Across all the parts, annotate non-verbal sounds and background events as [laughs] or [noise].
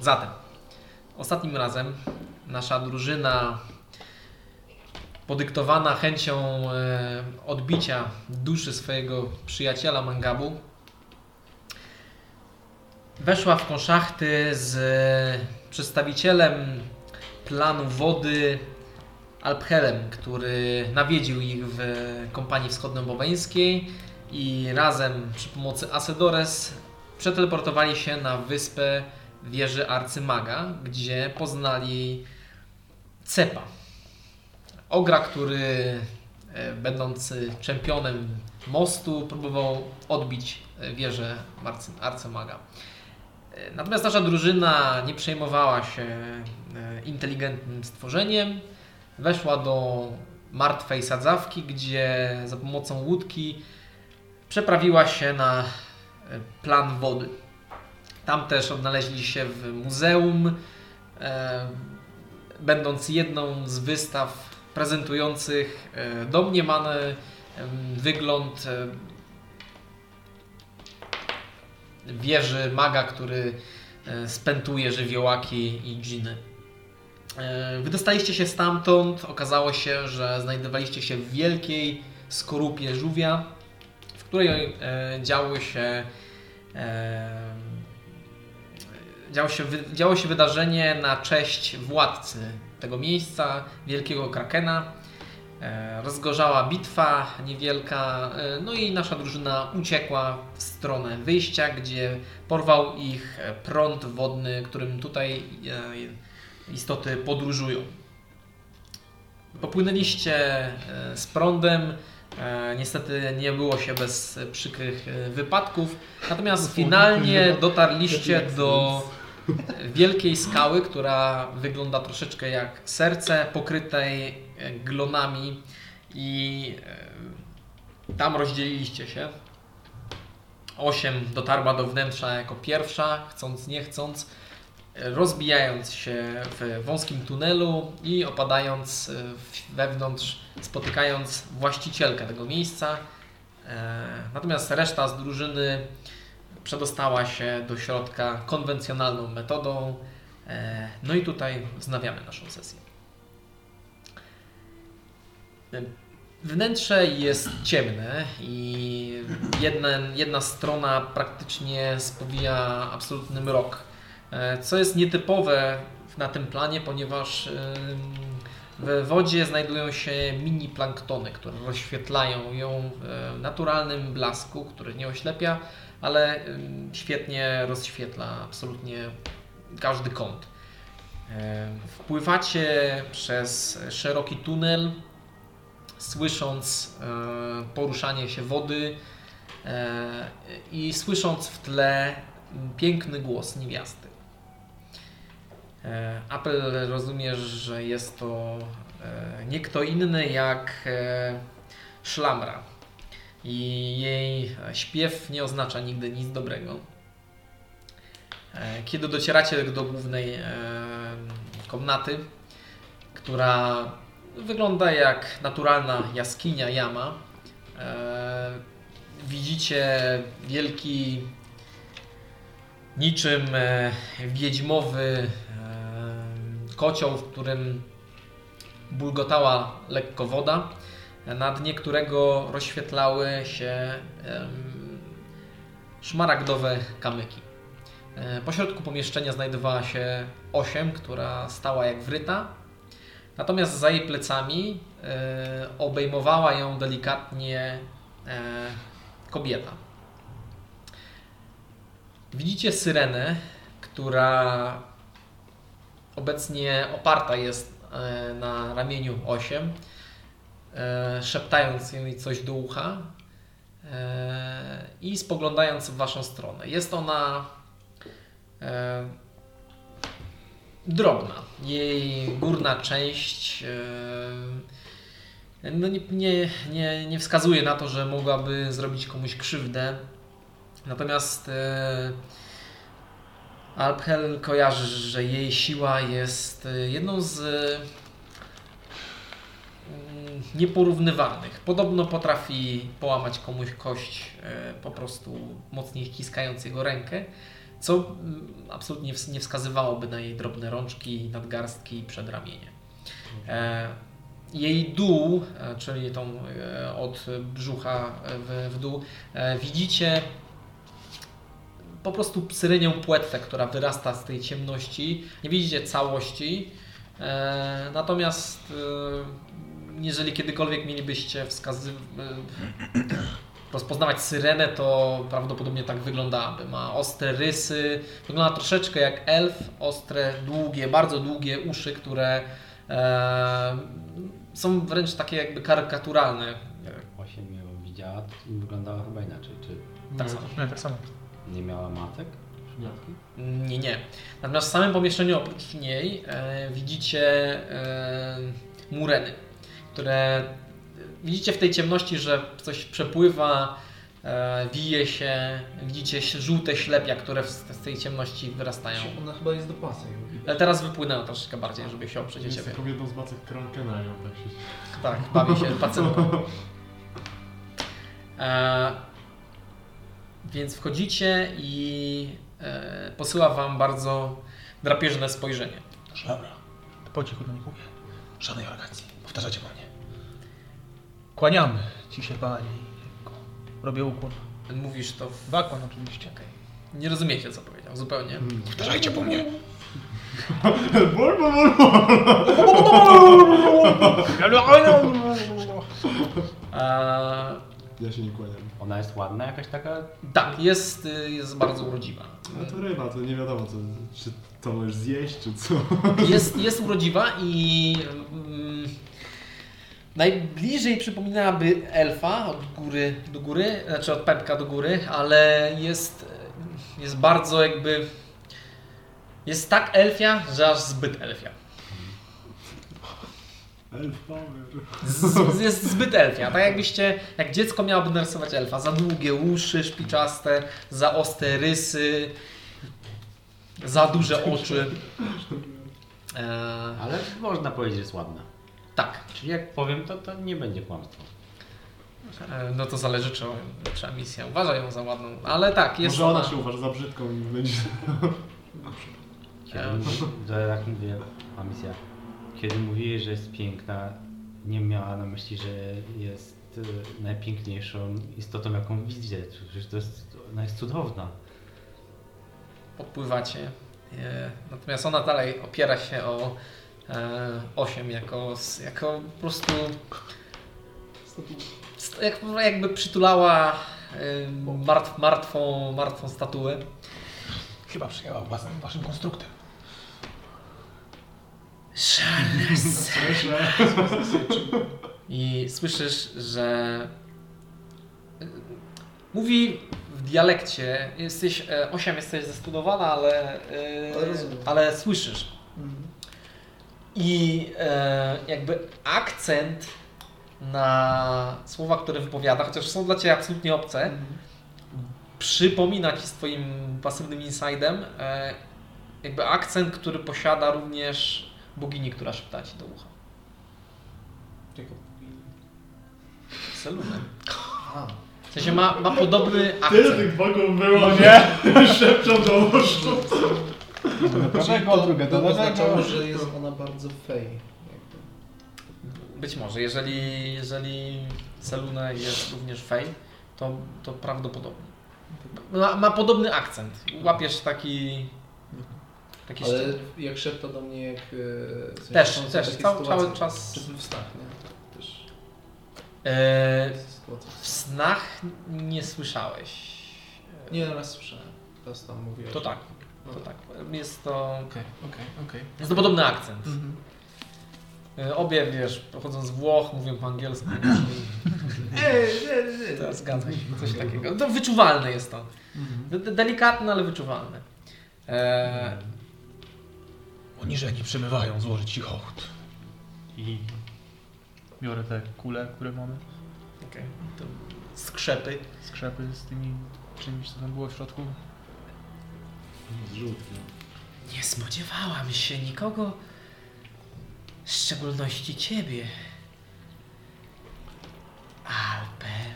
Zatem, ostatnim razem nasza drużyna podyktowana chęcią e, odbicia duszy swojego przyjaciela Mangabu weszła w konszachty z e, przedstawicielem planu wody Alphelem, który nawiedził ich w kompanii wschodniobobeńskiej i razem przy pomocy Asedores przeteleportowali się na wyspę wieży Arcymaga, gdzie poznali Cepa. Ogra, który e, będący czempionem mostu próbował odbić e, wieżę Marcy- Arcymaga. E, Natomiast nasza drużyna nie przejmowała się e, inteligentnym stworzeniem. Weszła do martwej sadzawki, gdzie za pomocą łódki przeprawiła się na e, plan wody. Tam też odnaleźli się w muzeum, e, będąc jedną z wystaw prezentujących e, domniemany em, wygląd e, wieży maga, który e, spętuje żywiołaki i dżiny. E, Wy dostaliście się stamtąd, okazało się, że znajdowaliście się w wielkiej skorupie żółwia, w której e, działy się e, działo się, wy- działo się wydarzenie na cześć władcy tego miejsca, wielkiego krakena. E, Rozgorzała bitwa niewielka, e, no i nasza drużyna uciekła w stronę wyjścia, gdzie porwał ich e, prąd wodny, którym tutaj e, istoty podróżują. Popłynęliście e, z prądem, e, niestety nie było się bez e, przykrych e, wypadków, natomiast finalnie dotarliście do wielkiej skały, która wygląda troszeczkę jak serce, pokrytej e, glonami i e, tam rozdzieliliście się. Osiem dotarła do wnętrza jako pierwsza, chcąc nie chcąc, e, rozbijając się w wąskim tunelu i opadając e, w- wewnątrz, spotykając właścicielkę tego miejsca. E, Natomiast reszta z drużyny przedostała się do środka konwencjonalną metodą. E, No i tutaj wznawiamy naszą sesję. E, Wnętrze jest ciemne i jedna, jedna strona praktycznie spowija absolutny mrok. E, Co jest nietypowe na tym planie, ponieważ ym, w wodzie znajdują się mini planktony, które rozświetlają ją w naturalnym blasku, który nie oślepia, ale ym, świetnie rozświetla absolutnie każdy kąt. E, Wpływacie przez szeroki tunel, słysząc e, poruszanie się wody e, i słysząc w tle piękny głos niewiasty. E, Apel rozumiesz, że jest to e, nie kto inny jak e, szlamra. I jej śpiew nie oznacza nigdy nic dobrego. E, Kiedy docieracie do głównej e, komnaty, która wygląda jak naturalna jaskinia, jama, e, widzicie wielki, niczym e, wiedźmowy e, kocioł, w którym bulgotała lekko woda, na dnie którego rozświetlały się em, szmaragdowe kamyki. E, Pośrodku pomieszczenia znajdowała się osiem, która stała jak wryta, natomiast za jej plecami e, obejmowała ją delikatnie e, kobieta. Widzicie syrenę, która obecnie oparta jest e, na ramieniu 8, e, szeptając jej coś do ucha e, i spoglądając w waszą stronę. Jest ona e, drobna. Jej górna część e, no nie, nie, nie, nie wskazuje na to, że mogłaby zrobić komuś krzywdę. Natomiast e, Alphel kojarzy, że jej siła jest e, jedną z e, mm, nieporównywalnych. Podobno potrafi połamać komuś kość, e, po prostu mocniej ściskając jego rękę. co absolutnie nie wskazywałoby na jej drobne rączki, nadgarstki i przedramienie. E, Jej dół, e, czyli tą e, od brzucha e, w, w dół, e, widzicie po prostu syrynią płetwę, która wyrasta z tej ciemności. Nie widzicie całości. E, Natomiast e, jeżeli kiedykolwiek mielibyście wskazywać, rozpoznawać syrenę, to prawdopodobnie tak wyglądałaby. Ma ostre rysy, wygląda troszeczkę jak elf, ostre, długie, bardzo długie uszy, które e, są wręcz takie jakby karykaturalne. tak Jak 8 ją widziała, to wyglądała chyba inaczej, czy Mhm. Tak samo. Nie, tak samo. nie miała matek? No, Przypadki? Nie, nie. Natomiast w samym pomieszczeniu oprócz niej e, widzicie e, mureny, które widzicie w tej ciemności, że coś przepływa, e, wije się, widzicie żółte ślepia, które w- z tej ciemności wyrastają. Ona chyba jest do pasa. ją widać. Ale teraz wypłynęła troszeczkę bardziej, żeby się oprzeć o Jest ciebie. taką jedną z macek Krankena ją tak się... Tak, bawi się pacynką. E, więc wchodzicie i e, posyła wam bardzo drapieżne spojrzenie. Dobra. To po cichu do nich mówię. Żadnej arogancji. Powtarzacie po mnie. Kłaniamy ci się, panie. Robię ukłon. Mówisz to w Wakłan oczywiście. Nie rozumiecie, co powiedział, zupełnie. Mm. [laughs] Powtarzajcie po mnie. Bol, bol, bol, bol. no, Eee, Ja się nie kłaniam. Ona jest ładna jakaś taka? tak, jest, y, jest bardzo urodziwa. A No to ryba, to nie wiadomo, co, czy to możesz zjeść, czy co. Jest, jest urodziwa i mm, najbliżej przypominałaby elfa od góry do góry, znaczy od pępka do góry, ale jest, jest bardzo jakby... Jest tak elfia, że aż zbyt elfia. Elf power. Z, jest zbyt elfia. Tak jakbyście, jak dziecko miałoby narysować elfa. Za długie uszy szpiczaste, za ostre rysy, za duże oczy. E, Ale można powiedzieć, że jest ładna. tak, Czyli jak powiem, to, to nie będzie kłamstwo. e, no to zależy, czy, czy misja uważa ją za ładną, ale tak, jest Może ona się uważa za brzydką i będzie... [laughs] Kiedy Em. mówi- to jak mówię, a misja. Kiedy mówiłeś, że jest piękna, nie miała na myśli, że jest e, najpiękniejszą istotą, jaką widzę. Przecież to jest, ona jest cudowna. Podpływacie. E, natomiast ona dalej opiera się o e, 8 jako, s- jako po prostu st- jak, jakby przytulała e, martw, martwą, martwą statuę. Chyba przyjęła własnym waszym konstruktem. [laughs] Szalnes. I słyszysz, że y, mówi w dialekcie. Jesteś e, osiem, jesteś zestudowana, ale, y, Ale rozumiem. ale słyszysz. I e, jakby akcent na słowa, które wypowiada, chociaż są dla ciebie absolutnie obce, Mhm. przypomina ci swoim pasywnym insidem e, jakby akcent, który posiada również bogini, która szepta ci do ucha. Czego? Selunę. A, W sensie ma, ma podobny Tyle akcent. tych bogów było, nie? [laughs] Szepczą do uszu. do prawego, drugie do lewego. oznaczało, że jest ona bardzo fej. jakby. Być może, jeżeli, jeżeli Seluna jest również fej, to, to prawdopodobnie. Ma, ma podobny akcent. Łapiesz taki... taki Ale szczyt. jak szepta do mnie, jak... e, w sensie Też, są też, takie cały, cały sytuacje. czas. Czy w snach, nie? Też E, jest sytuacja. w snach nie słyszałeś. Nie, raz słyszałem. Teraz tam mówiłeś. To tak, to tak. Jest to... Okej, okej, okej. Jest to podobny akcent. Mhm. E, Obie, wiesz, pochodzą z Włoch, mówią po [laughs] angielsku. To zgadza się, coś takiego. To wyczuwalne jest to. De- Mhm. de- Delikatne, ale wyczuwalne. E, Oniżeni przemywają złożyć ci hołd. I biorę te kule, które mamy. okej, to skrzepy. Skrzepy z tymi czymś, co tam było w środku. Zrzutki. Nie spodziewałam się nikogo, w szczególności ciebie. Alpel.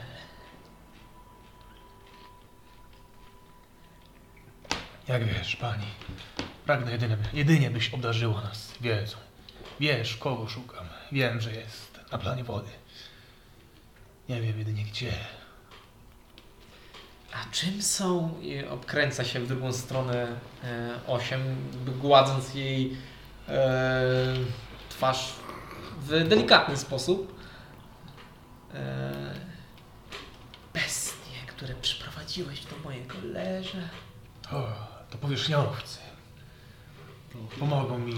Jak wiesz, pani, pragnę jedynie, jedynie byś obdarzyła nas wiedzą. Wiesz, kogo szukam. Wiem, że jest na planie wody. Nie wiem jedynie gdzie. A czym są? I obkręca się w drugą stronę e, osiem, jakby gładząc jej e, twarz w delikatny sposób. E, bestie, które przyprowadziłeś do mojego leża. O, to powierzchniowcy. Pomogą mi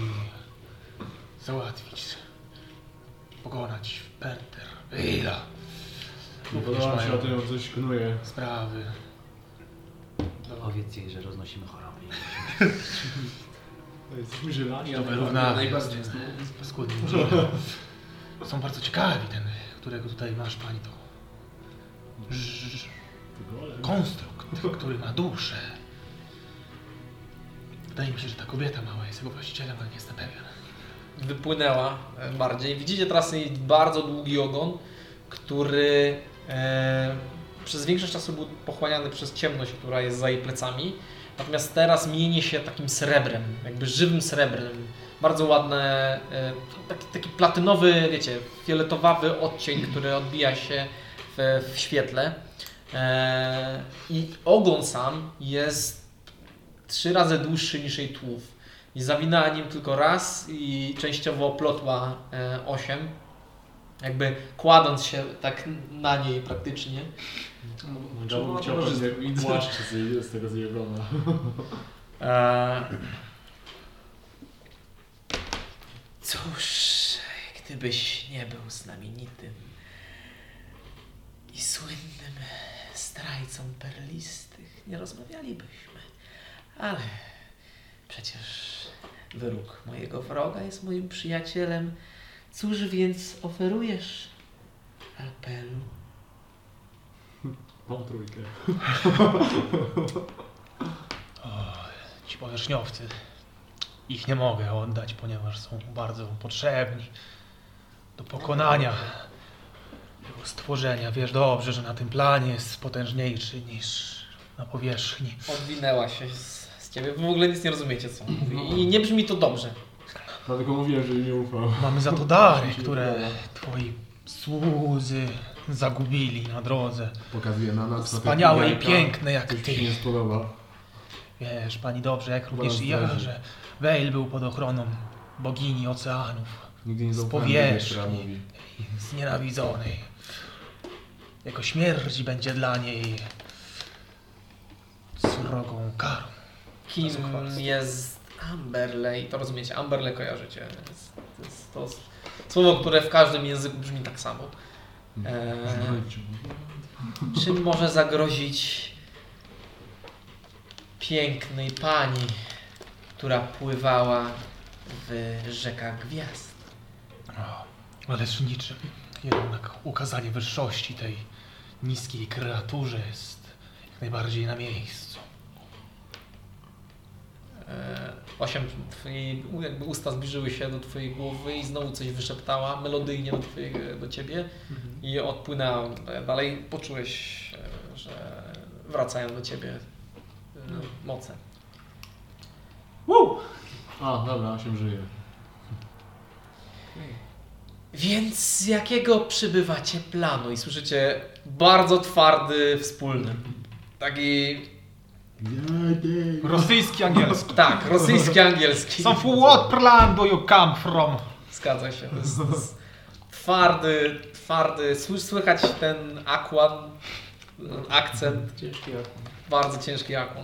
załatwić, pokonać Penter, Ila, Nie podoba mi się, a to ją coś knuje. sprawy. Powiedz jej, że roznosimy choroby. To Jesteśmy żylani, To tak ale wyrównamy. najbardziej jest, jest. no, paskudni ludzie. Są bardzo ciekawi ten, którego tutaj masz pani to. ż- ż- Konstrukt, który ma duszę. Wydaje mi się, że ta kobieta mała jest jego właścicielem, ale nie jestem pewien. wypłynęła e, bardziej. Widzicie teraz jej bardzo długi ogon, który e, przez większość czasu był pochłaniany przez ciemność, która jest za jej plecami. Natomiast teraz mieni się takim srebrem, jakby żywym srebrem. Bardzo ładne, e, taki, taki platynowy, wiecie, fioletowawy odcień, który odbija się w, w świetle. E, I ogon sam jest trzy razy dłuższy niż jej tułów. I zawinęła nim tylko raz i częściowo oplotła e, osiem. Jakby kładąc się tak na niej praktycznie. Czemu Czemu chciał towarzystwo pewnie widzę? płaszcz z, z tego zjebana. E... Cóż, gdybyś nie był znamienitym i słynnym zdrajcą perlistych, nie rozmawialibyśmy. Ale przecież wyrok mojego wroga jest moim przyjacielem. Cóż więc oferujesz Alpelu? Mam trójkę. Ci powierzchniowcy, ich nie mogę oddać, ponieważ są bardzo potrzebni do pokonania tego stworzenia. Wiesz dobrze, że na tym planie jest potężniejszy niż na powierzchni. Odwinęła się z, z ciebie. Wy w ogóle nic nie rozumiecie, co on mówi. I nie brzmi to dobrze. Dlatego No, mówiłem, że jej nie ufał. Mamy za to dary, które twoi słudzy zagubili na drodze. Pokazuje na nas. na te Wspaniałe i jajka. piękne jak Coś ty. mi się nie spodoba. Wiesz, pani dobrze, jak również Bardzo i ja, dobrze. że Vale był pod ochroną bogini oceanów. Nigdy nie Z zaufałem tobie, która powierzchni. mówi. znienawidzonej. Jego śmierć będzie dla niej surogą karą. Kim To są kwarcy. jest Amberley? To rozumiecie, Amberley kojarzycie. To jest, to jest to s- słowo, które w każdym języku brzmi tak samo. Eee, E. czym może zagrozić pięknej pani, która pływała w rzekach gwiazd? Ależ niczym. Jednak ukazanie wyższości tej niskiej kreaturze jest jak najbardziej na miejscu. Eee, Osiem, twojej, jakby usta zbliżyły się do twojej głowy i znowu coś wyszeptała melodyjnie do, twojej, do ciebie i odpłynęła dalej. Poczułeś, e, że wracają do ciebie no. moce. A, dobra, osiem żyje. Więc z jakiego przybywacie planu? I słyszycie bardzo twardy wspólny. Taki, Jadej. Rosyjski, angielski. tak, rosyjski, angielski. [laughs] Some what plan do you come from? Zgadza się. To jest, to jest twardy, twardy. Sły- Słychać ten akwan, ten akcent, Ciężki jak. bardzo ciężki akwan.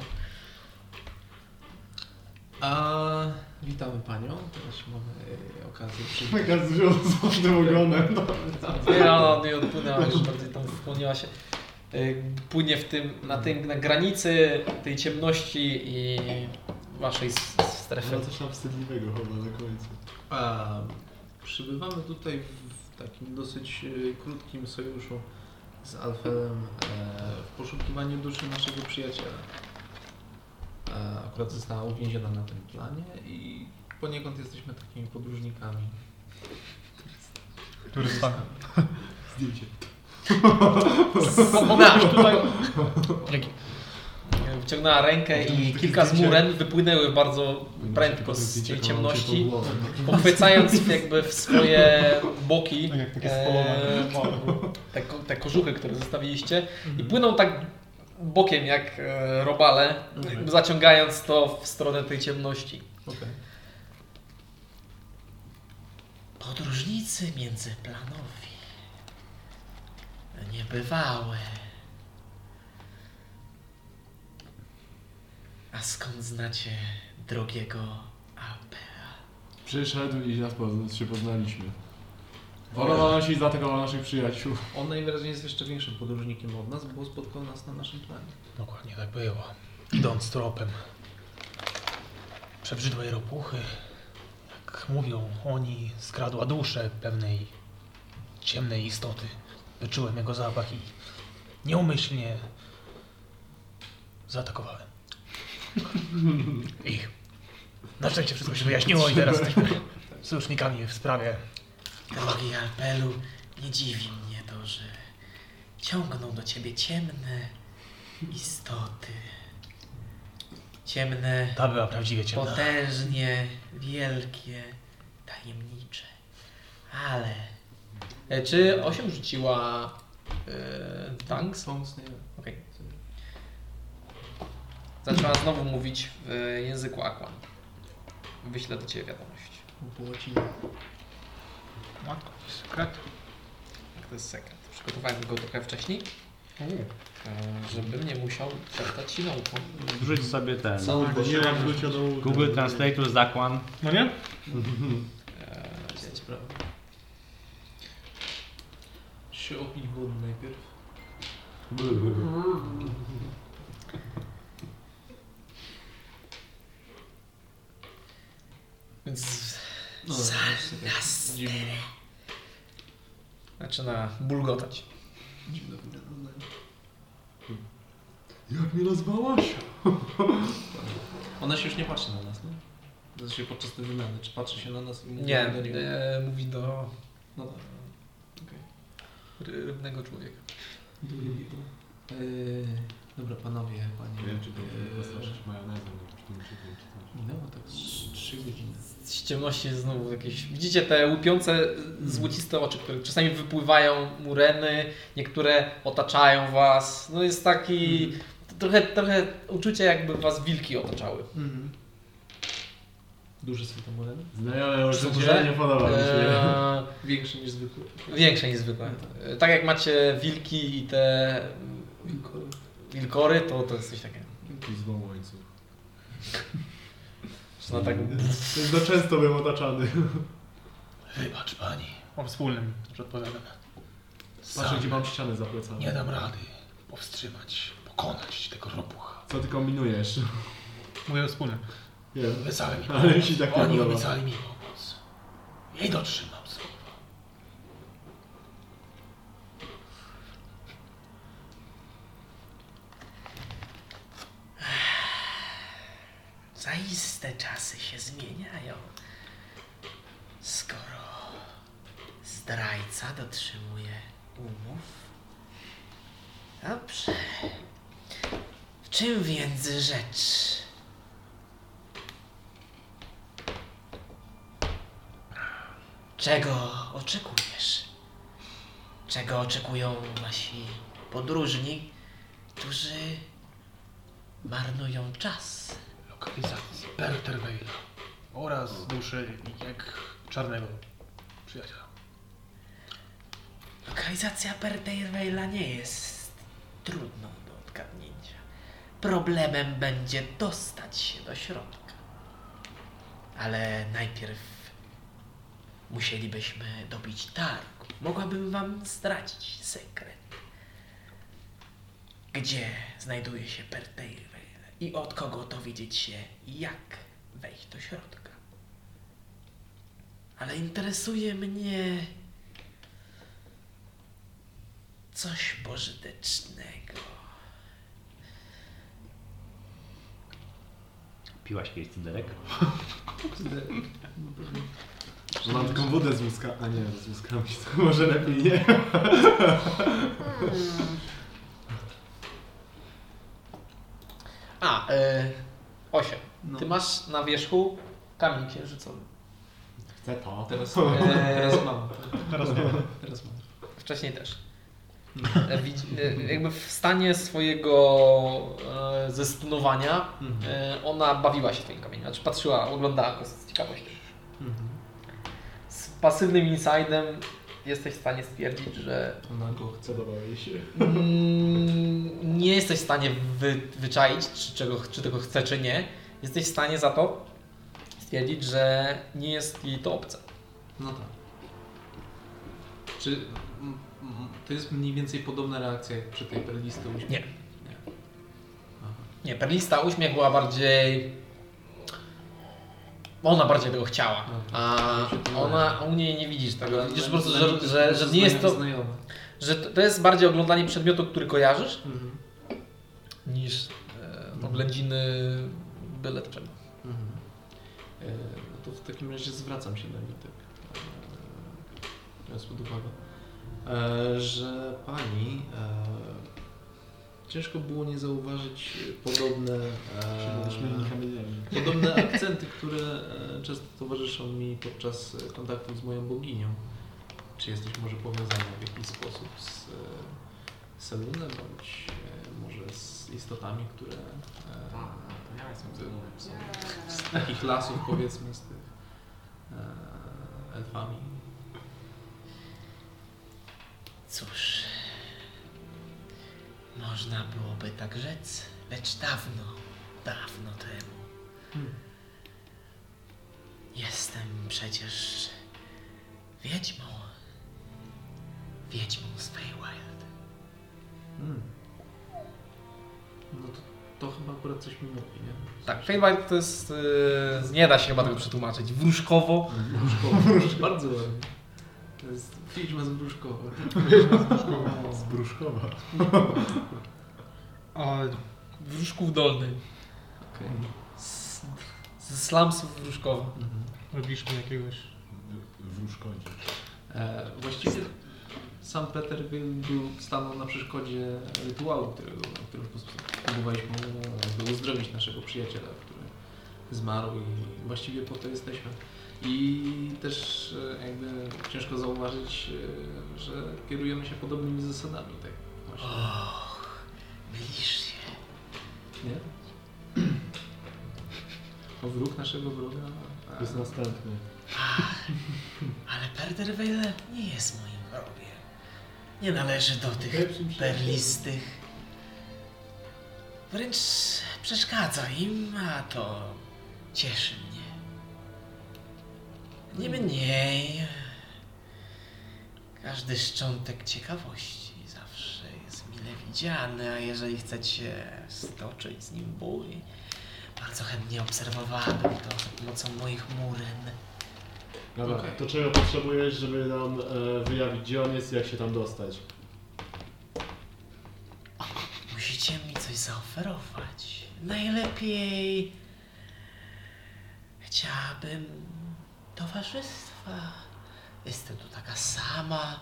A witamy panią. Teraz mamy e, [laughs] okazję przywitać. Taka z [laughs] złotym ogonem. no. Nie, ona nie odpłynęła, już bardziej tam wchłoniła się. Y, Płynie w tym, na, tym, na granicy tej ciemności i waszej s- strefy. Chyba coś tam wstydliwego chyba na końcu. A, przybywamy tutaj w takim dosyć e, krótkim sojuszu z Alfelem e, w poszukiwaniu duszy naszego przyjaciela. E, akurat została uwięziona na tym planie i poniekąd jesteśmy takimi podróżnikami. Który stan? Zdjęcie. Ona tutaj. Jaki? Ciągnęła rękę i kilka z muren wypłynęły bardzo prędko z tej ciemności, pochwycając jakby w swoje boki Tak jak takie e, te, ko- te kożuchy, które zostawiliście i płyną tak bokiem jak e, robale, Mhm. jakby zaciągając to w stronę tej ciemności. Okej. Podróżnicy międzyplanowi. Niebywałe. A skąd znacie drogiego Alpera? Przyszedł i ja pozna- się poznaliśmy. Wolał nas i zaatakował naszych przyjaciół. On najwyraźniej jest jeszcze większym podróżnikiem od nas, bo spotkał nas na naszym planie. Dokładnie tak było. Idąc tropem przebrzydłej ropuchy, jak mówią oni, skradła duszę pewnej ciemnej istoty. Wyczułem jego zapach i nieumyślnie zaatakowałem. Ich. Na szczęście wszystko się wyjaśniło i teraz jesteśmy sojusznikami w sprawie. Drogi Alpelu, nie dziwi mnie to, że ciągną do ciebie ciemne istoty. Ciemne, Ta była prawdziwie ciemna. potężnie wielkie, tajemnicze. Ale... e, Czy 8 rzuciła e, Tanks? Sąs, nie wiem. Okej. Zaczęła znowu mówić w języku Aquan. Wyślę do Ciebie wiadomość. Po łacinie. Matko, to jest sekret. Tak, To jest sekret. Przygotowałem go trochę wcześniej, Tak. e, żebym nie musiał czytać ci nauką. Wrzuć sobie ten. Tak, Nie mam wrócił do łóżka. Google Translator zakłan. No nie? E, Jest sprawa. Się opić wody najpierw. Więc No, Za to jest takie nas Dziwne, zaczyna bulgotać. dziwne wygląda. Jak mnie nazwałaś? Ona się już nie patrzy na nas, no? Znaczy się podczas tej wymiany, czy patrzy się na nas i mówi Nie, do niego. e, mówi do No tak. ry- rybnego człowieka. Yy, dobra, panowie, panie. Nie wiem, czy to yy, wystraszyć majonezem, czy tym, czy tym, czy tym. Minęło tak z 3 godziny. Z ciemności znowu jakieś... Widzicie te łupiące, złociste oczy, które czasami wypływają mureny, niektóre otaczają was. No jest taki... Trochę, trochę uczucie jakby was wilki otaczały. Mhm. Duże są te mureny? Znajomy, już Sądzę, to nie podoba mi E, się. Eee, Większe niż zwykłe. Większe niż zwykłe. E, Tak jak macie wilki i te mm, Wilkory. wilkory, to to jest coś takiego. Jakiś złom łańcuch. No tak. Za często byłem otaczany. Wybacz pani, O wspólnym, że odpowiadam. Patrzę, sam gdzie mam ścianę za plecami. nie dam rady powstrzymać, pokonać tego ropucha. Co ty kombinujesz? Mówię o wspólnym. Wiem. Obiecali mi Ale mi się tak nie Oni podoba. obiecali mi pomóc. I dotrzymam słowa. Zaiste czasy się zmieniają. Skoro zdrajca dotrzymuje umów. Dobrze. W czym więc rzecz? Czego oczekujesz? Czego oczekują nasi podróżni, którzy marnują czas? Lokalizacji Perterweila oraz duszy jak czarnego przyjaciela. Lokalizacja Perdeirveila nie jest trudną do odgadnięcia. Problemem będzie dostać się do środka. Ale najpierw musielibyśmy dobić targ. Mogłabym wam zdradzić sekret. Gdzie znajduje się Perdeirveil i od kogo dowiedzieć się, jak wejść do środka. Ale interesuje mnie coś pożytecznego. Piłaś kiedyś cyderek? No Mam taką wodę z łuska. A nie, z łuskami to może lepiej nie. A, A, e, 8. No. Ty masz na wierzchu kamień księżycowy. Chcę to. Teraz, E, teraz mam. tak. Teraz nie. Teraz mam. Wcześniej też. E, widzi- e, Jakby w stanie swojego e, zestunowania e, ona bawiła się twoim kamieniem. Znaczy patrzyła, oglądała go z ciekawością. Mhm. Z pasywnym insidem jesteś w stanie stwierdzić, że Ona go chce. Podobało jej się. mm, nie jesteś w stanie wy, wyczaić, czy, czego, czy tego chce, czy nie. Jesteś w stanie za to stwierdzić, że nie jest jej to obce. No tak. Czy m, m, to jest mniej więcej podobna reakcja jak przy tej perlisty uśmiechu? Nie. Nie. Nie, perlista uśmiech była bardziej. Ona bardziej tego chciała. A ona u niej nie widzisz Tak, tego. Widzisz po prostu, że, że, że nie jest to. Znajome. Że to to jest bardziej oglądanie przedmiotu, który kojarzysz, Mhm. niż e, oględziny byle czego. Mhm. E, no to w takim razie zwracam się do niej tak. e, Biorąc pod uwagę, e, że pani e, ciężko było nie zauważyć podobne, Przybyliśmy e, kamieniami. podobne akcenty, które e, często towarzyszą mi podczas e, kontaktów z moją boginią. Czy jesteś może powiązana w jakiś sposób z e, Selunem, bądź e, może z istotami, które e, Ja jestem ze mną. są z takich lasów powiedzmy z tych e, elfami. Cóż, można byłoby tak rzec, lecz dawno, dawno temu. Hmm. Jestem przecież wiedźmą. Wiedźmą z Feywild. Mm. No to, to chyba akurat coś mi mówi, nie? Tak, Feywild to jest... Yy, nie da się chyba tego przetłumaczyć. Wróżkowo. Wróżkowa, bardzo ładnie. To jest firma z Bruszkowa. Z Bruszkowa. A wróżków dolny. Okej. Z, z slumsów wróżkowa. Mhm. Robisz mi jakiegoś... W Ruszkodzie. E, właściwie sam Peterville był, stanął na przeszkodzie rytuału, którego, którym próbowaliśmy jakby uzdrowić naszego przyjaciela, który zmarł i właściwie po to jesteśmy. I też e, jakby ciężko zauważyć, e, że kierujemy się podobnymi zasadami, tak właśnie, Och, mylisz się. nie? O wróg naszego wroga. To jest następny. Ale Perderweile nie jest moim wrogiem. Nie należy do tych perlistych. Wręcz przeszkadza im, a to cieszy mnie. Niemniej, każdy szczątek ciekawości zawsze jest mile widziany, a jeżeli chcecie stoczyć z nim bój, bardzo chętnie obserwowałem to za pomocą moich muryn. Dobra, Okej. to czego potrzebujesz, żeby nam e, wyjawić, gdzie on jest i jak się tam dostać? Musicie mi coś zaoferować. Najlepiej chciałabym towarzystwa. Jestem tu taka sama.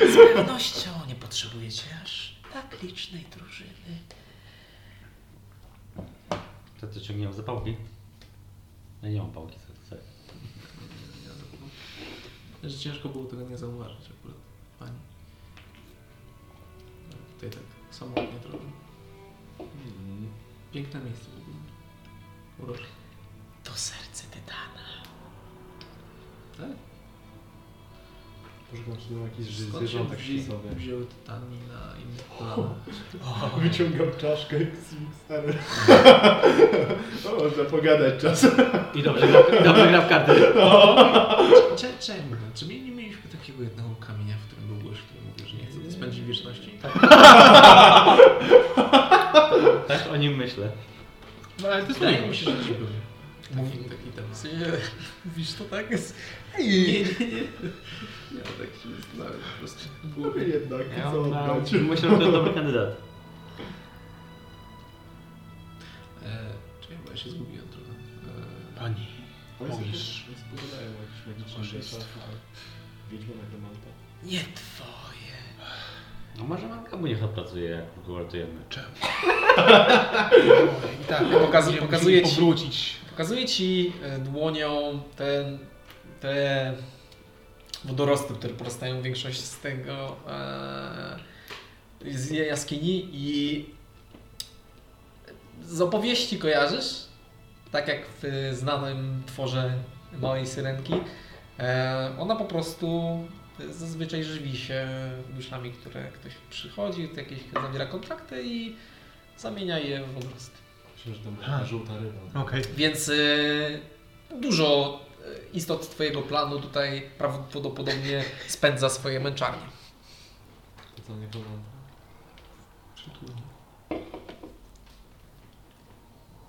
Z pewnością nie potrzebujecie aż tak licznej drużyny. To co ciągniemy za pałki? Ja nie mam pałki, co chcę. Że ciężko było tego nie zauważyć akurat pani. No, Tutaj tak samotnie trochę. Piękne miejsce w ogóle. Urocze. To serce tytana. Poszukam, czy mam jakiś ży- Skąd się zwierzątek przy wzi- sobie. wzięły tytani na innych planach? Wyciągam czaszkę i [laughs] stary. o, można pogadać czasem. I dobrze gra, i dobrze gra w karty. Cze- Czemu? Czy my nie mieliśmy takiego jednego kamienia, w którym był gość, który mówił, że nie chce spędzić wieczności? Tak, Też Tak o nim myślę. No ale to Wydaje mi się, że ci był. Taki, taki tam. Mówisz to tak? Nie, [laughs] nie, nie. Ja tak się zastanawiam po prostu. Było Mówię No jednak, Ja co mam, oddać. myślę, że to jest dobry kandydat. E, czy ja, bo ja się zgubiłem trochę. E, Pani, Oni sobie- mówisz. oni sobie pogadają o jakichś magicznych Towarzystwo. rzeczach. Wiedźmy na gromanta. Nie twoje. No może Mangabu niech opracuje, jak go ratujemy. I tak, pokaz, Będziemy pokazuje musieli ci, powrócić. pokazuje ci e, dłonią te, te wodorosty, które porastają większość z tego e, z jej jaskini i z opowieści kojarzysz, tak jak w e, znanym tworze Małej Syrenki, e, ona po prostu zazwyczaj żywi się duszami, które ktoś przychodzi, to jakieś zawiera kontrakty i zamienia je w wodorosty. Myślę, że tam była żółta ryba. No. Okej. Więc y, dużo y, istot Twojego planu tutaj prawdopodobnie spędza swoje męczarnie. To co nie powiem.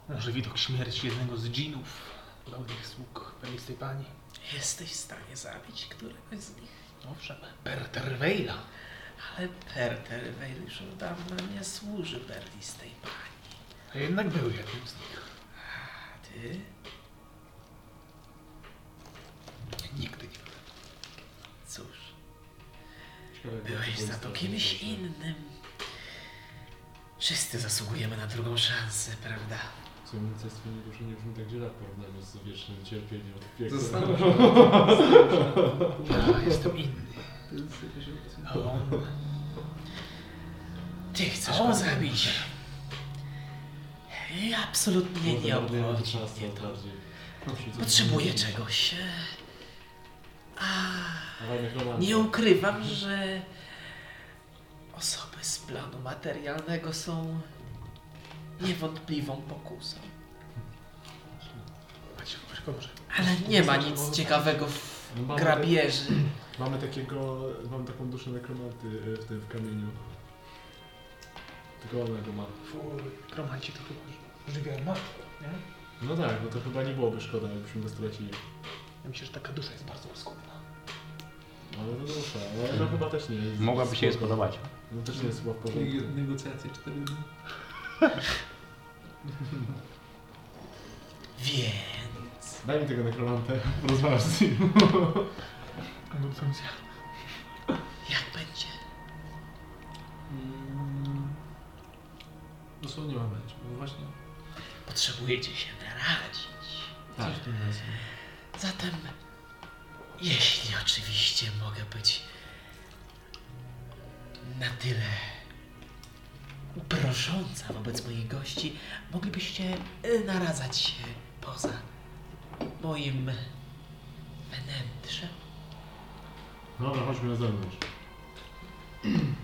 Może widok śmierci jednego z dżinów, dawnych sług pelistej pani. Jesteś w stanie zabić któregoś z nich, Owszem, Berterweila. ale Perter Vale już od dawna nie służy Berlistej Pani. A jednak był jednym z nich. A Ty? Nigdy nie był. Cóż, Ciekawe, jak byłeś będzie za to policjant. kimś innym. Wszyscy zasługujemy na drugą szansę, prawda? Słownictwo nie duszy nie brzmi tak źle w porównaniu z wiecznym cierpieniem od piekła. Zastanów się. Ja jestem inny. To jest jakaś opcja. A on... Ty chcesz O, go zabić. I Może absolutnie nie nawet nie obchodzi trzasnął mnie to. bardziej. Potrzebuję czegoś. A, Dawaj, nekromancja. nie ukrywam, że osoby z planu materialnego są niewątpliwą pokusą. Chodź, Może, może. Ale nie ma nic ciekawego w No mamy- grabieży. Mamy takiego, mamy taką duszę nekromanty y, w tym w kamieniu. Tylko ona go ma. Fuj, kromanci to chyba żywią matkę, nie? No tak, no to chyba nie byłoby szkoda, jakbyśmy go stracili. Ja myślę, że taka dusza jest bardzo łaskowna. Ale to dusza, ale no chyba też nie jest. Hmm. Mogłaby się jej spoko. spodobać. No też nie jest chyba w porządku. Neg- Negocjacje 4 dni. Więc Daj mi tego nekromantę, [laughs] porozmawiasz z nim. Konsumpcja. jak będzie? Mm. Dosłownie mamy, bo właśnie Potrzebujecie się naradzić. coś w tym jest. Zatem, jeśli oczywiście mogę być na tyle prosząca wobec moich gości, moglibyście y, naradzać się poza moim wnętrzem. Dobra, chodźmy na zewnątrz. [clears throat]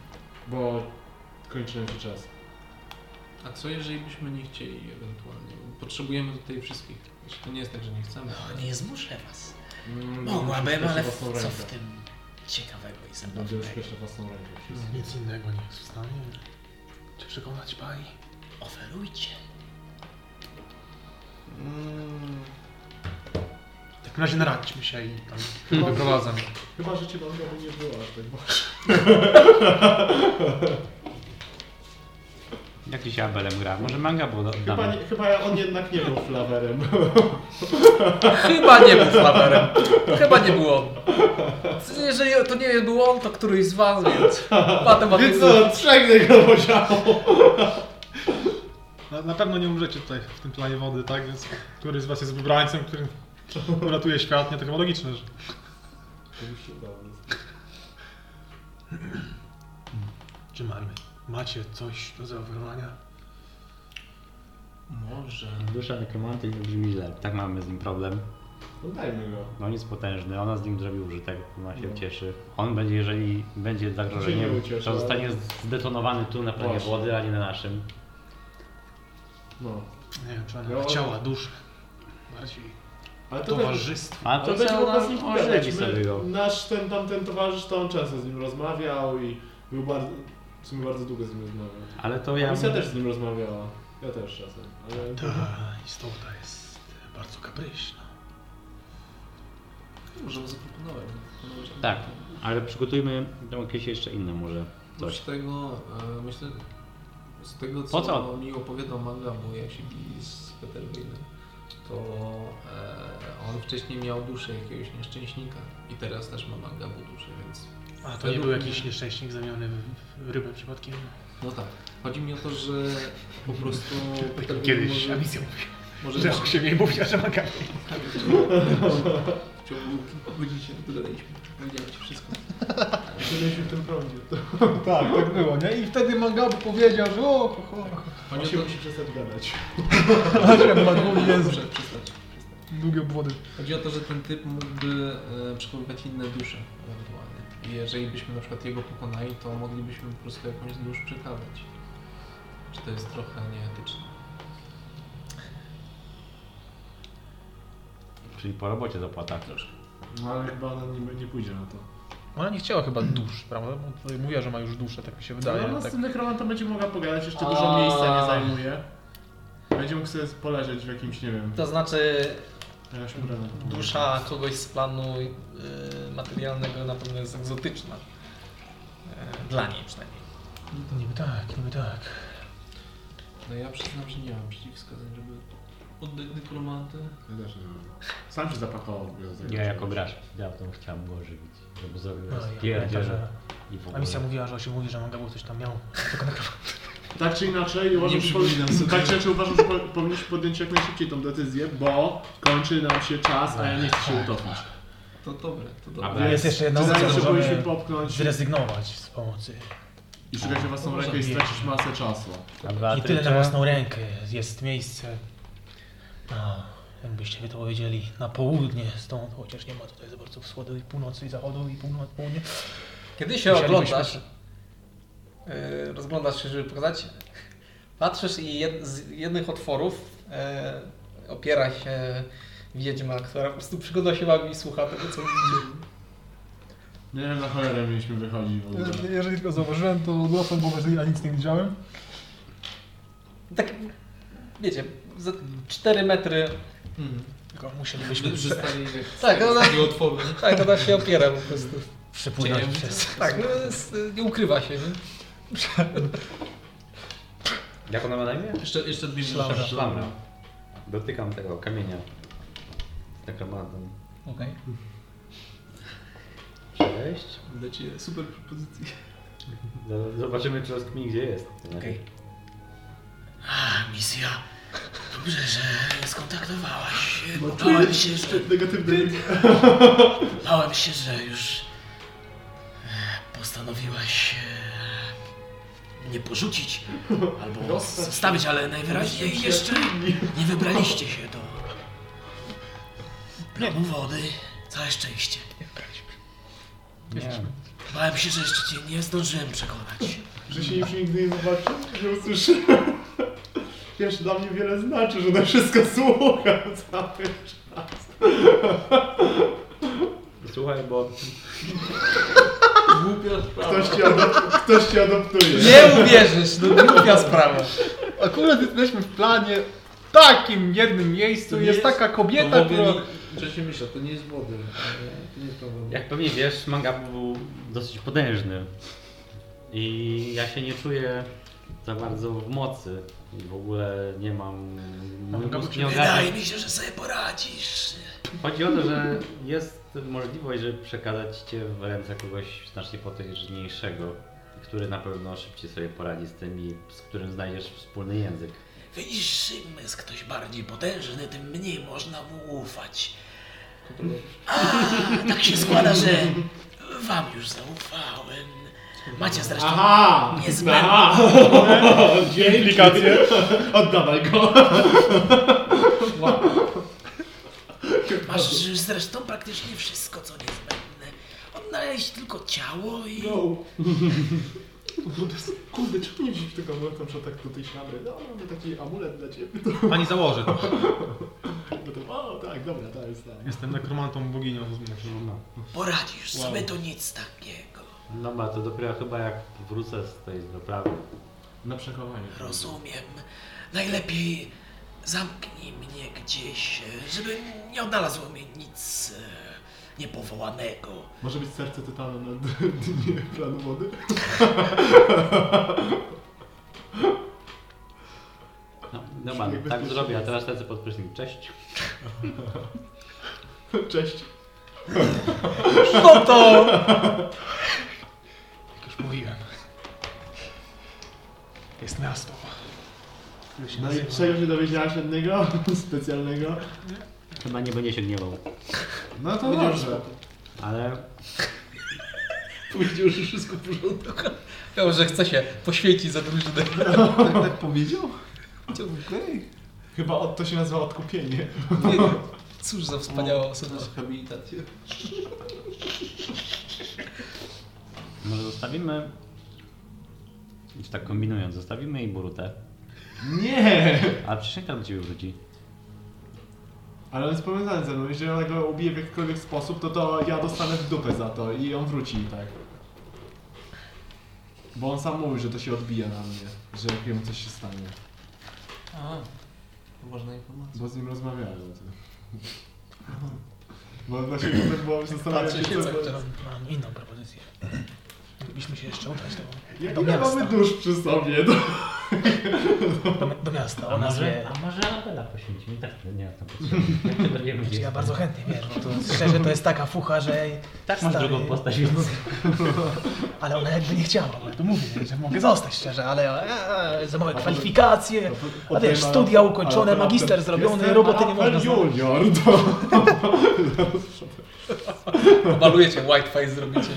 Bo kończy nam się czas. A co jeżeli byśmy nie chcieli ewentualnie? Potrzebujemy tutaj wszystkich. Znaczy, To nie jest tak, że nie chcemy. No, nie zmuszę was. Mm, Mogłabym, będziemy ale szukać na własną co rękę. w tym ciekawego i Będziemy zabawnego? szukać na własną rękę. wszyscy. No, Nic innego nie jest w stanie. Czy przekonać pani? Oferujcie. Mm. W takim razie naradźmy się i tam... Wyprowadzam. Chyba, że cię banga by nie było aż tak bardzo. Jakiś Abelem gra. Może Mangabu Chyba, oddamy. nie, chyba on jednak nie był flawerem. [laughs] Chyba nie był flawerem. Chyba nie był on. Jeżeli to nie był on, to któryś z was, więc Więc matematycznie. co, trzech tego poziomów. Na, na pewno nie umrzecie tutaj w tym planie wody, tak? Więc który z was jest wybrańcem, [laughs] który uratuje świat? Tak Nie, to chyba logiczne, że... To już się udało. Czy mamy? Macie coś do zaoferowania? Może. Dusza nekromanty nie brzmi źle. Tak mamy z nim problem. No dajmy go. No on jest potężny, ona z nim zrobi użytek, ona się cieszy. On będzie, jeżeli będzie zagrożenie, No. Się nie ucieszy, to ale- zostanie zdetonowany tu na planie Właśnie. wody, a nie na naszym. No. Nie wiem, czy ona Ja- chciała duszę. Bardziej Ale to też... towarzystwo. A Ale to będzie co mógł z ona- nim ona radzi pogadać. sobie go. My, nasz ten tamten towarzysz, to on często z nim rozmawiał i był bardzo... W sumie bardzo długo z nim rozmawiał. Ale to Ja ja... Misja też z nim rozmawiała. Ja też czasem. Ale... Ta istota jest bardzo kapryśna. Możemy zaproponować. Zaproponować nam Tak. tutaj. Ale przygotujmy tam jakieś jeszcze inne może Oprócz coś. tego, e, myślę, z tego Po co, co? mi opowiadał Mangamu, jak się bili z Peterwinem, to e, on wcześniej miał duszę jakiegoś nieszczęśnika i teraz też ma mangabu duszę, więc A to nie był jakiś nieszczęśnik zamiany w rybę przypadkiem. no tak. Chodzi mi o to, że po [laughs] prostu... Peter Kiedyś może- Amisja mówi, [laughs] może że jak się mniej mówi, a że ma kartę. W ciągu kilku godzin się dogadaliśmy. Powiedziałem ci wszystko. Byliśmy w tym prądzie. To [laughs] Tak, tak było, nie? I wtedy Mangabu powiedział, że o, ho, ho. Chodzi się o to, musi przestać gadać. Muszę przestać. Długie obwody. Chodzi o to, że ten typ mógłby e, przechowywać inne dusze ewentualnie. I jeżeli byśmy na przykład jego pokonali, to moglibyśmy po prostu jakąś z dusz przekazać. Czy to jest trochę nieetyczne? Czyli po robocie zapłata troszkę. No ale chyba ona nie, nie pójdzie na to. Ona nie chciała chyba dusz, prawda? Bo tutaj mówiła, że ma już duszę, tak mi się wydaje. no, no z tak. tym nekromantem będzie mogła pogadać, jeszcze A. dużo miejsca nie zajmuje. Będzie mógł sobie poleżeć w jakimś, nie wiem, To znaczy jakimś ubraniu. dusza kogoś z planu y, materialnego na pewno jest egzotyczna. Y, Dla niej przynajmniej. Niby tak, niby tak. No ja przyznam, że nie mam przeciwwskazań, żeby oddać nekromantę. Ja też nie wiem. Sam się zapakował. Ja jako gracz dawno chciałem go ożywić, żeby zrobił No, i pamiętam, spierdziel że i w ogóle. Amisja mówiła, że się mówi, że Mangabu coś tam miał. Tylko na Tak czy inaczej, uważam, że, przypominam sobie. po, tak czy inaczej uważam, że po, powinniśmy podjąć jak najszybciej tą decyzję, bo kończy nam się czas, a ja nie chcę się utopić. To dobre, to dobre. Dobra. Ale Tak. jest jeszcze jedna Czy opcja, zawsze że powinniśmy możemy popchnąć zrezygnować z pomocy. i szukać o własną rękę i stracić masę czasu. A I tyle na Beatrycze? własną rękę jest miejsce. No, jakbyście wy to powiedzieli, na południe stąd, chociaż nie ma tutaj za bardzo wschodu i północy i zachodu i północ, południe. Kiedy się Musielibyśmy- oglądasz, y, rozglądasz się, żeby pokazać, patrzysz i jed, z jednych otworów y, opiera się wiedźma, która po prostu przygląda się wam i słucha tego, co widzicie. Nie wiem, na cholerę mieliśmy wychodzić w ogóle. Jeżeli tylko zauważyłem, to odwracam, bo jeżeli ja nic nie widziałem. Tak, wiecie, za 4 metry, Mhm. Tylko Wy musielibyśmy prze, przestali Tak, no, tak. otwory. tak, ona się opiera po prostu. Czy przepłynąć ja przez... Tak, no, jest, y, nie ukrywa się, nie? Jak ona ma na imię? Jeszcze, jeszcze dwie Szlamra. rzeczy. Szlamra. Dotykam tego kamienia. Z nekromantem. Okej. Przejść. Dacie super propozycje. Z- Zobaczymy, czy rozkmin gdzie jest. Okej. A, misja. Dobrze, że skontaktowałaś się. Czułem się negatywny. Bałem się, że już e, postanowiłaś nie porzucić No. albo zostawić, ale najwyraźniej jeszcze nie No. wybraliście się do bramu wody. Całe szczęście. Nie. Bałem się, że jeszcze cię nie zdążyłem przekonać. Że się już nigdy nie zobaczy, nie usłyszy. [laughs] Wiesz, dla mnie wiele znaczy, że na wszystko słucham cały czas. Słuchaj, bo Głupia sprawa. Ktoś ci, adop- ktoś ci adoptuje. Nie uwierzysz, no głupia sprawa. Akurat jesteśmy w planie, w takim jednym miejscu, To jest, jest- taka kobieta, to w która... ogóle nie- Że się myślę, to nie jest wody. To nie jest problem. jak pewnie wiesz, manga był dosyć potężny. I ja się nie czuję za bardzo w mocy. I w ogóle nie mam... Mój mózg nie ogarnia mi się, że sobie poradzisz. Chodzi o to, że jest możliwość, żeby przekazać cię w ręce kogoś znacznie potężniejszego, który na pewno szybciej sobie poradzi z tymi, z którym znajdziesz wspólny język. Widzisz, im jest ktoś bardziej potężny, tym mniej można mu ufać. A, tak się składa, że wam już zaufałem. Macie zresztą Aha! niezbędne... Dwie implikacje. Oddawaj go. Masz już zresztą praktycznie wszystko, co niezbędne. Odnaleźć tylko ciało i... No. Kurde, czemu nie wziąć tego amuletu na przykład tak do tej szlamry? No, mamy taki amulet dla ciebie. Pani założy. Potem, o tak, dobra, to jest tak. Jestem nekromantą boginią. No, Poradzisz Wow. sobie, to nic takiego. no ma to dopiero chyba jak wrócę z tej wyprawy. Na przechowanie. Rozumiem. Najlepiej zamknij mnie gdzieś, żeby nie odnalazło mnie nic e, niepowołanego. Może być serce tytana na d- dnie planu wody? No, Dobra, Brzmi tak bezpiecznie. zrobię, a teraz lecę pod prysznic. Cześć. Cześć. No to! Jak już mówiłem. Jest miasto. które się No i nazywa- czego się dowiedziałaś jednego [laughs] specjalnego? Chyba nie będzie się gniewał, No to Powiedział, dobrze. ale Powiedział, że wszystko w porządku. Ja że chce się poświęcić za drużynę. Tak, tak powiedział? Okej. Chyba od, to się nazywa odkupienie. Nie, Cóż za wspaniała osoba. Masz habilitację. może zostawimy. Już tak kombinując, zostawimy jej burutę. [laughs] Nie! A przysięga do ciebie wróci. Ale on jest powiązany ze mną. Jeżeli ona go ubije w jakikolwiek sposób, to to ja dostanę w dupę za to i on wróci i tak. Bo on sam mówi, że to się odbija na mnie, że jak jemu coś się stanie. A, to ważna informacja. Bo z nim rozmawiałem o [laughs] tym. Bo właśnie potem byłam zastanawiam się, co... To Mam inną propozycję. Moglibyśmy się jeszcze udać do, Jak do ile miasta. mamy dusz przy sobie? No. Do, do miasta, A ona może, wie. a może Abela poświęcimy? Tak, nie ma tam potrzeby. [laughs] Jak się dowiemy, gdzie Znaczy, ja jest. bardzo chętnie, wiesz, bo to szczerze to jest taka fucha, że... Tak masz stary, drugą postać, więc... Ale ona jakby nie chciała, bo ja to mówię, że mogę zostać szczerze, ale e, za małe A to- kwalifikacje, a wiesz, studia ukończone, magister zrobiony, roboty nie można znaleźć. junior, to... Obalujecie, whiteface zrobicie.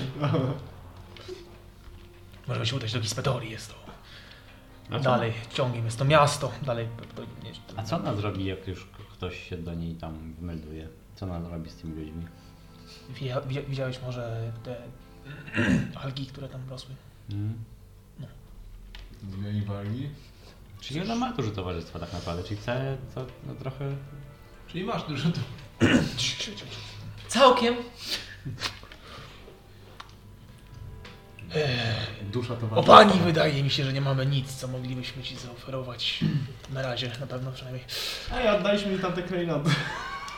Możemy się udać do Gispetorii, jest to A co, dalej ciągiem, jest to miasto, dalej... To, nie, a co ona zrobi, jak już k- ktoś się do niej tam wymelduje? Co ona robi z tymi ludźmi? Wija- wizia- Widziałeś może te [clears throat] algi, które tam rosły? Hmm? Zmieni wargi. Czyli ona ma dużo towarzystwa tak naprawdę, czyli chce to no, trochę... Czyli masz dużo tu. Całkiem. Eee. Dusza to O pani, wydaje mi się, że nie mamy nic, co moglibyśmy ci zaoferować. Na razie, na pewno przynajmniej. Ej, oddaliśmy mi tamte klejnoty.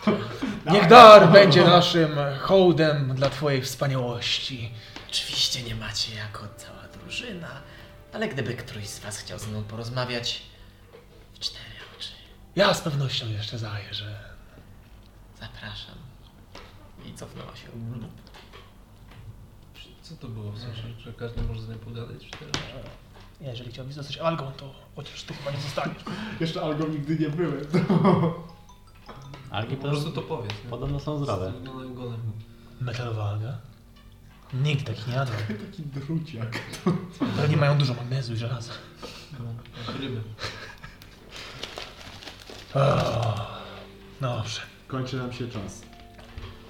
[laughs] Niech dar będzie no. naszym hołdem dla twojej wspaniałości. Oczywiście nie macie jako cała drużyna, ale gdyby któryś z was chciał ze mną porozmawiać, w cztery oczy Ja z pewnością jeszcze zajeżdżę. zapraszam. I cofnęła się. Co to było? W sensie, że każdy może z nim pogadać? Czy teraz? Jeżeli chciałbyś zostać algą, to chociaż ty chyba nie zostaniesz. Jeszcze algo nigdy nie byłem. Algi No, Po prostu podobno, to powiedz. nie? podobno są zdrowe. Wyglądają golem. Metalowa alga? Nikt takich nie jadł. Taki druciak. Pewnie mają dużo magnezu i żelaza. No, jak ryby. Oh, no dobrze, Kończy nam się czas.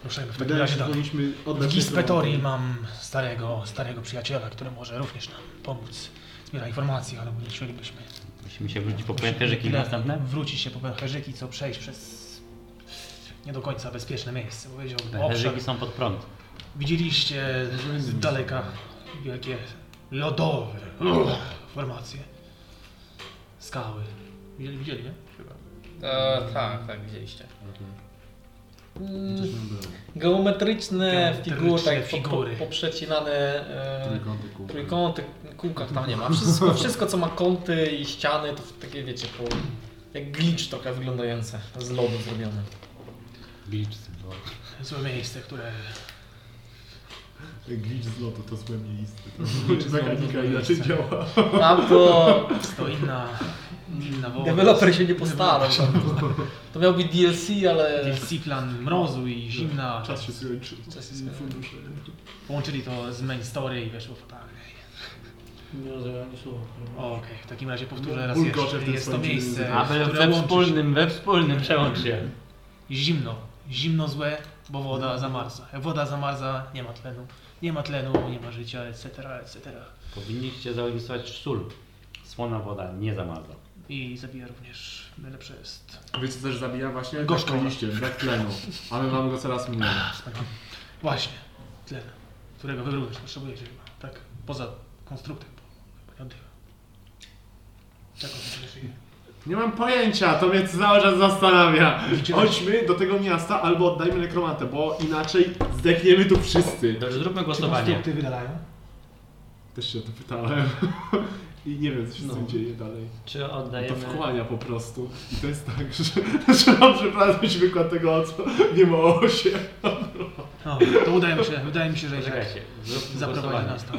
ruszajmy w takim Wydaje mi razie się, że dalej. powinniśmy W oddać... Gispetorii mam starego, starego przyjaciela, który może również nam pomóc. Zbiera informacje, ale nie chcielibyśmy. Musimy się wrócić po pęcherzyki Musimy następne. Wrócić się po pęcherzyki, co przejść przez nie do końca bezpieczne miejsce. bo Powiedziałbym obszar. Pęcherzyki są pod prąd. Widzieliście z daleka wielkie lodowe uch, formacje. Skały. Widzieli, widzieli, nie? E, tak, tak, widzieliście. Mm, geometryczne figury, tak figury. figury. poprzecinane e, Trójkąty kół. trójkąty, kółka tam nie ma. Wszystko, wszystko co ma kąty i ściany to takie wiecie, po, jak glitch trochę wyglądające, z lodu zrobione. Wilczcy. Złe miejsce, które Glitch z lotu to złe miejsce. [laughs] Glitch z lotu Mechanika to inaczej miejsce. działa. Tam to to inna, inna woła. deweloper się nie postarał. To miał być DLC, ale DLC plan mrozu i zimna. Czas się skończy. Czas się skończy. Fundusze. Połączyli to z main story i weszło fatalnie. Nie rozumiem ani słowa. Okej, w takim razie powtórzę raz Bulgocze w jeszcze. tym Jest to swoim miejsce, języku. Abel, które we łączy wspólnym, we wspólnym przełącz się. Zimno. Zimno złe, bo woda zamarza. Jak woda zamarza, nie ma tlenu. Nie ma tlenu, nie ma życia, etc., etc. Powinniście zainwestować w sól. Słona woda nie zamarza. I zabija również, najlepsze jest... Wiecie, co też zabija właśnie? Gorzką. Liście, brak tlenu. A my mamy go coraz mniej. wspaniałe. Właśnie, tlen, którego wy również potrzebujecie chyba, tak? Poza konstruktem, bo chyba nie oddycha. Czego on żyje? Nie mam pojęcia, to mnie cały czas zastanawia. Widzicie- Chodźmy do tego miasta albo oddajmy nekromantę, bo inaczej zdechniemy tu wszyscy. Dobrze, zróbmy Czy głosowanie. konstrukty wydalają? Też się o to pytałem. [laughs] I nie wiem, co się z tym No. dzieje dalej. Czy To oddajemy... wchłania po prostu. I to jest tak, że, [laughs] że mam przeprawić wykład tego, o co nie ma o się. No, to udaje mi się, wydaje mi się, że Irek Poczekajcie, zróbmy zaprowadzi głosowanie. nas tam.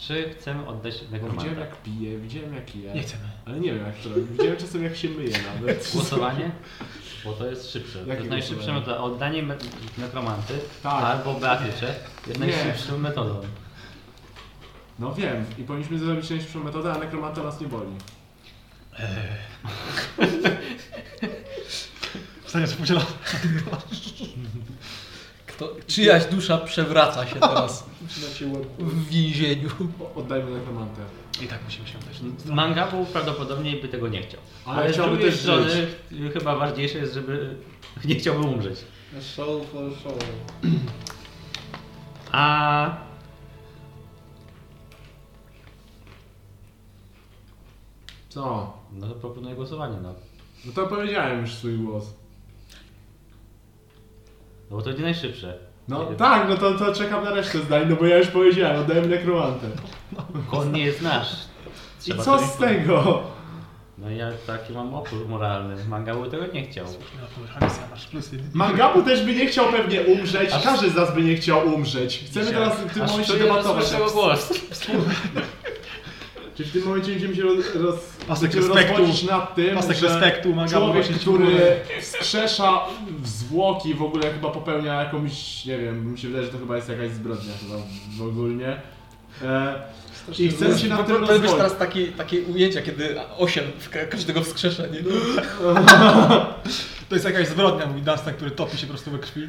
Czy chcemy oddać Widziałem nekromanta? jak pije, widziałem jak je. Nie chcemy. Ale nie wiem jak to robi. Widziałem czasem jak się myje [laughs] nawet. Głosowanie? Bo to jest szybsze. to Jakie jest najszybsza głosowanie? metoda. Oddanie me- nekromanty Tak. albo Beatycze jest Nie. najszybszą metodą. No wiem. I powinniśmy zrobić najszybszą metodę, a nekromanta nas nie boli. Wstanie sobie podziela. Kto, czyjaś dusza przewraca się teraz w więzieniu. O, Oddajmy nekromantę. I tak musimy się udać. Mangabu prawdopodobnie by tego nie chciał. Ale Ale z chciałby drugiej też strony y, chyba ważniejsze jest, żeby [laughs] nie chciałby umrzeć. Show for show. A Co? no to proponuję głosowanie, no. No to powiedziałem już swój głos. No bo to będzie najszybsze. No Nie. tak, no to, to czekam na resztę zdań, no bo ja już powiedziałem, oddałem nekromantę. Kon nie jest nasz. I Trzeba co to- z tego? No ja taki mam opór moralny. Mangabu tego nie chciał. No, kurwa, misja masz. Plusy. Mangabu też by nie chciał pewnie umrzeć, Aż- każdy z nas by nie chciał umrzeć. Chcemy Dzisiaj. teraz w tym Aż momencie czuję, że debatować. słyszę głos. Czy w tym momencie będziemy się roz, roz, Pasek będziemy respektu. rozwodzić nad tym, Pasek że respektu, Mangabu człowiek, właśnie który wskrzesza zwłoki w ogóle chyba popełnia jakąś, nie wiem, mi się wydaje, że to chyba jest jakaś zbrodnia chyba w ogólnie. E, I chcemy się nad tym To jest rozwodzić. teraz takie, takie ujęcia, kiedy osiem w ka- każdego wskrzesza, nie? To jest jakaś zbrodnia, mówi Dunstan, który topi się po prostu we krwi.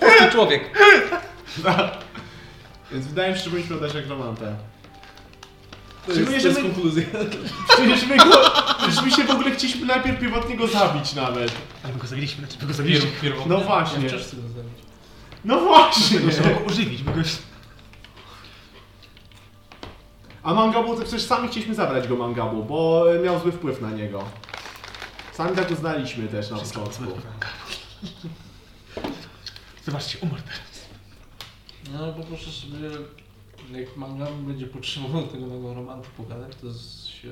Prosty człowiek. Więc wydaje mi się, że powinniśmy oddać rekromantę. To Czy jest, my to jest jeżeli- [laughs] konkluzja. Przecież my, go, przecież my się w ogóle chcieliśmy najpierw pierwotnie go zabić nawet. Ale my go zabiliśmy, znaczy my go zabiliśmy. No Ja właśnie. wciąż chcę go zabić. No właśnie. Tylko trzeba go ożywić, bo go już... A Mangabu, to przecież sami chcieliśmy zabrać go Mangabu, bo e, miał zły wpływ na niego. Sami tak uznaliśmy też na Wszystko początku. odsłonił. Zobaczcie, umarł teraz. No poproszę sobie, jak mangam będzie potrzebował tego nowego romantu pogadać, to z- się...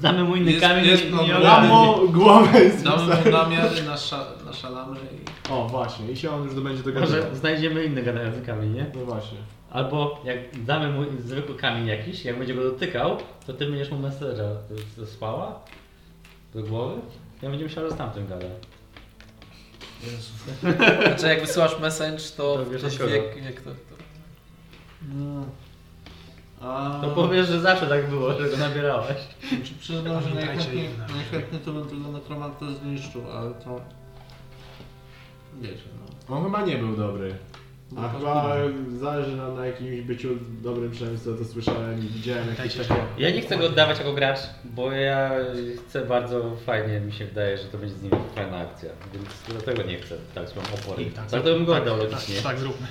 [laughs] Znamy mu inny Jest- kamień. jest nie- problem. nie ogarnę. Ramo głowę z Damy mu namiary, nasza- naszalamy i... O właśnie, i się on już będzie tego Może znajdziemy inny gadający kamień, nie? No właśnie. Albo jak damy mu zwykły kamień jakiś, jak będzie go dotykał, to ty będziesz mu messengera zesłała do głowy. Ja będziemy myślał, że z tamtym gada. Jezu. Znaczy jak wysyłasz message, to, To wiesz, to od kogo. wiek, wiek to, to No. A... To powiesz, że zawsze tak było, że go nabierałeś. Czy przyznam, że Pamiętajcie, najchętniej, jedna rzecz. najchętniej to bym tego nekromanta zniszczył, ale to... Wiecie, no. On chyba nie był dobry. No A to chyba trudno. e, zależy nam na jakimś byciu dobrym, przynajmniej co to słyszałem i widziałem jakieś Dajcie takie... Ja nie chcę go oddawać jako gracz, bo ja chcę bardzo fajnie, mi się wydaje, że to będzie z nim fajna akcja. Więc dlatego nie chcę dać wam opory. I Tak, tak, to bym go tak, oddał Tak, logicznie. tak zróbmy.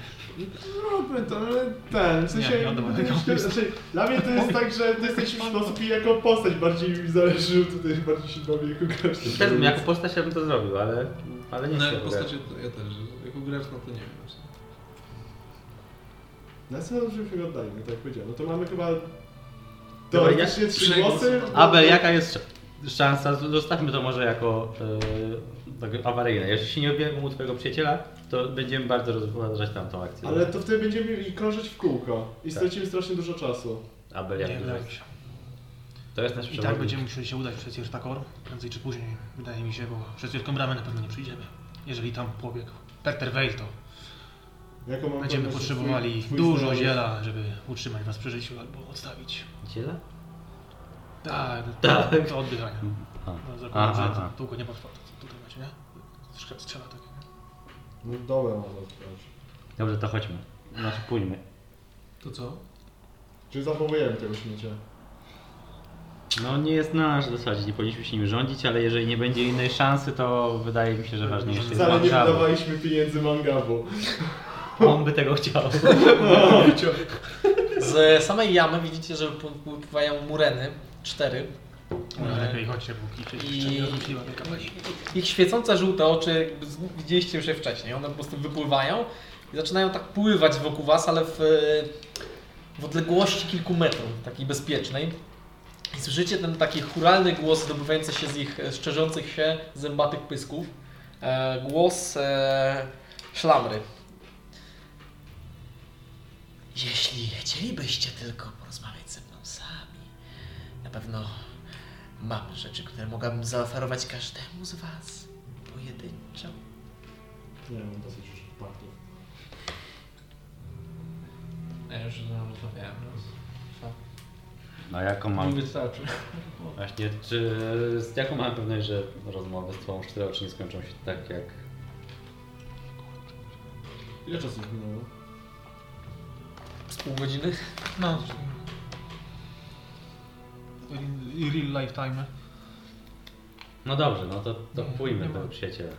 Róbmy No, to, ale ten, w sensie... Nie, nie oddawaj [laughs] tego. znaczy, dla mnie to jest tak, że ty jesteś w sposób i jako postać bardziej mi zależy, tutaj bardziej się bawię jako gracz. tak. Też bym jako postać ja bym to zrobił, ale, ale nie No chcę. jak go postacie, to ja też. Jako gracz, no to nie wiem. właśnie. No co dobrze się oddajmy, tak jak powiedziałem. No to mamy chyba... Dobra, ja- Teoretycznie trzy trzy głosy. głosy. Abel, jaka jest sz- szansa? Zostawmy to może jako e, tak awaryjne. Jeśli się nie objawimy u twojego przyjaciela, to będziemy bardzo rozważać tamtą akcję. Ale to wtedy będziemy mieli krążyć w kółko i Tak. stracimy strasznie dużo czasu. Abel, Nie jak wiem, dużo? jak się- To jest nasz I tak przewodnik. będziemy musieli się udać przecież tak or, prędzej czy później, wydaje mi się, bo przez wielką bramę na pewno nie przyjdziemy. Jeżeli tam pobiegł Peter Veil, to Jaką mam będziemy pewność, że potrzebowali twój- twój dużo znajomy- ziela, żeby utrzymać was przy życiu albo odstawić. Przyjaciela? Tak, Tak. do oddychania. A. No, A, Zakładam, że a, a. to długo nie potrwa. to Tutaj macie, nie? Strze- Strzela tak. nie? No dobra, mam odprawić. Dobrze, to chodźmy. Znaczy pójdźmy. To co? Czy zachowujemy tego śmiecia? No nie jest nasz w zasadzie, nie powinniśmy się nim rządzić, ale jeżeli nie będzie innej szansy, to wydaje mi się, że ważniejsze jest Wcale nie Mangabu. wydawaliśmy pieniędzy mangabu. On by tego chciał. Z samej jamy widzicie, że wypływają mureny, cztery. No, lepiej chodźcie, bo kicie I- jeszcze nie rozmyśliła wielka pani. Ich świecące żółte oczy jakby z- widzieliście już je wcześniej. One po prostu wypływają i zaczynają tak pływać wokół was, ale w, w odległości kilku metrów, takiej bezpiecznej. I słyszycie ten taki churalny głos zdobywający się z ich e, szczerzących się zębatych pysków. E, głos e, szlamry. Jeśli chcielibyście tylko porozmawiać ze mną sami, na pewno mam rzeczy, które mogłabym zaoferować każdemu z was pojedynczo. Nie mam dosyć już płatków. Ja już z nią rozmawiałem raz. No jaką Mi mam... wystarczy. Właśnie, czy... Z jaką mam pewność, że rozmowy z twoją szczerą, czy nie skończą się tak jak... Ile czasu już minęło? Z pół godziny. No. In, in real lifetime. No dobrze, no to, to pójmy do przyjaciela.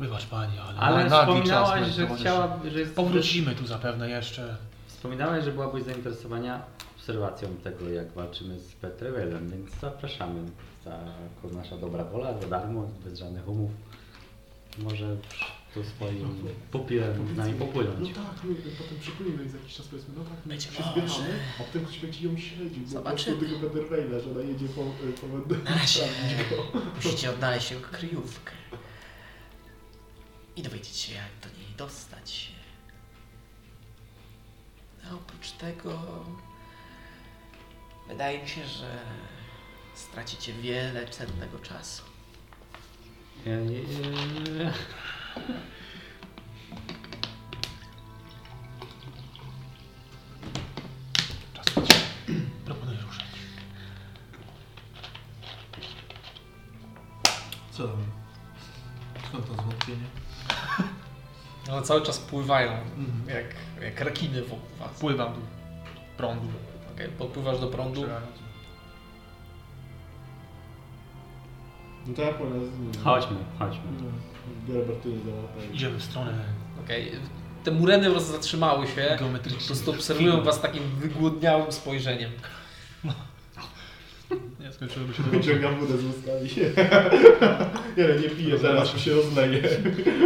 Wybacz pani, ale, Ale na nagi wspominałaś, czas, że towarzyszy. chciała... Że jest... Powrócimy tu zapewne jeszcze. Wspominałaś, że byłabyś zainteresowana obserwacją tego, jak walczymy z Petrewelem, więc zapraszamy. Ta jako nasza dobra wola, za darmo, bez żadnych umów. Może tu swoim popielem z nami popłynąć. No tak, my potem przypłyniemy i za jakiś czas powiedzmy, no tak, my Być się może. zbieramy, a potem ktoś będzie ją śledził. bo Zobaczymy. po prostu Tego Peter że ona jedzie po, y, po Na razie musicie odnaleźć jego kryjówkę i dowiedzieć się, jak do niej dostać się. A oprócz tego wydaje mi się, że stracicie wiele cennego czasu. tak. Ja nie- Czas leci. Proponuję ruszać. Co tam? Skąd to zwątpienie? One No, cały czas pływają, Mhm. jak, jak rekiny wokół was. Pływam tu. Prądu. Okay, podpływasz do prądu. No to ja płynę z nim. Chodźmy, chodźmy. Biorę Bartuję za łapę. i- Idziemy w stronę Okej. Te mureny roz- zatrzymały się. Po geometryczną. prostu obserwują was takim wygłodniałym spojrzeniem. Nie skończyłyby się dobrze. Wyciągam budę z łuskami. [laughs] nie, no, nie, nie piję, zaraz mi się rozleje.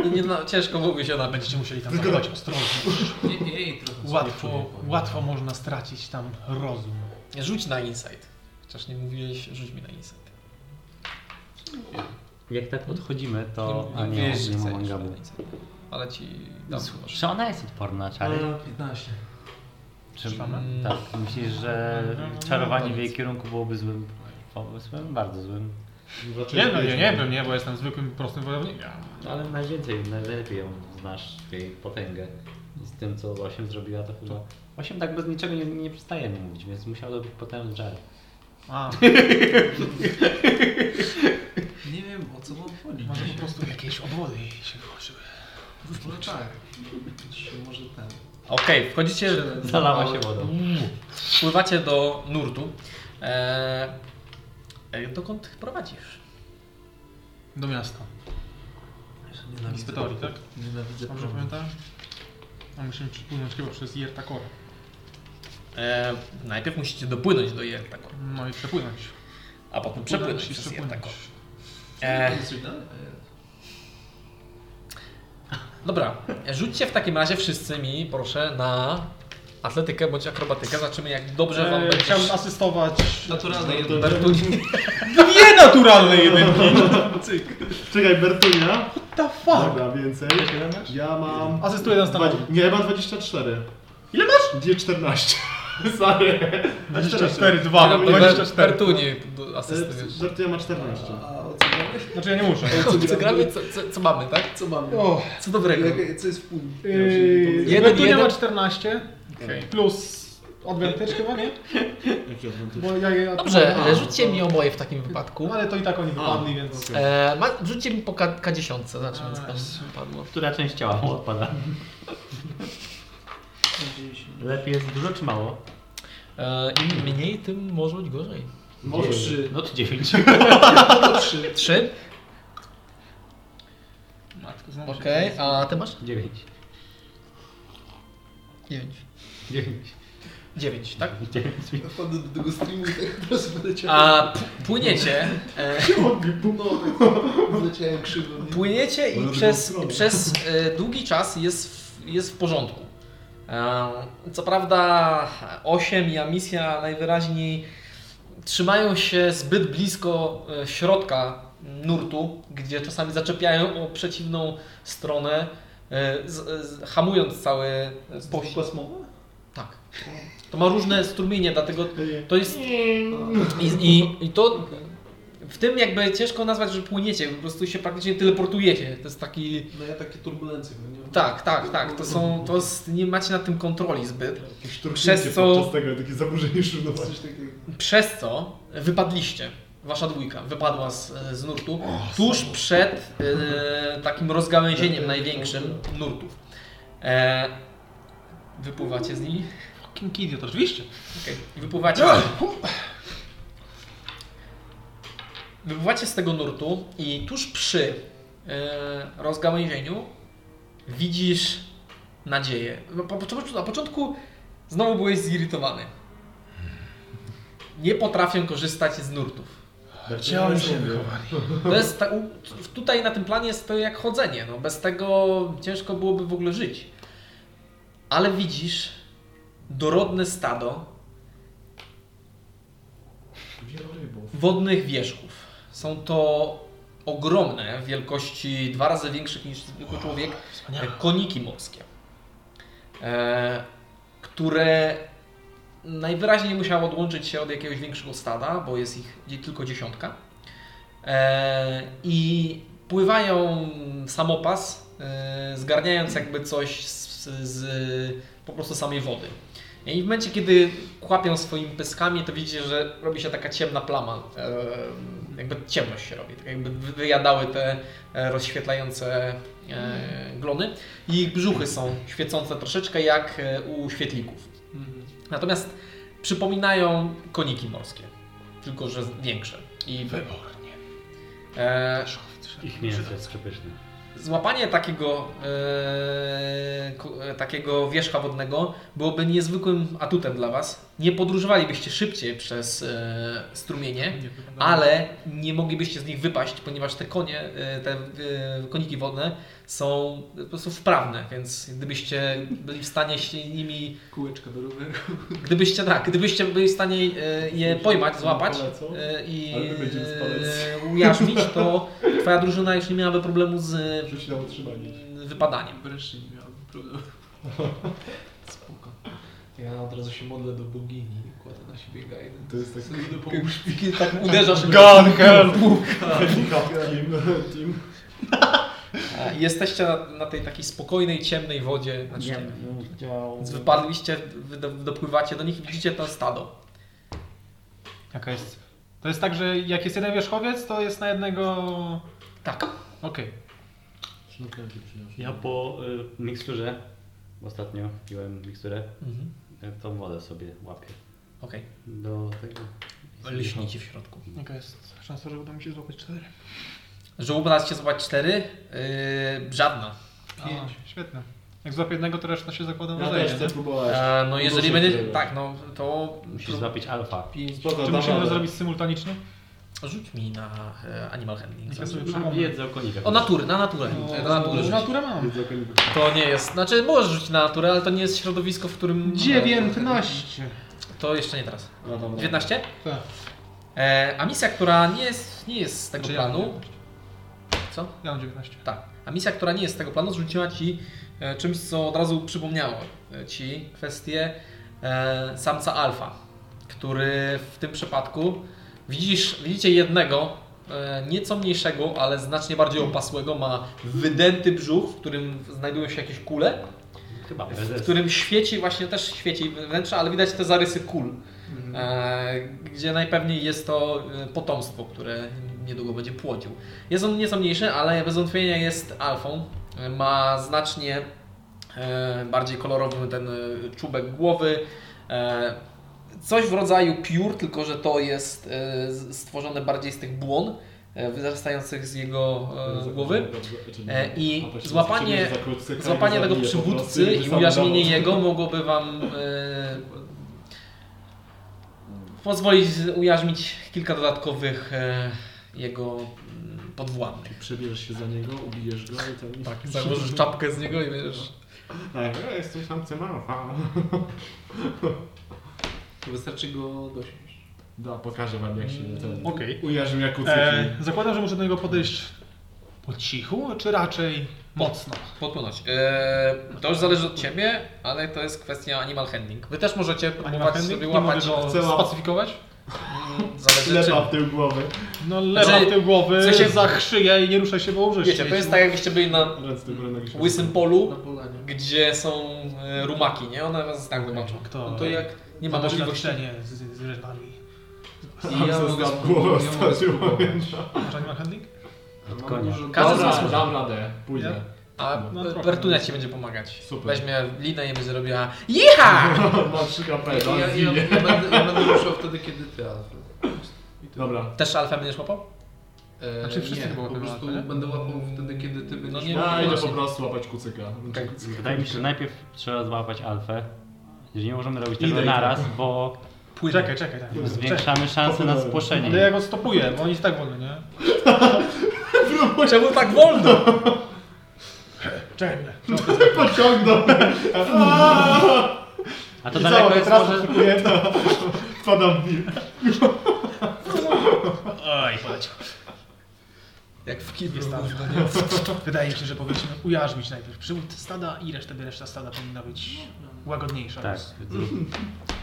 Nie, nie, no, ciężko mówi się ona. [laughs] Będziecie musieli tam zachować tak. ostrożnie. Jej, jej trochę sobie czuję, Łatwo, powiem. łatwo można stracić tam rozum. Rzuć na insight. Chociaż nie mówiłeś, rzuć mi na insight. Jak tak podchodzimy, to... Nie- A nie nie, wiesz, nie co ma jest mangabu. na insight. Ale ci dam może. Czy ona jest odporna na czary? Ale 15. Czy, Trzymamy? tak, myślisz, że No, czarowanie w jej kierunku byłoby złym pomysłem? Bardzo złym. Raczej Nie, no nie, nie wiem. wiem, nie, bo jestem zwykłym, prostym wojownikiem. Ale najwięcej, najlepiej ją znasz, jej potęgę. I z tym, co 8 zrobiła, to chyba... 8 tak bez niczego nie, nie przestajemy mówić, więc musiał być potężny żar. [laughs] A, Nie wiem o co wam chodzi. Może po prostu jakieś obwody jej się wyłączyły. Może tak. Się może ten. Okej, wchodzicie. No. Zalała się wodą. Pływacie do nurtu. Eee, e, dokąd prowadzisz? Do miasta. Jeszcze nienawidzę. z Pytori, tak? Nienawidzę Dobrze promu. pamiętam? A musimy przypłynąć chyba przez Jertakor. Eee, najpierw musicie dopłynąć do Jertako, No i przepłynąć. a potem Udać przepłynąć się przez przepłynąć. E, Jertako. To Eee, jest sygnał? E, dobra, rzućcie w takim razie wszyscy mi, proszę, na atletykę bądź akrobatykę. Zobaczymy, jak dobrze wam Eee, będzie. Chciałbym asystować. Naturalne Do jedno. Bertuni. No Dwie naturalne jedynki! Czekaj, Bertunia. The fuck? Dobra, więcej. Ja mam... Asystuję na Dwa, stanowisku. nie, ja mam 24. Ile masz? Gdzie 14. [laughs] Sorry. 24, 2, Ber- Ber- 24. Bertuni do- Eee, asystujesz. Bertunia ma 14. A o co grałeś? Znaczy ja nie muszę. Co, co gramy? Co, co, co mamy, tak? Co mamy? O, Co dobrego? Eee, Jak- Co jest w puli? Yy, Jeden, Bertunia jeden. ma 14. Plus advantage chyba, nie? Jaki odwrót? Bo ja je Dobrze, e, A, rzućcie mi oboje w takim wypadku. Ale to i tak oni wypadli, więc... E, ma, rzućcie mi po K- K10, znaczy, więc Eee, tam padło. Która część ciała mu odpada? Lepiej jest dużo czy mało? E, Im mniej, tym może być gorzej. Może trzy. No to 9. Trzy. Matko, znam się. Okej, a ty masz? 9. 9. 9. 9, tak? 9. Wchodzę do tego streamu i tak teraz wyleciałem. A p- płyniecie. E, No, tak, wyleciałem krzywo. nie? płyniecie i drugą przez, stronę. przez e, długi czas jest w, jest w porządku. E, Co prawda 8 i Amisja najwyraźniej trzymają się zbyt blisko e, środka nurtu, gdzie czasami zaczepiają o przeciwną stronę, e, z, z, hamując cały pościg. Kosmowa? Tak. To ma różne strumienie, dlatego to jest. I, i, i to. W tym jakby ciężko nazwać, że płyniecie, po prostu się praktycznie teleportujecie. To jest taki. No ja takie turbulencje będę Tak, tak, tak. To są. To jest, nie macie nad tym kontroli zbyt. Przez co- co... podczas tego, takie zaburzenie Coś równowagi. takiego. Przez co wypadliście. Wasza dwójka wypadła z, z nurtu tuż przed e, takim rozgałęzieniem największym nurtów. E, wypływacie z nimi. Fucking idiot, oczywiście. Okej, Wypływacie. Z... Wypływacie z tego nurtu i tuż przy e, rozgałęzieniu widzisz nadzieję. No, Po, po, na początku znowu byłeś zirytowany. Nie potrafię korzystać z nurtów. Gdzie oni się wychowali? To jest ta, u- tutaj na tym planie jest to jak chodzenie. No, bez tego ciężko byłoby w ogóle żyć. Ale widzisz dorodne stado Wielorybów. wodnych wierzchów. Są to ogromne, w wielkości dwa razy większych niż zwykły człowiek, e, Wspaniale. koniki morskie, e, które najwyraźniej musiały odłączyć się od jakiegoś większego stada, bo jest ich dzie- tylko dziesiątka. E, I pływają samopas, e, zgarniając jakby coś z, z po prostu samej wody. I w momencie, kiedy kłapią swoimi pyskami, to widzicie, że robi się taka ciemna plama. E, jakby ciemność się robi. Tak jakby wy- wyjadały te e, rozświetlające e, glony. I ich brzuchy są świecące troszeczkę jak e, u świetlików. Natomiast przypominają koniki morskie. Tylko, że większe. I Wybornie. e, Ich mięso jest przepyszne. Złapanie takiego, e, ko- e, takiego wierzcha wodnego byłoby niezwykłym atutem dla Was. Nie podróżowalibyście szybciej przez e, strumienie, ale nie moglibyście z nich wypaść, ponieważ te konie, e, te e, koniki wodne są po prostu wprawne, więc gdybyście byli w stanie się nimi, Tak. Kółeczka do roweru. gdybyście tak, gdybyście byli w stanie e, je pojmać, złapać Polecą. e, i Ale my będziemy spalec. e, ujarzmić, to Twoja drużyna już nie miałaby problemu z Rzuć na utrzymanie. wypadaniem. Wreszcie nie miałbym [laughs] problemu. Spoko. Ja od razu się modlę do bogini i kładę na siebie gajdę. To [laughs] [laughs] jest tak... Do pomóż mi. tak uderzasz. God help! Team, no, team. E, Jesteście na, na tej takiej spokojnej, ciemnej wodzie. Znaczy, nie, Działał. więc wypadliście, wy do, dopływacie do nich i widzicie to stado. Jaka jest... To jest tak, że jak jest jeden wierzchowiec, to jest na jednego... Tak. Okej. Ja po y, miksturze, ostatnio piłem miksturę, Mhm. y, tą wodę sobie łapię. Okej. Do tego. Lśnicie w środku. Jaka jest szansa, że uda mi się złapać cztery? Żółbra się zobaczyć cztery? Yy, żadna. Pięć. Świetne. Jak złapię jednego, to reszta się zakłada na Ja zajęcie. też chcę próbować. E, no jeżeli Dużo będzie. tyle. Tak, no to. Musisz złapić alfa. Spoko, Czy dam musimy to radę. zrobić symultanicznie? Rzuć mi na e, animal handling. Niech ja sobie Mam przypomnę. wiedzę o konikach. O natury, na naturę. E, na No, naturę. no, rzuć. naturę mam. Wiedzę o koniku. To nie jest. Znaczy możesz rzucić na naturę, ale to nie jest środowisko, w którym. 19. To jeszcze nie teraz. No dobra. 19? Tak. E, a misja, która nie jest, nie jest z tego Znaczy ja mam planu. Co? Ja mam 19. Tak. A misja, która nie jest z tego planu, zrzuciła ci e, czymś, co od razu przypomniało e, ci kwestię e, samca alfa, który w tym przypadku widzisz, widzicie jednego e, nieco mniejszego, ale znacznie bardziej opasłego, ma wydęty brzuch, w którym znajdują się jakieś kule Chyba w prezes. którym świeci, właśnie też świeci wnętrze, ale widać te zarysy kul, Mm. e, gdzie najpewniej jest to e, potomstwo, które niedługo będzie płodził. Jest on nieco mniejszy, ale bez wątpienia jest alfą. E, Ma znacznie e, bardziej kolorowy ten e, czubek głowy. E, Coś w rodzaju piór, tylko że to jest e, z- stworzone bardziej z tych błon e, wyrastających z jego e, głowy. E, i złapanie- Złapanie tego przywódcy i ujarzmienie jego mogłoby Wam e, pozwolić ujarzmić kilka dodatkowych e, jego mm, podwładnych. Przebierzesz się za niego, ubijesz go i tam... Tak, założysz czapkę z niego i wiesz, Tak, e, jesteś tam cymarowa. Wystarczy go dosiąść. Da, pokażę wam jak się ten... Okej. Ujarzym jak kucyki. E, zakładam, że muszę do niego podejść Po cichu, czy raczej mocno? Podpłynąć. Eee, to już zależy od ciebie, ale to jest kwestia animal handling. Wy też możecie animal próbować handling, sobie nie mogę łapać. go Chcę łapać. spacyfikować. Mm, Zależy Lepa czym. w tył głowy. No lewa Znaczy, tył głowy, co się- się... za szyję i nie ruszaj się, bo umrzesz. Wiecie, to jest tak jakbyście byli na Ręce do góry, nogi się łysym Na polu, polanie. gdzie są e, rumaki, nie? One was tak wymaczą. Kto? No to jak Nie ma możliwości. z, z rzeźbami. I ja Sam mogę został spróbować, głową ja mogę ostatnio spróbować. Masz animal handling? Od Mam konia. dużo- Każdy z was Dobra, może. dam radę. Pójdę. A No, trochę. Bertunia ci będzie pomagać. Super. Weźmie linę i będzie robiła JEHA! Mam 3 HP, Ja, to ja, ja, ja, będę, ja będę ruszał wtedy, kiedy ty, Alfred. I tyle. Dobra. Też alfę będziesz łapał? E, Znaczy wszyscy nie, chyba po łapią prostu Alfę, nie? będę łapał wtedy, kiedy ty będziesz nie, łapał. Ja No idę po właśnie. prostu łapać kucyka. Okej. Wydaje mi się, że najpierw trzeba złapać alfę. Że nie możemy robić Idę, tego idę. naraz, bo Płynę. Czekaj, czekaj, tak. Czekaj. zwiększamy szanse na spłoszenie. No Ale ja go stopuję, bo on jest tak wolny, nie? Czemu tak wolno? Czekaj mnie. Pociągnął. A to daleko jest może... atakuje to. Wpadam w nim. Oj, chodź. Jak w kiblu. Jest tam. Wydaje mi się, że powinniśmy ujarzmić najpierw przywód stada i resztę, reszta stada powinna być łagodniejsza. Tak, do zrób-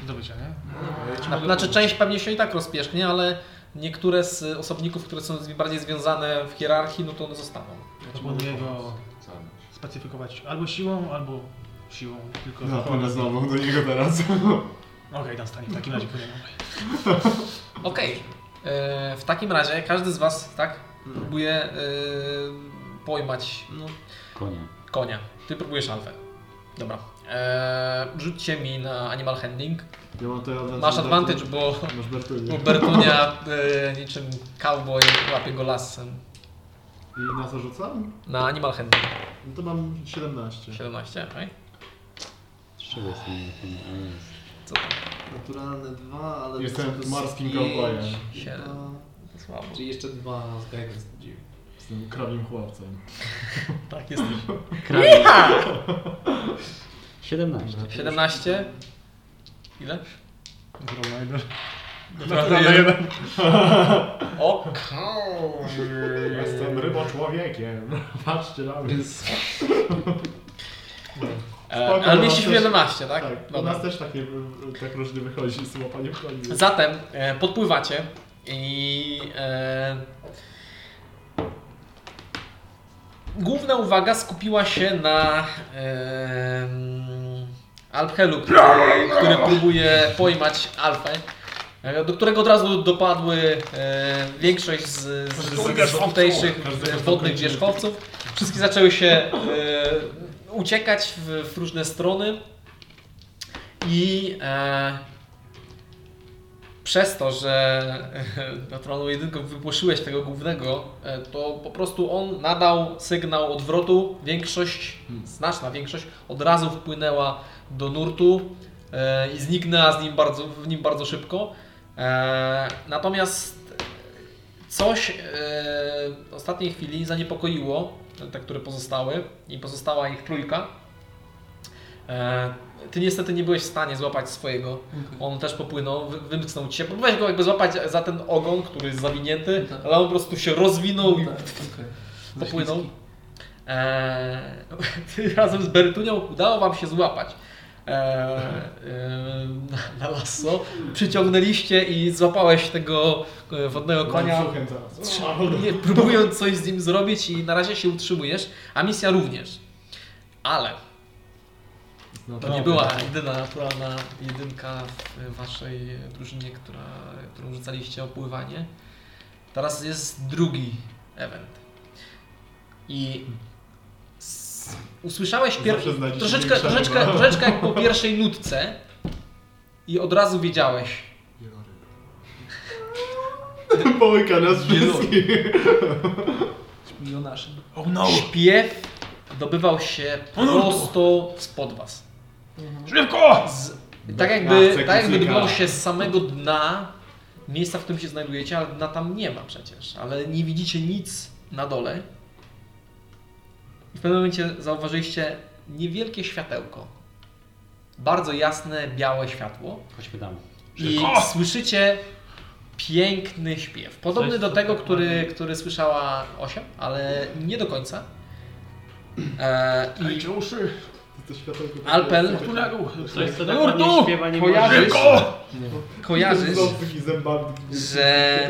Zdobycia, nie? Na- Znaczy część pewnie się i tak rozpieszknie, ale niektóre z osobników, które są z- bardziej związane w hierarchii, no to one zostaną. Proponuję go spacyfikować albo siłą, albo siłą tylko... No, płynę znowu do niego teraz. Okej, okay, stanie, w takim razie płyniemy. Okej. E, W takim razie każdy z was, tak, próbuje e, pojmać no, Konie. konia. Ty próbujesz alfę. Dobra. E, Rzućcie mi na animal handling. Ja mam to advantage. Masz advantage, bo, Masz bo Bertunię. No, Bertunia e, niczym cowboy łapie go lasem. I na co rzucam? Na animal handling No to mam 17. 17, okej? Trzy jest ten- ten- ten- jest. Co tam? Naturalne dwa, ale... Jestem wysokość morskim pięć, kowbojem. Siedem. To Słabo. Czyli jeszcze dwa z Guidance 9. Jestem krawim chłopcem. Tak, jesteś. Krawiec. 17. 17. Ile? [laughs] O Jestem ryboczłowiekiem. [laughs] Patrzcie na mnie. Więc e, Spoko, Ale no, mieliście coś- 11, tak? Tak, u Dobra. nas też takie, tak różnie wychodzi z łapaniem koni. Zatem e, podpływacie i e, główna uwaga skupiła się na e, Alphelu, który, który próbuje pojmać Alfę, e, do którego od razu dopadły e, większość z, z, z, z tutejszych e, wodnych wierzchowców. Wszystkie zaczęły się e, uciekać w, w różne strony i e, przez to, że e, naturalną jedynką wypłoszyłeś tego głównego, e, to po prostu on nadał sygnał odwrotu. Większość, znaczna większość, od razu wpłynęła do nurtu e, i zniknęła z nim bardzo, w nim bardzo szybko. E, Natomiast coś e, w ostatniej chwili zaniepokoiło te, które pozostały i pozostała ich trójka. E, Ty niestety nie byłeś w stanie złapać swojego on też popłynął, wy- wymknął ci się. Próbowałeś go jakby złapać za ten ogon, który jest zawinięty, Tak. ale on po prostu się No, rozwinął i okej. popłynął. Eee, [laughs] ty razem z Bertunią udało wam się złapać eee, em, na, na lasso. Przyciągnęliście i złapałeś tego e, wodnego konia. Brzuchem zaraz. Nie, próbując coś z nim zrobić i na razie się utrzymujesz, a misja również. Ale No, to nie była jedyna naturalna jedynka w waszej drużynie, która, którą rzucaliście o pływanie. Teraz jest drugi event. I s- usłyszałeś To pier... zawsze znajdziecie troszeczkę, większego. troszeczkę, troszeczkę jak po pierwszej nutce i od razu wiedziałeś. [laughs] Połyka nas wszystkich. Milionarzem. Oh no! Śpiew dobywał się prosto spod was. Szybko! z, tak jakby, Klatce tak jakby kucyka. gdyby się z samego dna miejsca, w którym się znajdujecie, ale dna tam nie ma przecież, ale nie widzicie nic na dole. I w pewnym momencie zauważyliście niewielkie światełko. Bardzo jasne, białe światło. Chodźmy tam. I słyszycie piękny śpiew. Podobny Coś, do co tego, tak który, ładnie- który słyszała Osia, ale nie do końca. E, I uszy! To światełko takie Alpel, jest- Coś, co tak Nurtu! ładnie śpiewa, nie Kojarzysz? może. kojarzysz, no. Ząbki zębami. że [laughs]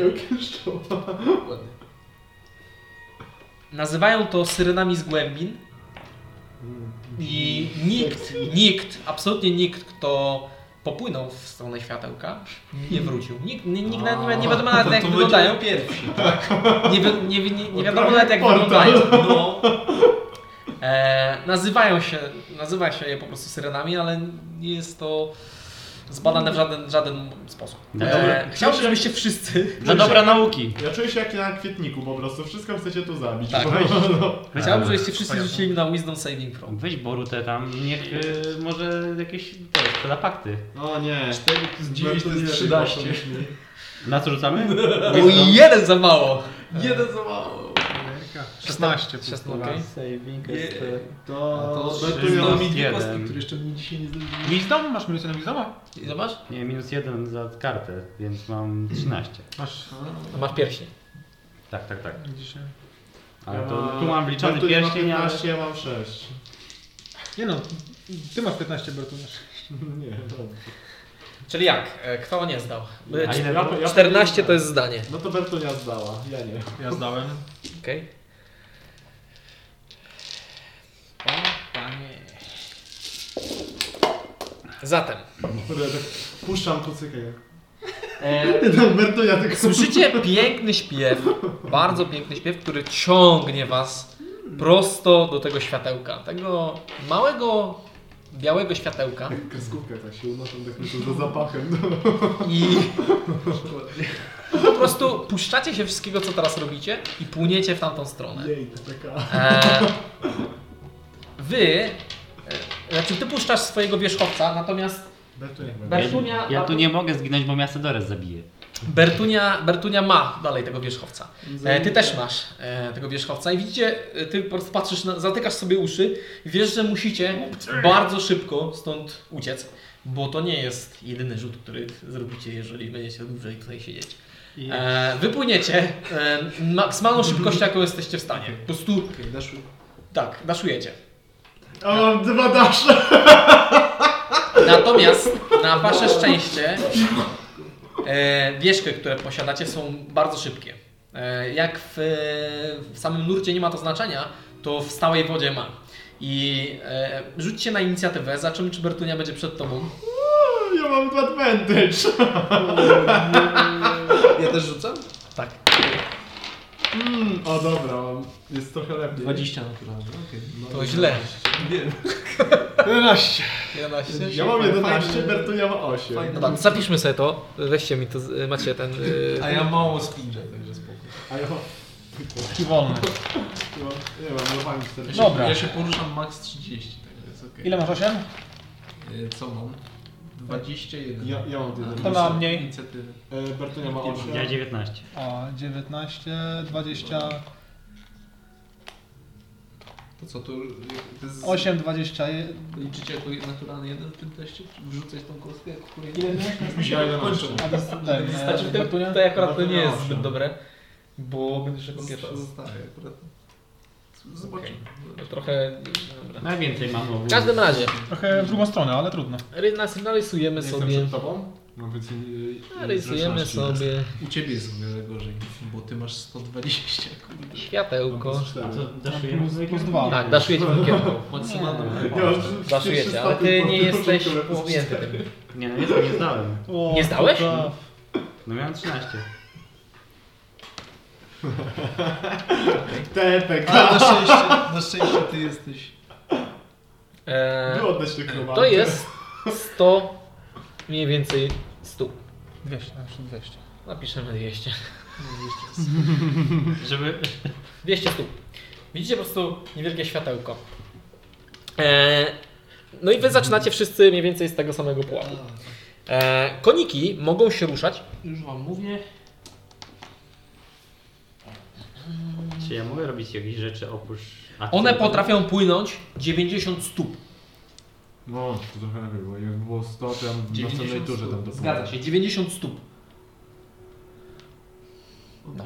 nazywają to syrenami z głębin i nikt, nikt, absolutnie nikt, kto popłynął w stronę światełka, nie wrócił. Nikt, nie, nikt nawet, nie wiadomo nawet jak wyglądają. pierwsi. Nie, wi- nie, wi- nie, nie wiadomo nawet jak wyglądają. No, E, nazywają się, nazywa się je po prostu syrenami, ale nie jest to zbadane w żaden, żaden sposób. Dobra. E, chciałbym, żebyście wszyscy, Dla No dobra nauki. Ja czuję się jak na kwietniku po prostu. Wszystko chcecie tu zabić. [laughs] Tak. No. chciałbym, żebyście wszyscy rzucili na Wisdom Saving Throw. Weź Borutę tam i niech y, może jakieś te, telapakty. O nie. 4 plus 9 to jest 13. Na co rzucamy? O, jeden za mało! jeden za mało. Jaka? 16. plus 16, dwa. okej. Saving No To... to- to ja- no. Będą mi dwie jeden. kostki, które jeszcze mi dzisiaj nie zdążyły. Wizdom? Masz minusy na Wizdoma? I Zobacz? Nie, minus jeden za kartę, więc mam 13. Masz A Masz pierścień. Tak, tak, tak. dzisiaj. Ale to tu mam wliczony Bertun ma pierścień, ale... 15, ja mam 6. Nie no, ty masz 15 Bertunasz. [laughs] Nie, dobra. Czyli jak? E, Kto nie zdał? E, A ile Ja- ja- 14 to jest zdanie. No to Bertunia zdała, ja nie. Ja zdałem. Okej. Zatem, tak Puszczam kucykę. e, No, Bertunia tylko... [laughs] słyszycie piękny śpiew, bardzo piękny śpiew, który ciągnie was prosto do tego światełka. Tego małego, białego światełka. Kreskówkę tak się unoszą, tak myślę, za zapachem. No. I po prostu puszczacie się wszystkiego, co teraz robicie i płyniecie w tamtą stronę. Jej, to taka... E, wy, e, znaczy ty puszczasz swojego wierzchowca, natomiast Bertunia chyba. Bertunia, Ja tu nie mogę zginąć, bo Miasadores zabije. Bertunia, Bertunia ma dalej tego wierzchowca. E, ty też masz e, tego wierzchowca i widzicie, e, ty po prostu patrzysz, na, zatykasz sobie uszy, wiesz, że musicie bardzo szybko stąd uciec, bo to nie jest jedyny rzut, który zrobicie, jeżeli będziecie dłużej tutaj siedzieć. E, wypłyniecie e, maksymalną szybkością, jaką jesteście w stanie. Po prostu, Okej, daszły. tak, daszujecie. A mam dwa dasze! Natomiast na wasze szczęście e, wieżkę, które posiadacie są bardzo szybkie. E, jak w, e, w samym nurcie nie ma to znaczenia, to w stałej wodzie ma. I e, rzućcie na inicjatywę, zobaczymy czy Bertunia będzie przed tobą. [laughs] Ja mam dwa advantage! Ja też rzucam? Tak. Mm, o dobra, mam... jest trochę lepiej. 20 naturalnie. Okej. no To źle. Wiem. 11. 11. Ja mam 11, Bertunia ma 8. Fajne. No tak, zapiszmy sobie to. Weźcie mi to, z- macie ten... y, A ja mało spinżę, także spoko. A ja mam... Taki wolny. Nie mam, nie mam, no fajnie 4. No. Dobra. Ja się poruszam max 30, także jest okej. Ile masz 8? Y, Co mam? 21. Ja, ja mam A, 1. To ma mniej. Inicjatywy. E, Bertunia ma 8. Ja 19. A 19, 20, To co tu? To jest... 8, 21. Liczycie jako naturalny jeden w tym teście? Czy Wrzucać tą kostkę jako kolejny? Ile miałeś? Mi się Ja nie jedenaście. kończą. A to jest ten, e, Znaczy, to, Bertunia? to akurat to nie Bertunia jest osiem. zbyt dobre, bo będziesz jako pierwszy. no Zosta- Zostaje akurat. Zobaczymy. Trochę... Dobra. Najwięcej mam ogólnie. W każdym razie, Trochę w drugą stronę, ale trudno. ry- nas- narysujemy Jestem sobie. przed tobą? Mam więcej... e, Narysujemy 16. sobie U ciebie jest o wiele gorzej, bo ty masz 120, [laughs] kurde. Mam światełko. plus cztery. A to daszujemy Plus- z plus dwa. Tak, daszujecie wykierką. Maksymalną. Ja już- Daszujecie, tak. ale ty nie jesteś połowięty tym. Nie, no jestem, nie zdałem. O, Nie zdałeś? kurwa. No miałem 13. Tepek, Ale na szczęście, na szczęście ty jesteś. Eee, Było oddać te krowary. to jest 100, mniej więcej 100. 200, jeszcze 200. Napiszemy 200. Żeby... 200 stóp. Widzicie po prostu niewielkie światełko. Eee, no i wy zaczynacie wszyscy mniej więcej z tego samego pułapu. Eee, koniki mogą się ruszać. Już wam mówię. Czy ja mogę robić jakieś rzeczy oprócz... akcji? One potrafią płynąć 90 stóp. No, to trochę lepiej, bo jak było 100, to ja bym w 90 następnej turze tam do Zgadza się, 90 stóp. No.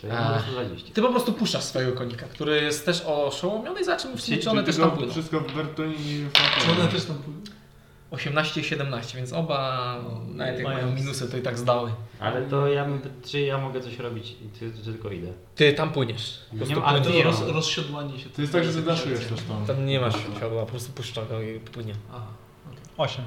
To ja mogę 120. Ty po prostu puszczasz swojego konika, który jest też oszołomiony, za czym w sumie Czy czy one ty też go- tam płyną. Wszystko w Bertoni i w Czy one Fatonie. też tam płyną? 18 i 17, więc oba no, nawet jak mają mają minusy, to i tak zdały. Ale to ja bym... Czy ja mogę coś robić? Czy, czy tylko idę? Ty tam płyniesz. Po Nie prostu mam płyniesz. ale To nie roz, mam. rozsiodłanie się. To jest tak, że ty daszujesz też tam. Tam nie masz siodła, po prostu puszcza go i płynie. Aha, Osiem.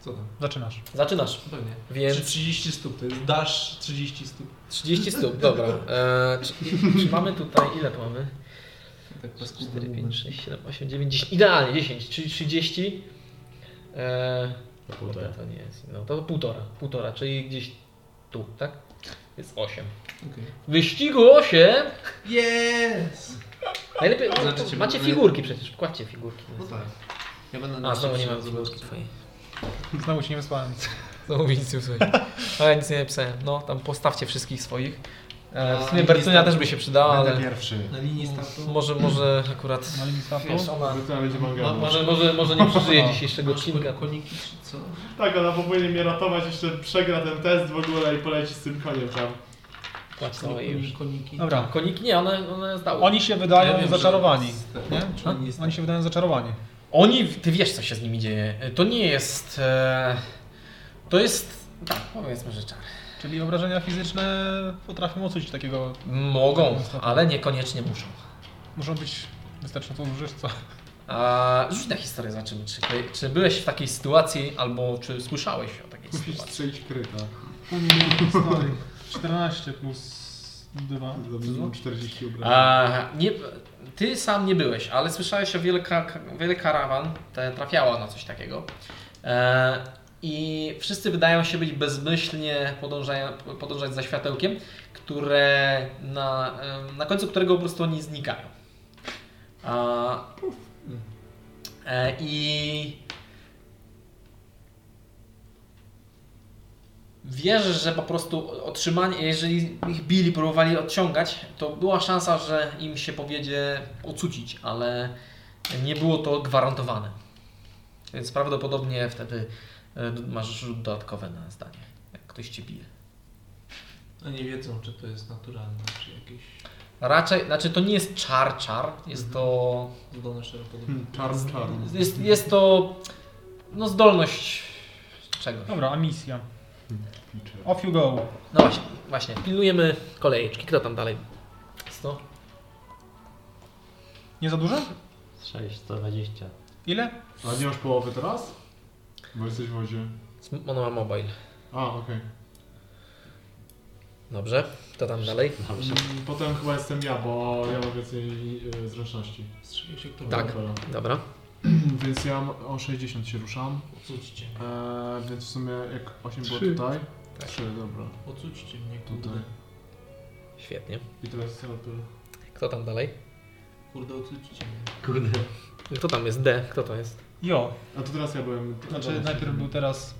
co tam? Zaczynasz. Zaczynasz, Pewnie. Czy więc 30 stóp to jest dasz 30 stóp. 30 stóp, dobra. E, czy, czy mamy tutaj, ile tu mamy? Tak po 4, 5, 6, 7, 8, 9, 10. Idealnie 10, czyli 30. E, Półtora. To nie jest. No to półtora, półtora, czyli gdzieś tu, tak? Jest 8. Wyścigu 8! Yes! Najlepiej. no Znaczy, czy macie mamy- figurki przecież, kładźcie figurki. No tak. Znaczy, Ja będę A, znowu nie szczęście mam zobaczył. figurki twojej. Znowu ci nie wysłałem. Znowu nic nie usłyszałem. Ale nic nie napisałem. No, tam postawcie wszystkich swoich. E, w A, sumie i Bertunia listy. też by się przydała, Będę ale pierwszy. Na linii startu. może, może akurat... Na linii startu. Wiesz, ona... Bertona będzie Ma, mangalą. może, może, może nie przeżyje dzisiejszego Masz odcinka. koniki czy co? Tak, ona powinien mnie ratować, jeszcze przegra ten test w ogóle i poleci z tym koniem tam. [laughs] Płacz to i już. Koniki. Dobra. Koniki nie, one, one zdały. Oni się wydają Ja wiem, że zaczarowani. jest- Nie? Czy Tak. oni jest- Oni się wydają zaczarowani. Oni, ty wiesz co się z nimi dzieje. To nie jest... E, to jest... Tak, powiedzmy, że czar. Czyli obrażenia fizyczne potrafią ocucić takiego. Mogą, ale niekoniecznie muszą. Muszą być wystarczająco duże, czy co? A, rzuć na historię, zobaczymy, czy, czy byłeś w takiej sytuacji, albo czy słyszałeś o takiej Musisz sytuacji. strzelić kryta. O nie, [laughs] stary. 14 plus 2. Za minimum 40 ubrań. A, nie, ty sam nie byłeś, ale słyszałeś o wiele, ka, wiele karawan, te trafiała na coś takiego. E, I wszyscy wydają się być bezmyślnie podążają, podążać za światełkiem, które na, em, na końcu którego po prostu oni znikają. A, e, I wiesz, że po prostu otrzymanie, jeżeli ich bili, próbowali odciągać, to była szansa, że im się powiedzie ocucić, ale nie było to gwarantowane. Więc prawdopodobnie wtedy e, masz rzut dodatkowy na zdanie, jak ktoś cię bije. Oni wiedzą, czy to jest naturalne, czy jakieś Raczej, znaczy to nie jest czar, czar, jest to, zdolne szeroko Czarn, czarn. jest, jest to no zdolność czegoś. Dobra, a misja. Off you go. No właśnie, właśnie, pilnujemy kolejeczki, kto tam dalej? Sto? Nie za dużo? 6, 120. Ile? A nie masz połowy teraz? Bo jesteś w wozie. Ono ma mobile. A, okej. Dobrze, kto tam dalej? Dobrze. Mm, Potem chyba jestem ja, bo ja mam więcej y, zręczności. Hmm. Strzelił się kto Tak. Dobra. [clears throat] Dobra. Więc ja mam- o 60 się ruszam. Ocućcie. E, więc w sumie jak 8 było Trzy. tutaj. Tak. 3, dobra. Ocućcie mnie, Tutaj. kurde. Świetnie. I teraz co to? Kto tam dalej? Kurde, ocućcie mnie. Kurde. Kto tam jest? D. Kto to jest? Jo. A to teraz ja byłem. Znaczy najpierw był teraz.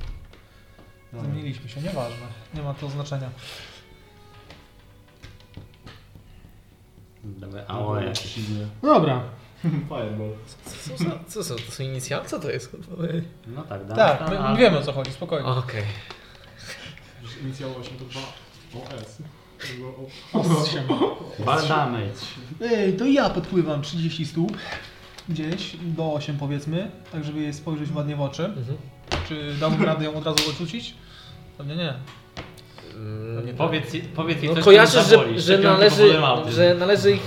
No. Zamieniliśmy się, nieważne. Nie ma to znaczenia. Dobra, A o, a jak jakiś. silny. Dobra. Fireball. Co, za- co, są- to są inicjały? Co to jest? kurwa? No tak, dam. Tak, tam, my, ale- wiemy o co chodzi, spokojnie. Okej. Inicjał 8 to 2 OS. Było o- Ball damage. Ej, to ja podpływam 30 stóp. Gdzieś, do 8 powiedzmy, tak żeby jej spojrzeć ładnie w oczy. Mhm. Czy dałbym radę ją od razu odrzucić? Pewnie nie. No Mm, Powiedz, jej- powiedz jej No, coś, kojarzę, co ją że, zaboli. że, Szczepionki należy, powodem autyzm. że należy ich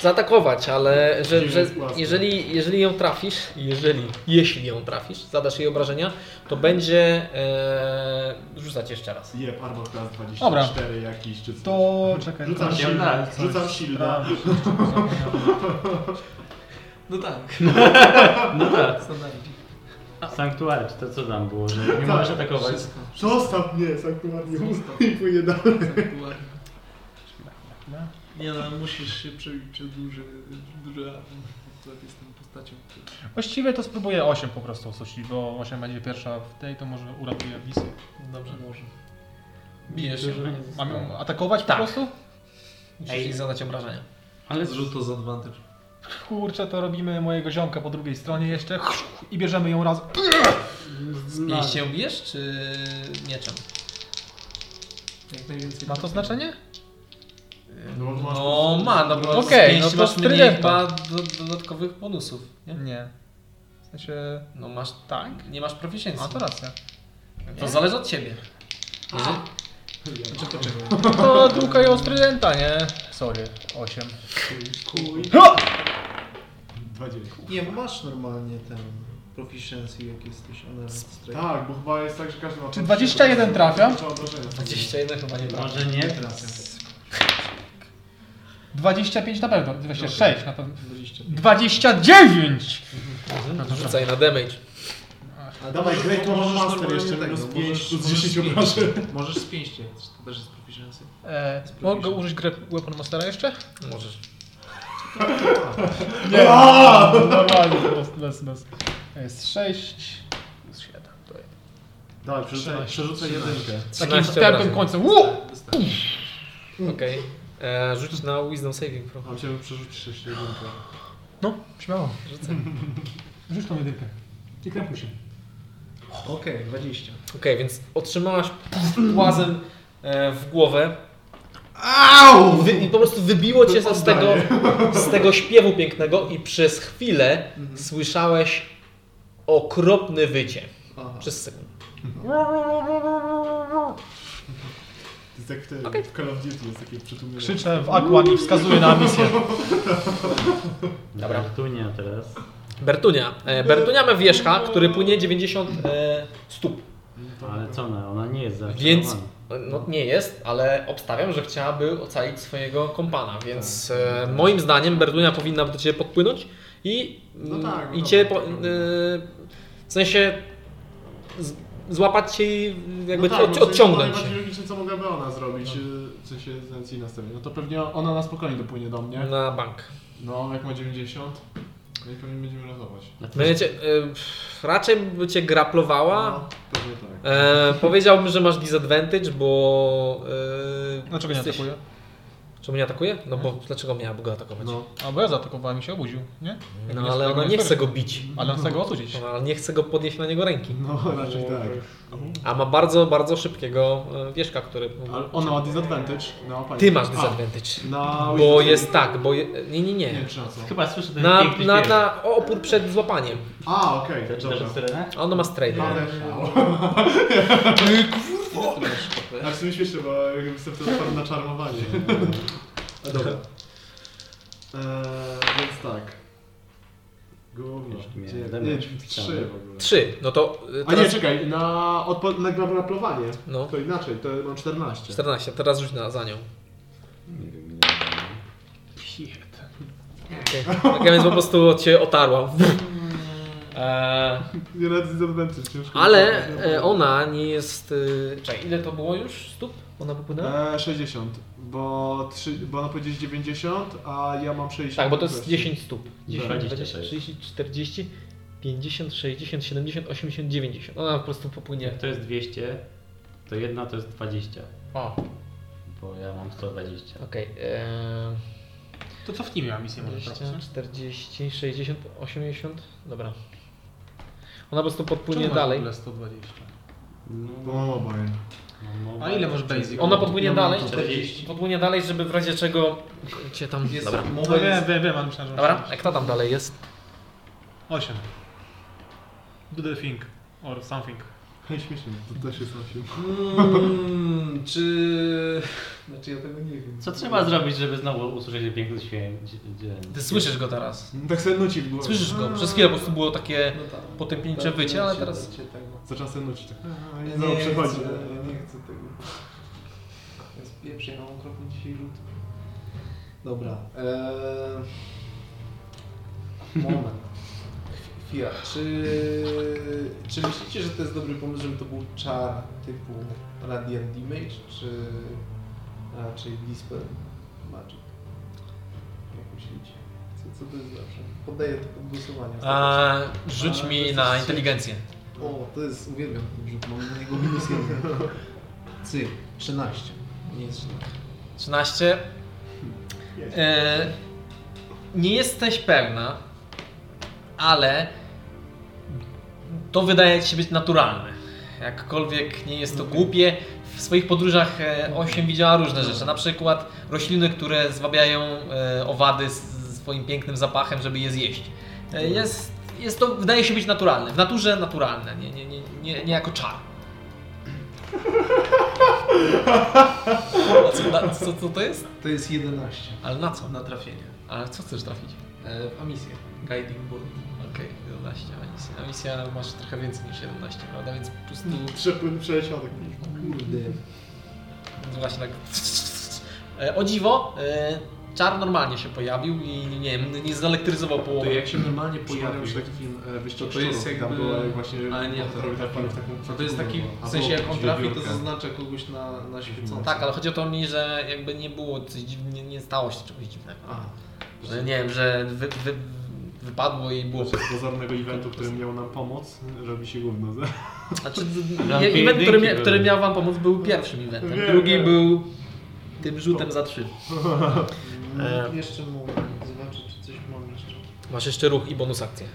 zaatakować, ale że, Dziwny że jest płaski. jeżeli, jeżeli ją trafisz, jeżeli, jeśli ją trafisz, zadasz jej obrażenia, to będzie e, rzucać jeszcze raz. Jeb, armor class 24 Dobra. jakiś czy coś. To czekaj. Rzucam to- shielda, coś. rzucam shielda. No tak. [laughs] No tak. Standardzi. Sanktuary, czy to co tam było, że nie możesz atakować? Wszystko. Zostaw mnie, sanktuarium. [laughs] Zostaw. I płynie dalej. Sanktuarium. Nie no, musisz się przebić przez duży, duży atom. Akurat jestem postacią. która- Właściwie to spróbuję 8 po prostu osucić, bo 8 będzie pierwsza w tej, to może uratuję Wisę. Dobrze. Może. Bijesz Dużo nie Mam ją zostało. atakować Tak. po prostu? Musisz Ej. zadać obrażenia. Ale Zrzut to z advantage. Kurczę, to robimy mojego ziomka po drugiej stronie jeszcze i bierzemy ją razem. Z pięścią bijesz czy mieczem? Jak najwięcej. Ma to znaczenie? No, masz- No ma, no bo Okej, z pięści no to masz mniej tridentna. chyba do, dodatkowych bonusów. Nie? Nie. W sensie... No masz, Tak? nie masz proficiency. A to racja. To zależy od ciebie. Jeżeli- Znaczy to czego? To długa i ostrydenta, nie? Sorry, 8. Kuj. 29. Nie, masz normalnie ten proficiency jak jesteś unarmed strike. Tak, bo chyba jest tak, że każdy ma... Czy 21 trafia? 21 chyba nie ma. Może nie Trafia. 25 na pewno, no 26 na pewno. 20. 29! Mhm. Rzucaj na damage. A Dawaj, możesz- Great One możesz Master normalnie jeszcze tego, minus możesz- pięć, plus możesz 10 z [laughs] pięć. obrażeń. Możesz z pięści, to też jest proficiency. E, mogę użyć grę Weapon Mastera jeszcze? Możesz. Nie, normalnie po prostu bez, bez. To Jest 6, plus 7. To jest. Dawaj, przerzucaj, przerzucaj jedynkę. Takim 13 wstępem obrażeń. końcem. Uu! Wystarczy. Okej. E, Rzuć na wisdom saving throw. Mam się przerzucić jeszcze jedynkę. No, śmiało. Rzucę. Rzuć tą jedynkę. I krępuj się. Okej, 20. Okej, więc otrzymałaś płazem e, w głowę. Au! Wy, I po prostu wybiło cię z tego, z tego śpiewu pięknego i przez chwilę słyszałeś okropny wycie. Aha. Przez sekundę. To jest jak w, tym, w Call of Duty, jest takie przytłumienie. Krzyczę w Aquan i wskazuję na misję. Dobra. Tunia teraz. Bertunia. E, Bertunia ma wierzcha, który płynie 90 e, stóp. No Ale co ona? Ona nie jest Więc- zaczarowany. No nie jest, ale obstawiam, że chciałaby ocalić swojego kompana, więc Tak. e, moim zdaniem Berdunia powinna do Ciebie podpłynąć i, No tak, no tak. i dobra. Cię po, e, w sensie z, złapać Cię i jakby no ci- bo od, to jest odciągnąć. Najbardziej logiczne, co mogłaby ona zrobić, No. y, w sensie z racji nastawienia. No to pewnie ona na spokojnie dopłynie do mnie. Na bank. No, jak ma 90, no i pewnie będziemy ratować. Będziecie, e, pff, raczej by Cię graplowała. No, pewnie tak. E, powiedziałbym, że masz disadvantage, bo... E, Dlaczego nie jesteś- atakuję? Czemu nie atakuje? No bo dlaczego miałaby go atakować? No, No, A bo ja zaatakowałem i się obudził, nie? Jakby ale jakby ona nie chce go bić. Ale on chce go ocudzić. No, ale nie chce go podnieść na niego ręki. no raczej tak. A ma bardzo, bardzo szybkiego e, wieżka, który. Ale ona ma disadvantage. No, pani. Ty masz A, disadvantage. Na Bo wisdom jest saving- tak, bo. Je... Nie, nie, Nie nie. wiem, czy na co. Chyba słyszę ten Na, piękny na, śpiew. na opór przed złapaniem. A, okej, okay, Dobrze, dobra. No, Serena? [laughs] A ono ma straight. Ale... [laughs] Ile ty masz HP? A Tak, w sumie śmieszne, bo jakbym sobie to odparł na czarmowanie. A dobra. Eee, więc tak. Gówno. Jeszcze miałem Dziewięć. damage Nie, Trzy wpisane. w ogóle. Trzy. No to. e, A nie, Teraz... czekaj, na, odpo- na graplowanie. No, To inaczej, to mam 14. 14. Teraz rzuć na, za nią. Nie wiem ile. Okay. Tak, więc po prostu cię otarła. Eee, Nie nawet disadvantage, ciężko. ale e, ona nie jest. e, Czekaj, ile to było już stóp? Ona popłynęła? Eee, 60, bo, 3, bo ona powiedzieć 90, a ja mam 60. Tak, bo to jest 10 stóp. 10, 20, 20, to jest. 30, 40, 50, 60, 70, 80, 90. Ona po prostu popłynie. Jak to jest 200, to jedna to jest 20. O, Bo ja mam 120. okej. eee, To cofnijmy na misję może 20, trochę. 40, 60, 80. Dobra. Ona po prostu podpłynie Czemu dalej. masz w ogóle 120? Bo mam oboje. A ile masz basic? Ona podpłynie Ja mam dalej. 40. Podpłynie dalej, żeby w razie czego cię tam. Jest Dobra. mowa No wiem, jest... wiem, wiem, ale myślałem, że Dobra, a kto tam dalej jest? 8. Do the thing. Or something. Hej, [laughs] śmiesznie, to też jest 8. Hmm, Mm, czy... Znaczy ja tego nie wiem. Co trzeba zrobić, żeby znowu usłyszeć piękny święt? Ty słyszysz go teraz. [laughs] Tak sobie nuci w głowie. Słyszysz go. Przez chwilę po prostu było takie No tak. potępieńcze wycie, ale teraz. Zaczyna sobie nucić tak. A, Nie, nie, nie, znowu nie, przechodzi. chcę, nie chcę tego. Jest pieprz, ja mam okropny dzisiaj rzut. Dobra. Eee... Moment. Chwila. Czy, czy myślicie, że to jest dobry pomysł, żeby to był czar typu Radiant Damage, czy raczej Dispel Magic? Jak myślicie? Co, co to jest lepsze? Poddaję to pod głosowanie. A, e, rzuć A, to mi jest na coś- inteligencję. O, to jest, uwielbiam ten rzut, mam na niego minus jeden. Cyk, 13. Nie jest 13. 13. E, nie jesteś pewna, ale to wydaje ci się być naturalne. Jakkolwiek nie jest to głupie, w swoich podróżach e, osiem widziała różne rzeczy. Na przykład rośliny, które zwabiają e, owady z- z swoim pięknym zapachem, żeby je zjeść. E, Jest, jest to, wydaje się być naturalne. W naturze naturalne, nie, nie, nie, nie, nie jako czar. A co, na, co, co to jest? To jest 11 Ale na co? na trafienie. Ale co chcesz trafić? E, w misję. Guiding Board. Okej, 11, a misja, a misja masz trochę więcej niż 11, prawda? Więc po prostu Przepłyn przesionek. Kurde. no właśnie tak... E, O dziwo, e, czar normalnie się pojawił i nie wiem, nie zelektryzował To połowy. jak się normalnie pojawił Przypadek. już taki film e, Wyścig To to jest Szczurów, jakby- tam było jak właśnie ale nie, to- robi tak, panów taką To jest taki, A w sensie jak on trafi, to wiewiórkę. zaznacza kogoś na, na świecący. Tak, ale chodzi o to mi, że jakby nie było coś dziwnego, nie, nie stało się czegoś dziwnego. A, Że nie wiem, że wy, wy, wypadło i było. Podczas pozornego eventu, który miał nam pomóc, robi się gówno. za- Znaczy, Lampy event, który, jedynki mia, który były. miał wam pomóc, był pierwszym eventem. Wiem, Drugi wiem. był tym rzutem za trzy. E. No, jeszcze mam, zobaczę czy coś mam jeszcze. Masz jeszcze ruch i bonus akcję.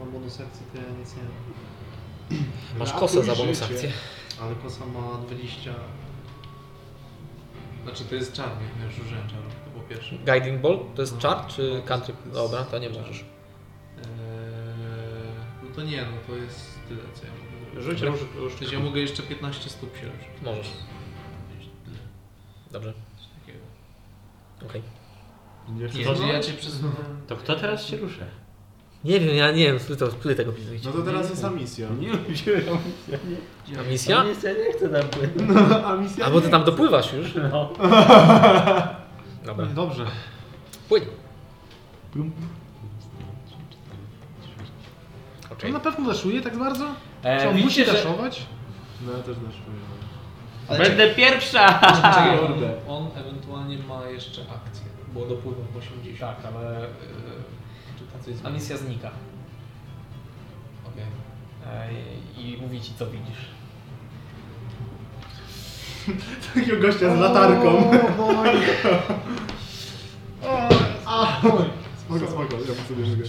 Mam bonus akcji, to ja nic nie mam. Masz Ratuj kosę za bonus życie. akcję. Ale kosa ma 20... Znaczy to jest czarny, ja już użyłem czaru, to po pierwsze. Guiding Ball to jest czar czy country? Dobra, to nie możesz. Eee, no to nie, no to jest tyle co ja mogę zrobić. Rzuć Dobra. róż, róż. Przecież ja mogę jeszcze 15 stóp się ruszyć. Możesz. Tyle, Dobrze, coś takiego. okej. Nie, to- to no. ja cię przesunąłem. To kto teraz się ruszy? Nie wiem, ja nie wiem, to tutaj tego No to teraz jest misja. [laughs] Nie lubiłem. A misja? Ja nie chcę tam płynąć. A misja? Albo ty tam dopływasz już. No. Dobra, Dobrze. płyń. Czy on na pewno daszuje tak bardzo? Czy E, on musi widzicie, że... daszować? No ja też naszkuję. Będę pierwsza! Czekaj, on, Kurde. on ewentualnie ma jeszcze akcję, bo dopływa w 80. Tak, ale Eee, czy tam coś jest? a misja znika. Okej. E, I mówi ci, co widzisz. [laughs] Takiego gościa z latarką. [laughs] Spoko, spoko, ja sobie żyję.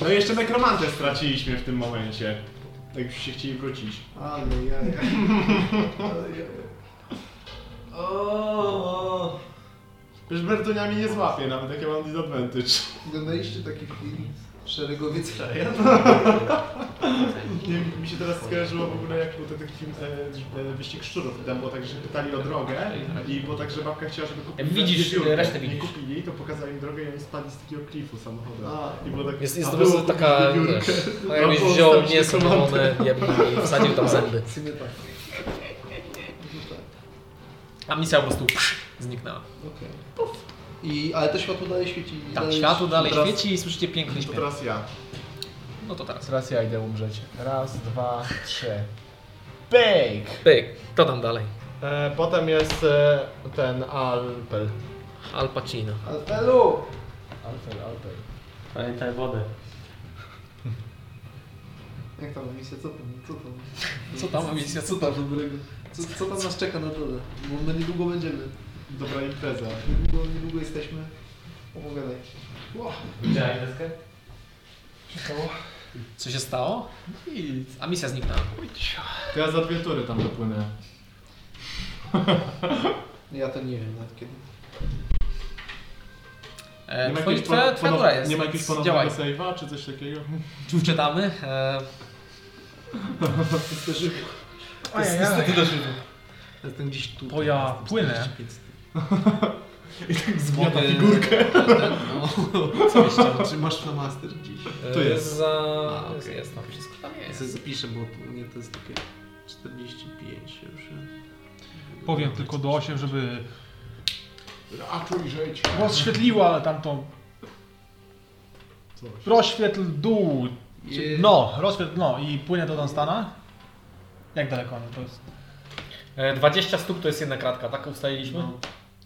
No i jeszcze nekromantę straciliśmy w tym momencie. Jak już się chcieli wrócić. Ale ja. O, Już Bertuniami nie złapię, nawet jak ja mam disadvantage. Oglądaliście taki film Szeregowiec Freya? Nie, mi się teraz skojarzyło w ogóle jak był ten taki film e, e, Wyścig Szczurów. i Tam było tak, że pytali o drogę i było tak, że babka chciała, żeby kupili Widzisz, wiewiórkę. resztę Nie widzisz. kupili, to pokazali im drogę i oni spadli z takiego klifu samochodem. I było tak, Jest, jest a po było prostu taka, kupić wiewiórkę. wiesz, no jakbyś Albo wziął wstawić mięso nekromantę. mielone i wsadził tam [laughs] zęby. tak. A misja po prostu psz, zniknęła. Okej. I, ale to światło dalej świeci. i Tak, światło dalej teraz- świeci i słyszycie piękny To śpiew. teraz ja. No to tak teraz. Teraz ja idę umrzeć. Raz, dwa, trzy. Pyk! Pyk, to tam dalej. E, potem jest e, ten Alpel. Al Pacino. Alfelu! Alpel, Alpel. Pamiętaj wodę. Jak tam misja, co tam? Co tam? Co tam, misja, co tam dobrego? Co, co tam nas czeka na dole? Bo my niedługo będziemy. Dobra impreza. Niedługo, niedługo jesteśmy. Opowiadaj. Widziałeś deskę? Co się stało? Nic. A misja zniknęła. To ja za dwie tury tam dopłynę. Ja to nie wiem nawet kiedy. E, ma twoi, jakiegoś twoja pono- twoja ponow- tura jest. nie ma jakiegoś Działaj. [laughs] ponownego save'a czy coś takiego? Czy wczytamy? E, Jestem gdzieś tu. Bo ja płynę. Zmiata figurkę. [laughs] Co byś chciał? Czy masz flamaster gdzieś? e, Tu jest. Za, A, jest, okej. jest, no wszystko tam Ja jest. sobie zapiszę, bo to- nie to jest takie 45 się już. Powiem tylko do 8, żeby Ratuj żyć. rozświetliła tamtą. Coś. Rozświetl dół. Czy- Je- No, rozświetl no i płynie do Dunstana. Jak daleko on to jest? E, 20 stóp to jest jedna kratka, tak ustaliliśmy? No.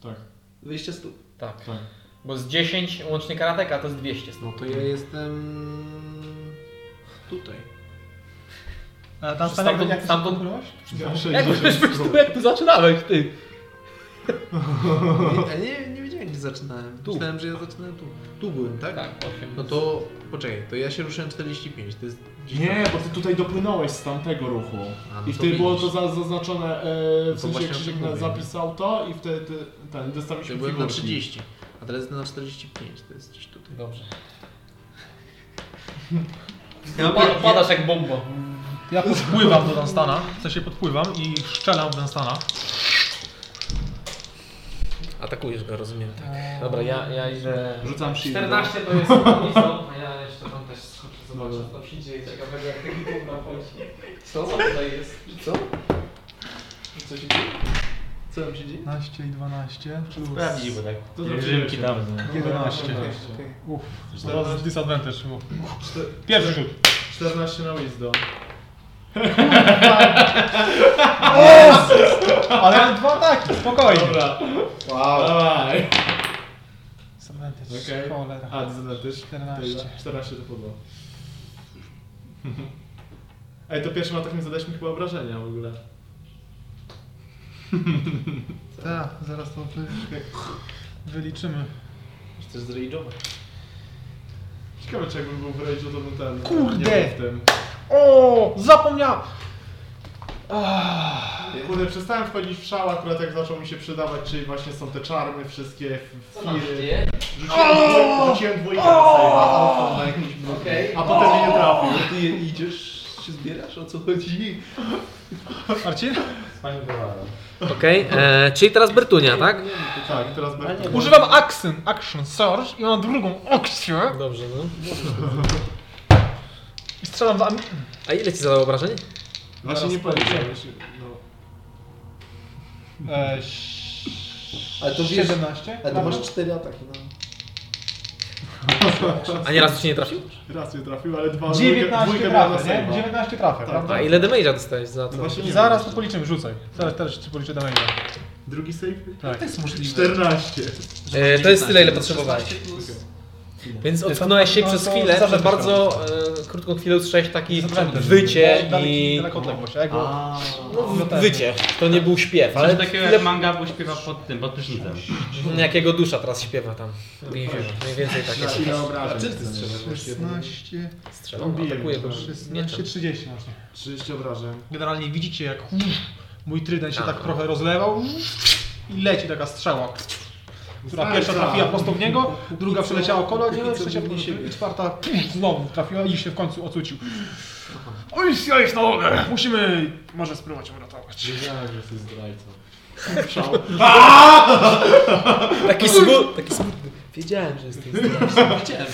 Tak. 20 stóp. Tak. Tak. Bo z 10 łącznie karatek, a to jest No 200 stóp. No to ja jestem... tutaj. A E, tam Stamtąd, samego... jak stamtąd... Ja [laughs] Jak wiesz, wiesz, tu, jak tu zaczynałeś, ty? Nie, a nie, nie wiedziałem gdzie zaczynałem. Tu. Myślałem, że ja zaczynałem tu. Tu byłem, tak? Tak, 8. No to poczekaj, to ja się ruszyłem 45, to jest gdzieś Nie, tam. bo ty tutaj dopłynąłeś z tamtego ruchu. A, no I to wtedy było to widzisz. No za, zaznaczone, e, w to sensie właśnie o tym Krzysiek mówię, nie? zapisał to i wtedy ty, ten, dostaliśmy Ja byłem na figurki. 30, a teraz jestem na 45, to jest gdzieś tutaj. [laughs] Dobrze. Ja, Pa- Padasz jak bomba. Ja podpływam do Dunstana, w sensie podpływam i szczelam w Dunstana. Atakujesz go, rozumiem. Tak. Dobra, ja, ja idę... Rzucam shield. 14 to jest ulicą, a ja jeszcze tam też skoczę, zobaczę Dobra. co tam się dzieje ciekawego, jak ten gówna chodzi. No. Co? Co tutaj jest? Co? Co się dzieje? Co tam się dzieje? 15 i 12 plus Sprawdził, tak. To Rzymki zrobiłeś. dawno. 11. Okej, okej. Uff, teraz disadvantage. było. Czter- Pierwszy [laughs] rzut. 14 na wisdom. Ale mam dwa ataki, spokojnie. Dobra, Wow. dawaj. Disadvantage, Okej. cholera. A, to też 14. 14 to podło. Ej, to tak pierwszym atakiem zadaliśmy chyba obrażenia w ogóle. Tak, zaraz to wy... wyliczymy. Chcesz zrage'ować? Ciekawe, czy jakbym był w rage'u, to bym ten... Kurde! Nie był w tym. O, zapomniałem! Kurde, przestałem wchodzić w szał akurat jak zaczął mi się przydawać, czyli właśnie są te czarmy wszystkie, f- Co tam się firy. dzieje? Rzuciłem dwójkę, rzuciłem dwójkę na save'a, na jakiś blok. Okej. A potem mnie nie trafił. Ty idziesz, się zbierasz, o co chodzi? Marcin? Pani wywala. Okej, e, czyli teraz Bertunia, tak? Tak, teraz będę... Używam action, action surge i mam drugą akcję Dobrze, no. i strzelam w... am- A ile ci zadało obrażeń? Właśnie nie powiedziałem. jeszcze, No. E, Ale to wiesz, 17? ale to masz 4 ataki, no. A nie raz ci nie trafił? [laughs] Raz nie trafił, ale dwa... dwójkę 19 miał na trafia, nie? no. save'a. 19 trafia, Tak, prawda? A ile damage'a dostałeś za to? tak. Właśnie nie Zaraz wiem. to policzymy, rzucaj. Zaraz też ci policzę damage'a. Drugi save? Tak. jest możliwe. 14. E, to jest tyle, ile potrzebowałeś. 16 plus- Więc odsunąłeś się No, przez to chwilę, zawsze przez tak bardzo e, krótką chwilę usłyszałeś taki Zabrałem też. wycie Daleki- i... Daleko odległość, a jak go- No, w- wycie. To nie był śpiew, Ale ale takiego chwilę, jak manga, bo śpiewa pod tym, pod prysznicem. jakiego dusza teraz śpiewa tam. Mniej więcej takie Ile obrażeń? Czym Tak, ty strzelasz właściwie? 16, strzela. On bije Atakuje mnie, go. tak. Mieczem. 16, 30 można. 30 obrażeń. Generalnie widzicie jak mój trydent się tak Aha. trochę rozlewał i leci taka strzała, która Tak, pierwsza tak. trafiła prosto w niego, druga co- przeleciała koło niego, póki co trzecia był po siebie. siebie i czwarta [clears throat] pff, znowu trafiła i się w końcu ocucił. Oj, ja ich na nogę! Musimy może spróbować uratować. Wiedziałem, że jesteś zdrajcą. Taki smutny, taki smutny. Wiedziałem, że jesteś Chciałem.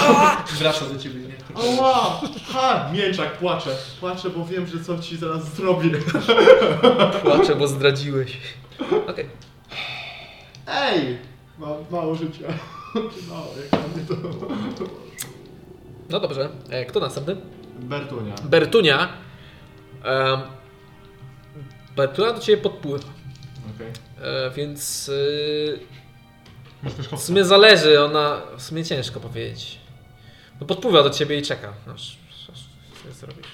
[laughs] Wraca do ciebie, nie? Oła! Ha! Mięczak, płaczę. Płaczę, bo wiem, że co ci zaraz zrobię. Płaczę, bo zdradziłeś. Okej. Ej! Mam mało życia. [laughs] Mało, jak na mnie to... No dobrze. E, kto następny? Bertunia. Bertunia. Em, Bertunia do ciebie podpływa. Okej. E, więc y, Masz też w sumie zależy, ona w sumie ciężko powiedzieć. No podpływa do ciebie i czeka. No, Aż, aż co zrobisz?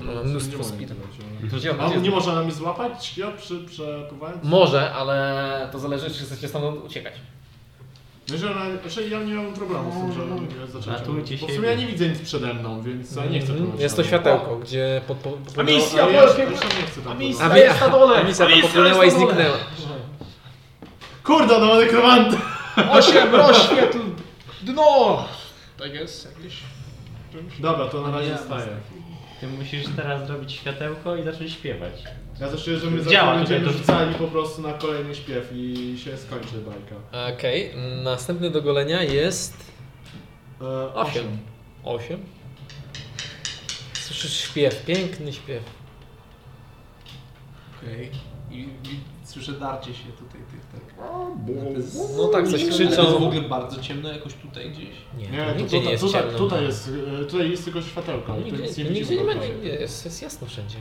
Ona ma mnóstwo speedu. A on nie może nam złapać? Śkio przy przepływając? Może, ale to zależy, czy chcecie stąd uciekać. No, że ona, znaczy ja nie mam problemu z tym, że nie zaczęcie. Ratujcie Bo w siebie. sumie ja nie widzę nic przede mną, więc ja nie chcę Mhm. pływać Jest to dalej. światełko, gdzie pod, po- po- Ja, Misja, ja, ja polskie... nie chcę tam misja. pływać. mi- jest na dole. a misja tam Misja popłynęła i jest na dole. zniknęła. Kurde, no nekromanta! Osiem rozświetl dno! Tak jest, jakieś... Dobra, to na razie Ja- staję. Ty musisz teraz zrobić światełko i zacząć śpiewać. Ja też czuję, że my za Działa chwilę tutaj będziemy to- rzucali po prostu na kolejny śpiew i się skończy bajka. Okej, następny do golenia jest E, 8. 8. Słyszysz śpiew, piękny śpiew. Okej. I, I słyszę darcie się tutaj tych, tak. No tak, coś Ale to jest w krzyczą. ogóle bardzo ciemno jakoś tutaj gdzieś. Nie, Nie, to to nigdzie tutaj, nie jest tutaj, ciemno. tutaj jest, e, tutaj jest tylko światełko, ale tu nic Nigdzie, No nie nigdzie nie widzimy. ma, dokładnie. nie, jest, jest jasno wszędzie.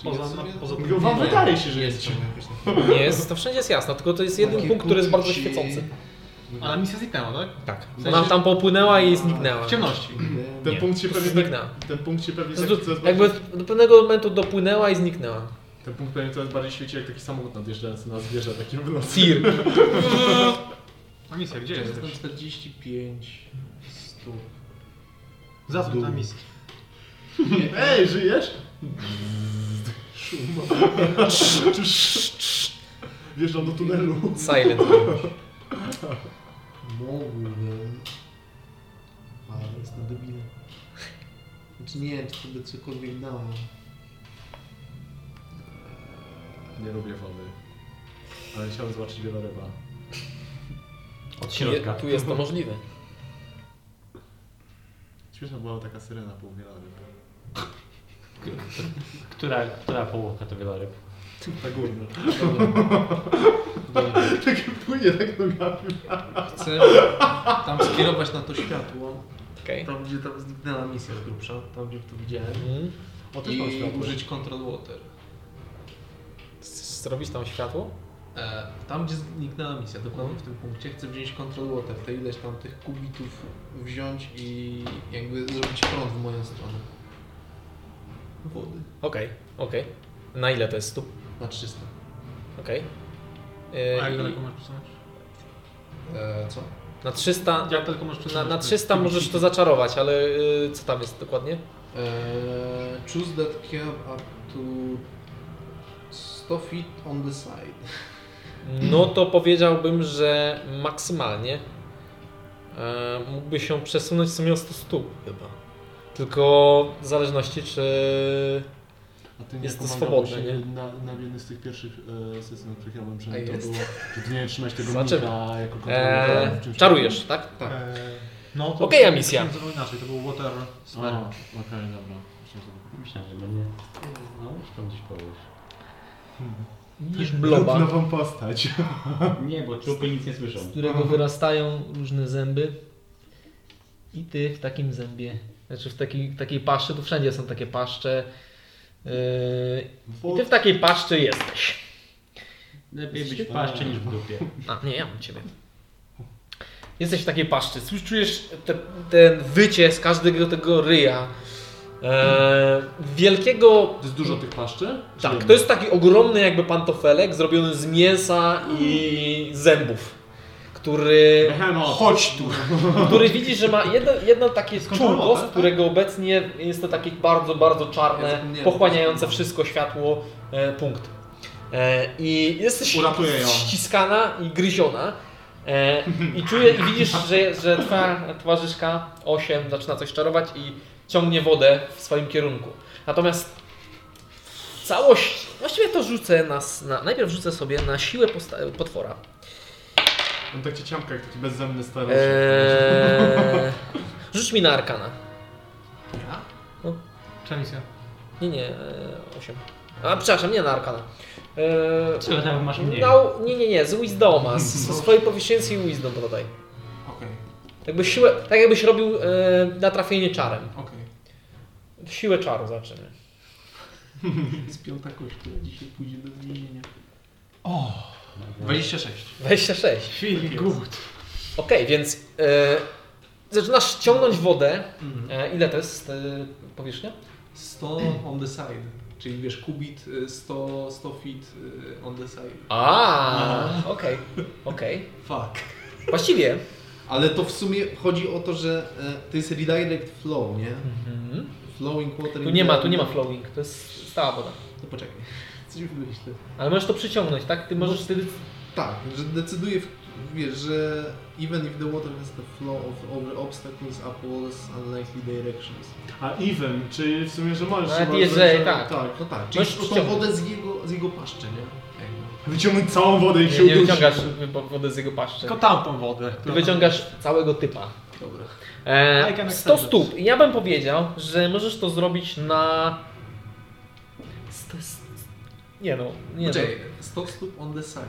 Znaczy, Poza- ja sobie- poza- Tylko Wam wydaje się, że jest Jest ciemno. ciemno jakoś. Nie jest, to wszędzie jest jasno, tylko to jest jeden Takie punkt, który jest bardzo kukuci. świecący. Ale misja zniknęła, tak? Tak. W sensie- Ona tam popłynęła i zniknęła. W ciemności. Ten Nie. punkt się pewnie tak, Zniknęła. ten punkt się pewnie To tak, jest- Jakby do pewnego momentu dopłynęła i zniknęła. Ten punkt pewnie teraz bardziej świeci jak taki samochód nadjeżdżający na zwierzę, taki w nocy. Fir. A misja, gdzie Jestem jesteś? 45 stóp. Zasłuch na misję. [laughs] Ej, żyjesz? Szum. [laughs] Wjeżdżam do tunelu. Silent. Mógłbym. Ale jest na debile. Znaczy nie wiem, czy to by cokolwiek dało. Nie lubię wody. Ale chciałem zobaczyć wieloryba. Tu, Od je, środka. tu jest to możliwe. Śmieszna była taka syrena pół wieloryba. Która, która połówka to wieloryb? Ta górna. [laughs] Takie płynie tak nogami. Chcę tam skierować na to światło. Okej. Tam, gdzie tam zniknęła misja z grubsza, tam gdzie to widziałem. Mm. O, też mam I światło. użyć Control Water. S- Zrobić tam światło? E, tam, gdzie zniknęła misja, dokładnie w tym punkcie, chcę wziąć Control Water. Te ileś tam tych kubitów wziąć i jakby zrobić prąd w moją stronę. Wody. Okej, okej. Na ile to jest stóp? Na 300. Okej. A Yy, jak i- daleko masz przesunąć? E, co? na 300, Jak daleko masz na, przesunąć? na 300 możesz to zaczarować, ale yy, co tam jest dokładnie? Uh, choose that cab up to 100 feet on the side. No to powiedziałbym, że maksymalnie e, mógłby się przesunąć w sumie o 100 stóp chyba. Tylko w zależności czy... A ty nie Jest to pomagało swobodne, się nie? Na, na jednej z tych pierwszych e, sesji, na których ja byłem A przynajmniej, to jest. było, że ty nie trzymać tego Zobaczymy. mnika jako kontrolę. E, czarujesz, tak? E, No to... Okej, a misja. to było Inaczej, to był water... A, okej, dobra. Myślałem, że- tak. Myślałem, że będzie. No, już tam gdzieś połóż. Widzisz Trudna bloba, wam postać. Nie, bo trupy nic nie słyszą. z którego wyrastają różne zęby. I ty w takim zębie, znaczy w takiej, takiej paszczy, tu wszędzie są takie paszcze. E, I ty w takiej paszczy jesteś. Lepiej być w paszczy niż w [laughs] dupie. A, nie, ja mam ciebie. Jesteś w takiej paszczy. Słyszysz, czujesz te, ten wycie z każdego tego ryja. E, wielkiego. To jest dużo tych paszczy? Czy Tak, jedna? to jest taki ogromny jakby pantofelek zrobiony z mięsa i zębów, który, Behemoth. Chodź tu. który widzisz, że ma jedno, jedno takie Skończone czółko, z tak? którego obecnie jest to takie bardzo, bardzo Ja czarne, zapomniałem. pochłaniające wszystko światło e, punkt. E, I jesteś Uratuję ją. ściskana i gryziona. E, I czuję i widzisz, że, że twoja towarzyszka 8 zaczyna coś czarować i ciągnie wodę w swoim kierunku. Natomiast całość, właściwie to rzucę nas na, najpierw rzucę sobie na siłę posta- potwora. On tak cię ciamka jak taki bezzemny stary. E, Eee, [laughs] rzuć mi na arkana. No. Czy misja? Nie, nie, e, 8. A przepraszam, nie na arkana. Eee, Czego tam masz mniej? Nau- nie, No. nie, nie, z Wisdoma, z, z swojej proficiency i Wisdom dodaj. Okej, Jakby siłę, tak jakbyś robił e, natrafienie czarem. okej. Siłę czaru zaczymy. Z piąta kość, która dzisiaj pójdzie do zmienienia. O! 26. 26. Feel good. Okej, więc e, zaczynasz ciągnąć wodę. Mhm. E, ile to jest e, powierzchnia? 100 on the side. Czyli wiesz, kubit y, 100, 100 feet y, on the side. A, okej, okej. Fuck. Właściwie Ale to w sumie chodzi o to, że y, to jest redirect flow, nie? Mhm. Flowing water. tu nie ma, tu nie ma flowing, to jest stała woda. To poczekaj. Coś wymyślę. Ale możesz to przyciągnąć, tak? Ty możesz wtedy... Tak, że decyduje, w- wiesz, że even if the water has the flow of over obstacles up walls unlikely directions. A even, czyli w sumie, że możesz... Nawet chyba jeżeli zrobić, tak. Tak, no tak. No Czyli i no tą ściągnę. wodę z jego, z jego paszczy, nie? Jakby. Wyciągnąć całą wodę i się tak- Nie, nie udusić. wyciągasz wo- wody z jego paszczy. Tylko tamtą wodę. Ty wyciągasz całego typa. Dobra. E, I can 100 accept stóp. I Ja bym powiedział, że możesz to zrobić na... Sto- s- Nie no, nie no. Poczekaj, 100 stóp on the side.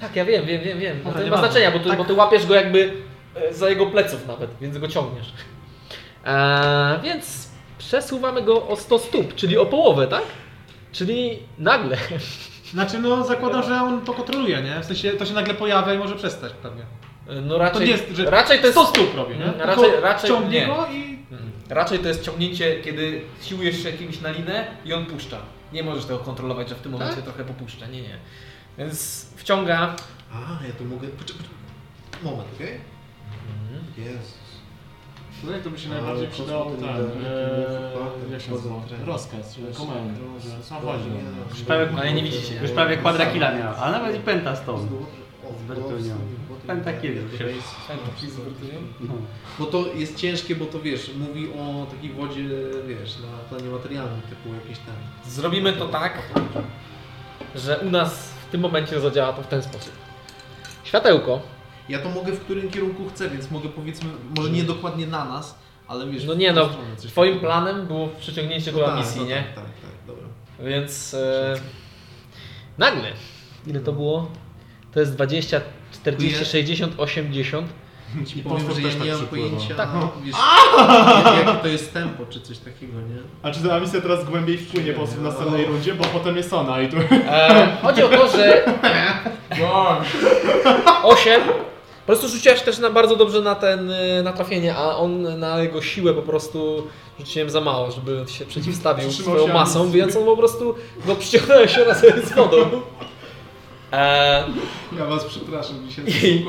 Tak, ja wiem, wiem, wiem, wiem. No Dobra, to nie nie ma ważne. znaczenia, bo ty, Tak. bo ty łapiesz go jakby e, za jego pleców nawet, więc go ciągniesz. E, więc przesuwamy go o 100 stóp, czyli o połowę, tak? Czyli nagle. Znaczy no zakładam, że on to kontroluje, nie? W sensie to się nagle pojawia i może przestać pewnie. No raczej To nie jest, że raczej to jest 100 stóp robi, nie? Mm, raczej- Tylko raczej ciągnie nie. go i... Mhm. Raczej to jest ciągnięcie, kiedy siłujesz się kimś na linę i on puszcza. Nie możesz tego kontrolować, że w tym momencie trochę popuszcza. Nie, nie. Więc wciąga. A, ja tu mogę... Poczek- poczek- Moment, okej? Jezus. Tutaj to by się Ale najbardziej po przydało prostu ten... ten, e, Jak się wchodzą nazywa? trening. Rozkaz, czy komend. że Sam chodzi. Już Ale nie widzicie. Już prawie kwadrakila miała, a nawet i penta stąd. Z Bertunią. Pentakiel. No. Bo to jest ciężkie, bo to wiesz, mówi o takiej wodzie, wiesz, na planie materialnym, typu jakieś tam. Zrobimy to tak, że u nas w tym momencie zadziała to w ten sposób. Światełko. Ja to mogę w którym kierunku chcę, więc mogę powiedzmy, może nie dokładnie na nas, ale wiesz... No w nie tą no, stronę coś twoim takiego. planem było przyciągnięcie No do tak, misji, no nie? Tak, tak, tak, dobra. Więc e, nagle. Ile to było? To jest 20, 40, Dziękuję. 60, 80. Ci I powiem, postęp że ja też tak nie mam przypływa. pojęcia, Tak, no. [laughs] wiesz, jak- jakie to jest tempo, czy coś takiego, nie? A czy ta misja teraz głębiej wpłynie po prostu w następnej rundzie, bo potem jest ona i tu... E, chodzi o to, że Wow. 8. Po prostu rzuciłaś też na bardzo dobrze na ten y, na trafienie, a on na jego siłę po prostu rzuciłem za mało, żeby się przeciwstawił Wstrzymał swoją się, a masą, nic. więc on po prostu no, przyciągnąłeś się razem z wodą. E, Ja was przepraszam, dzisiaj I-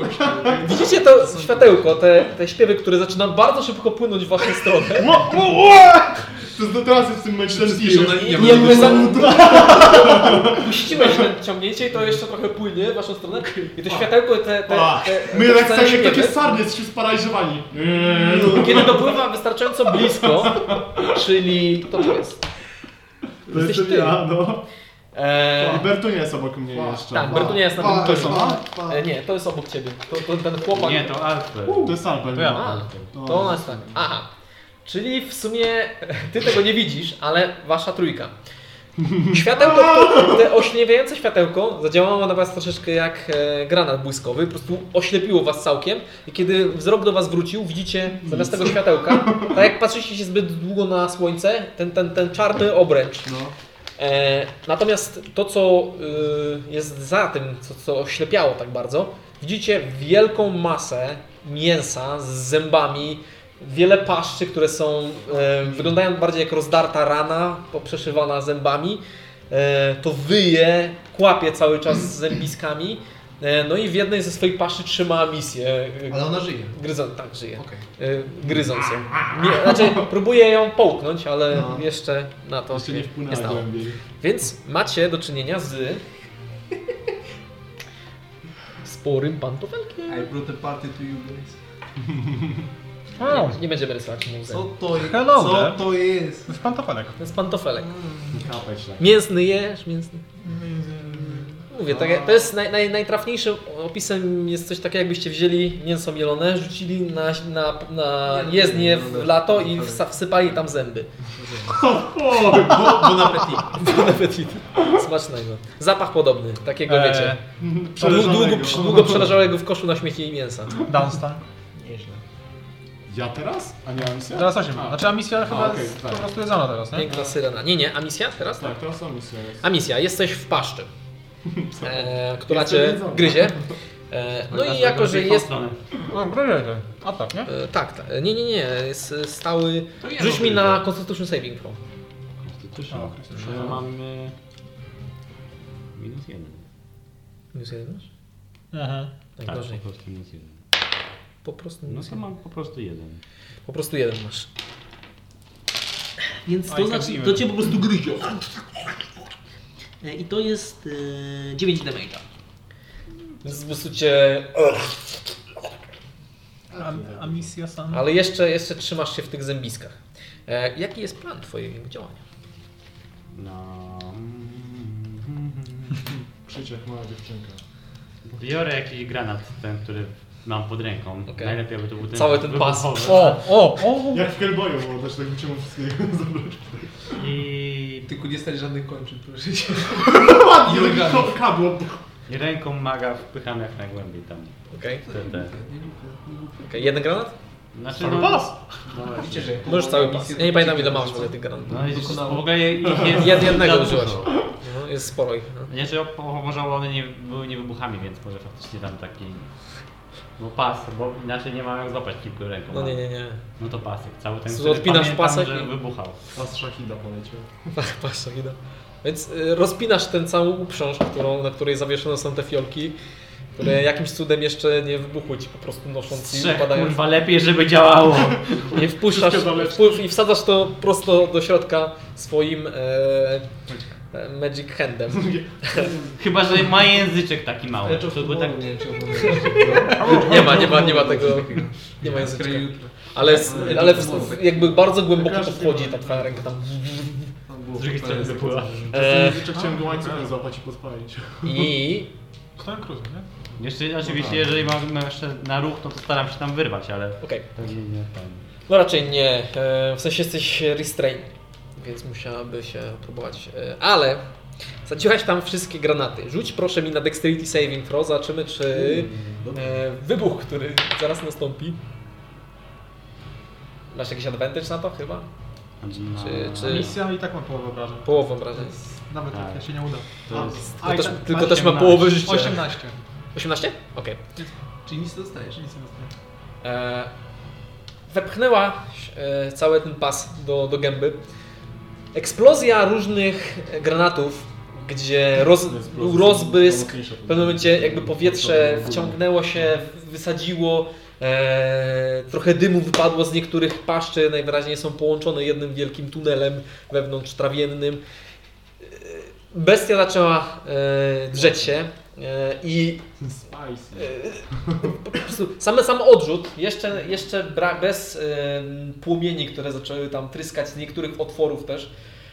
widzicie to światełko, te, te śpiewy, które zaczyna bardzo szybko płynąć w waszą stronę. [laughs] To jest- teraz jest w tym momencie ten Wiesz, ona tir. linia I będzie jakby za... Puściłeś ten ciągnięcie i to jeszcze trochę płynie w waszą stronę. I to światełko, te... te, A, te My te tak całe tak jak takie śpiewy- sarny jesteśmy sparaliżowani. Kiedy dopływa wystarczająco blisko, czyli kto to tak jest? To Jesteś jestem ty. ja, no. I Eee, Bertunia jest obok mnie jeszcze. tak, Bertunia jest na tym końcu. pa, E, nie, to jest obok ciebie. To, to ten chłopak. Nie, to Alfred. To jest Albert. no. To ja. A, to ona jest tak. Aha. Czyli w sumie ty tego nie widzisz, ale wasza trójka. Światełko, to- te ośniewiające światełko zadziałało na was troszeczkę jak e, granat błyskowy, po prostu oślepiło was całkiem i kiedy wzrok do was wrócił, widzicie zamiast tego światełka, tak jak patrzyliście się zbyt długo na słońce, ten, ten, ten czarny obręcz. E, natomiast to, co y, jest za tym, co, co oślepiało tak bardzo, widzicie wielką masę mięsa z zębami, wiele paszczy, które są, e, wyglądają bardziej jak rozdarta rana, poprzeszywana zębami. E, to wyje, kłapie cały czas z zębiskami. E, no i w jednej ze swoich paszczy trzyma misję. e, Ale ona żyje. Gryząc, tak, żyje. Okej. E, gryząc ją. Nie, znaczy, próbuje ją połknąć, ale No. jeszcze na to Jeszcze się nie wpłynęła stało. głębiej. Więc macie do czynienia z sporym pantofelkiem. I brought a party to you guys. O, Nie będziemy rysować muzeum. Co to jest? Hello Co there. to jest? to jest pantofelek. To jest pantofelek. Kapeć tak. Mięsny jesz, mięsny. Mówię, tak, jak- to jest naj, naj, najtrafniejszym opisem, jest coś takiego jakbyście wzięli mięso mielone, rzucili na, na, na Nie, no, jezdnię nie, no, w dobra. lato i wsa- wsypali tam zęby. Bon appetit. Bon appetit. Smacznego. Zapach podobny, takiego Eee. wiecie. Długo, długo, długo przerażałego w koszu na śmieci i mięsa. Downstar. Nieźle. Ja teraz? A nie Amicia? Teraz 8. Znaczy a misja chyba okej, jest tak. po prostu jedzona teraz, nie? Piękna syrena. Nie, nie, a misja teraz? Tak, teraz Amicia jest. A misja, jesteś w paszczy, e, która cię gryzie. E, no i jako, że jest... No, grajcie. A tak, nie? E, tak, tak, nie, nie, nie, jest e, stały... Rzuć mi na Constitution Saving Throw. Konstytucja. Ja mam... e, Minus jeden. Minus jeden masz? Mhm. Tak, po Najgorzej. prostu minus jeden. Po prostu No minus to jeden. mam po prostu jeden. Po prostu jeden masz. Więc znaczy, A, i tak zimę. cię po prostu gryzie. E, I to jest e, 9 damage'a. Więc po prostu cię... A, a misja sam. Ale jeszcze, jeszcze trzymasz się w tych zębiskach. E, jaki jest plan twojego działania? No... [laughs] Krzycz jak mała dziewczynka. Biorę jakiś granat, ten, który mam pod ręką. Okej. Najlepiej by to był ten Cały ten pas. wybuchowy. O, o, o! [laughs] Jak w Hellboyu, bo też tak wyciągnął wszystkiego. [laughs] I Tylko nie stać żadnych kończyn, proszę cię. Ładnie, Elegancko. to kabło. ręką maga wpycham jak najgłębiej tam. Okej. Te, te. Okej, jeden granat? Znaczy, Cały pas. No, Widzicie, że jak Możesz cały powołałem pas. misję, Ja to nie pamiętam będzie ile masz w co? ogóle tych granatów. no jest, w ogóle ich jest... [laughs] Jed- jednego za dużo. użyłaś. No, jest sporo ich. No. Znaczy, o- o- może one nie były niewybuchami, więc może faktycznie tam taki Bo pas, bo inaczej nie mam jak złapać kilku ręką. No nie, nie, [laughs] nie. No to pasek, cały ten, Co, który odpinasz pamiętam, pasek że i- wybuchał. Pas Shahida poleciał. Tak, patrz, tak idę. Więc y, rozpinasz ten całą uprząż, którą, na której zawieszone są te fiolki, które jakimś cudem jeszcze nie wybuchły ci po prostu nosząc i Strzech, upadają. kurwa, lepiej, żeby działało. Nie wpuszczasz wpływ i wsadzasz to prosto do środka swoim e, e, magic [laughs] handem. Chyba, że ma języczek taki mały. To by tak... nie wiem, czy Nie ma, nie ma, nie ma tego. Nie ma języka. Ale, s- ale w- w- jakby bardzo głęboko to wchodzi ta twoja ręka tam. Z drugiej strony wypływa. E, Eee. Chciałem go łańcuchem złapać i podpalić. I Kto krótko, nie? Jeszcze No tak. oczywiście, jeżeli mam mam jeszcze na ruch, no to staram się tam wyrwać, ale... okej. Pewnie nie ten. No raczej nie. E, W sensie jesteś restrain, więc musiałaby się próbować. E, Ale zadziłaś tam wszystkie granaty. Rzuć proszę mi na Dexterity Saving Throw, zobaczymy czy e, wybuch, który zaraz nastąpi. Masz jakiś advantage na to chyba? No, Czy, czy Misja i tak ma połowę obrażeń. połową wrażeń? Nawet Tak. jak się nie uda. to jest... Tylko, też, tak, tylko też ma połowę życia. 18. 18? Okej. Czyli nic dostajesz. Nic nie dostajesz. E, Wepchnęła e, cały ten pas do, do gęby. Eksplozja różnych granatów, gdzie roz, był rozbłysk, w pewnym momencie jakby powietrze wciągnęło się, wysadziło, e, trochę dymu wypadło z niektórych paszczy, najwyraźniej są połączone jednym wielkim tunelem wewnątrz trawiennym. E, Bestia zaczęła e, drzeć się e, i Spicy. po prostu same, sam odrzut, jeszcze, jeszcze bra, bez em, płomieni, które zaczęły tam tryskać z niektórych otworów też,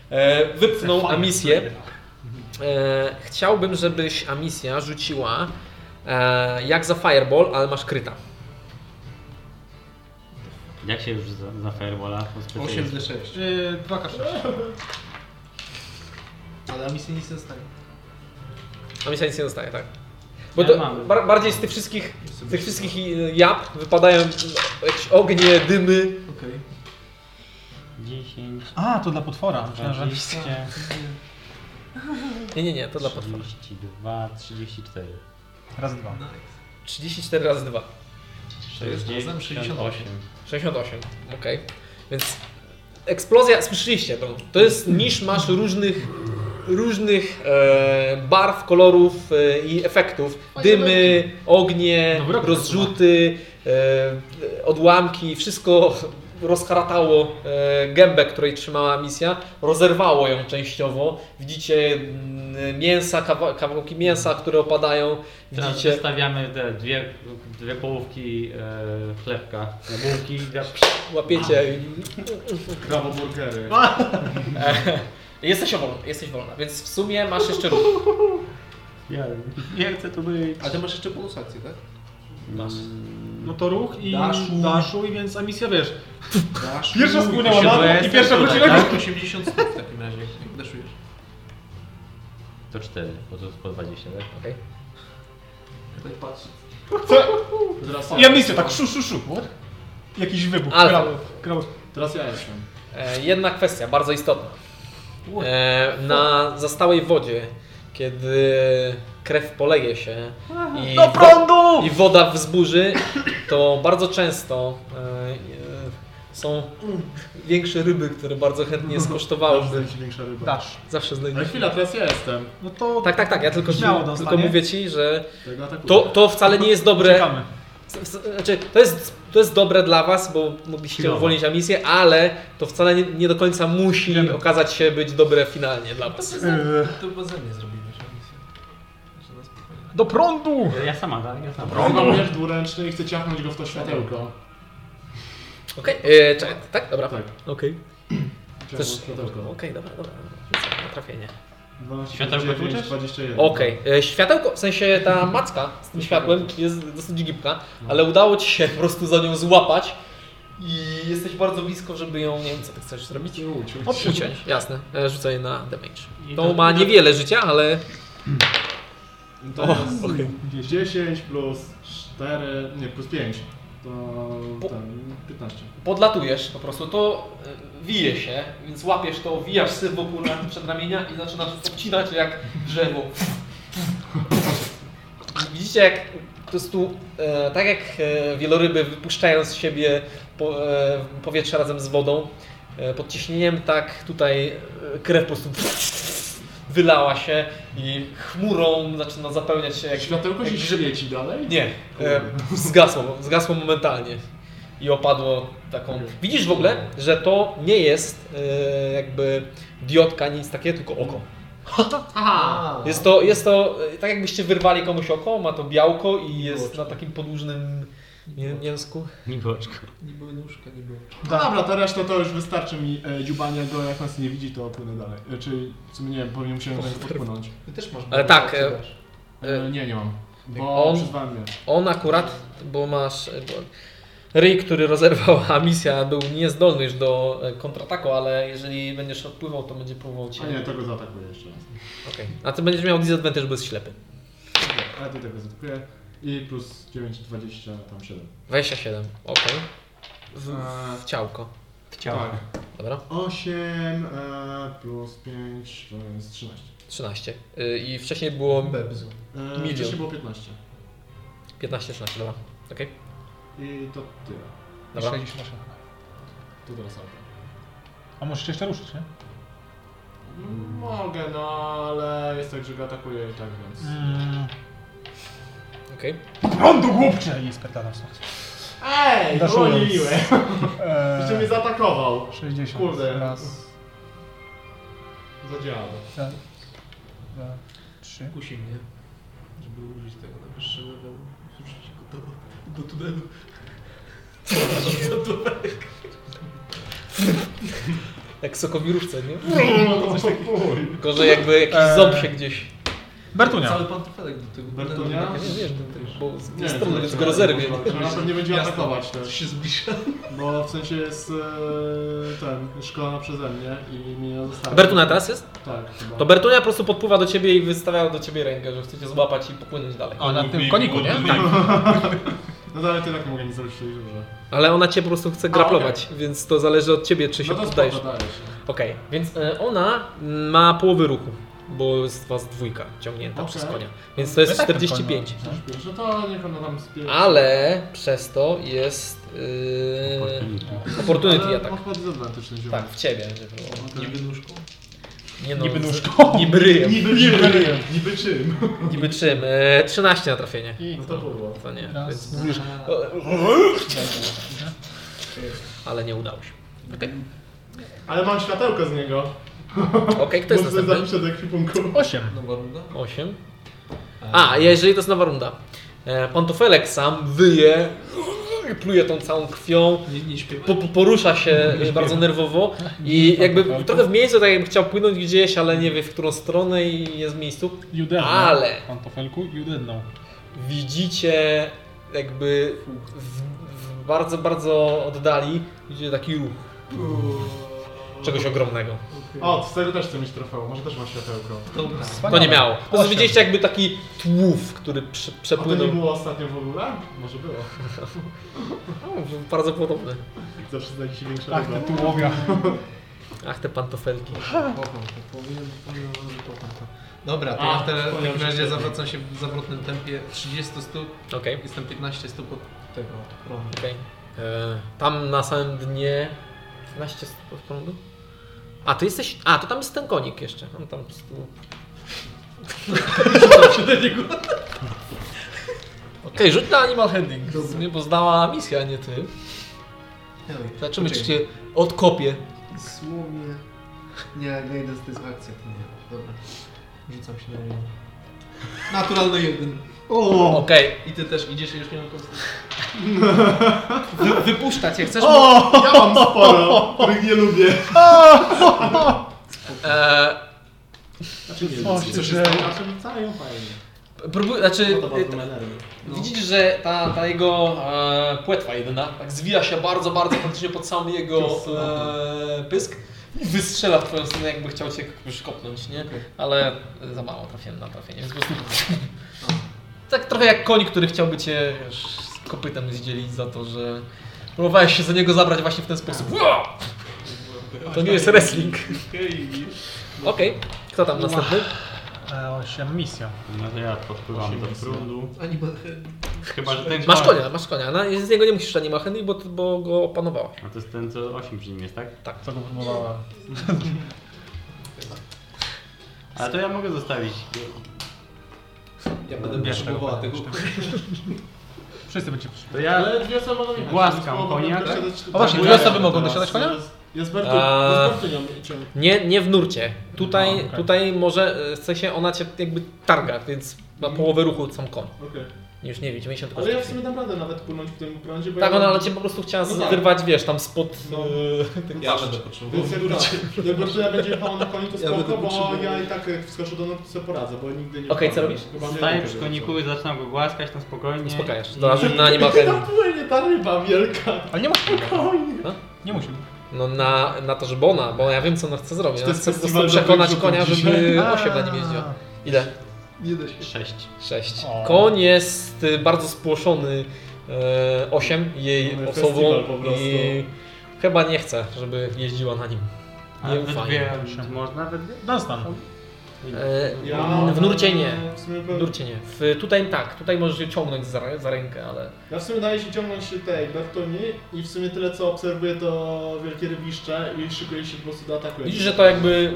e, wypchnął Amisję. E, chciałbym, żebyś Amisja rzuciła e, jak za Fireball, ale masz kryta. Jak się już za, za firewalla? po specjalistce? 8D6. Yy, 2K6. Ale misja nic nie dostaje. Amisja nic nie dostaje, tak? Bo Ja to, mam. bar, bardziej z tych wszystkich, z tych wszystkich i- jab wypadają jakieś ognie, dymy. Okej. 10, A, to dla potwora. Myślałem, że... 20, Nie, nie, nie, to dla potwora. 32, 34, Raz, dwa. 34 razy 2. jest razem 68. 68, okej. Więc eksplozja, słyszeliście to. To jest niż masz różnych, różnych e, barw, kolorów e, i efektów. Dymy, ognie, rozrzuty, e, odłamki, wszystko rozharatało e, gębę, której trzymała misja. Rozerwało ją częściowo. Widzicie mm, mięsa, kawa- kawałki mięsa, które opadają. Teraz Widzicie... wystawiamy te dwie, dwie połówki e, chlebka na bułki. i Ja... Łapiecie. Krawo burgery. Jesteś wolna, jesteś wolna, więc w sumie masz jeszcze ruch. Ja, nie chcę tu być. A ty masz jeszcze bonus akcję, tak? Masz. No to ruch i Daszu. daszu, i więc emisja wiesz. Dasz. [laughs] Pierwsza spłynęła na dół i pierwsza wróciła. Tak, 80 stóp w takim razie, jak daszujesz. To 4, bo to jest po 20, tak? Okej. Tutaj patrz. Teraz I ja. emisja tak szu, szu, szu. What? Jakiś wybuch. Ale- Krało, krało. Teraz ja jestem. E, Jedna kwestia, bardzo istotna. E, Na zastałej wodzie, kiedy krew poleje się i, wo- i woda wzburzy, to bardzo często e, e, są większe ryby, które bardzo chętnie skosztowałyby. Zawsze większa ryba. Dasz. Zawsze Ale znajdziesz. chwila, teraz ja jestem. No to Tak, tak, tak, ja tylko, Śmiało tylko dostanie. mówię Ci, że Tego Tak atakuję. to, to wcale nie jest dobre czekamy. Z- z- Znaczy, to jest, to jest dobre dla was, bo mogliście Chwilowo. uwolnić misję, ale to wcale nie, nie do końca musi Wiemy. okazać się być dobre finalnie dla was. Eee, To chyba ze mnie zrobiłeś misję. Znaczy na spokojnie. Do prądu! Ja sama, tak? Ja sama. Mam miecz dwuręczny i chcę ciachnąć go w to światełko. Okej, okay. tak? Dobra. Tak. no, Okej. Ciachnąć Chcesz- światełko. Okej, dobra, dobra. Rzucam na Trafienie. 12, Światełko 9, tłuczesz? 21. Okej, e, światełko, w sensie ta macka z tym światłem jest dosyć gibka, ale udało ci się po prostu za nią złapać i jesteś bardzo blisko, żeby ją, nie wiem co ty chcesz zrobić. Uciąć, jasne. E, Rzucaj na damage. I To ma niewiele życia, ale... To jest 10 plus 4, nie, plus 5. To Po- ten, 15. podlatujesz po prostu, to y, wije się, więc łapiesz to, wijasz syf wokół na przedramienia i zaczynasz obcinać jak drzewo. Widzicie, jak po prostu, e, tak jak e, wieloryby wypuszczają z siebie po, e, powietrze razem z wodą, e, pod ciśnieniem tak tutaj e, krew po prostu [laughs] wylała się i chmurą zaczyna zapełniać się jak... Jak światełko się jak- świeci dalej? Nie, e, zgasło, zgasło momentalnie i opadło taką... Widzisz w ogóle, że to nie jest e, jakby diodka, nic takiego, tylko [laughs] oko. Aha! Jest to, jest to e, tak jakbyście wyrwali komuś oko, ma to białko i jest na takim podłużnym mię- mięsku. [laughs] Miłoczko. Nie były nóżka, nie było. No dobra, to reszta to już wystarczy mi e, dziubania go, jak nas nie widzi, to płynę dalej. E, czyli, w sumie nie wiem, pewnie musiałem do niego podpłynąć. Ty też masz Ale tak, e, E, nie, nie mam. Bo on- on... przyzwałem mnie. On akurat, bo masz e, bo ryj, który rozerwała misja, był niezdolny już do e, kontrataku, ale jeżeli będziesz odpływał, to będzie próbował cię. A nie, to go zaatakuję jeszcze raz. Okej. A ty będziesz miał disadvantage, bo jest ślepy. A ja tutaj go zaatakuję. I plus 9, 20, tam 7. 27, okej. W, w ciałko, Chciałem. Tak. dobra? 8 e, plus 5 to jest 13. 13. Y, I wcześniej było bebzu. E, Milion. Wcześniej było 15. 15-16, dobra. Okej, I to tyle. dobra. Jeszcze niż nasza. To teraz auto. A możesz jeszcze ruszyć, nie? Mogę, no ale jest tak, że go atakuje i tak, więc... Mm. Okej. Prądu głupcze! I spierdalam stąd. Ej, Daszując. uwolniłem! Jeszcze mnie Eee, zaatakował. 60. Kurde. Raz, Zadziałało. dwa, dwa, trzy. Kusi mnie, żeby użyć tego na wyższy level. Wrzucić go do, do tunelu. Jak sokowirówce, nie? Tylko, że jakby jakiś Eee. ząb się gdzieś... Bertunia. Cały pantofelek do tego. Bertunia? tunelu. Ja nie wiesz, ten Też. bo z tej Nie, strony, to więc go znaczy, rozerwie. może- może Na pewno nie będzie Jasne. atakować To też. się zbliża. Bo w sensie jest e, ten, szkolona przeze mnie i mnie zostawia. Bertunia teraz jest? Tak, chyba. To Bertunia po prostu podpływa do ciebie i wystawia do ciebie rękę, że chcecie złapać i popłynąć dalej. A na tym koniku, nie? No dalej to i tak nie mogę nic zrobić w tej grze. Ale ona cię po prostu chce graplować, więc to zależy od ciebie, czy się No to poddajesz. tak. spoko, daje się. Okej, więc e, ona ma połowy ruchu, bo jest was dwójka ciągnięta Okej. przez konia. Więc to jest No i tak ten koń ma. 45. Też pięć. No to niech ona tam spie... Ale przez to jest yy, opportunity Ale attack. On wchodzi z zewnętrzny ziomek. Tak, w ciebie będzie próbował. No Niby nóżką. Nie no, Niby z- nóżką. Niby ryjem. Niby czym? Niby czym? Niby czym? E, 13 na trafienie. No to było. To nie. Raz, Więc... dwa, Ale nie udało się. Okej, Ale mam światełko z niego. Okej, kto jest Bo sobie następny? zapiszę do ekwipunku. osiem. Nowa runda. 8. A, jeżeli to jest nowa runda. E, Pantofelek sam wyje i pluje tą całą krwią. Nie, nie śpiewa. Po, po, porusza się bardzo nerwowo No, tak, i jakby trochę w miejscu, tak jakby chciał płynąć gdzieś, ale nie wie w którą stronę i jest w miejscu. Judenno. Ale- Pantofelku, judenno. Widzicie jakby w, w bardzo, bardzo oddali, widzicie taki ruch czegoś ogromnego. O, z tego też chcę mieć trofeum, może też mam światełko. Dobra. To nie miało. Po prostu Osiem. widzieliście jakby taki tłów, który prze, A to nie przepłynął. było ostatnio w ogóle? Może było. O, No, bardzo podobny. Zawsze znajdzie się większa Tak, ryba. te tułowia. Ach, te pantofelki. Kocham to, powiem, powiem wam, że kocham to. Dobra, to A, ja w tele- w wspomniałem, takim że razie świetnie. zawracam się w zawrotnym tempie 30 stóp. Okej. Jestem 15 stóp od tego prądu. Okej. E, Tam na samym dnie 12 stóp od prądu. A ty jesteś. A to tam jest ten konik jeszcze. On tam z [laughs] tyłu. Okej, rzuć na animal handling. Rozumiem, bo zdała misja, nie ty. Zobaczymy, czy cię odkopie. Słownie. Nie, nie idę satysfakcja, to nie. Dobra. Rzucam się na nią. Naturalny jeden. O, Okej. I ty też idziesz i już nie mam kostek. Wy, wypuszcza cię, chcesz. Ja mam sporo, których nie lubię. E, Znaczy nie O, lubię. się drzewo. A czym cają fajnie. próbuj, znaczy, Podoba e, to energii. Widzisz, że ta, ta jego e, płetwa jedyna tak zwija się bardzo, bardzo praktycznie pod sam jego e, pysk i wystrzela w twoją stronę, jakby chciał cię już kopnąć, nie? Ale za mało trafiłem na trafienie, więc po prostu... [laughs] tak trochę jak koń, który chciałby cię wiesz, z kopytem zdzielić za to, że próbowałeś się za niego zabrać właśnie w ten sposób. Wow! To nie jest wrestling. Okej, kto tam następny? E, Osiem misja. No to ja podpływam do prądu. Ani Chyba, że ten Masz konia, masz konia. Na, z niego nie musisz ani machenii, bo, bo go opanowała. A No to jest ten, co 8 przy nim jest, tak? Tak, co go próbowała. [laughs] Ale to ja mogę zostawić. Ja będę Bierz tego potrzebowała tego. Wszyscy będziecie przyszli. To ja Ale dwie osoby mogą jechać. Głaskam Mogą konia, też tak? dosiadać- O właśnie, tak, dwie ja- osoby mogą teraz. dosiadać konia? Ja z Bertu, A- z Bertynią idziemy. Nie, nie w nurcie. Tutaj, No, okej. tutaj może, e, w sensie ona cię jakby targa, więc na połowę ruchu sam koń. Okej. Już nie widzi, 50 Ale ja w sumie dam radę nawet płynąć w tym prądzie, bo Tak, ja ona ale cię po prostu chciała No tak. wyrwać, wiesz, tam spod... No. E, tak, Ja będę potrzebował. Więc jak tak, jak Bertulia będzie jechała na koniu, to Ja będę spoko, bo potrzebował. ja i tak e, jak wskoczę do nóg, to sobie poradzę, bo nigdy nie... Okej, co robisz? Chyba nie staję wiem, przy tego, koniku i zaczynam go głaskać tam spokojnie. Uspokajasz. I- Dobra, na [laughs] nie ma Tam płynie ta ryba wielka. Ale nie musi. Koń. Nie musi. No na, na to, żeby ona, bo ja wiem co ona chce zrobić. Czy Ona to jest chce po prostu festiwal przekonać dobrych konia, życzeń? żeby [laughs] 8 na nim jeździło. Eee, Ile? Nie da się. Sześć. 6. O. Koń jest y, bardzo spłoszony 8 jej Mamy osobą festiwal po prostu. i chyba nie chce, żeby jeździła na nim. A Nie we ufaj. dwie, można we dwie? Dunstan. E, Ja- w nurcie nie. W sumie W powiem- nurcie nie. W, tutaj tak, tutaj możesz je ciągnąć za, rę- za rękę, ale Ja w sumie daję się ciągnąć tej Bertoni i w sumie tyle co obserwuję to wielkie rybiszcze i szykuję się po prostu do ataku. widzisz, że to jakby,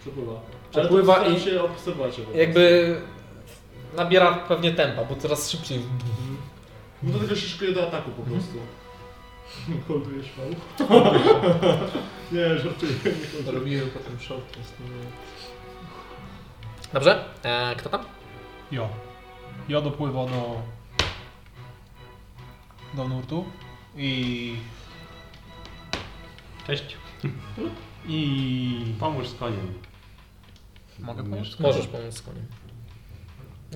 Przepływa. Przepływa Ale to i- staram się obserwować. je po jakby nabiera pewnie tempa, bo coraz szybciej. prostu. No to tylko się szykuję do ataku po prostu. Mhm. Holduje śmiał. [laughs] Nie, żartuję. nie holduję. Robiłem potem short test. nie- Dobrze? E, kto tam? Jo. Jo dopływa do... do nurtu i... Cześć. i... Pomóż z koniem. Mogę pomóc? Możesz pomóc z koniem.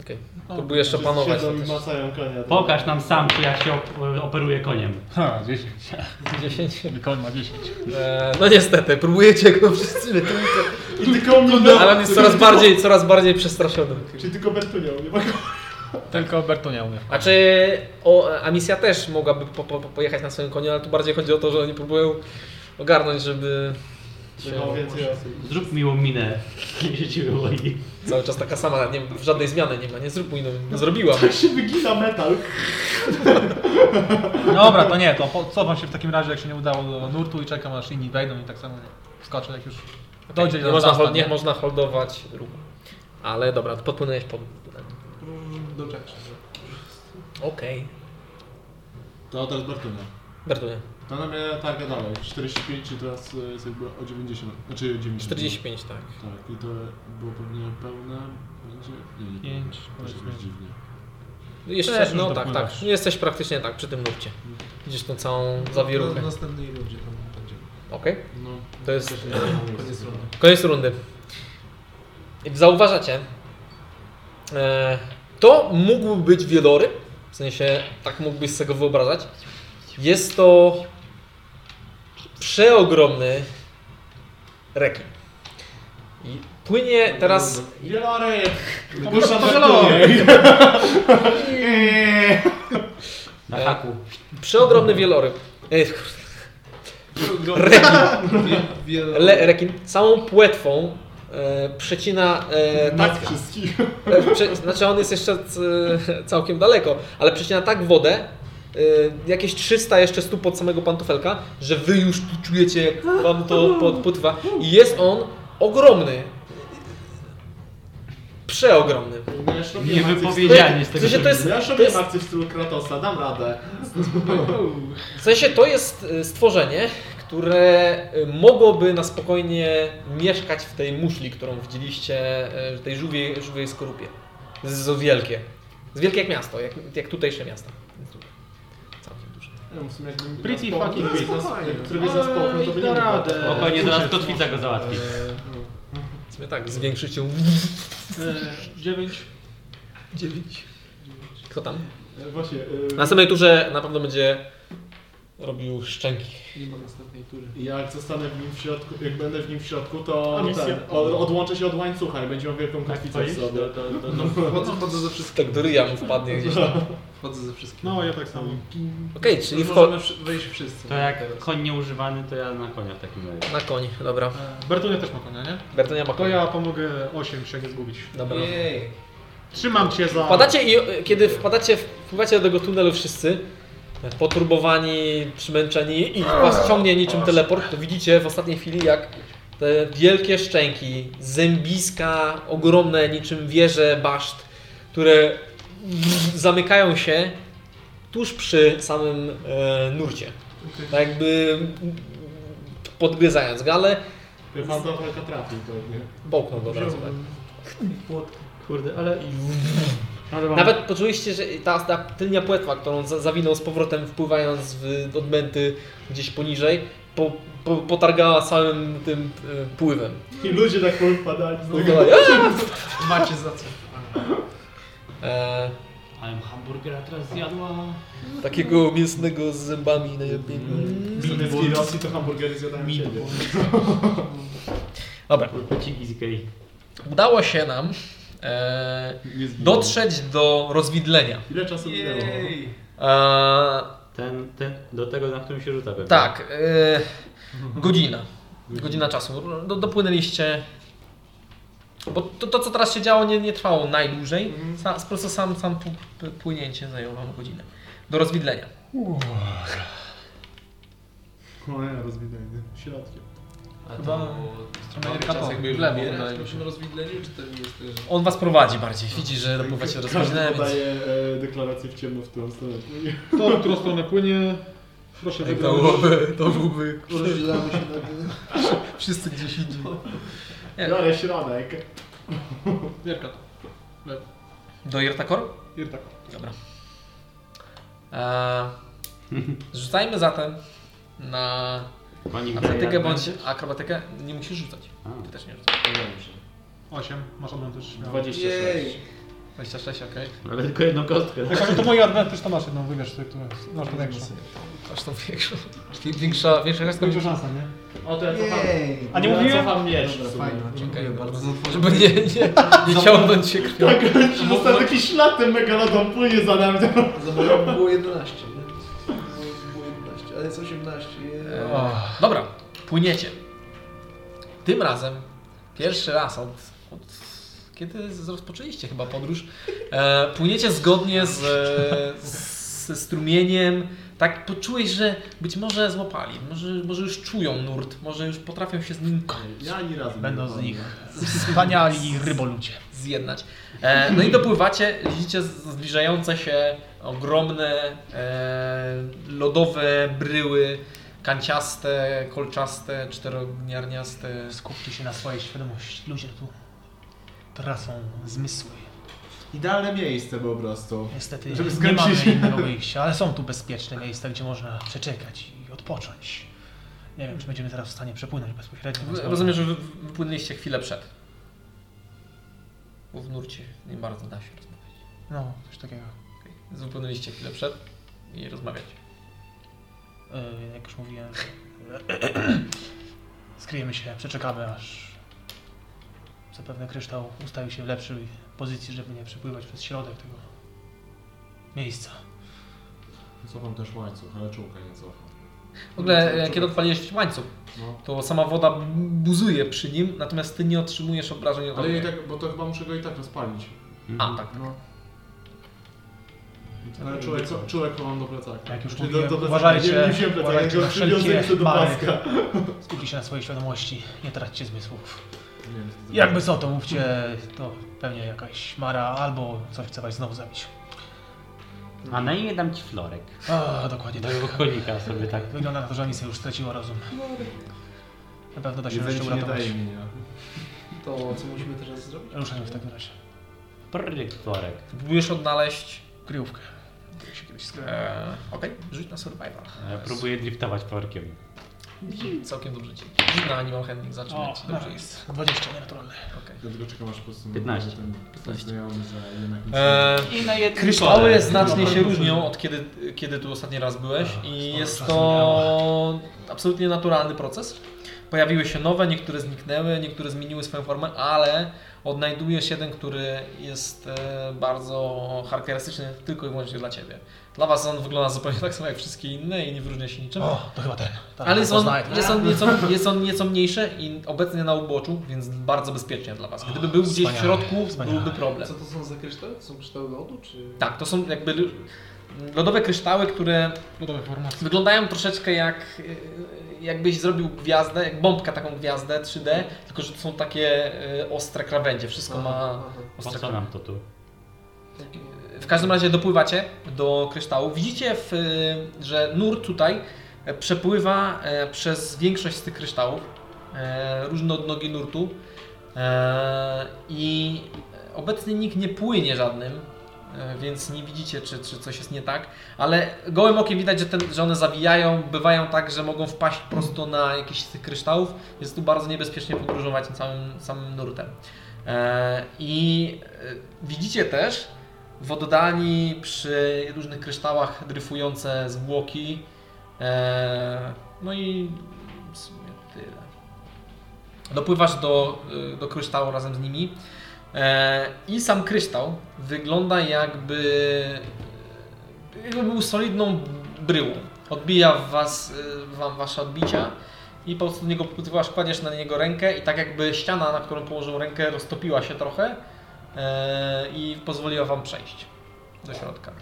Okej. No, Próbujesz Wszyscy opanować to Siedzą i też. macają konia. Pokaż nam sam, tu jak się op operuje koniem. Ha, 10. 10. Koń ma 10. E, no niestety, próbujecie go wszyscy wytłumaczyć. I tylko mnie No. Ale on jest coraz bardziej, coraz bardziej przestraszony. [laughs] Czyli tylko Bertunią, nie ma kogo. Tylko Bertunia umie. A czy o, a misja też mogłaby po, po, po- pojechać na swoim koniu, ale tu bardziej chodzi o to, że oni próbują ogarnąć, żeby Trzeba więcej osób. Zrób miłą minę, [laughs] jeśli cię boli. cały czas taka sama, nie, żadnej zmiany nie ma, nie zrób mi, no, no zrobiłam. Tak się wygina metal. Dobra, to nie, to po- cofam się w takim razie, jak się nie udało do nurtu i czekam aż inni wejdą i tak samo skoczę, jak już dojdzie Nie do można, Dunstan, hold, nie można holdować ruchu. Ale dobra, to podpłynąłeś pod... Do Jacksa. Okej. To teraz Bertynia. Bertunie, No To na mnie tak, targa dalej. 45 czy e, teraz y, jest jakby o 90. Znaczy o 90. 45 tak. Tak, i to było pewnie pełne. Będzie. Nie, nie. Pięć, To się powiedzmy. jakoś dziwnie. Jeszcze, Też już no tak, dopływasz. tak. Jesteś praktycznie tak przy tym nurcie. Widzisz tą całą Na zawieruchę. następnej rundzie tam będzie. Okej, No, to jest Koniec rundy. Koniec rundy. Zauważacie, e, to mógł być wieloryb, w sensie tak mógłbyś sobie go wyobrażać. Jest to przeogromny rekin. I płynie teraz, Wielorej! Dusza Na E. haku. przeogromny wieloryb, e, rekin, Wie- Wiele... le, rekin samą płetwą e, przecina e, tak wszystkich. E, Prze- znaczy on jest jeszcze c- całkiem daleko, ale przecina tak wodę, y, jakieś 300 jeszcze stóp od samego pantofelka, że wy już tu czujecie, jak wam to podpływa. I jest on ogromny. Przeogromny. No, ja już robiłem Nie akcję w stylu- wypowiedzianie z W tego. sensie to jest- Ja już to robiłem jest, akcję w stylu Kratosa, dam radę. w sensie to jest y, stworzenie, które y, mogłoby na spokojnie mieszkać w tej muszli, którą widzieliście, y, w tej żółwiej, żółwiej skorupie. Z, z wielkie. Z wielkie jak miasto, jak, jak tutejsze miasta. Całkiem duże. Ja w sumie jakbym Pretty nas połknął, fucking nas- pretty. jak Któregoś nas połknął, to by nie da było. radę. Spokojnie, zaraz kotwica go załatwi. W sumie tak, zwiększyć ją. E, 9. 9. Kto tam? E, Właśnie, Na e, następnej turze na pewno będzie robił szczęki. Nie ma następnej tury. jak zostanę w nim w środku, jak będę w nim w środku, to misja? ten, od, odłączę się od łańcucha i będzie miał wielką kotwicę w sobie. To, to, to, to. Chodzą po to ze wszystkim. Tak do ryja mu wpadnie gdzieś tam. Wchodzę ze wszystkim. No, ja tak samo. Okej, czyli wcho- Możemy wszy- wejść wszyscy. To jak Teraz. koń nieużywany, to ja na konia w takim razie. na koń, dobra. Bertonia też ma konia, nie? Bertonia ma To konia. ja pomogę 8 się nie zgubić. Dobra. no. Jej. Trzymam cię za... Wpadacie i e, kiedy wpadacie, wpływacie do tego tunelu wszyscy, e, poturbowani, przymęczeni i was ciągnie niczym teleport, to widzicie w ostatniej chwili jak te wielkie szczęki, zębiska, ogromne niczym wieże baszt, które zamykają się tuż przy samym e, nurcie. Tak jakby mm, podgryzając galę, Fantofelka trafi pewnie. bołknął od razu. tak. Kurde, ale... ale mam- Nawet poczuliście, że ta, ta tylnia płetwa, którą za, zawinął z powrotem wpływając w odmęty gdzieś poniżej, po, po, potargała samym tym e, pływem. I ludzie tak powpadali z Mhm. tego. Macie za co. E, Ale hamburgera teraz zjadła. takiego mięsnego z zębami najlepiej. Zamiast Mhm. w Rosji to hamburgery zjadałem ciebie. Dobra, Pociki z gej. udało się nam e, Nie zginął. dotrzeć do rozwidlenia. Ile czasu minęło? Jej. E, Ten, ten, do tego, na którym się rzuca pewnie. Tak, e, godzina. Godzina czasu. Do, dopłynęliście. Bo to, to, co teraz się działo, nie, nie trwało najdłużej. Mhm. Sa, po prostu sam, sam pu- p- płynięcie zajęło wam godzinę. Do rozwidlenia. O No, ja, rozwidlenie. Środkiem. A Chyba to było strona cały czas Jerkatowa. jakby W lewo wybierać wydaje mi po się. tym rozwidleniu, czy to nie jest tak, też... On was prowadzi bardziej. Widzi, że No dopływacie do Każdy rozwidlenia, więc podaje e, deklarację w ciemno w którą stronę. To, w którą stronę płynie, proszę to wybrać. byłby, to byłby Rozdzielamy się na [laughs] wszyscy gdzieś indziej. No, Biorę środek. Wierka to. Do Jertakor? Wierka. Dobra. E, rzucajmy zatem na Konik atletykę daje bądź advantage? akrobatykę. Nie musisz rzucać. A, Ty też nie rzucasz. dobrze. 8, masz advantage. śmiało. 26. 26, okej. Ale tylko jedną kostkę. Tak, ale to moje advantage to masz jedną, wybierz sobie, które masz ten większą. Aż tą większą. Czyli większa, większa gwiazdka Większa szansa, nie? O, to ja Jej. A nie mówiłem? cofam miecz. Dobra, fajnie. Dziękuję bardzo za Żeby tworzenie. nie, nie, nie ciągnąć się krwią. Tak, że został taki ślad ten megalodon płynie za nami. Za moją było 11, nie? Za Było 11, ale jest 18. jej. E, dobra, płyniecie. Tym razem, pierwszy raz od, od kiedy z- rozpoczęliście chyba podróż, e, płyniecie zgodnie z, e, z, ze strumieniem. Tak poczułeś, że być może złapali, może, może już czują nurt, może już potrafią się z nim Ja ani razu nie Będą z wypadłem. nich wspaniali ryboludzie. zjednać. E, no i dopływacie, widzicie z- zbliżające się ogromne e, lodowe bryły, kanciaste, kolczaste, czterogniarniaste. Skupcie się na swojej świadomości. Ludzie tu tracą zmysły. Idealne miejsce po prostu. Niestety Żeby nie mamy skręcić. innego wyjścia, ale są tu bezpieczne miejsca, gdzie można przeczekać i odpocząć. Nie wiem, czy będziemy teraz w stanie przepłynąć bezpośrednio. W- Rozumiem, że wy wy- wypłynęliście chwilę przed. Bo w nurcie nie bardzo da się rozmawiać. No, coś takiego. Okay. Wypłynęliście chwilę przed i rozmawiacie. Yy, jak już mówiłem, [clears throat] skryjemy się, przeczekamy, aż zapewne kryształ ustawi się w lepszej pozycji, żeby nie przepływać przez środek tego miejsca. Cofam też łańcuch, ale czułka nie cofam. W ogóle, e, kiedy odpaliłeś łańcuch, No. to sama woda buzuje przy nim, natomiast ty nie otrzymujesz obrażeń od Ale i ognia. tak, bo to chyba muszę go i tak rozpalić. A, tak. No. tak, Ale czułek, czułek mam do plecaka. Jak już Czyli mówiłem, do- do plecaka. uważajcie, Nie wziąłem plecaka, uważajcie go na przywiązałem wszelkie sobie do mary. paska. Skupcie się na swojej świadomości, nie traćcie zmysłów. Nie wiem, co to Jakby co, to mówcie, to pewnie jakaś mara albo coś chce was znowu zabić. A na imię dam ci florek. A, dokładnie tak. Tego konika sobie tak. Wygląda na to, że Anisa już straciła rozum. Na pewno da się Jedzenie jeszcze ci nie uratować. daje imienia. To co musimy teraz zrobić? Ruszajmy w takim razie. Prryk florek. Próbujesz odnaleźć. Kryjówkę. Jak się kiedyś skrywa. E, Okej, rzuć na survival. Ja próbuję driftować florkiem. Całkiem dobrze ci. Rzuć na animal handling, zobaczymy O, jak ci dobrze dobrze jest. 20 nienaturalne. Okej. Dlatego czekam aż po prostu... 15. Ten, ten znajomy, że jednak nic nie... Eee, I na jednym No, kryształy znacznie się różnią od kiedy, kiedy tu ostatni raz byłeś i sporo jest czasu to absolutnie naturalny proces. Pojawiły się nowe, niektóre zniknęły, niektóre zmieniły swoją formę, ale odnajdujesz jeden, który jest e, bardzo charakterystyczny tylko i wyłącznie dla ciebie. Dla was on wygląda zupełnie tak samo jak wszystkie inne i nie wyróżnia się niczym. O, to chyba ten. Tak, Ale jest on, poznaję ten. jest, on nieco, jest on nieco mniejszy i obecnie na uboczu, więc bardzo bezpiecznie dla Was. Gdyby był gdzieś w wspaniale, środku, wspaniale. byłby problem. Co to są za kryształy? To są kryształy lodu, czy... Tak, to są jakby l- lodowe kryształy, które Lodowe formacje. wyglądają troszeczkę jak y, jakbyś zrobił gwiazdę, jak bombka taką gwiazdę 3D, tylko że to są takie y, ostre krawędzie, wszystko ma Aha. Po ostre co krawędzie. nam to tu? W każdym razie dopływacie do kryształu. Widzicie, w, y, że nur tutaj e, przepływa e, przez większość z tych kryształów, e, różne odnogi nurtu e, i obecnie nikt nie płynie żadnym, e, więc nie widzicie, czy, czy coś jest nie tak, ale gołym okiem widać, że, ten, że one zawijają, bywają tak, że mogą wpaść prosto na jakiś z tych kryształów, więc tu bardzo niebezpiecznie podróżować samym, samym nurtem. E, I e, widzicie też, w oddali przy różnych kryształach dryfujące zwłoki. Eee, no i w sumie tyle. Dopływasz do, y, do kryształu razem z nimi. Eee, I sam kryształ wygląda jakby, jakby był solidną bryłą. Odbija w was, y, wam wasze odbicia i po prostu do niego podpływasz, kładziesz na niego rękę i tak jakby ściana, na którą położył rękę, roztopiła się trochę e, i pozwoliła wam przejść do środka.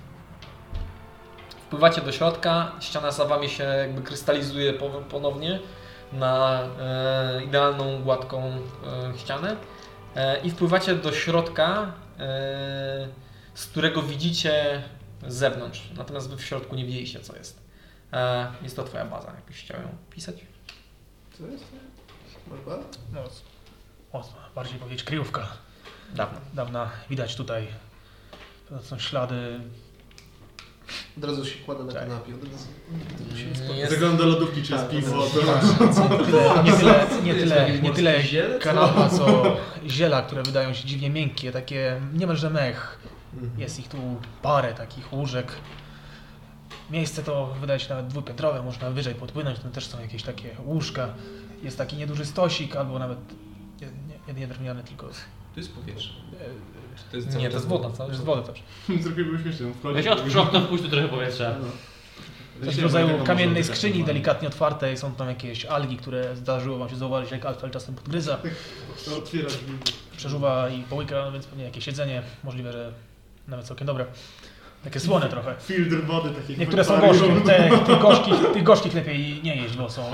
Wpływacie do środka, ściana za wami się jakby krystalizuje po- ponownie na e, idealną, gładką e, ścianę e, i wpływacie do środka, e, z którego widzicie z zewnątrz, natomiast wy w środku nie widzieliście co jest. E, jest to twoja baza, jakbyś chciał ją pisać. Co jest? Masz bar? No, mocno, bardziej powiedzieć kryjówka. Mm, Dawno. Dawna widać tutaj. To są ślady. Od razu się kłada na kanapie, od razu... To się nie Jest- Zagląda do lodówki, czy jest piwo. to- [laughs] No, Nie tyle, nie tyle, nie morski tyle ziel, co? kanapa, co ziela, które wydają się dziwnie miękkie, takie niemalże mech. Mhm. Jest ich tu parę takich łóżek. Miejsce to wydaje się nawet dwupiętrowe, można wyżej podpłynąć, tam też są jakieś takie łóżka. Jest taki nieduży stosik, albo nawet nie, nie, nie drewniany, tylko e, To jest powietrze. Czy to jest Nie, to jest woda, to co? jest woda też. Trochę było śmieszne. Wchodzi- Weź odprzątnął, wpuść tu trochę powietrza. Coś w rodzaju kamiennej tak. skrzyni, delikatnie otwartej, są tam jakieś algi, które zdarzyło wam się zauważyć, jak alfel czasem podgryza, To Otwiera drzwi. przeżuwa i połyka, więc pewnie jakieś jedzenie, możliwe, że nawet całkiem dobre. Takie słone trochę. Filtr wody takie. Niektóre są gorzkie, [laughs] te, tych, gorzkich, tych gorzkich lepiej nie jeść, bo są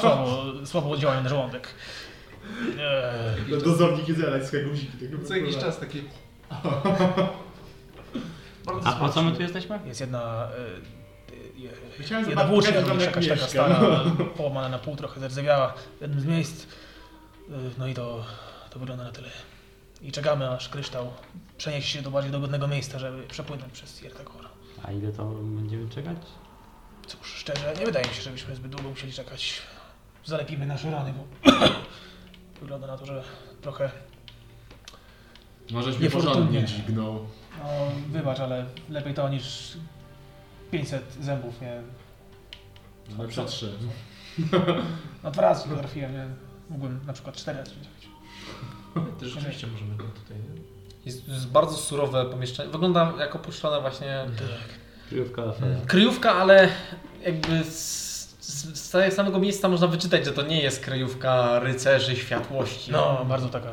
słabo, słabo działają na żołądek. Eee, Dozorniki zelać z guziki. tak Co jakiś czas takie... Bardzo A po co my smaczne. tu jesteśmy? jest jedna... E, Chciałem Jedna zobaczyć, włócznia jak tam tam jak jakaś taka mieszka. stara, połamana na pół, trochę zerzewiała w jednym z miejsc. Y, No i to, to wygląda na tyle. I czekamy, aż kryształ przeniesie się do bardziej dogodnego miejsca, żeby przepłynąć przez Jertakor. A ile to będziemy czekać? Cóż, szczerze, nie wydaje mi się, żebyśmy zbyt długo musieli czekać. Zalepimy nasze rany, bo [clears throat] wygląda na to, że trochę... Możeś mi Niefortunnie. porządnie dźwignął. No, wybacz, ale lepiej to niż 500 zębów, nie? Ale przetrze. No dwa razy trafiłem, nie? Mógłbym na przykład cztery razy To rzeczywiście możemy go tutaj... nie? Jest, jest bardzo surowe pomieszczenie. Wygląda jak opuszczone właśnie Mhm. Kryjówka afera. kryjówka, ale jakby z, z, z całego- samego miejsca można wyczytać, że to nie jest kryjówka rycerzy światłości. No, bardzo taka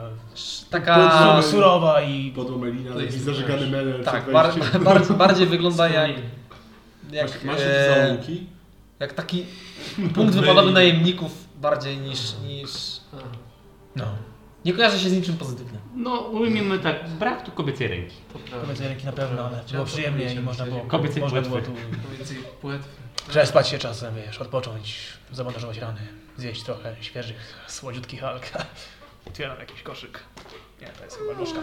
Taka... surowa i Podłomelina, To taki jest- zażegany menel. Tak, bar, bar, [laughs] bardziej wygląda jak... jak Masz, masz jakieś e, załuki? jak [laughs] taki punkt wypadowy najemników bardziej niż, niż... A. no, Nie kojarzy się z niczym pozytywnym. No ujmijmy tak, brak tu kobiecej ręki. kobiece ręki na pewno, ale było przyjemnie i można było, Kobiecej można było płetwy. tu Więcej płetw. przespać się czasem, wiesz, odpocząć, zabandażować rany, zjeść trochę świeżych, słodziutkich alg. [laughs] Otwieram jakiś koszyk. Nie, to jest chyba nóżka.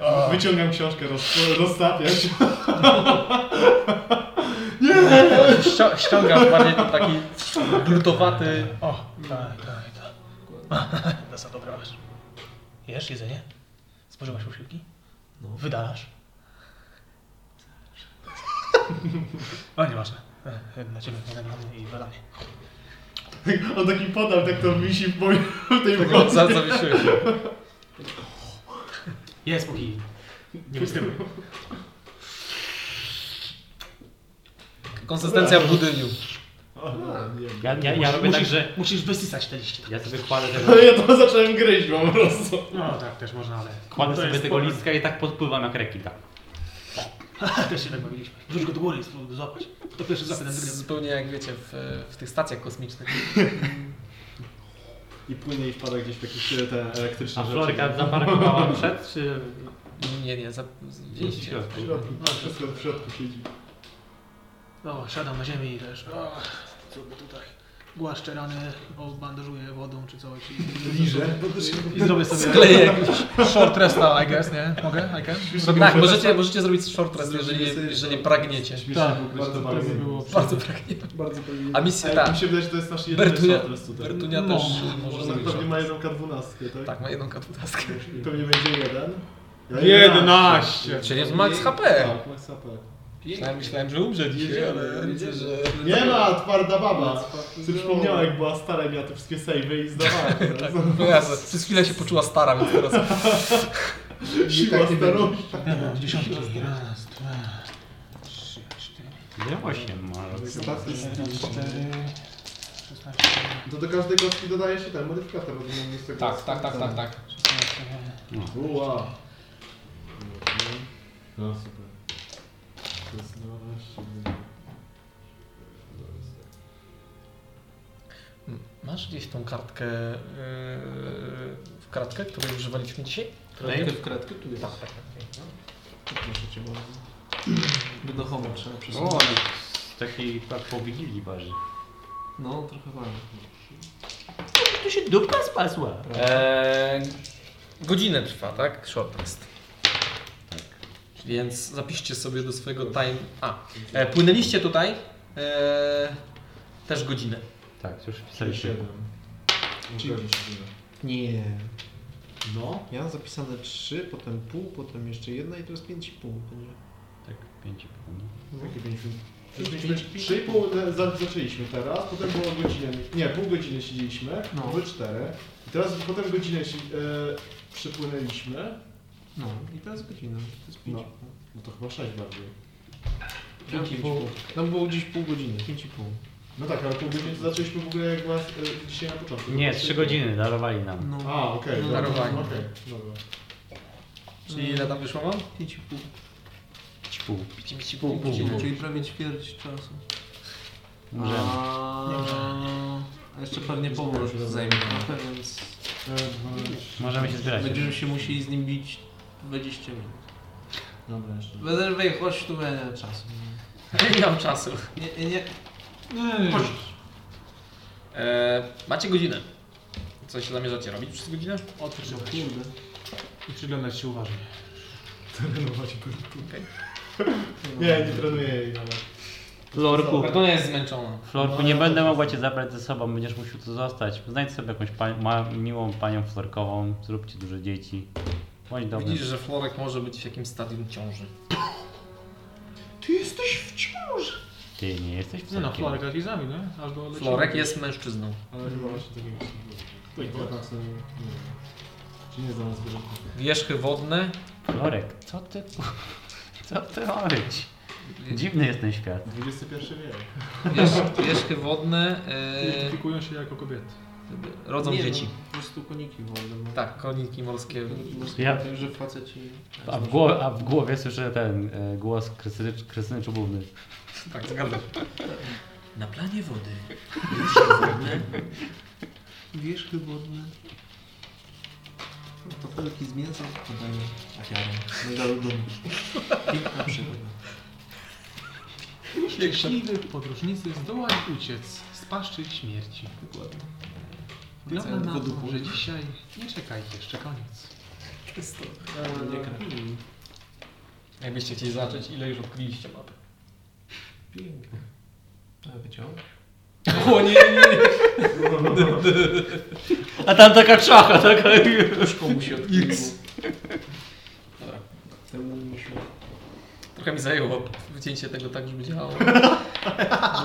O, Wyciągam książkę, roz, rozstawiam się. Ścia- Ściągasz bardziej ten taki glutowaty... [laughs] o tak, tak, tak. [laughs] To są dobra rzecz. Jesz jedzenie? Spożywasz posiłki? No. [laughs] Wydalasz? O, nieważne. E, Na ciebie, na mnie i wydanie. On taki podał, tak to wisi w, moim, w tej Tego wodzie. za, zawiesiłeś. Jest póki. Nie wystymuj. Konsystencja w budyniu. Ja, ja, ja robię tak, Musisz, że musisz wysysać te liście. ja sobie kładę tego, No ja to zacząłem gryźć po prostu. No tak, też można, ale kładę To sobie jest tego pomysł. listka i tak podpływam jak reki, tak. [laughs] też się tak bawiliśmy. Wrzuć go do góry i spróbuj złapać. To pierwszy zapyt ten wygrywa. Zupełnie jak wiecie, w, w tych stacjach kosmicznych. I płynie i wpada gdzieś w jakieś e, te elektryczne A rzeczy. Florka zaparkowała przed, czy... Nie, nie, za, w widzieliście. środku? No, Wszystko w środku siedzi. No, siadam na ziemi i też. O, co by tutaj? Głaszczę rany, bandażuję wodą czy coś. I, Liże. No I zrobię sobie Skleję jakiś. short resta, I guess, nie? Mogę? I can? Tak, możecie, możecie zrobić short rest, jeżeli, Zrobimy sobie jeżeli short pragniecie. Śmiesznie było, Tak, bardzo to fajnie bardzo- było. Bardzo pragniecie. Bardzo pewnie. A misja Ej, ta. Mi się wydaje, że to jest nasz jedyny Bertunia- shot teraz tutaj. Bertunia No. też może Może zrobić pewnie short ma rest. jedną K12, tak? Tak, ma jedną katutaskę. I pewnie będzie jeden. Ja 11! Czyli jest max HP. No. Tak, max HP. Myślałem, myślałem, że umrze dzisiaj, ale widzę, że... Nie ma, twarda baba! Ty przypomniałem, jak była stara i miała te wszystkie save'y i zdawała. [laughs] teraz. No jasne, przez chwilę się poczuła stara, więc teraz... Siła starości. Dziesiątki. Raz, dwa, trzy, cztery, Nie, osiem może. cztery, szesnaście, To do każdej kostki dodaje się ten modyfikator, rozumiem, z tego tak. szesnaście. Uła. No super. 16. Hmm. Masz gdzieś tą kartkę... Yy, w kratkę, której używaliśmy dzisiaj? Kratkę w kratkę tu jest. Tak, tak. Proszę cię bardzo. By do homo trzeba O, przesunąć. ale z takiej tak po Wigilii waży. No, trochę ważne. Tu się dupka spasła. Eee, godzinę trwa, tak? Short rest. Tak. Więc zapiszcie sobie do swojego time... A, e, płynęliście tutaj e, też godzinę. Tak, już wpisaliśmy. Nie. No. Ja mam zapisane 3, potem pół, potem jeszcze jedna i to jest 5,5 będzie. Tak, pięć i pół. No. Jakie 3,5 zaczęliśmy teraz, potem było godzinę. Nie, pół godziny siedzieliśmy, No. były 4. I teraz potem godzinę si- e, przypłynęliśmy. No i teraz godzina. To jest 5,5. No. No to chyba 6 bardziej. No. Pięć i pół. Tam było gdzieś pół godziny, 5,5. No tak, ale pół godziny to zaczęliśmy w ogóle jak was e, dzisiaj na początku. Nie, trzy godziny darowali nam. No, A, okej, dobra. Darowanie. Okej, dobra. Czyli ile tam wyszło mam? 5,5. Pięć i pół. Czyli, czyli prawie ćwierć czasu. Może. A, a jeszcze pewnie powrót zajmie trochę, więc E, dwa- Możemy się zbierać. będziemy się musieli z nim bić 20 minut. Dobra, jeszcze. Będę wej, chodź tu będzie czasu. [laughs] Nie mam czasu. Nie, nie, E, macie godzinę. Co się zamierzacie robić przez godzinę? Odprzyjmy. kurde. I przyglądać się uważnie. Trenować kurtku. [laughs] Nie, nie trenuję jej nawet. Florku, Bertunia jest zmęczona. Florku, nie będę mogła cię zabrać ze sobą, będziesz musiał tu zostać. Znajdź sobie jakąś pa- ma- miłą panią florkową, zróbcie dużo dzieci. Bądź dobry. Widzisz, że Florek może być w jakimś stadium ciąży. Ty nie jesteś Nie no, Florek florkiem. leci z nami, nie? Aż do lecimy. Florek jest mężczyzną. Ale chyba właśnie takiego nie było. Tak, tak sobie- nie wiem. Czy nie znam zwierzęta? Wierzchy wodne. Florek, co ty... [laughs] Co ty robisz? Dziwny jest ten świat. XXI wiek. Wierz, wierzchy wodne e, Identyfikują się jako kobiety. rodzą Nie, dzieci. No, po prostu koniki wolne. no. Tak, koniki morskie. Koniki morskie, Ja- ja... że faceci... A w, głowie, a w głowie słyszę ten e, głos Krystyny, Krystyny Czubówny. Tak, zgadzam. Na planie wody. Wierzchy wodne. Tafelki z mięsa podają ofiarę. Mega ludowy. Piękna przygoda. Szczęśliwy podróżnicy zdołali uciec z paszczy śmierci. Dokładnie. Wygląda Wracając na do duchu. to, że dzisiaj nie czekajcie, jeszcze koniec. Nie kręci. Jakbyście chcieli zacząć, ile już odkryliście mapy? Pięknie. A wyciągnął? [laughs] O nie, nie, nie. A tam taka czacha, taka... Komu [laughs] się odkryło? Dobra. Temu misiu. Trochę mi zajęło wycięcie tego tak, żeby działało.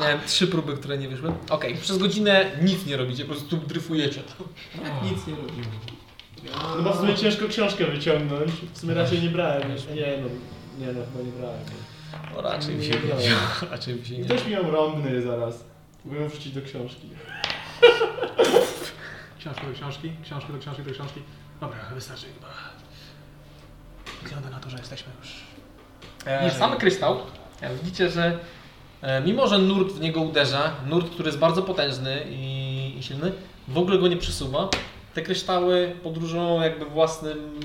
Miałem trzy próby, które nie wyszły. Okej, przez godzinę nic nie robicie, po prostu dryfujecie. Nic nie Tak robimy. Ja... No bo w sumie ciężko książkę wyciągnąć. W sumie raczej nie brałem jeszcze. Nie no, nie no, chyba nie brałem. No raczej mi się Nie nie brałem. Raczej mi się nie Ktoś mi ją rąbny zaraz. Mogę ją wrzucić do książki. Książki do książki, książki do książki do książki. Dobra, wystarczy chyba. Wygląda na to, że jesteśmy już. E, Sam kryształ. e, Widzicie, że e, mimo, że nurt w niego uderza, nurt, który jest bardzo potężny i, i silny, w ogóle go nie przesuwa. Te kryształy podróżują jakby własnym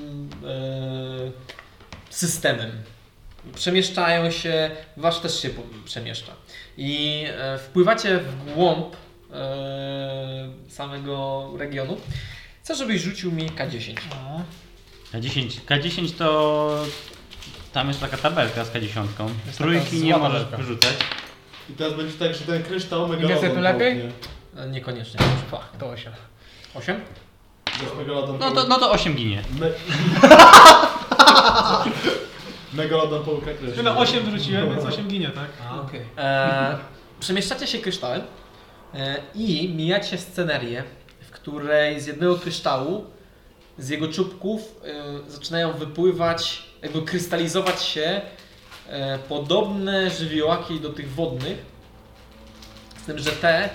e, systemem. Przemieszczają się, wasz też się po- przemieszcza. I e, wpływacie w głąb e, samego regionu. Chcę, żebyś rzucił mi K10. K10. K10 to... Tam jest taka tabelka z K10. Jest taka Trójki zła nie możesz tabelka. wyrzucać. I teraz będzie tak, że ten kryształ mega. więcej tu lepiej? E, Niekoniecznie. Pach. To osiem. 8? Megalodon No to, no to 8 ginie. Me... [laughs] Megalodon połyka krew. Tyle 8 wyrzuciłem, więc 8 ginie, tak? A, okej. E, przemieszczacie się kryształem e, i mijacie scenerię, w której z jednego kryształu, z jego czubków e, zaczynają wypływać, jakby krystalizować się e, podobne żywiołaki do tych wodnych. Z tym, że te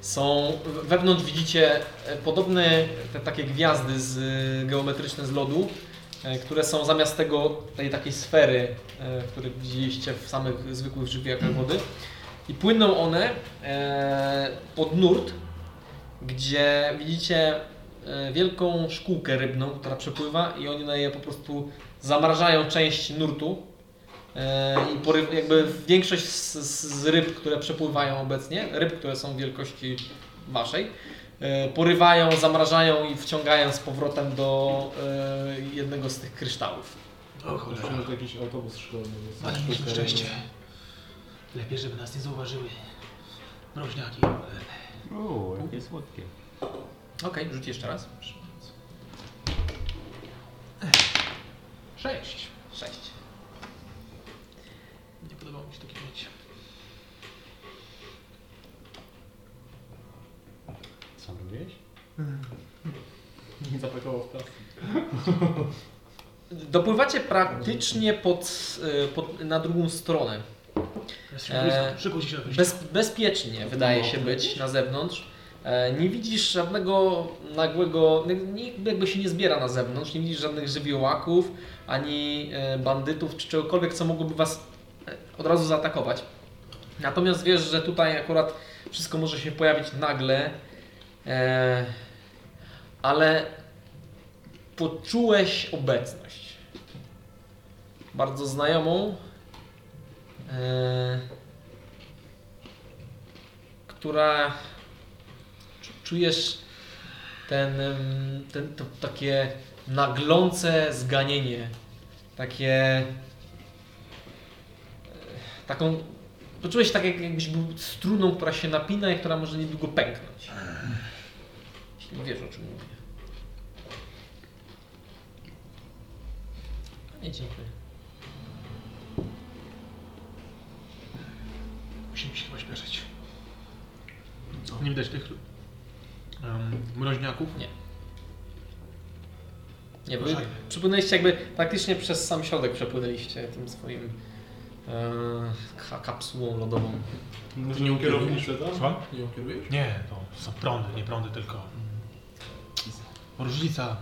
są, we- wewnątrz widzicie e, podobne te takie gwiazdy z, e, geometryczne z lodu, e, które są zamiast tego, tej takiej sfery, e, które widzieliście w samych zwykłych żywiołach wody. I płyną one e, pod nurt, gdzie widzicie e, wielką szkółkę rybną, która przepływa i one je po prostu zamrażają część nurtu. E, I pory, jakby większość z, z z ryb, które przepływają obecnie, ryb, które są wielkości waszej, e, porywają, zamrażają i wciągają z powrotem do e, jednego z tych kryształów. O Myślałem, że to jakiś autobus szkolny. jest. Ale mieliśmy Szkolny. szczęście. Lepiej, żeby nas nie zauważyły. Mroźniaki. Uuu, jakie słodkie. Okej, rzuć jeszcze raz. Sześć. Sześć. Nie podobało mi się takie mieć. Co robiłeś? Zapakało w kasę. Dopływacie praktycznie pod, y, pod, na drugą stronę. Jest Eee, eee, szybko się wyjść. Bez, bezpiecznie wydaje się być na zewnątrz. E, Nie widzisz żadnego nagłego, nikt jakby się nie zbiera na zewnątrz, nie widzisz żadnych żywiołaków, ani e, bandytów, czy czegokolwiek, co mogłoby Was e, od razu zaatakować. Natomiast wiesz, że tutaj akurat wszystko może się pojawić nagle, e, ale poczułeś obecność. Bardzo znajomą. E, która czu- czujesz ten, em, ten to, takie naglące zganienie, takie e, taką poczułeś tak jak- jakbyś był struną, która się napina i która może niedługo pęknąć. Jeśli Wiesz o czym mówię. Nie dziękuję. Musimy się pośpieszyć. Nie widać tych um, mroźniaków. Nie, wy Ruszajmy. przypłynęliście jakby praktycznie przez sam środek przepłynęliście tym swoim e, ka- kapsułą lodową. Może nie kierownicę, tak? Słucham? Nie ją kierujesz? Nie, to są prądy, nie prądy, tylko różnica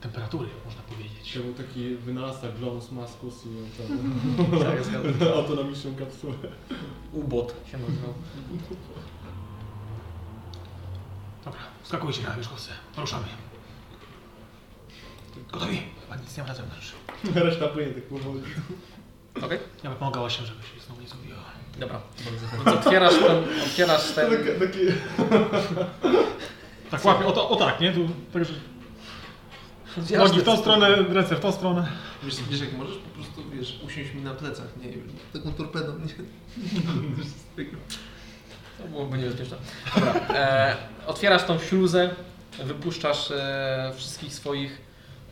temperatury, można powiedzieć. To był taki wynalazca Globus Maskus [laughs] i ten, autonomiczną kapsułę. Tak, [laughs] Ubot się nazywał. Dobra, skakujcie na wierzchowce, ruszamy. Gotowi? Chyba nic nie ma na zewnątrz. Reszta płynie tak powoli. Okej, Ja bym pomagała się, żeby się znowu nie zgubiła. dobra. Więc otwierasz ten, otwierasz ten, Takie- takie- Tak łapie, o, to, o tak, nie? Tu, tak, że otwierasz nogi w tą stronę, ręce w tą stronę. Wiesz, wiesz, jak możesz po prostu, wiesz, usiąść mi na plecach, nie wiem, taką torpedą, nie? To byłoby niebezpieczne. Dobra, e, otwierasz tą śluzę, wypuszczasz e, wszystkich swoich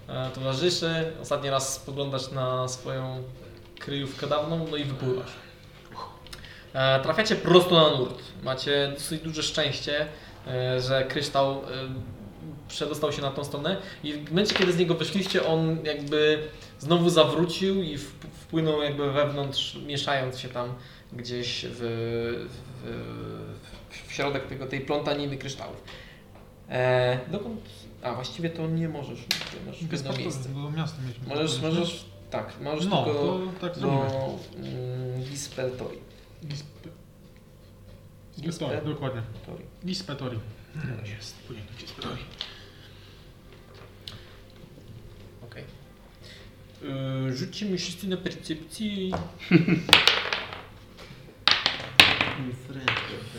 e, towarzyszy, ostatni raz spoglądasz na swoją kryjówkę dawną, no i wypływasz. E, trafiacie prosto na nurt. Macie dosyć duże szczęście, e, że kryształ e, przedostał się na tą stronę i w momencie, kiedy z niego wyszliście, on jakby znowu zawrócił i wp- wpłynął jakby wewnątrz, mieszając się tam gdzieś w, w, w środek tego, tej plątaniny kryształów. E, dokąd? A, właściwie to nie możesz, ty masz Bez jedno miejsce. paszportu, bo miasto mieliśmy. Możesz, Mieliśmy. możesz, tak, możesz No, tylko to tak do zrobimy. mm, Gispeltori. Gispetorii, dokładnie. Gispeltori. Gispetorii. Jest, płynie do Gispetorii. Okej. Okay. Rzućcie mi wszyscy na percepcji.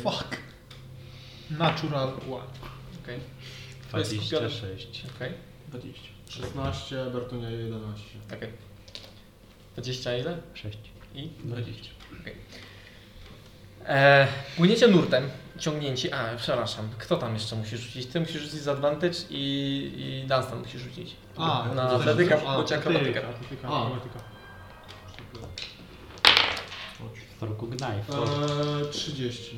Fuck. Natural one. Okej, To jest kupione. 26. okej, 20. 16, Bertunia 11. okej. 20 ile? 6. I? 20. E, płyniecie nurtem, ciągnięci. A, przepraszam, kto tam jeszcze musi rzucić? Ty musisz rzucić z Advantage i, i Dunstan musi rzucić. A, na to też atletyka, jest- a, bądź akrobatykę. Atletyka, A. akrobatyka. W roku Gnajf. Eee, 30.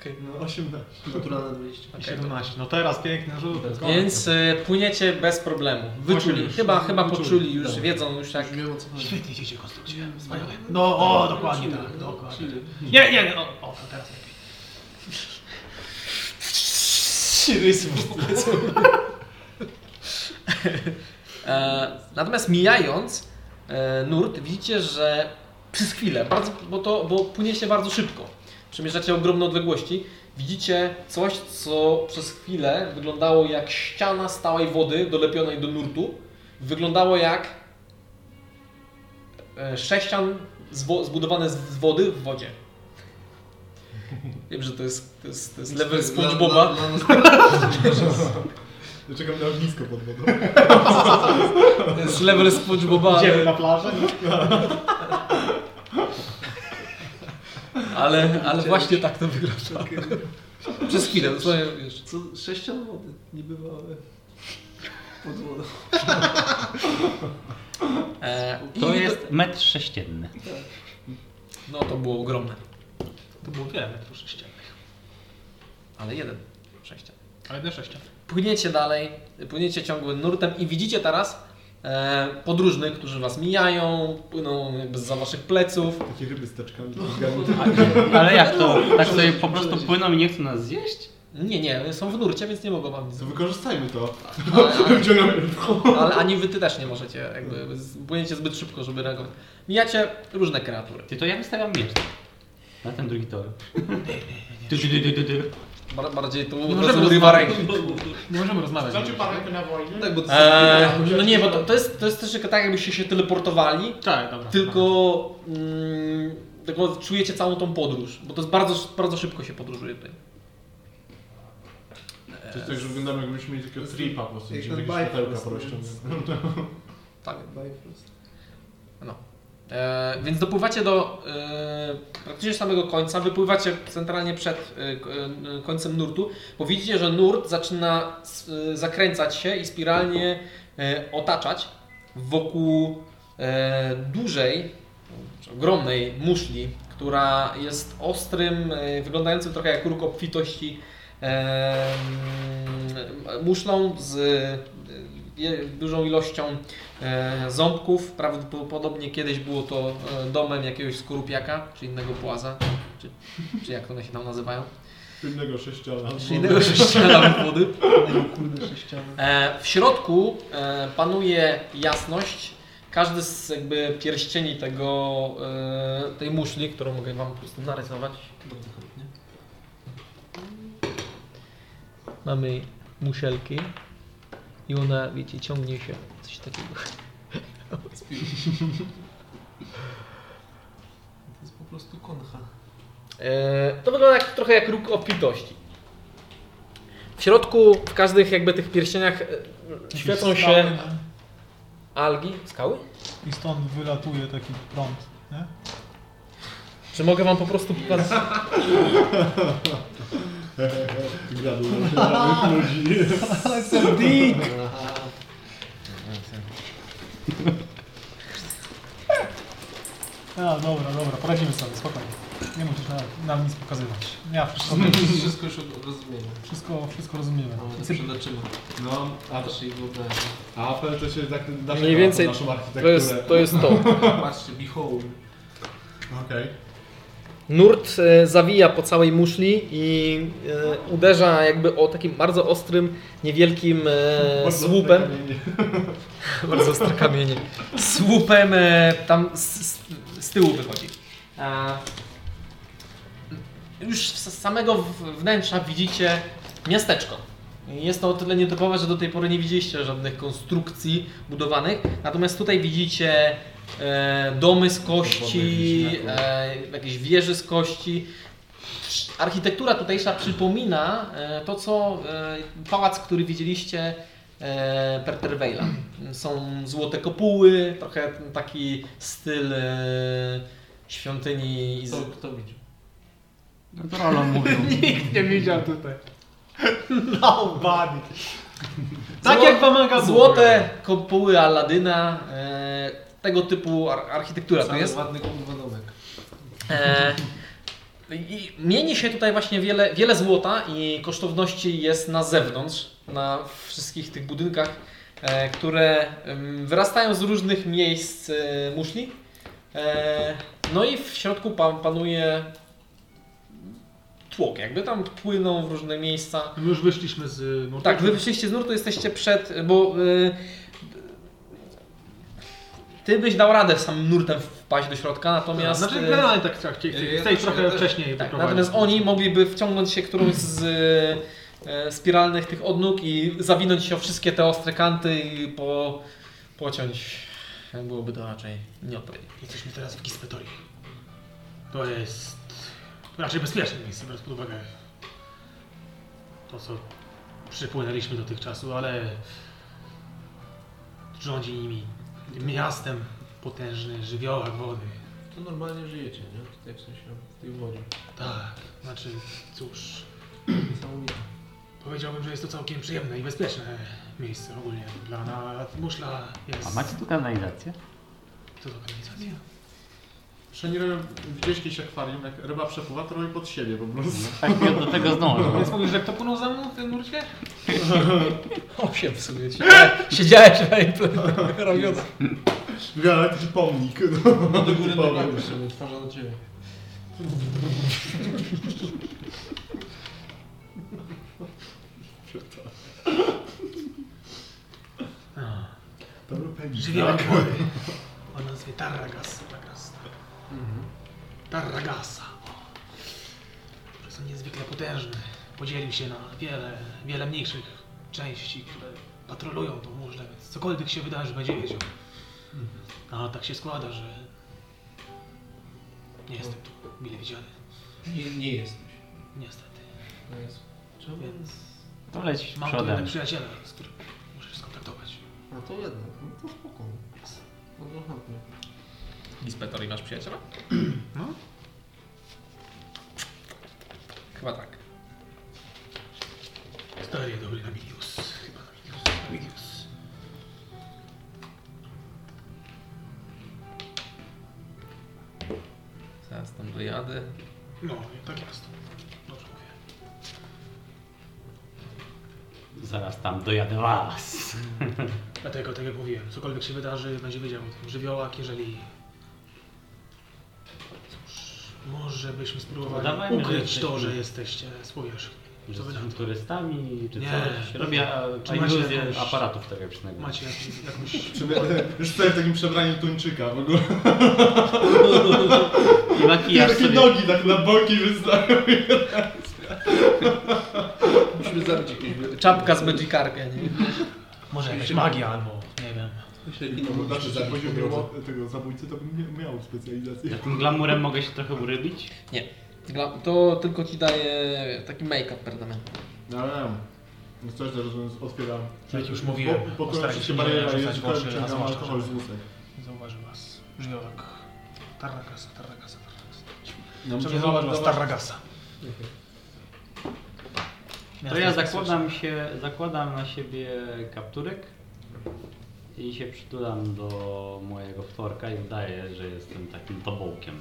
Okej. No 18. Naturalne 20. I Okej. 17. No teraz piękny rzut. Więc e, płyniecie bez problemu. Wyczuli. już. Chyba, chyba Wyczuli. poczuli już, Tak. wiedzą już jak. Już wiem o co chodzi. No Świetnie idziecie konstrukcję. Wspaniale. Wiem. No, o, dokładnie Chwilę, tak, dokładnie. chwilę. Nie, nie, nie, o, o to teraz lepiej. E, natomiast mijając e, nurt widzicie, że przez chwilę, bardzo, bo, to, bo płyniecie bardzo szybko, przemierzacie ogromne odległości, widzicie coś, co przez chwilę wyglądało jak ściana stałej wody dolepionej do nurtu. Wyglądało jak e, sześcian zwo- zbudowany z, z wody w wodzie. Wiem, że to jest, to jest, to jest level SpongeBoba. Dla- dla- dla nas- Czekam na ognisko pod [laughs] wodą. To jest level SpongeBoba, Idziemy ale, na plażę. ale, ale właśnie tak to wygląda. Przez chwilę, dosłownie, wiesz. Co? Sześcian wody. Niebywałe. Pod wodą. E, To i- jest metr sześcienny. No to było ogromne. To było wiele metrów sześciennych. Ale jeden. Sześcia. Ale nie sześcia. Płyniecie dalej, płyniecie ciągłym nurtem i widzicie teraz e, podróżnych, którzy was mijają, płyną jakby za waszych pleców. Takie ryby z taczkami. Ale jak to? Tak sobie po prostu płyną i nie chcą nas zjeść? Nie, nie, są w nurcie, więc nie mogą wam nic To wykorzystajmy [laughs] to. ale, [laughs] ale, Wciągamy ale ani wy ty też nie możecie, jakby z- płyniecie zbyt szybko, żeby reagować. Mijacie różne kreatury. Ty to ja wystawiam miecz. Na ten drugi tor. Ty, ty, ty, ty, ty. Bar- bardziej to od możemy razu urywa ręki. Nie możemy rozmawiać. Znaczy pan rękę na wojnę? Tak, bo to Eee, no nie, bo to, to, jest, to jest troszeczkę tak, jakbyście się teleportowali, Tak, dobra. Tylko, mm, tylko czujecie całą tą podróż, bo to jest bardzo, bardzo szybko się podróżuje tutaj. To jest tak, że wyglądamy jakbyśmy mieli takiego tripa po prostu, Jak gdzie ten jakieś bajfrost, światełka nie? porozciągnięte. Tak. Bifrost. E, więc dopływacie do e, praktycznie samego końca, wypływacie centralnie przed e, k- e, końcem nurtu, bo widzicie, że nurt zaczyna s- e, zakręcać się i spiralnie e, otaczać wokół e, dużej, czy ogromnej muszli, która jest ostrym, e, wyglądającym trochę jak róg obfitości e, mm, muszlą z e, je- dużą ilością e, ząbków. Prawdopodobnie kiedyś było to e, domem jakiegoś skorupiaka, czy innego płaza, czy, czy jak one się tam nazywają. Innego sześciana. Znaczy, Czy innego sześciana wody. No Kurde, sześcian. E, W środku e, panuje jasność. Każdy z jakby pierścieni tego, e, tej muszli, którą mogę Wam po prostu narysować. Bardzo chętnie. Mamy muszelki i ona, wiecie, ciągnie się. Coś takiego. To jest po prostu koncha. E, To wygląda jak, trochę jak róg obfitości. W środku, w każdych jakby tych pierścieniach e, świecą się algi, skały. I stąd wylatuje taki prąd. Nie? Czy mogę wam po prostu pokazać? Gradł na ludzi. A, dobra, dobra, poradzimy sobie, spokojnie. Nie musisz nam, nam nic pokazywać. Ja wszystko, Wszystko już rozumiemy. wszystko, wszystko rozumiemy. No, Mamy to przeleczymy. No, a, Patrzcie i wyobraźcie. a Apple to się tak da Mniej więcej naszą To architekturę. jest to. Jest to. Patrzcie, behold. Okej. Nurt e, zawija po całej muszli i e, uderza jakby o takim bardzo ostrym, niewielkim e, Bardzo słupem. dobre kamienie. Bardzo ostre kamienie. słupem e, tam z, z, z tyłu wychodzi. E, już z samego w- wnętrza widzicie miasteczko. Jest to o tyle nietypowe, że do tej pory nie widzieliście żadnych konstrukcji budowanych. Natomiast tutaj widzicie e, domy z kości, e, jakieś wieże z kości. Architektura tutejsza przypomina e, to, co e, pałac, który widzieliście e, Perterweila. Są złote kopuły, trochę taki styl e, świątyni. Iz... Kto, kto widział? No to Roland mówił. Nie widział tutaj. [laughs] No, Tak jak pomaga Złote kopuły Aladyna, e, tego typu ar- architektura to Cały jest. ładny kurwa domek. E, i mieni się tutaj właśnie wiele, wiele złota i kosztowności jest na zewnątrz, na wszystkich tych budynkach, e, które em, wyrastają z różnych miejsc e, muszli. E, no i w środku pan, panuje tłok, jakby tam płyną w różne miejsca. My już wyszliśmy z y, nurtu. Tak, wy wyszliście z nurtu, jesteście przed, bo y, ty byś dał radę sam nurtem wpaść do środka, natomiast Znaczy y, generalnie tak chciałeś chcia, Ja- ja chcesz też- trochę ja też- wcześniej tak, wyprowadzić. natomiast oni mogliby wciągnąć się którąś z y, y, spiralnych tych odnóg i zawinąć się o wszystkie te ostre kanty i po, pociąć. Tak Byłoby to raczej nieodpowiednie. Jesteśmy teraz w Gispetorii. To jest raczej bezpieczne miejsce, biorąc pod uwagę to, co przypłynęliśmy do tych czasów, ale rządzi nimi miastem potężny żywiołak wody. To normalnie żyjecie, nie? Tutaj w sensie w tej wodzie. Tak, znaczy, cóż, Niesamowite. powiedziałbym, że jest to całkiem przyjemne i bezpieczne miejsce ogólnie dla nas. Muszla jest... A macie tu kanalizację? Co to organizacja? Jeszcze nie robią, widziałeś kiedyś akwarium, jak ryba przepływa, to robi pod siebie po prostu. Tak, ja do tego zdążę. [laughs] Więc mówisz, że kto płynął za mną w tym nurcie? Osiem w sumie. [laughs] Siedziałeś- Siedziałeś na robiąc. [laughs] Wygląda taki pomnik. No do góry nogami sobie, twarza do ciebie. Tak. Żywiołek wody. O nazwie Tarragas. Tarragas. Tarragasa. Które są niezwykle potężne. Podzielił się na wiele, wiele mniejszych części, które patrolują tą murzę, więc cokolwiek się wydarzy, będzie wiedział. A tak się składa, że nie jestem tu mile widziany. Nie, nie jesteś. Niestety. No jest. Czemu? Więc To leć mam tu jeden przodem. przyjaciela, z którym muszę się skontaktować. No to jednak, no to spoko. No to chętnie. Inspektor i masz przyjaciela? Chyba tak. Stary, dobry Namilius. Chyba Namilius. Namilius. Zaraz tam dojadę. No, tak jest. Dobrze mówię. Zaraz tam dojadę was. Dlatego, tak jak mówiłem, cokolwiek się wydarzy, będzie wiedział o tym żywiołak, jeżeli... Cóż, może byśmy spróbowali Udawajmy, że ukryć jesteśmy- to, że jesteście z powierzchni. Że Co wy na jesteśmy to? turystami czy Nie. coś. Robię a, Czy a macie iluzję jakąś- aparatów tego przynajmniej. Macie jakąś- jakąś... Czy my, [laughs] już stoję w takim przebraniu tuńczyka w ogóle. I makijaż Takie sobie... nogi tak na boki wystają. Musimy zabić jakieś wy- Czapka z Magikarpia, nie? Może jakaś magia albo, nie wiem. wyśledziny, No, musimy znaczy, że zabić poziom po tego- tego zabójcy to bym nie- miał specjalizację. Tym glamurem mogę się trochę urybić? Dla- To tylko ci daje taki make-up permanentny. No ale no coś też rozumiem, otwieram. Jak już mówiłem, po, po postaram się się bariera nie jest, rzucać w oczy, a wyciągam zwłaszcza, alkohol że- z łusek. Zauważył was. Żywiołak. Tarragasa, Tarragasa, Tarragasa. No, Żywiołak was Tarragasa. Mhm. To ja zakładam się, zakładam na siebie kapturek i się przytulam do mojego wtorka i udaję, że jestem takim tobołkiem.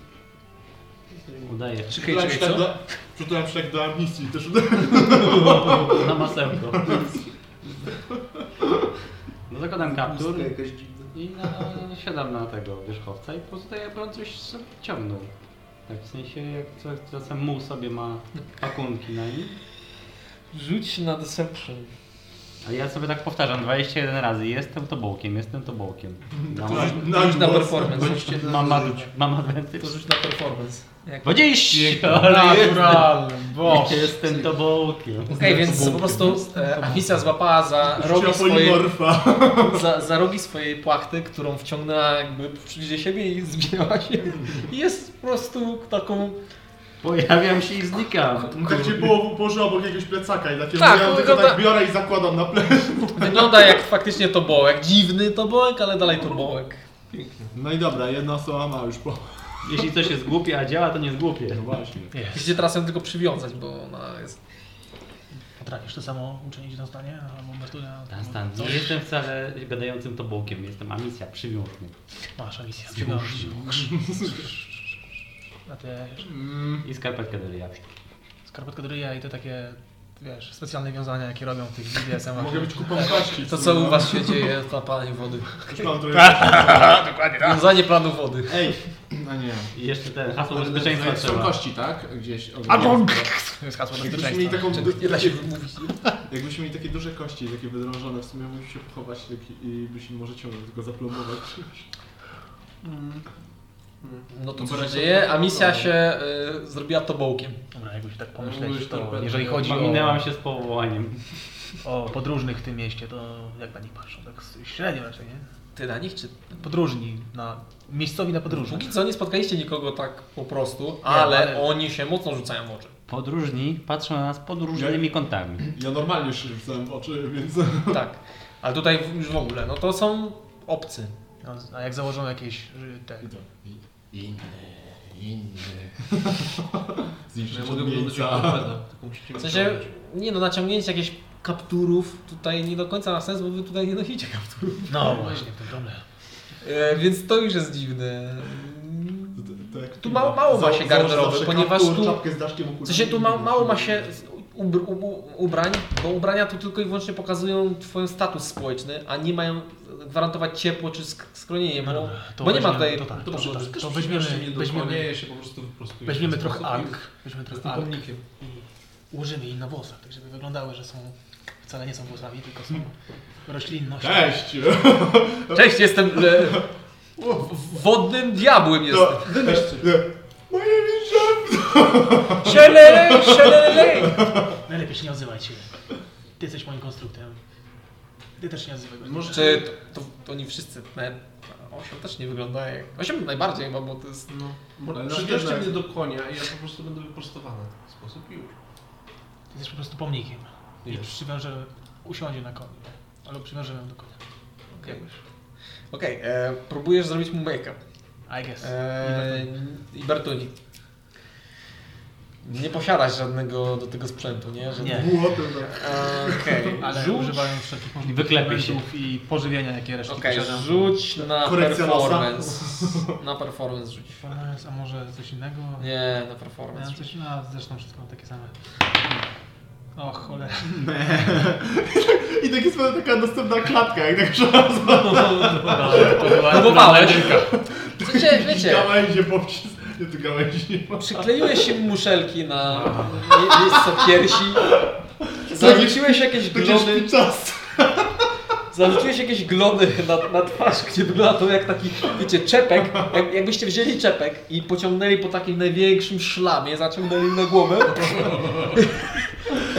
Udaje. Czekaj, czekaj, co? Przeczytałem szlak do amnistii, też udaje. Na masełko. No zakładam kaptur Pustka jakaś dziwna. i na, siadam na tego wierzchowca i po prostu jakby on coś sobie ciągnął. Tak w sensie jak co- czasem muł sobie ma pakunki na nim. Rzuć na deception. Ale ja sobie tak powtarzam 21 razy. Jestem to bołkiem, jestem to bołkiem. Mam, Tak, Rzuć na performance. mam, mam, mam advantage. To rzuć na performance. Jak... 20! Naturalny, bo. Jestem to bołkiem. Okej, więc po prostu e, Afisa złapała za rogi swojej, Polimorfa. za, za rogi swojej płachty, którą wciągnęła jakby przy siebie i zbijała się. I jest po prostu taką... Pojawiam się i znikam. Tak cię było w uporze obok jakiegoś plecaka i takie Tak, tak, ja tylko wygląda- tak biorę i zakładam na plecach. Wygląda jak faktycznie tobołek. Dziwny tobołek, ale dalej tobołek. No i dobra, jedna osoba ma już po... No Jeśli coś jest głupie, a działa, to nie jest głupie. No właśnie. Musicie teraz ją tylko przywiązać, bo ona jest... Potrafisz to samo uczynić na zdanie? Albo metodę? Stan, stan. Nie jestem wcale gadającym tobołkiem, jestem amisja, przywiążny. Masz misję. Na te I skarpetkę do ryja. skarpetkę do ryja i te takie, wiesz, specjalne wiązania, jakie robią w tych BDSM-ach. Mogę być kupą kości. To co Tak. u was się dzieje na planie wody? Już mam trochę... Wiązanie planu wody. Ej, no nie. I jeszcze ten hasło bezpieczeństwa Są trzeba. kości, tak? Gdzieś. To jest hasło Jakbyśmy mieli, bezpieczeństwa. taką, Nie da się [laughs] wymówić. jakbyśmy mieli takie duże kości, takie wydrążone, w sumie mógłby się pochować taki, i byś może ciągle tylko zaplombować. No to co się dzieje? A misja się y, zrobiła tobołkiem. Dobra, jakby się tak Mówiłeś pomyśleć, to torpedo. jeżeli chodzi o, Minęłam się z powołaniem. o podróżnych w tym mieście, to jak na nich patrzą? Tak średnio raczej, nie? Ty na nich czy... Podróżni, na, miejscowi na podróżnych. Póki co nie spotkaliście nikogo tak po prostu, ale, ale- oni się mocno rzucają w oczy. Podróżni patrzą na nas pod różnymi [laughs] kątami. Ja normalnie się rzucałem w oczy, więc... Tak. Ale tutaj w- już w ogóle, no to są obcy. No, a jak założą jakieś y, te, Ja [laughs] Zniszczyć No mogę wyglądać jak miejsca. torpeda. Tylko musicie W mnie sensie, nie no, naciągnięcie jakichś kapturów tutaj nie do końca ma sens, bo wy tutaj nie nosicie kapturów. No właśnie, ten problem. E, więc to już jest dziwne. Mm, To- to jak Tu ma- mało ma Za- się założę garderoby, zawsze ponieważ kaptur, tu- czapkę z daszkiem W sensie tu ma, mało ma się z- ubr, u, u- ubrań, bo ubrania tu tylko i wyłącznie pokazują twój status społeczny, a nie mają gwarantować ciepło czy sk- schronienie, [laughs] bo, bo nie ma tutaj... To, tak, To to, może to, tak, to weźmiemy, weźmiemy, weźmiemy, się po prostu wyprostuje. weźmiemy W ten trochę sposób i- alg, weźmiemy Z trochę tym alg pomnikiem. i ułożymy jej na włosach, tak żeby wyglądały, że są, wcale nie są włosami, tylko są roślinnością. Cześć! Cześć, jestem e, w- wodnym diabłem jestem. To- Moje wieże! Szelelej, szelelej! Najlepiej się nie odzywaj się. Ty jesteś moim konstruktem. Ty też się nie odzywaj. Może- Czy to, to oni wszyscy, ne, osiem też nie wygląda jak... Osiem najbardziej chyba, bo to jest... No, Ale na Przybierzcie pewno- mnie do konia i ja po prostu będę wyprostowany w ten sposób i już. Ty jesteś po prostu pomnikiem. I Jest. przywiążę, usiądzie na koniu. Albo przywiążę ją do konia. Jakoś. Okej, e, próbujesz zrobić mu make-up. I guess. E, I Bertuni. Nie posiadasz żadnego do tego sprzętu, nie? Żadnego- Nie. Młotem na E, Okej, [laughs] Ale rzuć, używają wszelkich możliwych Wyklepie się. elementów i pożywienia, jakie resztki okej, posiadam. rzuć na Korekcja nosa. [laughs] performance. Na performance rzuć. Performance, a może coś innego? Nie, na performance Miałem rzuć. coś, no zresztą wszystko mam takie same. O cholera. I tak jest taka następna klatka, jak tak szansa. No, Próbowałeś. Wiecie, wiecie, Gałęzie poprzez... Nie, tu gałęzi nie ma. przykleiłeś się muszelki na mie- miejsce piersi. Zarzuciłeś jakieś glony, czas. zarzuciłeś jakieś glony na, na twarz, gdzie wygląda to jak taki, wiecie, czepek. Jak, jakbyście wzięli czepek i pociągnęli po takim największym szlamie, zaciągnęli na głowę.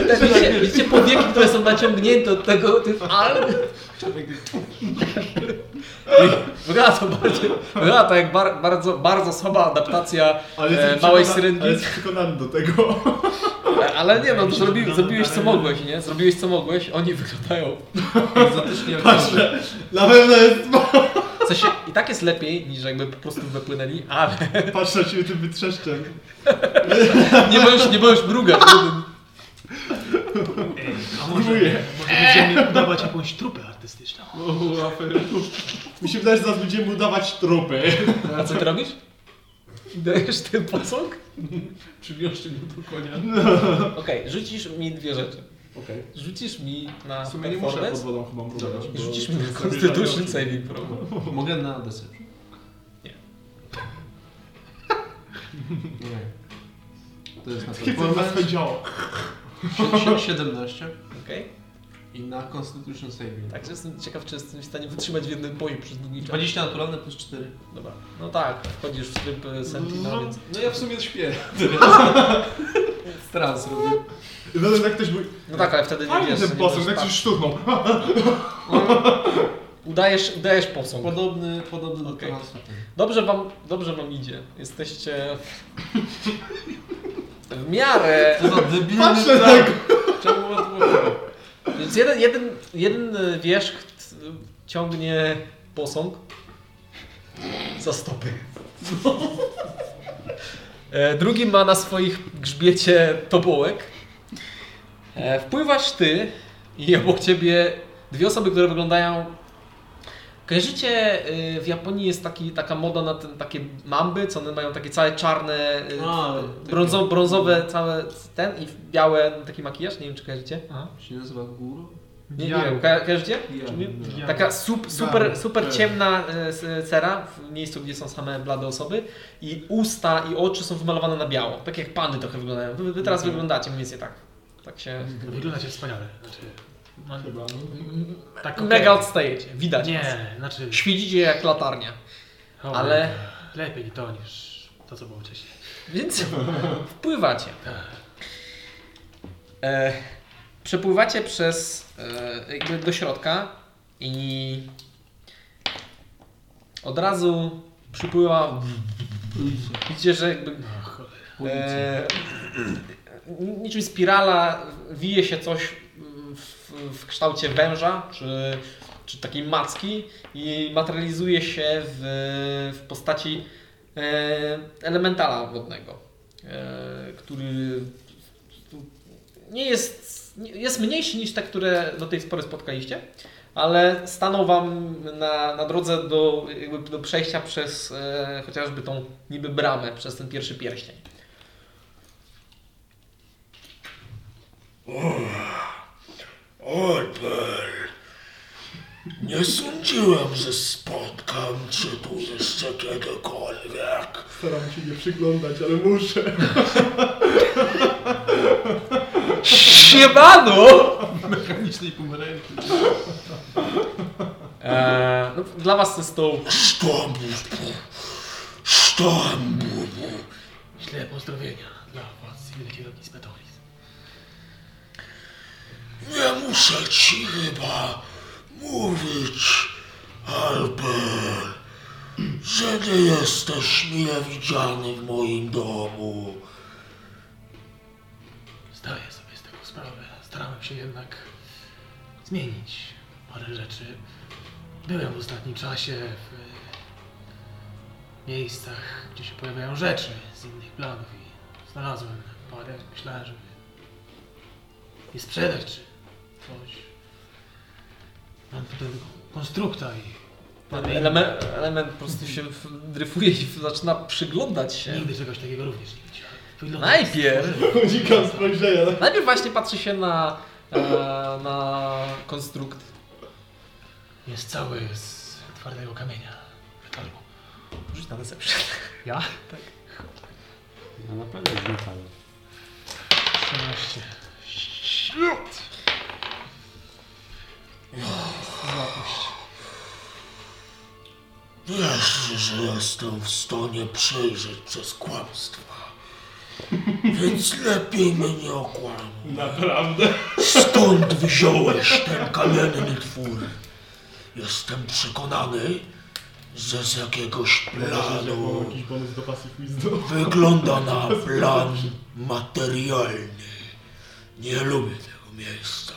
Tak, Widzicie, widzicie powieki, które są naciągnięte od tego, tych alg. Wygląda to bardziej, wygląda to jak bar, bardzo, bardzo słaba adaptacja e, małej syrenki. Ale jestem przekonany do tego. [laughs] Ale nie no, zrobi, zrobiłeś co mogłeś, nie? Zrobiłeś co mogłeś, oni wyglądają. Egzotycznie jak Patrzę, na pewno jest... W sensie i tak jest lepiej niż jakby po prostu wypłynęli, ale [laughs] Patrzę na ciebie tym wytrzeszczem. nie możesz, nie możesz mrugać. A może, może będziemy udawać jakąś trupę artystyczną. Mi się wydaje, że zaraz będziemy udawać trupy. A co ty robisz? I dajesz ten posąg? Przywiążcie mnie do konia. Okej, rzucisz mi dwie rzeczy. Okej. Rzucisz mi na W sumie nie muszę pod performance wodą chyba próbować. i bo rzucisz mi na jest Constitution zamierzający. Saving Pro. [laughs] Mogę na deception. [laughs] Nie. Nie. To jest na [laughs] performance. działo. Sie- sie- 17 Okej? i na Constitution Saving. Także jestem ciekaw, czy jestem w stanie wytrzymać w jednym boju przez długi czas. 20 naturalne plus 4. Dobra. No tak, wchodzisz w tryb e, Sentinel, więc... No ja w sumie śpię. Trans robię. I wtedy jak ktoś był... No tak, ale wtedy nie Fajnie wiesz. ten nie posąg, możesz- znaczy jak tak. coś [laughs] sztuchnął. Udajesz, udajesz posąg. Podobny, podobny Okej. do transu. Dobrze wam, dobrze wam idzie. Jesteście w, w miarę... To za debilny Patrzę trans. tak. Czemu was było? Więc jeden, jeden, jeden e, wierzch t- ciągnie posąg za stopy. [laughs] E, Drugi ma na swoich grzbiecie tobołek. E, Wpływasz ty i obok ciebie dwie osoby, które wyglądają... Kojarzycie, y, w Japonii jest taki, taka moda na ten, takie mamby, co one mają takie całe czarne, y, A, brązo, brązowe całe ten i białe taki makijaż, nie wiem czy kojarzycie? Się nazywa Guru? Nie, nie wiem, ko- kojarzycie? Ja. nie? Ja. Taka sup, super, super ciemna e, s- cera w miejscu, gdzie są same blade osoby i usta i oczy są wymalowane na biało. Tak jak pany trochę wyglądają. Wy, wy teraz Mhm. wyglądacie mniej więcej tak. Tak się... Wyglądacie wspaniale. Znaczy, no, Chyba. tak Mega okej. odstajecie, widać. was. Nie, znaczy... Świecicie jak latarnia. o, ale- Lepiej to niż to, co było wcześniej. Więc wpływacie. E, przepływacie przez e, jakby do środka i od razu przypływa. Widzicie, że jakby. E, niczym spirala wije się coś w, w kształcie węża czy, czy takiej macki i materializuje się w, w postaci e, elementala wodnego, e, który nie jest, nie- jest mniejszy niż te, które do tej pory spotkaliście, ale stanął Wam na, na drodze do, jakby do przejścia przez e, chociażby tą niby bramę, przez ten pierwszy pierścień. Orpel, nie sądziłem, że spotkam cię tu jeszcze kiedykolwiek. Staram się nie przyglądać, ale [laughs] muszę. Siemano! Mechanicznej pomarańczy. E, no, dla Was to jest to Sztambu, sztambu. Śle pozdrowienia dla was i wielkiego Kismetolis. Nie muszę ci chyba mówić, Albert, że nie jesteś mile widziany w moim domu. Zdaję sobie z tego sprawę. Starałem się jednak zmienić parę rzeczy. Byłem w ostatnim czasie w e, miejscach, gdzie się pojawiają rzeczy z innych planów i znalazłem parę. Myślałem, żeby je sprzedać czy coś. Mam tutaj konstrukta i ten element, element po prostu się w- dryfuje i zaczyna przyglądać się. nigdy czegoś takiego również nie widziałem. Wygląda Najpierw Unikam spojrzenia. Najpierw właśnie patrzy się na, e, na konstrukt. Jest cały z twardego kamienia, metalu. Rzuć na deception. Ja? No na pewno jest metalu. 13. Wiesz, że jestem w stanie przejrzeć przez kłamstwa. Więc lepiej mnie nie okłamuj. Naprawdę? Skąd wziąłeś ten kamienny twór? Jestem przekonany, że z jakiegoś planu Jakiś bonus do pasyw wisdom. wygląda na plan materialny. Nie lubię tego miejsca.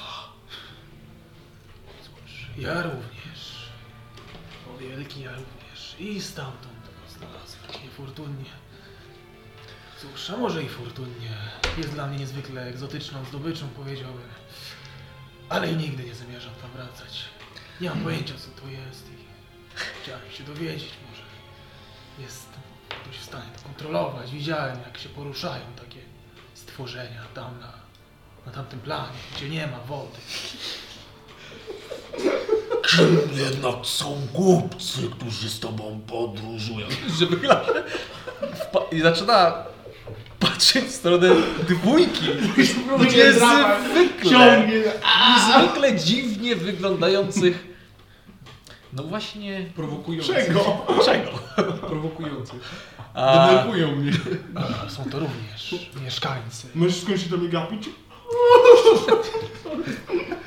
Ja również. O wielki ja również. I stamtąd go znalazłem. Niefortunnie. Cóż, a może i fortunnie. Jest dla mnie niezwykle egzotyczną zdobyczą, powiedziałbym. Ale i nigdy nie zamierzam tam wracać. Nie mam pojęcia co to jest i chciałem się dowiedzieć może. Jest ktoś w stanie to kontrolować. Widziałem, jak się poruszają takie stworzenia tam na, na tamtym planie, gdzie nie ma wody. Kim jednak są głupcy, którzy z tobą podróżują? że wychyla się [laughs] wpa- i zaczyna patrzeć w stronę dwójki. Niezwykle, Ciągnie. niezwykle dziwnie wyglądających. No właśnie. Prowokujący. Czego? Czego? Prowokujący. A, Denerwują mnie. A są to również mieszkańcy. Możesz skończyć do mnie gapić?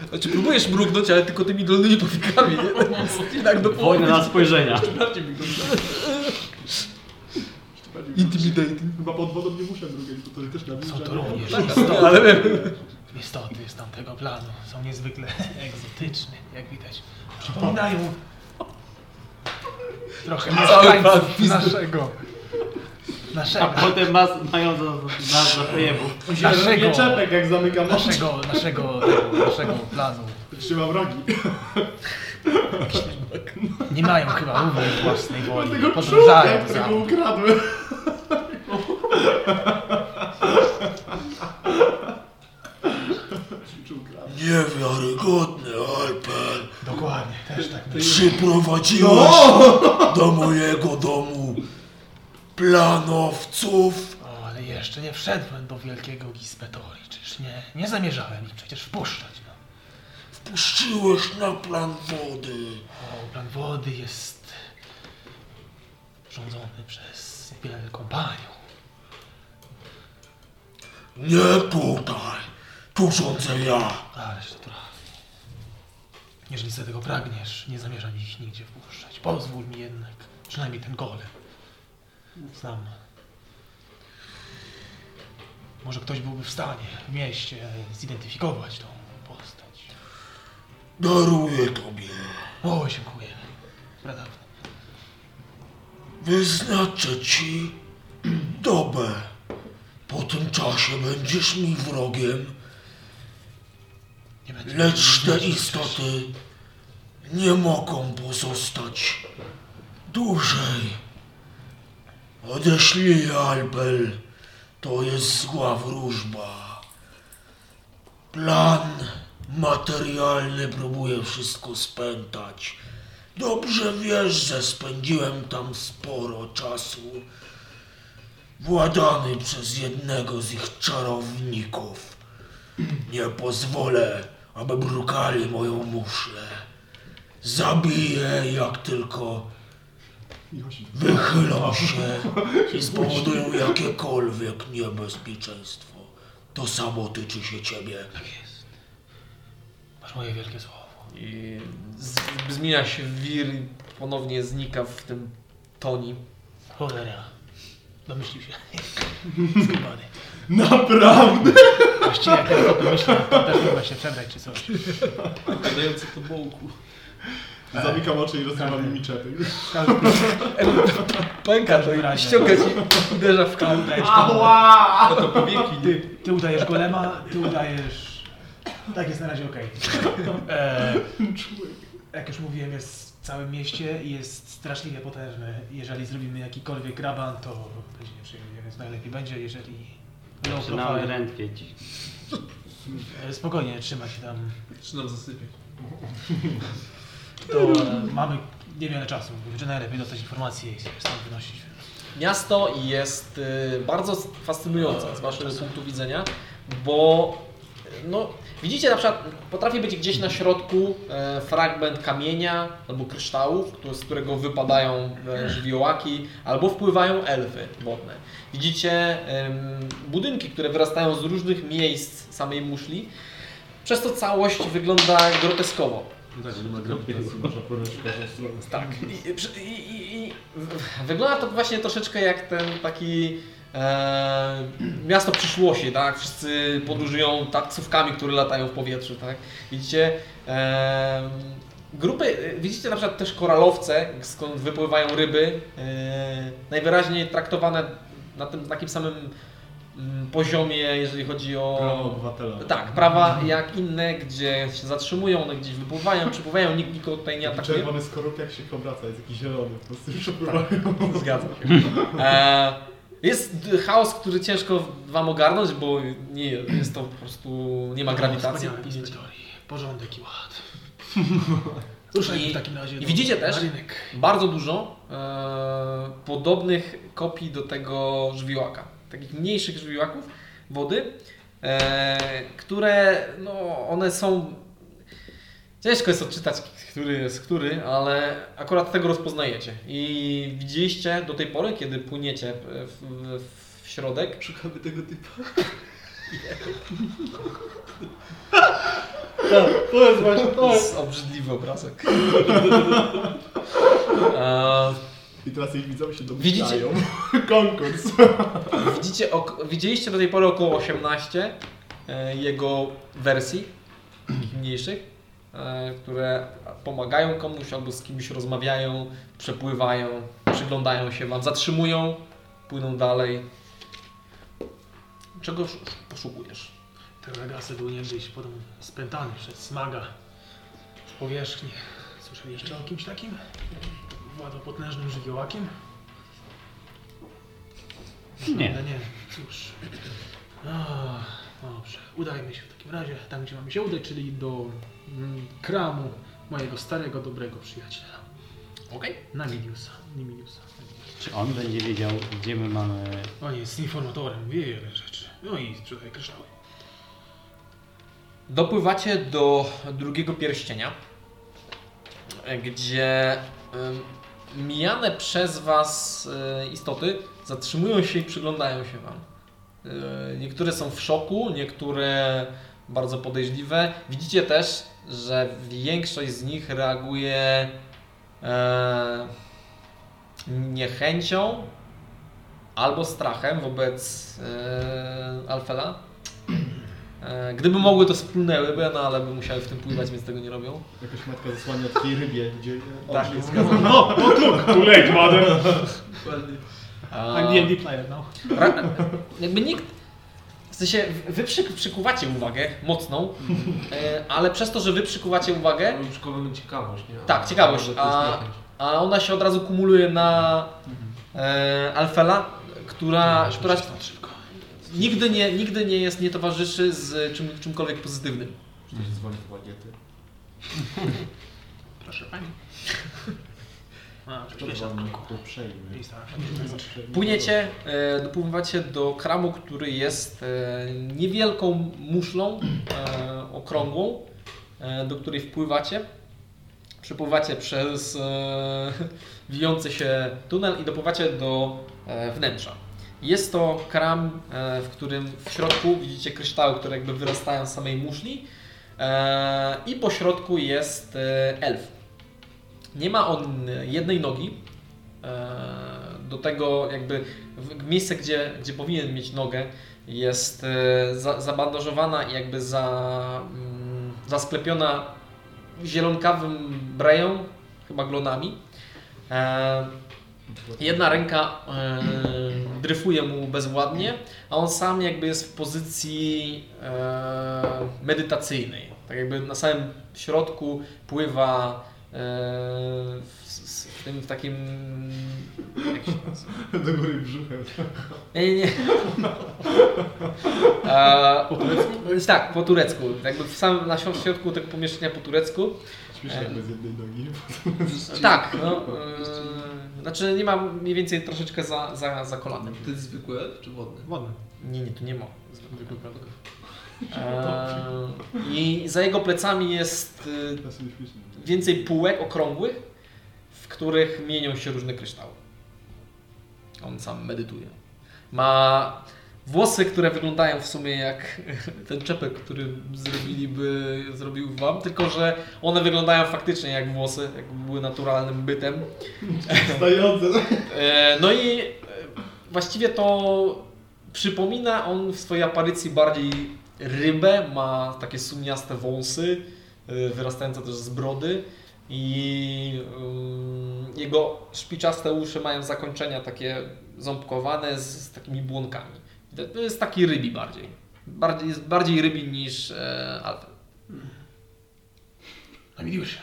znaczy próbujesz mrugnąć, ale tylko tymi dolnymi powiekami, nie? [laughs] I tak do połowy. Wojna na spojrzenia. Bardziej mi Intimidating. Chyba pod wodą nie muszę drugiej, bo to też na Są bliżej. to również Ale istoty, wiem. istoty z tamtego planu. Są niezwykle [laughs] egzotyczne, jak widać. Przypominają trochę mieszkańców naszego. A Naszego. potem mas, mają za- za- nas za pojebów. Naszego. Naszego. czepek jak zamykam oczy. Naszego, naszego, naszego planu. Trzymam rogi. Nie mają chyba również własnej woli. Tego Podążają czułka, za którego ukradłem. Niewiarygodny, Alpen. Dokładnie, też tak. No! Przyprowadziłeś do mojego domu planowców. O, ale jeszcze nie wszedłem do wielkiego Gizbetori, czyż nie? Nie zamierzałem ich przecież wpuszczać. No. Wpuściłeś na plan wody. O, plan wody jest rządzony przez wielką panią. Nie tutaj. Tu rządzę ja. Ależ to trafi. Jeżeli sobie tego pragniesz, nie zamierzam ich nigdzie wpuszczać. Pozwól mi jednak, przynajmniej ten golem. Znam. Może ktoś byłby w stanie w mieście zidentyfikować tą postać. Daruję tobie. O, dziękuję. Pradawno. Wyznaczę ci dobę. Po tym czasie będziesz mi wrogiem, Nie będzie. lecz te istoty nie mogą pozostać dłużej. Odeślij je, Albel, to jest zła wróżba. Plan materialny próbuje wszystko spętać. Dobrze wiesz, że spędziłem tam sporo czasu, władany przez jednego z ich czarowników. Nie pozwolę, aby brukali moją muszlę. Zabiję, jak tylko wychylą się i spowodują jakiekolwiek niebezpieczeństwo. To samo tyczy się ciebie. Masz moje wielkie słowo. I z, zmienia się wir i ponownie znika w tym toni. Cholera. Domyślił się. Skubany. Naprawdę? Właściwie jak ja to domyślam, to też chyba się przebrać czy coś. Dający to bołku. Zamykam oczy i rozrywam mi czepek. Pęka każdym to i razie. ściąga ci i uderza w kawę. Ała! To powieki, nie? Ty udajesz golema, ty udajesz... Tak jest na razie okej. E, Jak już mówiłem, jest w całym mieście i jest straszliwie potężny. Jeżeli zrobimy jakikolwiek raban, to będzie nieprzyjemnie, więc najlepiej będzie, jeżeli... low Zaczynamy profile. rętwieć. E, Spokojnie, trzymaj się tam. Zaczynam zasypiać. To e, mamy niewiele czasu, więc najlepiej dostać informacje i się stąd wynosić. Miasto jest y, bardzo fascynujące z waszego punktu widzenia, bo y, no, widzicie na przykład, potrafi być gdzieś na środku e, fragment kamienia albo kryształów, które, z którego wypadają e, żywiołaki, albo wpływają elfy wodne. Widzicie em, budynki, które wyrastają z różnych miejsc samej muszli, przez to całość wygląda groteskowo. Tak. I, przy- i, i, i w- wygląda to właśnie troszeczkę jak ten taki e, miasto przyszłości, tak? Wszyscy podróżują taksówkami, które latają w powietrzu, tak? Widzicie e, grupy, e, widzicie na przykład też koralowce, skąd wypływają ryby, e, najwyraźniej traktowane na tym takim samym mm, poziomie, jeżeli chodzi o... Prawa obywatela. Tak, prawa jak inne, gdzie się zatrzymują, one gdzieś wypływają, przypływają, nikt nikogo tutaj tak nie atakuje. Czerwony skorupiak się obraca, jest jakiś zielony, po prostu już [laughs] Zgadzam się. E, jest d- chaos, który ciężko wam ogarnąć, bo nie, jest to po prostu, nie ma grawitacji. No, Wspaniałe inspektorii. Porządek i [laughs] ład. I, Ruszajmy w takim razie. I do- widzicie na też rynek. bardzo dużo e, podobnych kopii do tego żywiołaka. Takich mniejszych żywiołaków wody, e, które no, one są. Ciężko jest odczytać, który jest który, ale akurat tego rozpoznajecie. I widzieliście do tej pory, kiedy płyniecie w, w, w środek. Szukamy tego typa. Tak, To jest właśnie To to. jest obrzydliwy obrazek. E, I teraz ich widzowie się Widzicie? domyślają. Konkurs. Widzicie, ok- widzieliście do tej pory około 18 e, jego wersji, takich mniejszych, e, które pomagają komuś albo z kimś rozmawiają, przepływają, przyglądają się wam, zatrzymują, płyną dalej. Czego sz- poszukujesz? Ten regasy był niegdyś podobno spętany przez smaga z powierzchni. Słyszeliście o kimś takim? Władał potężnym żywiołakiem? Nie. Ale No nie, cóż. Ach, dobrze, udajmy się w takim razie tam, gdzie mamy się udać, czyli do mm, kramu mojego starego, dobrego przyjaciela. Okej. Namiliusa. Nimiliusa. Czy on będzie wiedział, gdzie my mamy... On jest informatorem, wie wiele rzeczy. No i sprzedaje kryształy. Dopływacie do drugiego pierścienia, e, gdzie em, mijane przez Was e, istoty zatrzymują się i przyglądają się Wam. E, Niektóre są w szoku, niektóre bardzo podejrzliwe. Widzicie też, że większość z nich reaguje e, niechęcią albo strachem wobec e, Alfela. E, Gdyby mogły, to spłynęłyby, no ale by musiały w tym pływać, więc tego nie robią. Jakaś matka zasłania od tej rybie, gdzie... Tak, oczy- zgadzam. Too late, madam. A, I'm D&D player, no. ra, jakby nikt. W sensie, wy przy, przykuwacie uwagę mocną, Mhm. e, ale przez to, że wy przykuwacie uwagę, Mam przykowaną ciekawość, nie? Tak, ciekawość, Ale to jest a- niechęć. a ona się od razu kumuluje na Mhm. e, Alfela, która, która Stąd szybko. nigdy, nie, nigdy nie jest, nie towarzyszy z czym, czymkolwiek pozytywnym. Czy to się dzwoni po bagiety? [laughs] Proszę pani. A, przepraszam. Czerwony, uprzejmy. tak. Płyniecie, e, dopływacie do kramu, który jest e, niewielką muszlą e, okrągłą, e, do której wpływacie. Przepływacie przez e, wijący się tunel i dopływacie do e, wnętrza. Jest to kram, e, w którym w środku widzicie kryształy, które jakby wyrastają z samej muszli e, i po środku jest e, elf. Nie ma on jednej nogi, E, Do tego jakby w- miejsce, gdzie, gdzie powinien mieć nogę jest e, za, zabandażowana i jakby za, mm, zasklepiona zielonkawym breją, chyba glonami. E, Jedna ręka e, dryfuje mu bezładnie, a on sam jakby jest w pozycji e, medytacyjnej. Tak jakby na samym środku pływa e, Eee, w, s- w tym takim... Jak się nazywa? [laughs] Do góry brzuchem. Nie, nie, nie. E, tak, po turecku. Jakby w samym, na środku tego pomieszczenia po turecku. Śmiesznie jakby z jednej [laughs] nogi. Tak, no. E, znaczy nie ma mniej więcej troszeczkę za, za, za kolanem. To jest zwykły elf czy wodny? Wodny. Nie, nie, tu nie ma. Eee, I za jego plecami jest y, To są śmieszne. więcej półek okrągłych, w których mienią się różne kryształy. On sam medytuje. Ma włosy, które wyglądają w sumie jak [laughs] ten czepek, który zrobiliby, zrobił wam, tylko że one wyglądają faktycznie jak włosy, jakby były naturalnym bytem. Stojące. E, No i e, właściwie to przypomina on w swojej aparycji bardziej rybę, ma takie sumniaste wąsy, e, wyrastające też z brody i mm, jego szpiczaste uszy mają zakończenia takie ząbkowane z, z takimi błonkami. To- To jest taki rybi bardziej. bardziej jest bardziej rybi niż e, alfa. Namilił się.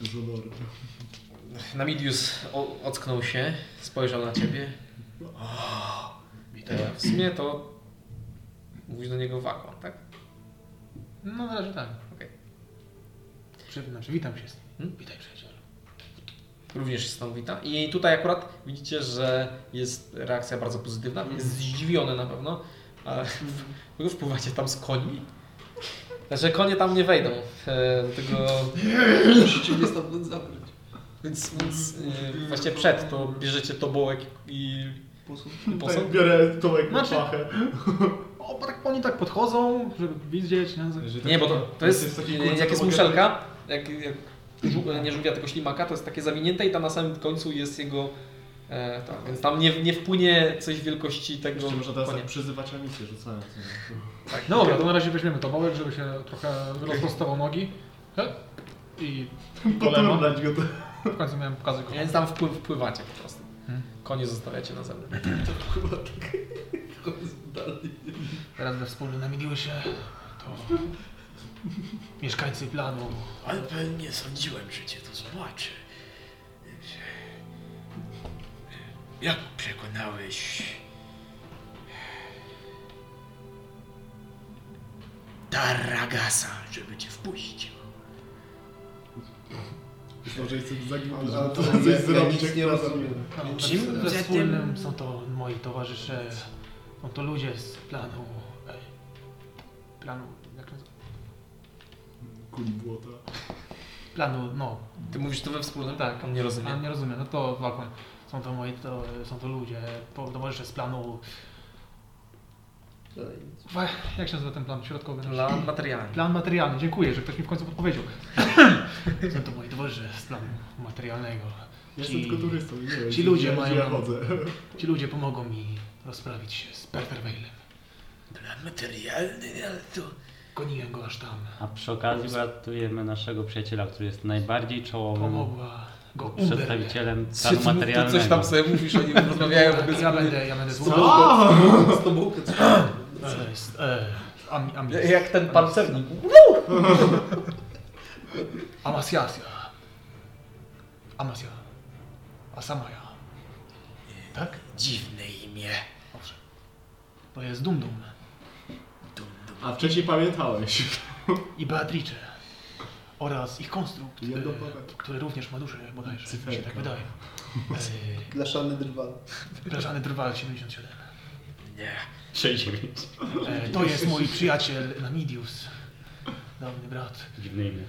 Dużo lore. Namidius o- ocknął się, spojrzał na ciebie. E, W sumie to mówisz do niego wakłam, tak? No na razie tak. Okej. Przy, znaczy, witam się z Hmm? Witaj przyjacielu. Również się stąd wita. I tutaj akurat widzicie, że jest reakcja bardzo pozytywna. Mhm. Jest zdziwiony na pewno, ale wy już pływacie tam z koni. Że konie tam nie wejdą. e, Do tego. Musicie mnie stamtąd zabrać. Więc, więc e, właśnie przed to bierzecie tobołek i posąg. Biorę tą jakby Znaczy- pachę. O, tak oni tak podchodzą, żeby widzieć, nie? tak Nie, bo to, to jest, taki e, kurczę, jak to jest mogę- muszelka, jak, jak żu, e, nie żółwia, tylko ślimaka, to jest takie zawinięte i tam na samym końcu jest jego, e, tak, więc tam nie, nie wpłynie coś wielkości tego Jeszcze można teraz [laughs] konia. tak przyzywać misję rzucając. nie? No dobra, to na razie weźmiemy to wołek, żeby się trochę rozprostował nogi. He? I golema. Poturlać go to. W końcu miałem pokazać go. Więc tam wpływ, wpływacie po prostu. Konie zostawiacie na zewnątrz. Teraz we wspólnym namieniły się to mieszkańcy planu. Ale pewnie nie sądziłem, że cię to zobaczy. Jak przekonałeś Tarragasa, żeby cię wpuścił? Myślę, że jestem zaginiony, Ale żeby to to ja- ja coś zrobić. nic jak nie to rozumiem. zrobię. No, Tak we- Czym? we Za tym- wspólnym są to moi towarzysze, są to ludzie z planu, e, planu, jak to nazywa? Kuli błota. planu, no, Ty mówisz to we wspólnym? Tak. On nie ja rozumie. nie rozumiem, no to walką. Są to moi, to, są to ludzie, to- towarzysze z planu, Wa- jak się nazywa ten plan środkowy? nasz? Dla materialnych. Plan materialny, dziękuję, że ktoś mi w końcu podpowiedział. [clears throat] Są to moi towarzysze z planu materialnego. Jestem tylko turystą, nie wiem. ci ludzie gdzie mają- Ja chodzę. Ci ludzie pomogą mi rozprawić się z Perterweilem. Plan materialny, ale to... Goniłem go aż tam. A przy okazji ratujemy naszego przyjaciela, który jest najbardziej czołowym Pomogła go Uber. przedstawicielem Ty stanu mów- ty coś materialnego. tam sobie mówisz, oni [laughs] rozmawiają w ogóle Ja będę, ja będę słuchał. Co? Z tobą co? E, s- e, am- am- Jak ten pancernik. Amasjasia. Amasja. Asamaja. Tak? Dziwne imię. Dobrze. To jest Dumdum A wcześniej pamiętałeś. i Beatrice. Oraz ich konstrukt, e, Jedno powiem. który również ma duszę bodajże, mi się tak Cyferka. [laughs] wydaje. Blaszany drwal. E, Plażany drwal 77. Nie. 69. E, to jest mój przyjaciel Namidius. Dawny brat. Dziwne imię.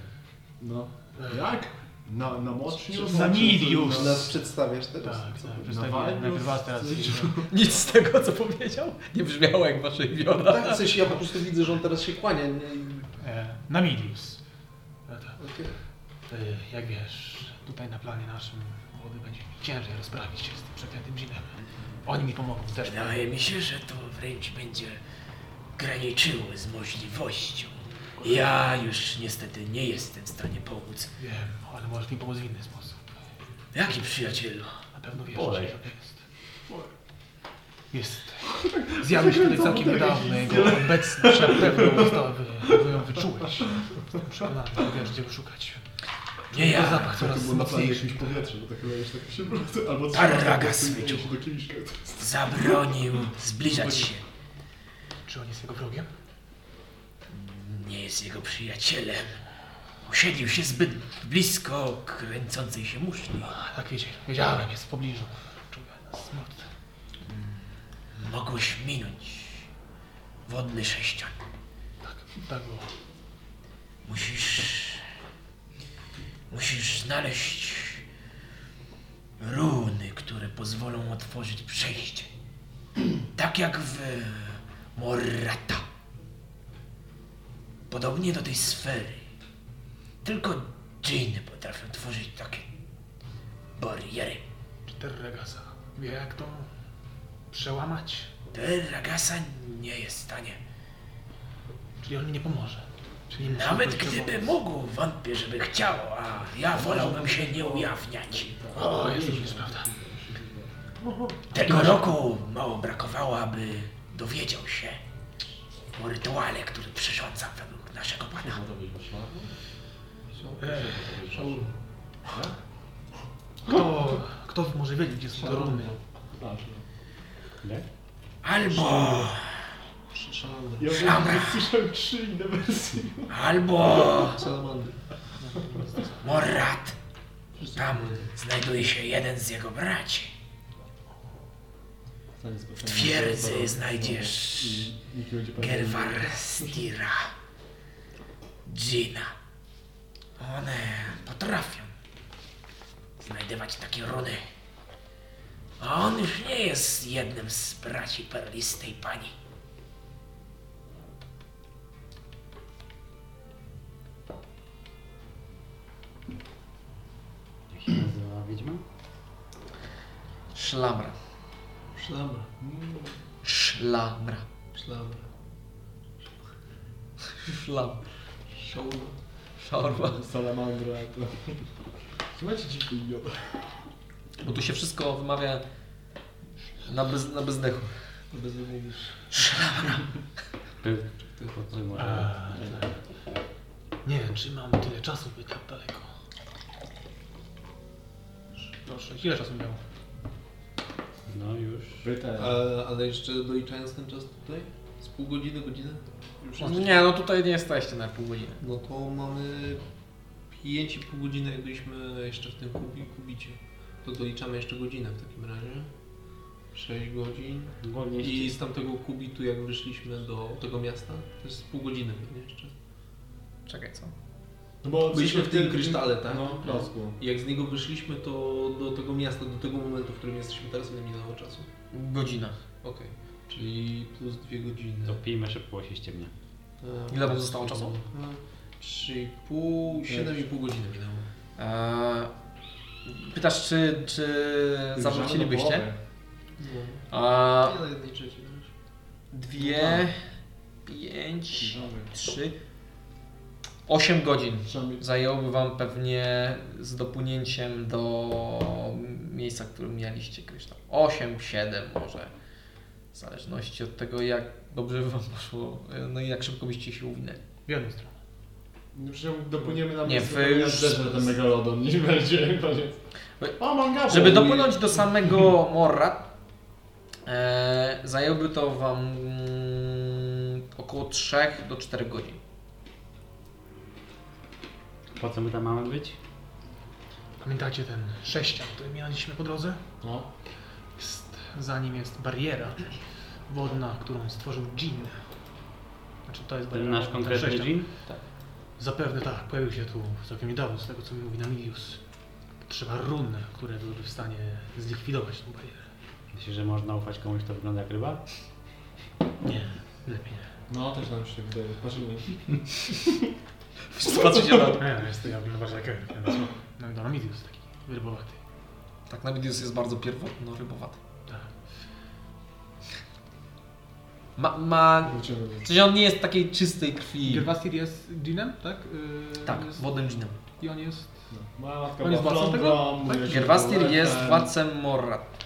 No. E, Jak? Na, na moczniu? Namidius! Nas przedstawiasz Tak, teraz. tak. Nawalił Przedstawiłem najpierw was teraz. coś. Nic z tego, co powiedział, nie brzmiało jak waszej wiora. Tak, w sensie ja po prostu widzę, że on teraz się kłania. Nie, E, Namidius. E, tak. Okej. Ty, jak wiesz, tutaj na planie naszym wody będzie mi ciężej rozprawić się z tym przeklętym dżinem. Oni mi pomogą też. Wydaje mi się, że to wręcz będzie graniczyło z możliwością. Ja już niestety nie jestem w stanie pomóc. Wiem, ale możesz mi pomóc w inny sposób. Jaki przyjacielu? Na pewno wiesz, Olej. że to jest. Jest. Zjawił się tutaj całkiem niedawno. Jego obecność na pewno została wy, wy ją wyczułeś. Jestem przekonany, że wiesz, gdzie go szukać. Nie Jego ja. zapach To coraz było na planie jakimś mocniejszy. powietrze, bo tak chyba już tak się wrócę. Albo coś Tarragas wyczuł. do kieliszka. Zabronił zbliżać się. Czy on jest jego wrogiem? Nie jest jego przyjacielem. Usiedlił się zbyt blisko kręcącej się muszli. A, tak wiecie, wiedziałem, jest w pobliżu. Czuję smut. Mogłeś minąć wodny sześcian. Tak, tak było. Musisz. Musisz znaleźć runy, które pozwolą otworzyć przejście. Tak jak w Morata. Podobnie do tej sfery. Tylko dżiny potrafią tworzyć takie bariery. Terregasa. Wie jak to przełamać? Terragasa nie jest w stanie. Czyli on mi nie pomoże. Nawet gdyby mógł, wątpię, żeby chciał, a ja wolałbym się nie ujawniać. O, Jezus, jest prawda. Tego roku mało brakowało, aby dowiedział się o rytuale, który przyrządzam według naszego pana. Kto, kto może wiedzieć, gdzie są te runy? Albo... Ja Szlamra. słyszałem trzy inne wersje. Albo... Morrat. Tam znajduje się jeden z jego braci. W twierdzy znajdziesz Gerwar Stira. Gina. One potrafią znajdywać takie runy. A on już nie jest jednym z braci perlistej pani. Jak się nazywa wiedźma? Szlamra. Szlamra. Szlamra. Szlamra. Szlam. Szaurma. Szorba. Salamandra. To... Słuchajcie, dziwny idiota. Bo tu się wszystko wymawia na, bez, na bezdechu. Bez mówisz. Szlamra. Był. Podpój może. Nie wiem, czy mam tyle czasu, by tak daleko. Proszę, ile czasu miało? No już. Ale, ale jeszcze doliczając ten czas tutaj? Z pół godziny, godziny? Już jest- Nie, no tutaj nie jesteście na pół godziny. No to mamy 5,5 godziny, jak byliśmy jeszcze w tym kubi, kubicie. To doliczamy jeszcze godzinę w takim razie. 6 godzin. Ogólnie I jeśli- z tamtego kubitu, jak wyszliśmy do tego miasta, to jest z pół godziny pewnie jeszcze. Czekaj, co? No bo Byliśmy w tym krysztale, tak? No, blasku. I jak z niego wyszliśmy, to do tego miasta, do tego momentu, w którym jesteśmy teraz, ile minęło czasu? Godzina. Okej. Czyli plus dwie godziny. To pijmy szybko, bo się ściemnie. E, Ile wam zostało czasu? E, 3,5, 7,5 godziny minęło. Eee, pytasz, czy, czy zawrócilibyście? A Nie na No. jednej trzeciej. no. dwie, pięć, trzy, osiem godzin zajęłoby wam pewnie z dopłynięciem do miejsca, w którym mieliście kryształ. Osiem, siedem może. W zależności od tego, jak dobrze by wam poszło, no i jak szybko byście się uwinęli. W jedną stronę. No przecież dopłyniemy na Nie, miejsce, wy to już- jeżdżę na ten megalodon, nie będzie. [laughs] będzie. O, manga! No Żeby dopłynąć do samego Morra, e, zajęłoby to Wam mm, około 3 do 4 godzin. Po co my tam mamy być? Pamiętacie ten sześcian, który mieliśmy po drodze? No. Jest, za nim jest bariera wodna, którą stworzył dżin. Znaczy to jest Ten bariera nasz wodna, konkretny sześcian. dżin? Zapewne tak, pojawił się tu całkiem niedawno, z tego co mi mówi Namilius. Trzeba run, które byłyby w stanie zlikwidować tą barierę. Myślę, że można ufać komuś, kto wygląda jak ryba? Nie, lepiej nie. No, też nam się wydaje. Patrzymy. się na... Nie, jest to ja bym uważał jak No i Namilius taki rybowaty. Tak, Nabidius jest bardzo pierwotno rybowaty. Tak. Ma, ma... Wrócimy do- W sensie on nie jest takiej czystej krwi. Gerwasir jest dżinem, tak? Yy, Tak, jest- wodnym dżinem. I on jest... Moja no. matka On jest była władcą plądrą, tego? mówię, że Gerwastir była jest ten- władcem Morrat.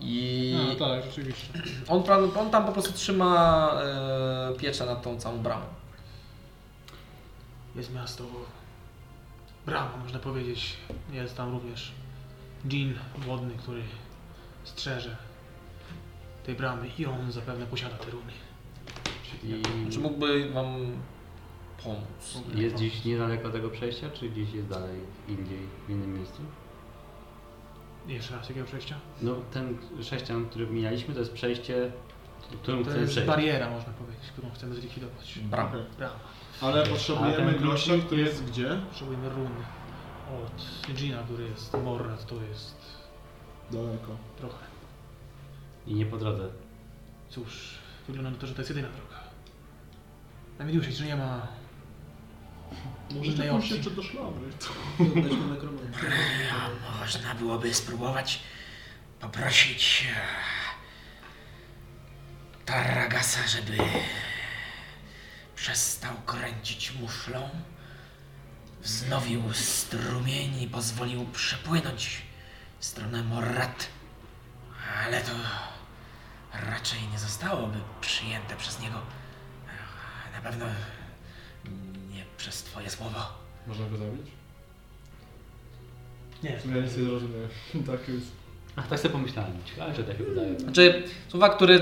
I No tak, rzeczywiście. on, pra- on tam po prostu trzyma e, pieczę nad tą całą bramą. Jest miasto Brama, można powiedzieć. Jest tam również dżin wodny, który strzeże tej bramy i on zapewne posiada te runy. I Czy mógłby wam tak, pomóc? jest gdzieś niedaleko tego przejścia, czy gdzieś jest dalej, indziej, w innym miejscu? Jeszcze raz jakiego przejścia? No, ten sześcian, który mijaliśmy, to jest przejście, którym To chcemy jest przejść. bariera, można powiedzieć, którą chcemy zlikwidować. Bram. Brama. Ale A ten potrzebujemy kluczyk gościa, który jest gdzie? Potrzebujemy runy od dżina, który jest Morrat, to jest Daleko. trochę. I nie po drodze. Cóż, wygląda na to, że to jest jedyna droga. Namiliusie, czy nie ma innej Może opcji? się czy do szlabry. Oddać mu [laughs] nekromantę. Tak. Można byłoby spróbować poprosić e, Tarragasa, żeby przestał kręcić muszlą, wznowił strumień i pozwolił przepłynąć w stronę Morat. Ale to raczej nie zostałoby przyjęte przez niego. Na pewno nie przez twoje słowo. Można go zabić? Nie. Ja nic nie zrozumiałem. [laughs] tak jest. A tak sobie pomyślałem, ciekawe, że tak się wydaje. Znaczy, słowa, które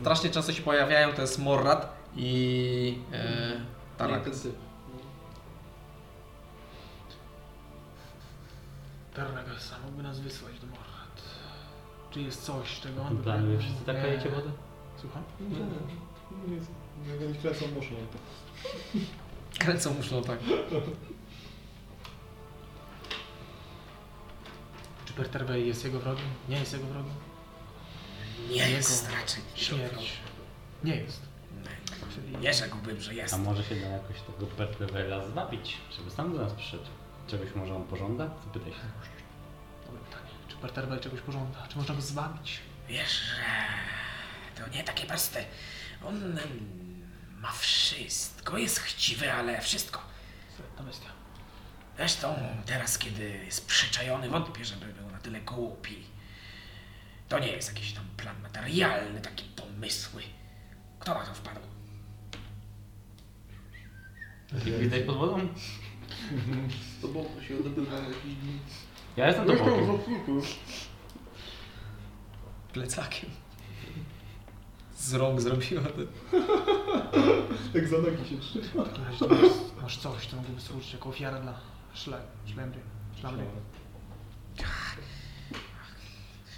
strasznie często się pojawiają, to jest Morrat i e, Tarak. Tarnagas sam mógłby nas wysłać do Morrat. Czy jest coś, czego No on by tak, e, pragnął? wy wszyscy tak Nie. pijecie wodę? Słucham? No. Nie, nie, nie, nie klecą muszą. Kręcą muszlą, tak. Czy Perterbej jest jego wrogiem? Nie jest jego wrogiem? Nie Jego jest raczej Śmierć. Nie jest. Nie rzekłbym, że jest. A może się da jakoś tego Pertwela zwabić, żeby sam do nas przyszedł? Czegoś może on pożąda? Zapytaj się. Dobre pytanie. tak. Czy Perterbej czegoś pożąda? Czy można go zwabić? Wiesz, że to nie takie proste. On em, ma wszystko, jest chciwy, ale wszystko. Świetna bestia. Zresztą teraz, kiedy jest przyczajony, wątpię, żeby był na tyle głupi. To nie jest jakiś tam plan materialny, takie pomysły. Kto na to wpadł? Jak widać pod wodą? To boku się odbywa jakiś dni. Ja jestem No do boku. Plecakiem. Z rąk zrobiła ten. Tak za nogi się trzyma. W takim razie ty masz, masz coś, co mogłoby służyć jako ofiara dla szle, szlemry. Szlamry.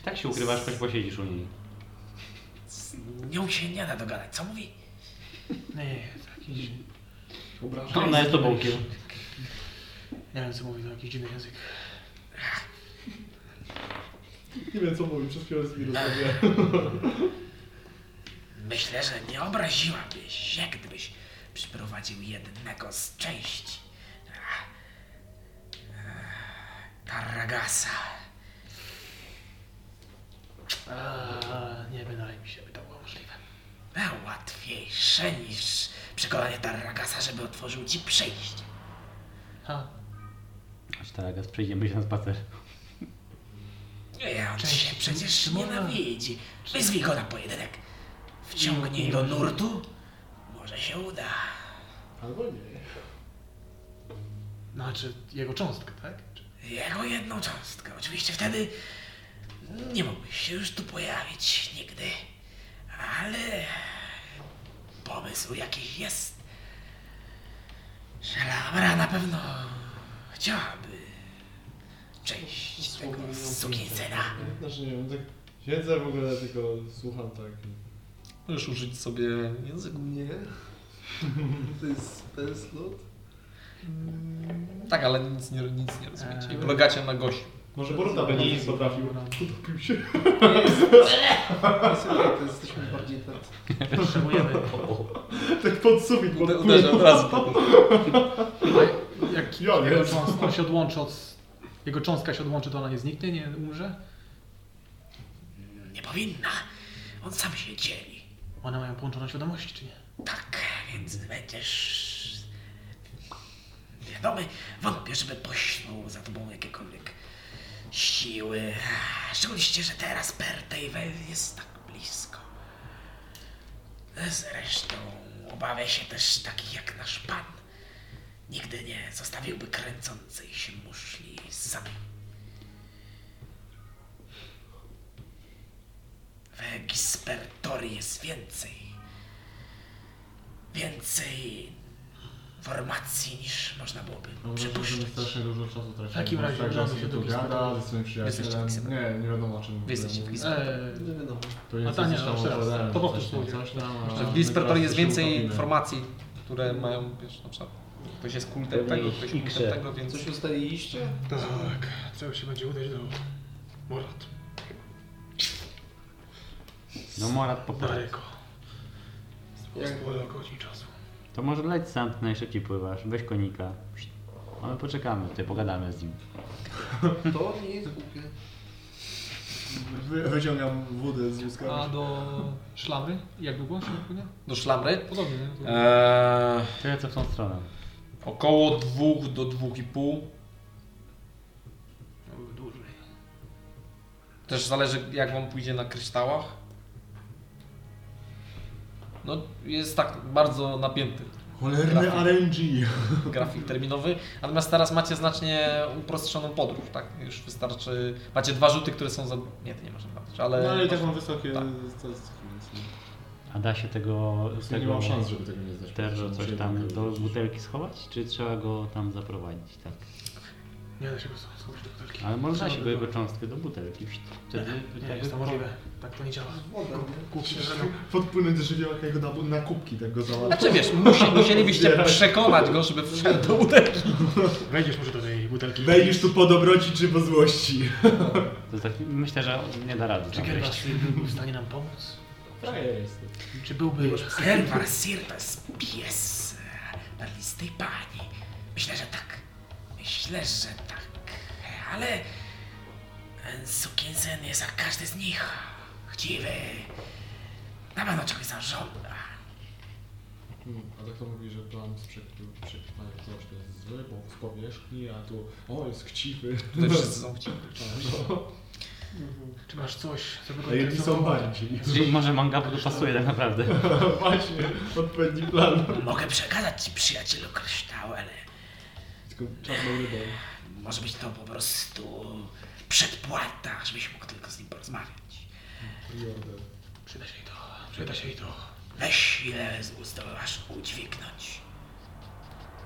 Tak się ukrywasz, choć posiedzisz u niej. Z nią się nie da dogadać. Co mówi? Nie, to jakiś... No, To ona jest do boku. Nie wiem, co mówi, to jakiś dziwny język. Nie wiem co mówił, przez chwilę z nim rozmawiałem. [laughs] Myślę, że nie obraziłabyś się, gdybyś przyprowadził jednego z części. e, Tarragasa. Eee, nie wydaje mi się, by to było możliwe. A łatwiejsze niż przekonanie Tarragasa, żeby otworzył ci przejście. Ha, Chodź Taragas, tak, przejdziemy się na [laughs] spacer. Nie, on Cześć, się przecież Szymona. nienawidzi. Wyzwij go na pojedynek. Wciągnij do nurtu. Może się uda. Albo nie. Znaczy jego cząstkę, tak? Czy- Jego jedną cząstkę. Oczywiście wtedy nie mógłbyś się już tu pojawić nigdy. Ale pomysł jakiś jest. Szelabra na pewno chciałaby część tego sukinsyna. Znaczy nie wiem, tak siedzę w ogóle tylko słucham tak. Możesz użyć sobie języku. Nie. [laughs] To jest spell slot. Tak, ale nic nie, nic nie rozumiecie. I polegacie na gościu. Może Boruta by nic potrafił. Utopił się. [laughs] Słuchaj, to jesteśmy bardziej tacy. Potrzebujemy. Tak pod sufit. Ude- Uderza od razu. Jak Ja nie. jego cząstka się odłączy od... Jego cząstka się odłączy, to ona nie zniknie, nie umrze? Nie powinna. On sam się dzieli. One mają połączone świadomości, czy nie? Tak, więc będziesz. Wiadomy, wątpię, żeby pośnął za tobą jakiekolwiek siły. Szczególnie, że teraz Pertejwel jest tak blisko. Zresztą obawia się też takich jak nasz pan. Nigdy nie zostawiłby kręcącej się muszli samej. W Gispertorii jest więcej więcej formacji niż można byłoby No, Może będziemy przypuszczać. strasznie dużo czasu tracić. W takim razie tak, że udamy sobie się do tu gada Gisberta. ze swoim przyjacielem. Jesteście w Nie, nie wiadomo o czym w ogóle Jesteście w mówi. Gisbertorii. Eee, Nie no wiadomo. Pewnie A coś Tania, tam no, teraz, opowiadałem, to powtórz coś tam, pójdzie. coś tam, a Że my w Dispertory teraz jest się więcej utopimy. informacji, które mają, wiesz, na przykład ktoś jest kultem Pewnie tego, ktoś ich kultem ikrze. tego, więc... Coś ustaliliście? No Tak, trzeba się będzie udać do Morat. No Morat po Tak. prostu. daleko. Jak Sporo godzin czasu. To może leć sam, ty najszybciej pływasz, weź konika. A my poczekamy, tutaj pogadamy z nim. To nie jest głupie. Wy, wyciągam wódę z łuska. A do szlamy? Jak długo się płynie? Do szlamry? Podobnie, nie? Eee, Tyle co w tą stronę. około 2 do 2,5. Dłużej. Też zależy jak wam pójdzie na kryształach. No jest tak bardzo napięty. Cholerny RNG. grafik terminowy. Natomiast teraz macie znacznie uprostrzoną podróż, tak? Już wystarczy. Macie dwa rzuty, które są za. Nie, ty nie można patrzeć, ale. No ale i tak masz- mam wysokie... Tak. statystyki, więc- A da się tego... sumie nie mam szans, żeby tego nie zdać. Terro Muszę coś jednak tam to do wyrzucić. butelki schować? Czy trzeba go tam zaprowadzić, tak? Nie da się go schować do butelki. Ale można się Trzeba go by jego było- cząstkę do butelki. Wtedy... Nie, jest to możliwe. Tak to nie działa. Kupcie żadną. Podpłynąć do żywiołka i go na, na kubki tak go załatwić. Znaczy wiesz, musi, musielibyście przekonać go, żeby wszedł do butelki. Wejdziesz może do tej butelki. Wejdziesz tu po dobroci czy po złości. To tak, myślę, że nie da rady. Czy tam wejść. Gerwas byłby w stanie nam pomóc? Frajer jestem. Czy byłby... Herbar Sirtas, pies e, perlistej pani. Myślę, że tak. Myślę, że tak. Ale e, Sukinsen jest jak każdy z nich. Chciwy. Na pewno czegoś zażąda. Hmm, A tak to mówi, że plan z przekrywania książki jest zły, bo z powierzchni, a tu o, jest chciwy. No. [laughs] Tutaj wszyscy są chciwi. no. Czy masz coś, co by go A jedni są interesowało? bardziej. Czyli może manga go pasuje tak naprawdę. No Właśnie, odpowiedni plan. Mogę przekazać ci przyjacielu kryształ, ale Tylko czarną rybą. może być to po prostu przedpłata, żebyś mógł tylko z nim porozmawiać. Jordan. Przyda się jej to. Przyda się jej to. Weź ile z ust zdołasz udźwignąć.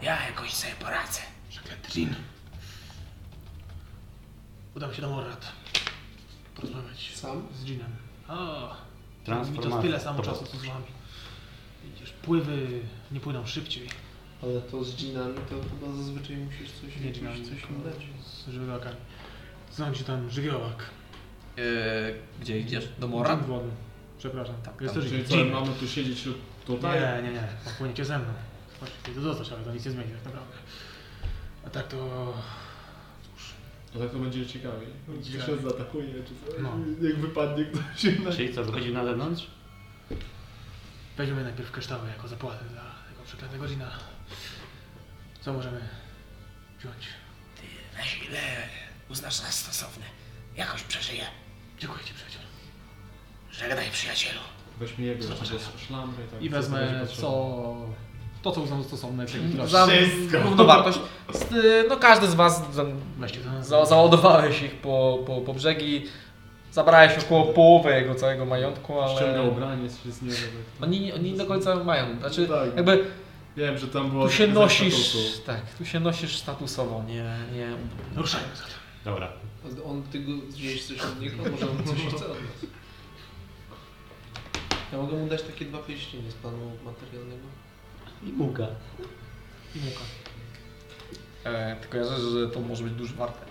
Ja jakoś sobie poradzę. Przeklęty Jin. Udam się do Morrat. Porozmawiać Sam? z Jinem. A, [laughs] mi Transformacja. to tyle samo To czasu co z wami. Widzisz, pływy nie płyną szybciej. Ale to z dżinami to chyba zazwyczaj musisz coś Wiedźmami, jakoś coś im dać. Z żywiołakami. Znam ci tam żywiołak. E, gdzie idziesz? Do mora? Dzień wody. Przepraszam. Tak, Jest tam, to Czyli dzień. co, mamy tu siedzieć tu- tutaj? Nie, nie, nie. Popłyniecie ze mną. Możecie to zostać, ale to nic nie zmieni tak naprawdę. A tak to... Cóż, A tak to będzie ciekawiej. Gdzieś nas zaatakuje, czy coś. No. Jak wypadnie ktoś inny. Czyli co, wychodzimy na zewnątrz? weźmiemy najpierw kryształy jako zapłatę dla tego przeklętego Jina. Co możemy wziąć? Weź ile uznasz za stosowne. Jakoś przeżyję. Dziękuję ci przyjacielu. Żegnaj przyjacielu. Weźmy jego, żeby szlamry tak. I wezmę co... To co uznam za stosowne. [laughs] Za Wszystko. równowartość. Z, y, No każdy z was tam Weźcie to na za, załadowałeś ich po, po, po brzegi. Zabrałeś około połowę jego całego majątku, Ściąga ale... ubranie z No wszystkiego. Oni, oni nie do końca mają, znaczy Tak. jakby Wiem, że tam było... tu się takie nosisz, zastatusu. tak, tu się nosisz statusowo, nie, nie Ruszajmy zatem. Dobra. A On tego gdzieś coś od niego, może on coś chce od nas. Ja mogę mu dać takie dwa pierścienie z planu materialnego. I muga. I muka. E, tylko ja rzecz, że to może być dużo warte.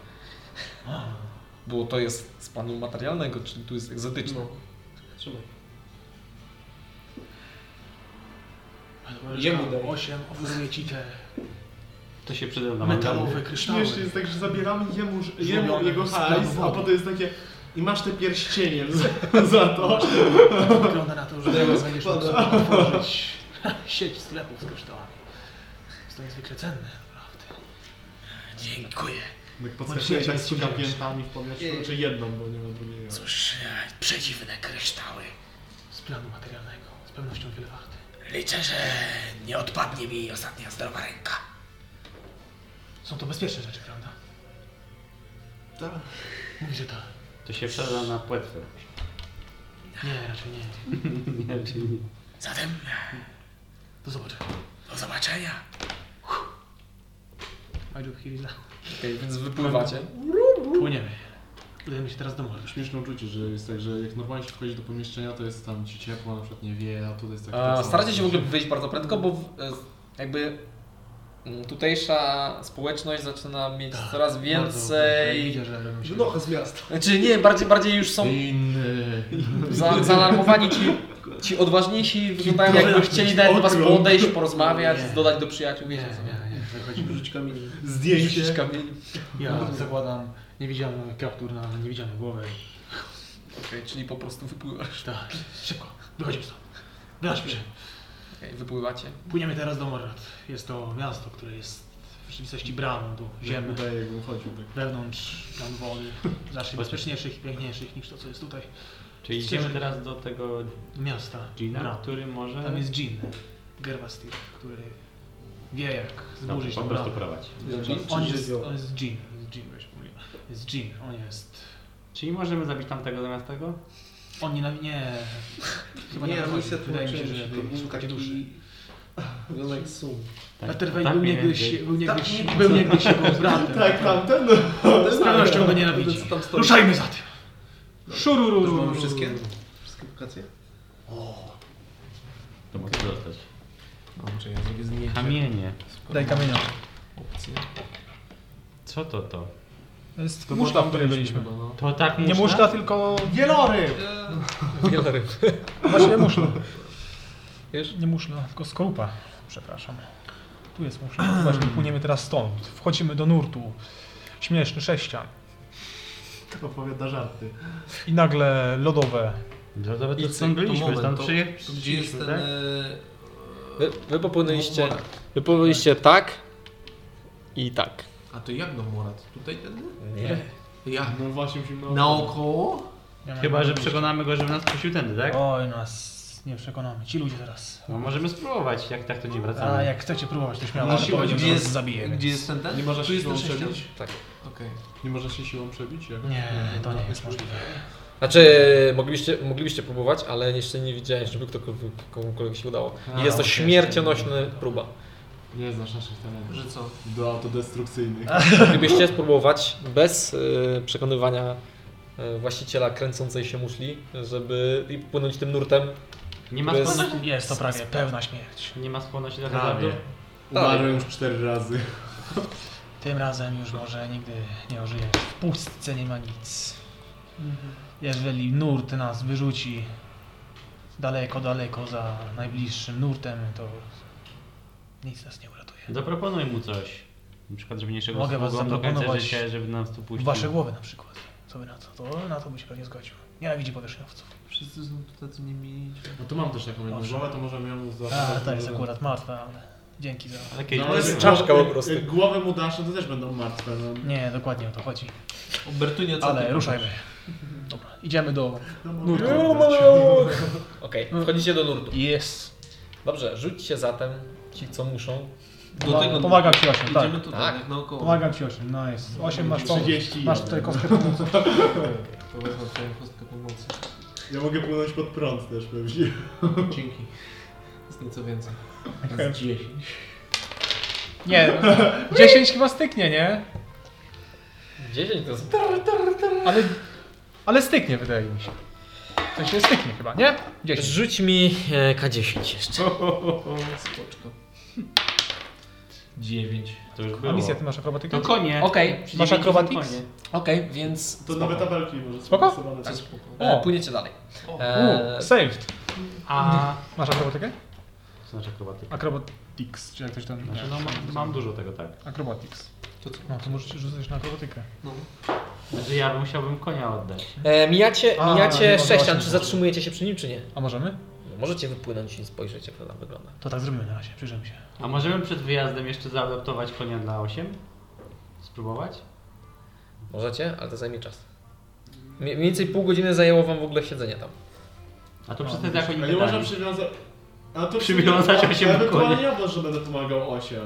Bo to jest z planu materialnego, czyli tu jest egzotyczne. No. Trzymaj. Jemu Jemu daję. 8 oferuje ci te To się przyda na metalowe kryształy. Śmiesznie jest tak, że zabieramy jemu, jemu Zrobione jego z hajs, a planu potem jest takie... I masz te pierścienie za, [laughs] za to. Wygląda na to, że teraz będziesz mógł sobie otworzyć [laughs] sieć sklepów z kryształami. Jest to niezwykle cenne, naprawdę. Dziękuję. No Jak podskakuje, tak z piętami w powietrzu, Ej. czy jedną, bo nie ma drugiej. Cóż, e, przedziwne kryształy. Z planu materialnego. Z pewnością wiele warte. Liczę, że nie odpadnie mi ostatnia zdrowa ręka. Są to bezpieczne rzeczy, prawda? Tak. Mówi, że tak. To się przyda na płetwę. Nie, raczej nie. Nie, czyli nie. Zatem Do zobaczenia. do zobaczenia. Ajdu Hirila. Okej, więc wypływacie. Płyniemy. Udajemy się teraz do morza. Śmieszne uczucie, że jest tak, że jak normalnie się wchodzi do pomieszczenia, to jest tam ci ciepło, na przykład nie wieje, a tutaj jest tak... E, staracie się w ogóle wyjść bardzo prędko, bo w, e, jakby mm, tutejsza społeczność zaczyna mieć Tak, coraz więcej... Widzę, że robią się... No. Wynocha z miasta. Znaczy nie, bardziej, bardziej już są Inny... za, zaalarmowani ci, ci odważniejsi, wyglądają jakby chcieli nawet do was podejść, porozmawiać, Nie. dodać do przyjaciół, Nie, wiecie co. nie, nie. Wychodzimy. Rzuć kamieniem. Rzucić Zdjęcie. kamień. Ja zakładam niewidzialny kaptur na niewidzialną głowę i Okej, czyli po prostu wypływasz. Tak, szybko. Wychodzimy stąd. Wychodźmy się. Okej, wypływacie. Płyniemy teraz do Morrat. Jest to miasto, które jest w rzeczywistości bramą do ziemi. Wydaje, jakbym chodził tak. Wewnątrz plan wody. Zawsze bezpieczniejszych i piękniejszych niż to, co jest tutaj. Czyli idziemy teraz do tego miasta. Gina, Bra. który może... Tam jest Jin, Gerwastir, który wie jak zburzyć po tą prostu bramę. prowadź. Jest Jin Jin, czy On jest, żywioł? on jest Jin, jest Jin, weź mówię. Jest Jin, on jest... Czyli możemy zabić tamtego zamiast tego? On nie... Nie, chyba nie, Nie, nie misja wychodzi. Wydaje mi się, tłumaczenia, że że to był szukać duszy. taki... Wygląda sum. Tak, Peterwein tak był mniej niegdyś, więcej. był niegdyś, Tak, był nie- niegdyś jego bratem. Tak, tamten. Z pewnością go nienawidzi. Co tam stoi? Ruszajmy za tym. To Szurururu. mamy wszystkie? Wszystkie lokacje? To może zostać. Czy ja zrobię zdjęcie? Kamienie. Daj kamienia. Opcje. Co to to? To jest muszla, w której byliśmy. To tak Nie muszla, tylko... Wieloryb! Wieloryb. Właśnie muszla. Wiesz? Nie muszla, tylko skorupa. Przepraszam. Tu jest muszla. Właśnie płyniemy teraz stąd. Wchodzimy do nurtu. Śmieszny sześcian. Opowiada żarty. I nagle lodowe. No nawet I to co- stąd to byliśmy, moment, stąd to- to Gdzie jest przyjechaliśmy, ten... tak? e, Wy, wy popłynęliście, Morat. wy popłynęliście No, tak i tak. A to jak do Morat? Tutaj ten? Nie. Ja. No właśnie musimy... Naokoło? Chyba, że przekonamy go, żeby nas puścił tędy, tak? Oj, no, nas nie przekonamy. Ci ludzie teraz. No możemy spróbować, jak tak to nie wracamy. A jak chcecie próbować, to śmiało. No, ale siłą, powiedział, gdzie że nas jest- zabije. więc- Gdzie jest ten ten? Nie można Tu się jest ten siłą sześcian. przebić? Tak. Okej. Nie można się siłą przebić? Jak? Nie, to nie jest możliwe. Znaczy, mogliście, mogliście próbować, ale jeszcze nie widziałem, żeby kto, komukolwiek się udało. I A, jest to okej. śmiercionośna próba. Nie znasz naszych talentów. Że co? Do autodestrukcyjnych. Gdybyście spróbować bez y, przekonywania y, właściciela kręcącej się muszli, żeby i płynąć tym nurtem, Nie ma To jest- skłonności, Jest to prawie pewna śmierć. nie ma skłonności do hazardu. Prawie. Umarłem już cztery razy. Tym razem już może nigdy nie ożyjesz. W pustce nie ma nic. Jeżeli nurt nas wyrzuci daleko, daleko za najbliższym nurtem, to nic nas nie uratuje. Zaproponuj mu coś. Na przykład, żeby nie szedł Mogę z was sługą do końca zaproponować życia, żeby nas tu puścił. Wasze głowy na przykład. Co wy na to? to na to by się pewnie zgodził. Nienawidzi powierzchniowców. Wszyscy są tutaj, co nie mieli... No to mam też taką jedną Dobrze. głowę, to możemy ją A, zaatakować. tak, ta jest akurat martwa, ale dzięki za... Ale No, kiedyś No, ale była. jest czaszka po prostu. Jak głowę mu dasz, no to też będą martwe. No. Nie, dokładnie o to chodzi. O Bertunia co Ale ty? ruszajmy. Dobra, idziemy do... No Okej, wchodzicie do nurtu. Yes. Dobrze, rzućcie zatem ci, co muszą. Do tego... Pomagam ci osiem, tak. Idziemy tutaj, Tak. tak. naokoło. Pomagam ci 8, nice. 8 masz pomóc. 30 Masz tutaj kostkę [laughs] pomocy. To wezmę twoją kostkę pomocy. Ja mogę płynąć pod prąd też pewnie. Dzięki. Jest nieco więcej. Nie, 10 chyba styknie, nie? 10 to jest... Ale, ale styknie, wydaje mi się. To się styknie chyba, nie? 10. Rzuć mi e, K10 jeszcze. Spoczko. Dziewięć. To już A było. misja, ty masz akrobatykę? To konie. Okej. Przy Masz dziewięciu to acrobatics? konie. Okej, więc To nawet tabelki może są Spoko? stosowane. To spoko. e, płyniecie dalej. E, U, saved. [laughs] A... Masz akrobatykę? Co znaczy akrobatyka? Acrobatics, czy jak ktoś tam... Znaczy, no, mam, mam dużo tego, tak. Acrobatics. To co? No, to możecie rzucać na akrobatykę. No. Znaczy, ja bym musiałbym konia oddać. e, mijacie A, nie mijacie ma sześcian, właśnie. czy zatrzymujecie się przy nim, czy nie? A możemy? Możecie wypłynąć i spojrzeć, jak to tam wygląda. To tak zrobimy na razie, przyjrzymy się. A możemy przed wyjazdem jeszcze zaadoptować konia dla 8? Spróbować? Możecie, ale to zajmie czas. Mie- Mniej więcej pół godziny zajęło wam w ogóle siedzenie tam. A to przez ten jako A Tak. nie nie można wydali. przywiązać... A to Przywiązać osiem do Ewentualnie konia. ja może będę pomagał 8.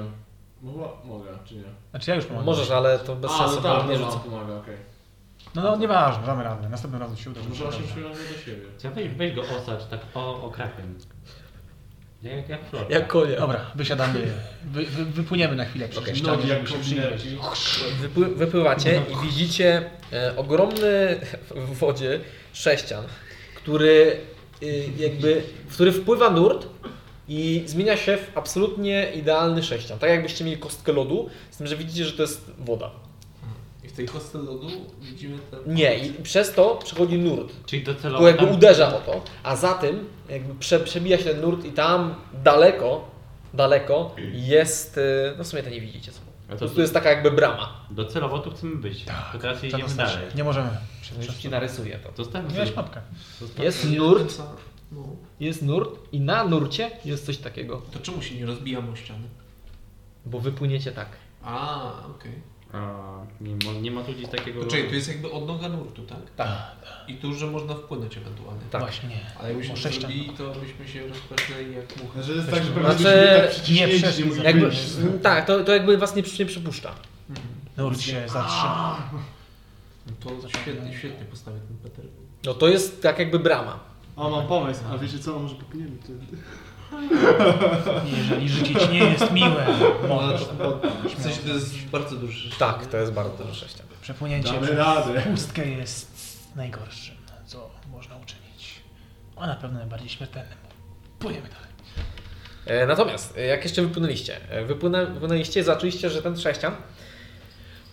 Mogła, mogę, czy nie? Znaczy ja już pomagam. Możesz, ale to bez A, sensu, no bo tak, nie no, rzucę. pomaga, okej. No, no nieważne, damy radę. Następnym razem się uda. Może 8 Dobra. przywiązać do siebie. Ja weź, weź go osacz tak o, o krakiem. Jak, jak flota. Jak konia. Dobra, wysiadamy. Wy, wy, wypłyniemy na chwilę przez Okej. okay. Nogi jak żeby się przyjrzeć. kombinerki. Wypły, wypływacie i widzicie e, ogromny [laughs] w wodzie sześcian, który e, jakby, w który wpływa nurt i zmienia się w absolutnie idealny sześcian. Tak jakbyście mieli kostkę lodu, z tym, że widzicie, że to jest woda. I w tej kostce lodu widzimy ten... Nie, i przez to przechodzi nurt. Czyli Bo docelowo jakby tam, uderza o to, a za tym jakby prze, przebija się ten nurt i tam daleko daleko jest, y, no w sumie to nie widzicie co. Po prostu jest taka jakby brama. Docelowo tu chcemy być. Tak, to teraz trzeba jedziemy znaczy- znaleźć. dalej. Nie możemy. Już ci narysuję to. Zostawmy Miałeś sobie- mapkę. Zostawmy Jest sobie- nurt, jest nurt i na nurcie jest coś takiego. no. To czemu się nie rozbijam o ściany? Bo wypłyniecie tak. A, okej. A, nie, ma, nie ma tu gdzieś takiego... Poczekaj, Znaczy, tu jest jakby odnoga nurtu, tak? No. Tak. I tu, że można wpłynąć ewentualnie. Tak. Właśnie. Ale jakbyśmy O to sześć zrobili, to byśmy się rozpędzali jak muchy. Że jest tak, że pewnie Znaczy, nie nie jakby, tak, to, to jakby was nie, przy- nie przypuszcza. Nurt się zatrzyma. No to świetnie, świetnie postawię ten Peter. No to jest tak jakby brama. O, mam pomysł, a wiecie co, może popijemy wtedy. Jeżeli życie ci nie jest miłe, możesz. W sensie to jest bardzo duży Tak, to jest bardzo dużo sześcia. Przepłynięcie Damy przez radę. pustkę jest najgorszym, co można uczynić. A na pewno najbardziej śmiertelnym. Płyniemy dalej. E, Natomiast, e, jak jeszcze wypłynęliście? E, Wypłynę, wypłynęliście, zaczęliście, że ten sześcian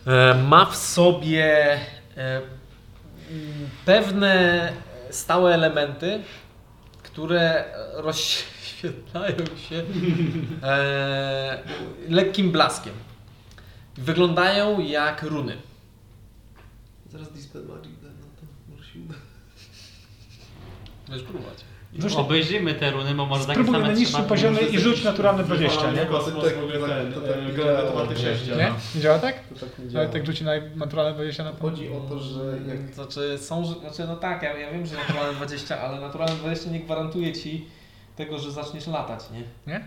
e, ma w sobie e, mm, pewne stałe elementy, które rozświetlają się e, lekkim blaskiem. Wyglądają jak runy. Zaraz Dispel Magic da na to, może się uda. Możesz próbować. Rzuć- Obejrzyjmy te runy, bo może takie Spróbuj same na niższym trzeba- poziomie i rzuć naturalne 20, nie? Kosmos w ogóle ten, to tak e, nie granatowaty działa. sześcian. Nie? Nie działa tak? To tak nie działa. Ale tak rzuci na naturalne 20 na to. Chodzi o to, że jak Znaczy, są, że- znaczy no tak, ja, ja wiem, że naturalne 20, ale naturalne 20 nie gwarantuje ci tego, że zaczniesz latać, nie?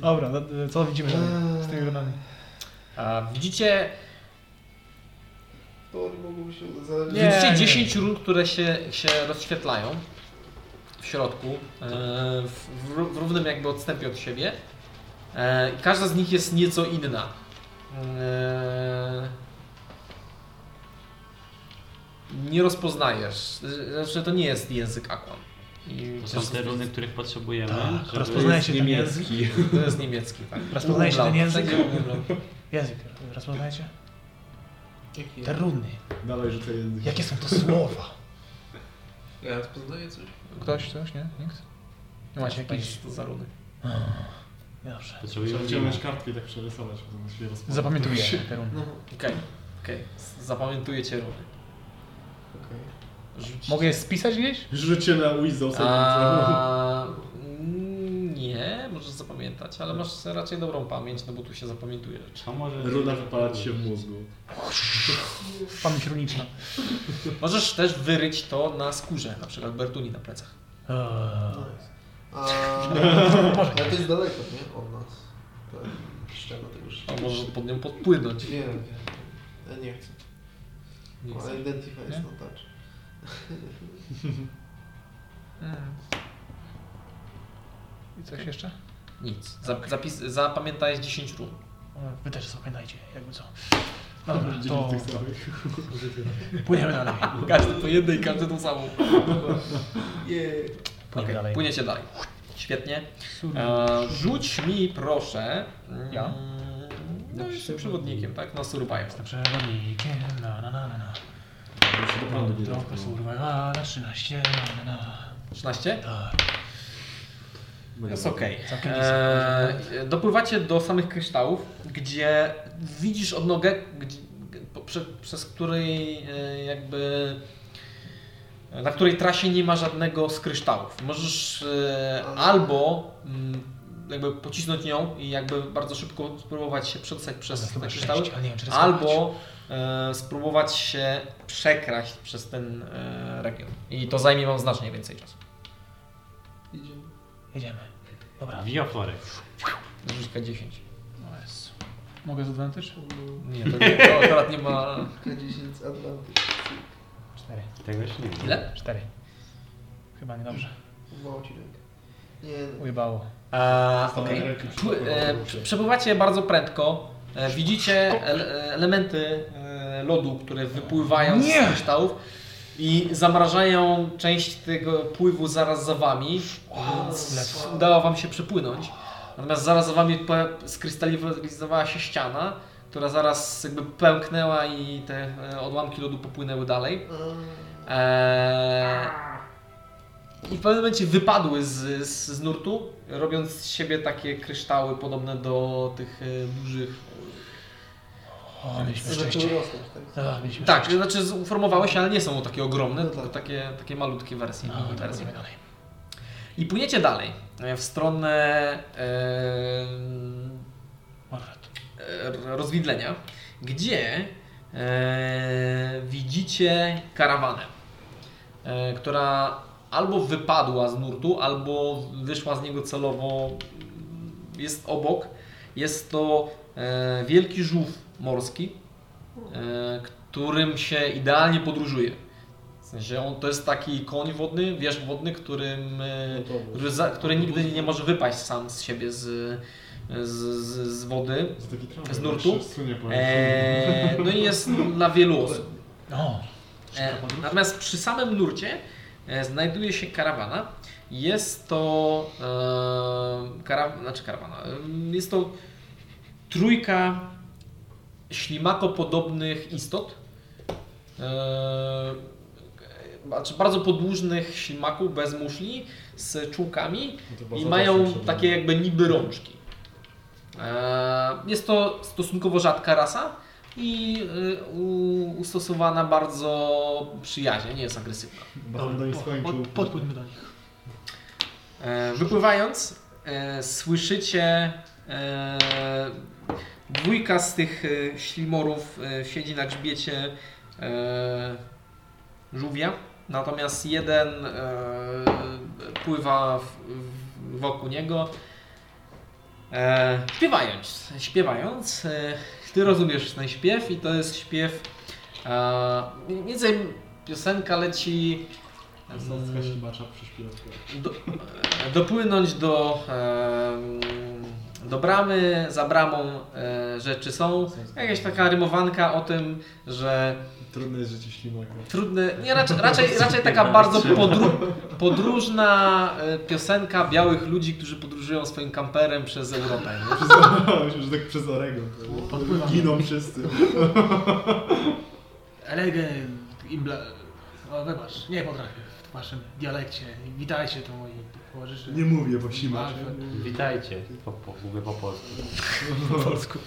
Dobra, no, y, e, co widzimy z tymi runami? A widzicie, to oni mogą się zależeć. Nie, widzicie nie. 10 run, które się, się rozświetlają w środku, e, w, w, ró- w równym jakby odstępie od siebie. E, i Każda z nich jest nieco inna. E, Nie rozpoznajesz, e, znaczy to nie jest język Aquan. I To są te runy, których potrzebujemy. Tak, żeby- rozpoznaje się ten język. niemiecki. To jest niemiecki, tak. Rozpoznaje się ten Umlaut, język? tak, umlaut. Język, rozpoznajcie? Jaki Te ja? runy. Dawaj, rzucę język. Jakie są to słowa? Ja rozpoznaję coś. Ktoś, coś, nie? Nikt? Nie macie jakiejś... To za runy. Dobrze. Trzeba Potrzebujemy wyciągnąć runy. kartkę i tak przerysować, bo to się rozpocznie. Zapamiętujcie te runy. No, Okej, okej, zapamiętujecie runy. okej. Rzuć- Mogę je spisać gdzieś? Rzućcie na Wizzo [laughs] A, mm, nie, możesz zapamiętać, ale masz raczej dobrą pamięć, no bo tu się zapamiętuje rzeczy. A może... Runa wypala ci się w mózgu. Pamięć runiczna. Możesz też wyryć to na skórze, na przykład Bertuni na plecach. Eee, Nice. A, ale to jest daleko, nie? Od nas. Ta Ściana tego A szczytu. możesz pod nią podpłynąć. Nie, nie. Ja nie chcę. Nie Ale chcę. Identify jest Nie? na touch. Mm. I coś jeszcze? Nic. Za- Zapis, zapamiętałeś 10 run. Wy też zapamiętajcie, jakby co. Dobra, to Dzięki tych samych. płyniemy dalej. Każdy po jednej, każdy tą samą. Yeah. Płyniemy dalej. Płyniecie dalej. Świetnie. E, rzuć mi proszę. Ja? Mm, No jestem przewodnikiem, tak? Na survival. Jestem przewodnikiem, na na na na na. Trochę survivala, 13, na na na. 13? Tak. Jest okej. Całkiem Eee, Dopływacie do samych kryształów, gdzie widzisz odnogę, gdzie, po- prze, przez której e, jakby na której trasie nie ma żadnego z kryształów. Możesz e, albo mm, jakby pocisnąć nią i jakby bardzo szybko spróbować się przedostać przez te chyba kryształy, sześć, ale nie wiem, czy ryzykować. albo e, spróbować się przekraść przez ten e, region. I to zajmie wam znacznie więcej czasu. Idziemy. Jedziemy. Dobra. Wioforek. Rzuć 10 O Jezu. Mogę z advantage? Nie, to, nie, to akurat nie ma. K10 Atlantyk. Cztery. Tego jeszcze nie wiem. Ile? Cztery. Chyba niedobrze. Uwało ci rękę. Nie, no. Ujebało. A, okej. Przepływacie bardzo prędko. E, Widzicie ele- elementy e, lodu, które wypływają Nie! z kryształów i zamrażają część tego pływu zaraz za wami. Więc udało wam się przepłynąć. Natomiast zaraz za wami pe- skrystalizowała się ściana, która zaraz jakby pęknęła i te e, odłamki lodu popłynęły dalej. A, Eee, I w pewnym momencie wypadły z, z, z nurtu, robiąc z siebie takie kryształy podobne do tych e, dużych. O, mieliśmy Zaczęły szczęście. rosnąć, tak? A, mieliśmy Tak, szczęście. znaczy z- formowały się, ale nie są takie ogromne, tylko takie, takie malutkie wersje. No, mini tak, wersje. idziemy dalej. I płyniecie dalej e, w stronę em, e, rozwidlenia, gdzie e, widzicie karawanę, e, która albo wypadła z nurtu, albo wyszła z niego celowo. Jest obok. Jest to e, wielki żółw morski, e, którym się idealnie podróżuje. W sensie on to jest taki koń wodny, wierzch wodny, którym, No e, który, za, który nigdy nie może wypaść sam z siebie z, z, z, z wody, z nurtu. E, no i jest dla wielu osób. O, E, natomiast przy samym nurcie e, znajduje się karawana. Jest to e, karawana, znaczy karawana. em, Jest to trójka ślimakopodobnych istot. E, znaczy bardzo podłużnych ślimaków bez muszli z czułkami chyba i za mają dosyć, żeby- takie jakby niby rączki. E, Jest to stosunkowo rzadka rasa i y, u- ustosowana bardzo przyjaźnie, nie jest agresywna. Bardzo mi skończył. Podpójdźmy do nich. E, Wypływając, e, słyszycie e, dwójka z tych e, ślimorów e, siedzi na grzbiecie e, żółwia, natomiast jeden e, pływa w, w, wokół niego. E, śpiewając, śpiewając, e, ty rozumiesz ten śpiew i to jest śpiew, e, mniej więcej piosenka leci Sąska ślimacza prześpiewa. do, dopłynąć do, em, do bramy, za bramą e, rzeczy są. Jakaś taka rymowanka o tym, że Trudne jest życie ślimaka. [laughs] trudny, nie, raczej, raczej, raczej taka bardzo podró podróżna e, piosenka białych ludzi, którzy podróżują swoim kamperem przez Europę. nie? Myślę, że tak przez Oregon. Giną wszyscy. Elegę, imbla... O, wybacz, nie potrafię w waszym dialekcie. Witajcie tu moi towarzysze. Nie mówię po simacie. Tak, Witajcie, po, po, mówię po polsku. Po polsku.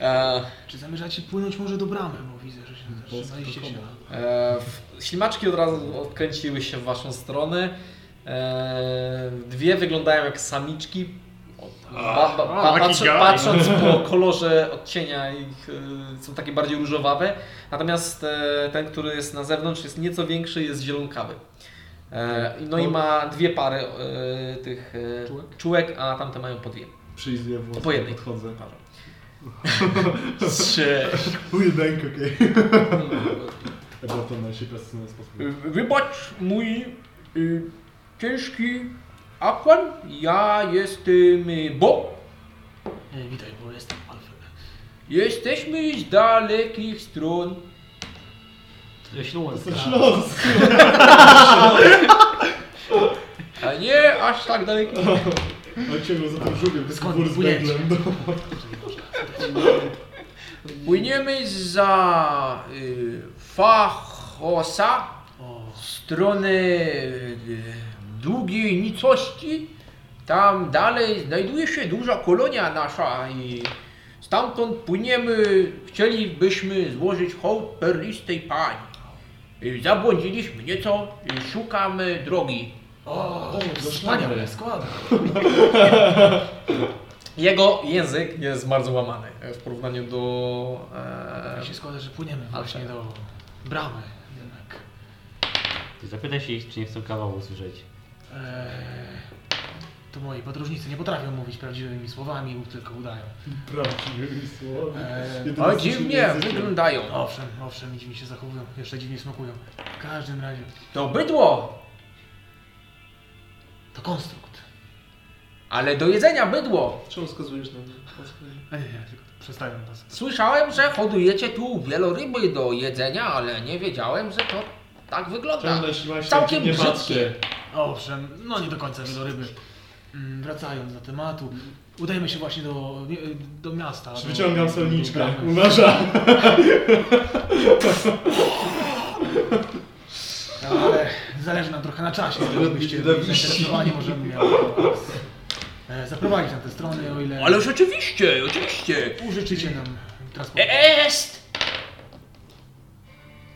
E, Czy zamierzacie płynąć może do bramy, bo widzę, że się zatrzymaliście się. E, w- Ślimaczki od razu odkręciły się w waszą stronę. E, Dwie wyglądają jak samiczki. O, Ba, ba, o, ba, taki patrz, gaj. patrząc po kolorze odcienia ich e, są takie bardziej różowawe. Natomiast e, ten, który jest na zewnątrz jest nieco większy, jest zielonkawy. E, No i ma dwie pary e, tych e, czułek, a tamte mają po dwie. Przyjdź je włosy, Po jednej. podchodzę. Trzy. Ujedenko, [laughs] okej. Chyba to najszybciej sposób. Wybacz mój y, ciężki akwan. Ja jestem y, Bob. E, Witaj, bo jestem Alfred. Jesteśmy z dalekich stron. Śląska. Tak. Los! A nie aż tak dalekich. On ciągle za tym żółwiem, to jest Skąd wór z płyniecie? węglem. No. Płyniemy za y, Fachosa O, w stronę y, długiej nicości. Tam dalej znajduje się duża kolonia nasza i stamtąd płyniemy. Chcielibyśmy złożyć hołd perlistej pani. Y, Zabłądziliśmy nieco, y, szukamy drogi. o, wspaniale, składa. Jego język jest bardzo łamany w porównaniu do. Tak się składa, że płyniemy właśnie do bramy. Jednak. Ty Zapytaj się ich, czy nie chcą kawału usłyszeć. E, to moi podróżnicy nie potrafią mówić prawdziwymi słowami, tylko udają. Prawdziwymi słowami. E, Jedyne ale z naszym dziwnie językiem. wyglądają. Owszem, owszem, dziwnie się zachowują, jeszcze dziwnie smakują. W każdym razie To bydło, to konstrukt. ale do jedzenia bydło. Czemu wskazujesz na mnie? O co chodzi? A nie, nie, tylko przestają was. Słyszałem, że hodujecie tu wieloryby do jedzenia, ale nie wiedziałem, że to tak wygląda. Ciągle śmiać Całkiem nie brzydkie. patrzcie. Owszem, no nie do końca wieloryby. Mm, Wracając do tematu, udajmy się właśnie do, do miasta. Czy do- Wyciągam do solniczkę. bramy. Uważaj. No, ale Zależy nam trochę na czasie, Ale gdybyście byli widowiści. zainteresowani, możemy miał e, zaprowadzić na te strony, o ile Ależ oczywiście, oczywiście. E, użyczycie nam transportu. Jest!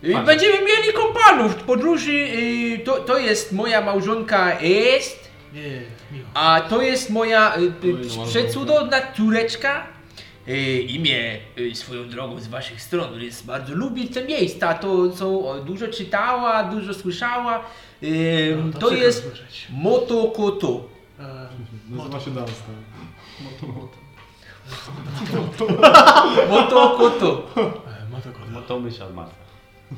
I Patrz. Będziemy mieli kompanów w podróży. y, To, to jest moja małżonka Est, Nie, miło. a to jest moja y, małżonka. y, przecudowna córeczka. Y, Imię y, swoją drogą z waszych stron, więc bardzo lubi te miejsca. To co o, dużo czytała, dużo słyszała. Y, No, To przykro jest słyszeć. Motokoto. E, Nazywa się Danska. Motokoto. e, Motoko. No to myśl od Marta.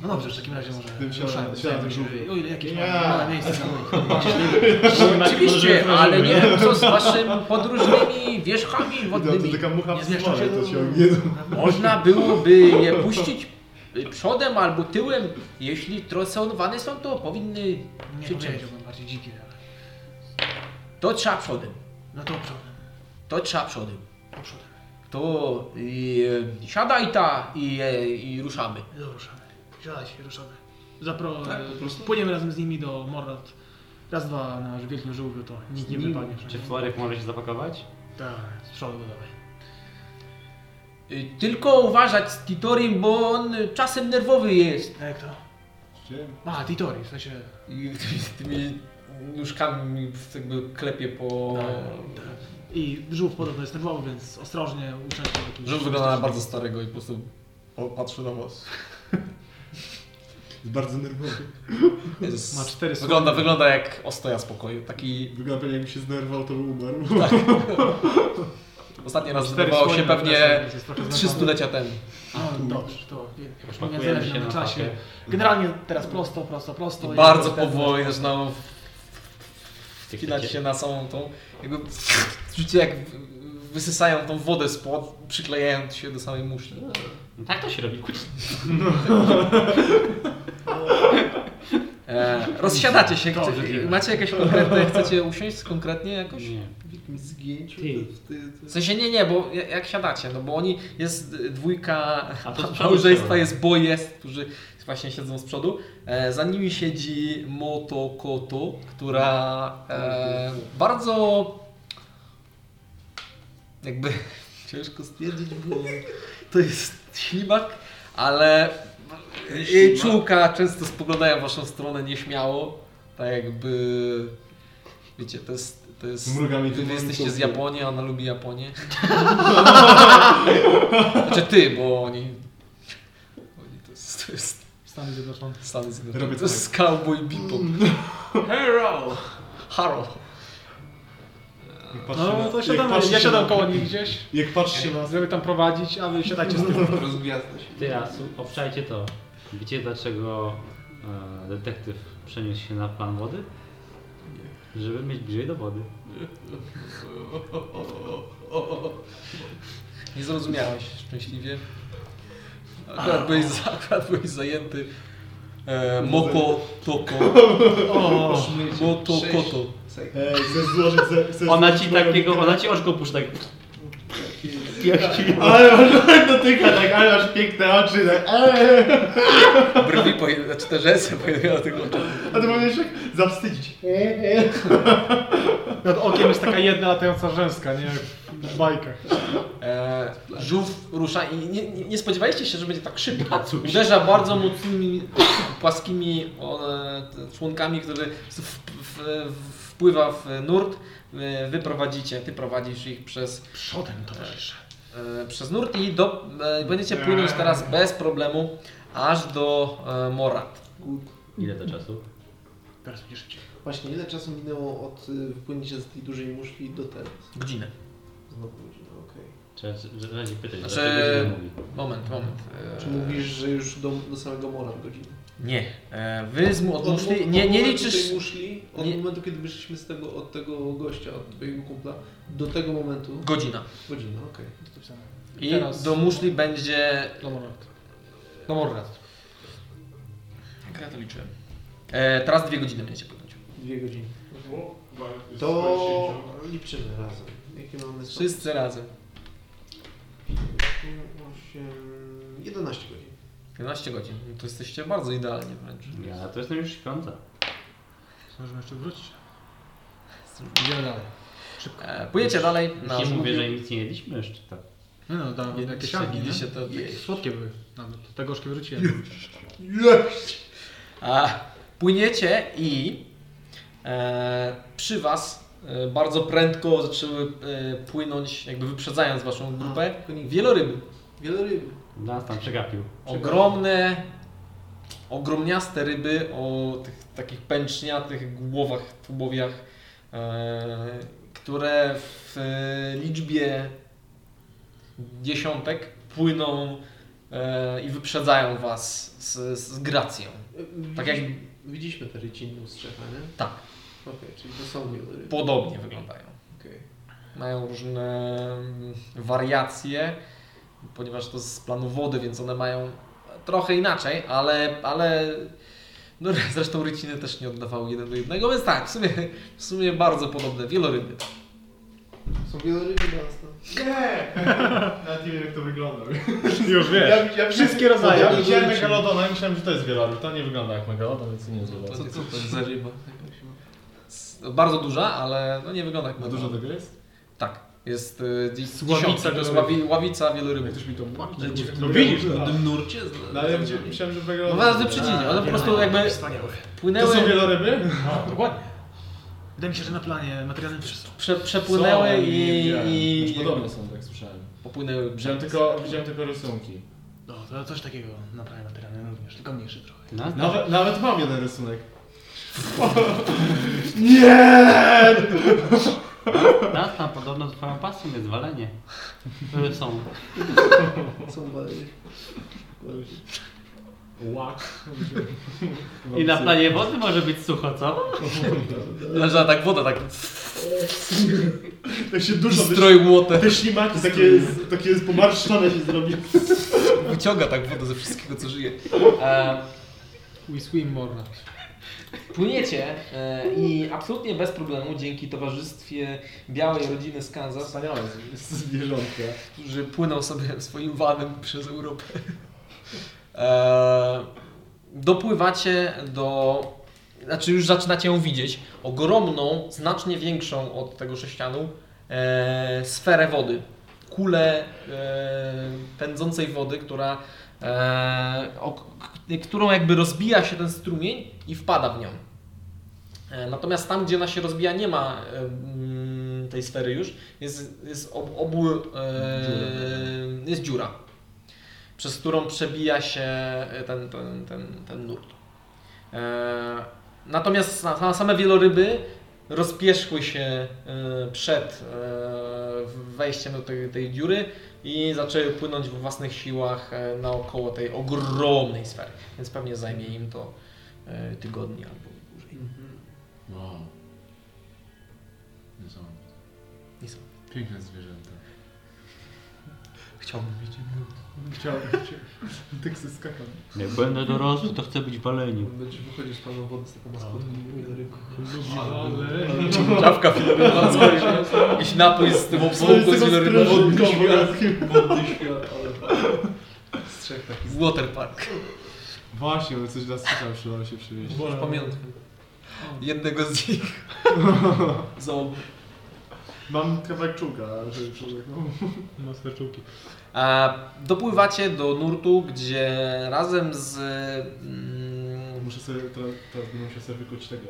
No dobrze, w takim razie może tym się ruszajmy. radzę, siadam Zobaczymy, żółwie. O ile jakieś Nie. mamy małe miejsce [laughs] na Oczywiście, ale nie wiem co z waszym podróżnymi wierzchami To, to wodnymi. taka mucha Nie w zmieszczą smole, się to tu. się ognie. Można byłoby je puścić y, przodem albo tyłem. Jeśli trosowane są, to powinny Nie się powiedziałbym bardziej dzikie, ale... To trzeba przodem. No to przodem, To trzeba przodem. to przodem. To i, e, siadaj ta i, e, i ruszamy. No ruszamy. Siadaj się, ruszamy. Zapro... Tak, płyniemy razem z nimi do Morrat. Raz, dwa na wielkim żółwiu to nikt nie wypadnie. Czy Florek może się zapakować? Tak, z przodu dawaj. Y, Tylko uważać z Titorem, bo on czasem nerwowy jest. A Jak to? A, Titori, w sensie... I [laughs] z tymi nóżkami jakby klepie po... I żółw podobno jest nerwowy, więc ostrożnie uczęszczam do tu. Żółw wygląda na bardzo starego i po prostu o- patrzy na was. Jest bardzo nerwowy. Jezus. Ma cztery Wygląda, wygląda jak ostoja spokoju. Taki Wygląda pewnie jakby się znerwał, to by umarł. ostatni raz Cztery zdawało się słonie na desce, pewnie więc jest trochę trzy zmęczony. stulecia temu. A, dobrze, to jakoś nie Pakujemy zależy się nam na na czasie. papier. Generalnie teraz prosto, prosto, prosto. I Bardzo teraz- powoli zaczynają Tych wpinać takie- się na samą tą. Jakby czujcie jak w- wysysają tą wodę spod, przyklejając się do samej muszli. No tak to się robi, kurczę. E, rozsiadacie się. Dobrze, Chce- dziękuję. macie jakieś konkretne... Chcecie usiąść konkretnie jakoś? Nie. W jakimś zgięciu? Ty. To, to, W sensie nie, nie, bo ja- jak siadacie, no bo oni, jest y, dwójka A to z przodu małżeństwa, trzeba. jest bojes, którzy właśnie siedzą z przodu. E, za nimi siedzi Moto Koto, która e, bardzo jakby [laughs] ciężko stwierdzić, bo to jest ślimak, ale jej czułka często spoglądają w waszą stronę nieśmiało, tak jakby, wiecie, to jest, to jest Mruga mi Wy, wy tu jesteście mruga. z Japonii, a ona lubi Japonię. Znaczy ty, bo oni... oni to, jest, to jest Stany Zjednoczone. Stany Robię tak. Zjednoczone. To jest cowboy bebop. Hero! Haro. Jak patrzy No na- to jak siadam, patrzy ja się siadam na- koło nich gdzieś, Jak patrzy na... żeby tam prowadzić, a wy siadajcie z tyłu. Rozgwiazda się. Ty, a su- obczajcie to. Wiecie dlaczego e, detektyw przeniósł się na plan wody? Żeby mieć bliżej do wody. Nie zrozumiałeś, szczęśliwie. Akurat byłeś, za, akurat byłeś zajęty e, Moko Toko. Moto Koto. Ej, chcesz e, złożyć ze... chcesz Ona złożyć ci moją takiego, literę? ona ci oczko puszcza tak. Ale ona dotyka tak, ale masz piękne oczy, tak. Eee. Brwi, poje- znaczy te rzęsy pojedynały tego oczy. A ty powinieneś tak zawstydzić. Nad okiem jest taka jedna latająca rzęska, nie? Jak W bajkach. E, żółw rusza i nie, nie, nie spodziewaliście się, że będzie tak szybko. Uderza bardzo mocnymi, płaskimi e, t- członkami, które w, w, w, wpływa w nurt. E, Wy prowadzicie, ty prowadzisz ich przez, Przodem, towarzysze. e, przez nurt i do, e, będziecie płynąć teraz bez problemu aż do e, Morat. Ile to czasu? Teraz będzie szybciej. Właśnie, ile czasu minęło od y, wypłynięcia z tej dużej muszli do teraz? Godzinę. Znowu godzina, okej. Trzeba w razie pytać, Znaczy- dlaczego się nie mówi. Moment, moment. E, Eee. Czy mówisz, że już do, do samego mora godziny? Nie. E, Wy z, od muszli, od nie, nie momentu liczysz... Tej muszli, od nie- momentu, kiedy wyszliśmy z tego, od tego gościa, od twojego kumpla, do tego momentu. Godzina. Godzina, okej. I Teraz- do muszli będzie No Morrat. No Morrat. Jak ja to liczyłem? E, teraz dwie godziny będziecie płynąć. Dwie godziny. To liczymy razem. Jakie mamy są? Wszyscy razem. Osiem- 11 godzin. 11 godzin. No To jesteście bardzo idealnie wręcz. Ja to jestem już śpiąca. Możemy jeszcze wrócić. Idziemy dalej. Szybko. E, Pójdziecie dalej na Tak. nie mówię, żółwiu. że nic nie jedliśmy jeszcze, tak. Nie no, dam Jedliście, jakieś algi, nie? jedliście to Takie wieś. Słodkie były. Nawet te gorzkie wyrzuciłem. A, płyniecie i e, przy was e, bardzo prędko zaczęły e, płynąć, jakby wyprzedzając waszą grupę, wieloryby. Wieloryby. Nas tam przegapił. Ogromne, ogromniaste ryby o tych takich pęczniatych głowach, tubowiach, e, które w e, liczbie dziesiątek płyną e, i wyprzedzają was z, z gracją. Tak jak- Widzieliśmy tę rycinną strzechę, nie? Tak, Okej, czyli to są wieloryby. podobnie wyglądają. Okej. Mają różne mm, wariacje, ponieważ to z planu wody, więc one mają trochę inaczej, ale, ale no, [laughs] zresztą ryciny też nie oddawały jeden do jednego, więc tak, w sumie, w sumie bardzo podobne, wieloryby. Są wieloryby dla nas no. tam. Nie! Nawet nie wiem jak to wygląda. Już wiesz. ja Wszystkie rodzaje. Ja widziałem megalodona i myślałem, że to jest wieloryb. To nie wygląda jak megalodon, więc nie jest Co, wieloryb. co to znaczy? jest za ryba? tak S- Bardzo duża, ale no nie wygląda jak A dużo tego jest? Tak, jest y, gdzieś z Ławica tysiąc, to jest wieloryb. ławi- ławica wieloryby. Ktoś mi to tak łapie. No widzisz, W tym nurcie? z- No ale ja widziałem- myślałem, że No megalodon. was wyprzedzili, one po prostu jakby Wspaniałe. To płynęły, są wieloryby? No, dokładnie. Wydaje mi się, że na planie materialnym też są. prze, przepłynęły Są, nie i, widziałem. i Znaczy, Podobne są, tak słyszałem. popłynęły brzeg. Widziałem tylko, widziałem tylko rysunki. No, to coś takiego na planie materialnym również, tylko mniejszy trochę. Nas Nawet, nawet mam jeden [laughs] rysunek. Nas Tak, tam podobno twoją pasją jest walenie. Które są. Są walery. Łak. I na planie wody może być sucho, co? Leżała tak woda, tak Tak się dużo wyszli. stroj młotem. Te ślimaki [laughs] takie, takie pomarszczone się zrobi. Wyciąga tak wodę ze wszystkiego, co żyje. We swim more. Płyniecie e, i absolutnie bez problemu, dzięki towarzystwie Białej Rodziny z Kansas, Wspaniałe z- z- zwierzątka. którzy płyną sobie swoim vanem przez Europę, [laughs] e, dopływacie do... Znaczy już zaczynacie ją widzieć. Ogromną, znacznie większą od tego sześcianu e, sferę wody. Kulę e, pędzącej wody, która... E, o, k- którą jakby rozbija się ten strumień i wpada w nią. E, Natomiast tam, gdzie ona się rozbija, nie ma e, mm, tej sfery już. Jest, jest ob, obu, e, jest dziura, przez którą przebija się e, ten, ten, ten, ten nurt. E, Natomiast sa- sa- same wieloryby rozpierzchły się e, przed e, wejściem do tej, tej dziury i zaczęły płynąć we własnych siłach e, naokoło tej ogromnej sfery. Więc pewnie zajmie im to e, tygodnie albo dłużej. Wow. Nie są. Nie są. Piękne zwierzęta. Chciałbym mieć. Chciałbym cię. [laughs] Teksy skakam. Jak będę dorosły, to chcę być waleniu. Będziesz wychodził z paną wody z taką maską wielorybą. Czapka filmowa, jakiś napój z tym obsługą z wielorybową. Wodny świat. Wodny świat, ale... Z trzech takich. Water Park. Właśnie, bo coś dla słyszał, przydało się przywieźć. Pamiętam. Jednego z nich. Za obu. Mam kawałek czuga, żeby przyrzekł. Master czułki. A dopływacie do nurtu, gdzie razem z... mm, Muszę sobie, teraz, teraz będę musiał sobie wykuć tego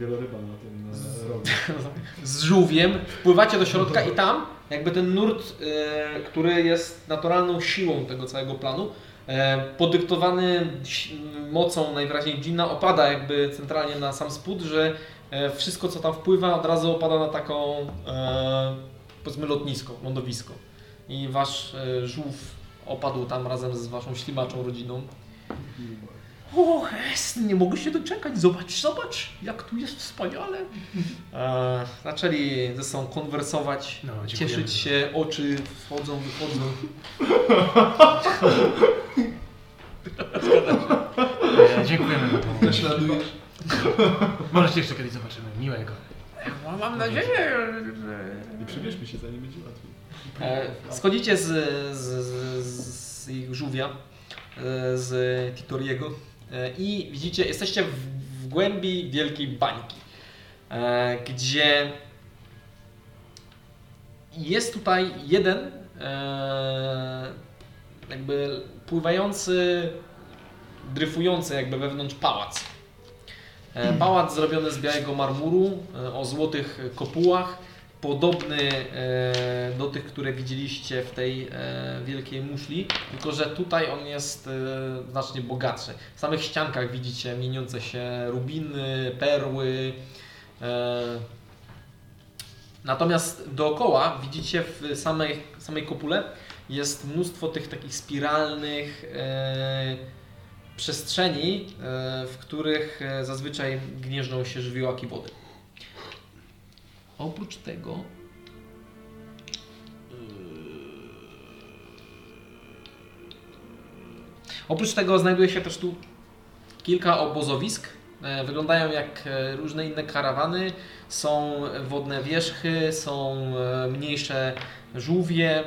wieloryba na tym na rogu. z żółwiem, wpływacie do środka i tam jakby ten nurt, e, który jest naturalną siłą tego całego planu, e, podyktowany si- mocą najwyraźniej Gina, opada jakby centralnie na sam spód, że e, wszystko co tam wpływa od razu opada na taką e, powiedzmy lotnisko, lądowisko. I wasz e, żółw opadł tam razem z waszą ślimaczą rodziną. O, jest, nie mogę się doczekać. Zobacz, zobacz, jak tu jest wspaniale. E, zaczęli ze sobą konwersować, No, dziękujemy. cieszyć się, oczy wchodzą, wychodzą. E, dziękujemy za to. Naśladujesz. [laughs] Może się jeszcze kiedyś zobaczymy. Miłego. Mam nadzieję, że... I przebierzmy się, zanim będzie łatwiej. E, schodzicie z, z, z, z ich żółwia, e, z Titoriego e, i widzicie, jesteście w, w głębi wielkiej bańki, e, gdzie jest tutaj jeden e, jakby pływający, dryfujący jakby wewnątrz pałac. E, Pałac zrobiony z białego marmuru e, o złotych kopułach, podobny e, do tych, które widzieliście w tej e, wielkiej muszli, tylko że tutaj on jest e, znacznie bogatszy. W samych ściankach widzicie mieniące się rubiny, perły. e, Natomiast dookoła widzicie w samej, samej kopule jest mnóstwo tych takich spiralnych e, przestrzeni, e, w których e, zazwyczaj gnieżdżą się żywiołaki wody. Oprócz tego E, Oprócz tego znajduje się też tu kilka obozowisk. E, Wyglądają jak e, różne inne karawany. Są wodne wierzchy, są e, mniejsze żółwie.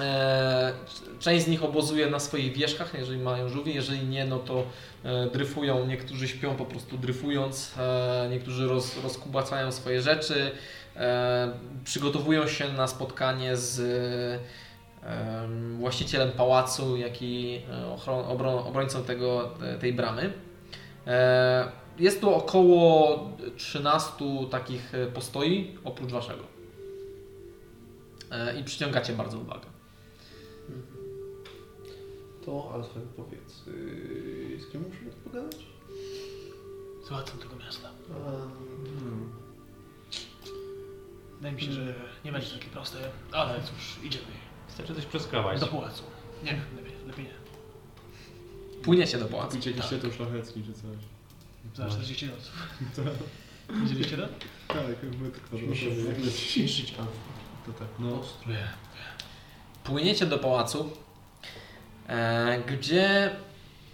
E, Część z nich obozuje na swoich wierzchach, jeżeli mają żółwie, jeżeli nie, no to e, dryfują. Niektórzy śpią po prostu dryfując, e, niektórzy roz, rozkubacają swoje rzeczy, e, przygotowują się na spotkanie z e, em, właścicielem pałacu, jak i e, ochron- obro- obrońcą tego, te- tej bramy. E, Jest tu około 13 takich e, postoi, oprócz waszego. E, I przyciągacie bardzo uwagę. To Alfen powiedz, yy, z kim musimy tu pogadać? Z władcą tego miasta. A, hmm. Wydaje mi się, że nie będzie to takie proste, ale cóż, idziemy. Wystarczy coś przeskrawać. Do pałacu. Nie, lepiej, lepiej nie. Płyniecie do pałacu. Kupić jakiś tytuł szlachecki czy coś. No Za 40 dolców. [laughs] Widzieliście to? Tak, my tylko Musimy się wyciszyć Alfen. To tak No. ostro. Płyniecie do pałacu, e, gdzie,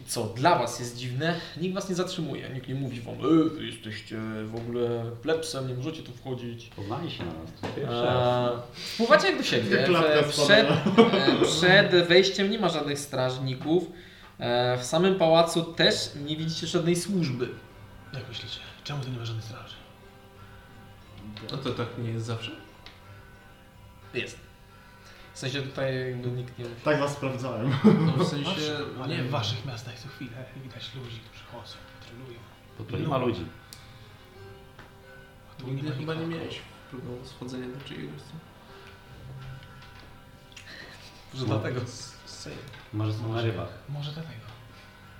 co dla was jest dziwne, nikt was nie zatrzymuje. Nikt nie mówi wam, e, wy jesteście w ogóle plepsem, nie możecie tu wchodzić. Poznali się na nas. Eee, To pierwszy raz. E, Wpływacie jak do siebie. Klapka W- Przed, e, przed wejściem nie ma żadnych strażników. E, W samym pałacu też nie widzicie żadnej służby. Jak myślicie? Czemu tu nie ma żadnej straży? No to tak nie jest zawsze? Jest. W sensie tutaj jakby nikt nie mówi. Tak was sprawdzałem. [clears throat] No, w sensie, Waszych, ale nie w wiem. waszych miastach co chwilę widać ludzi, którzy chodzą, trenują. Bo tu nie ma ludzi. A tu Nigdy nie ma chyba nie nikogo. miałeś problemu schodzenia do czyjegoś, co? No. Że dlatego. Sejm. Może są na rybach. Może dlatego.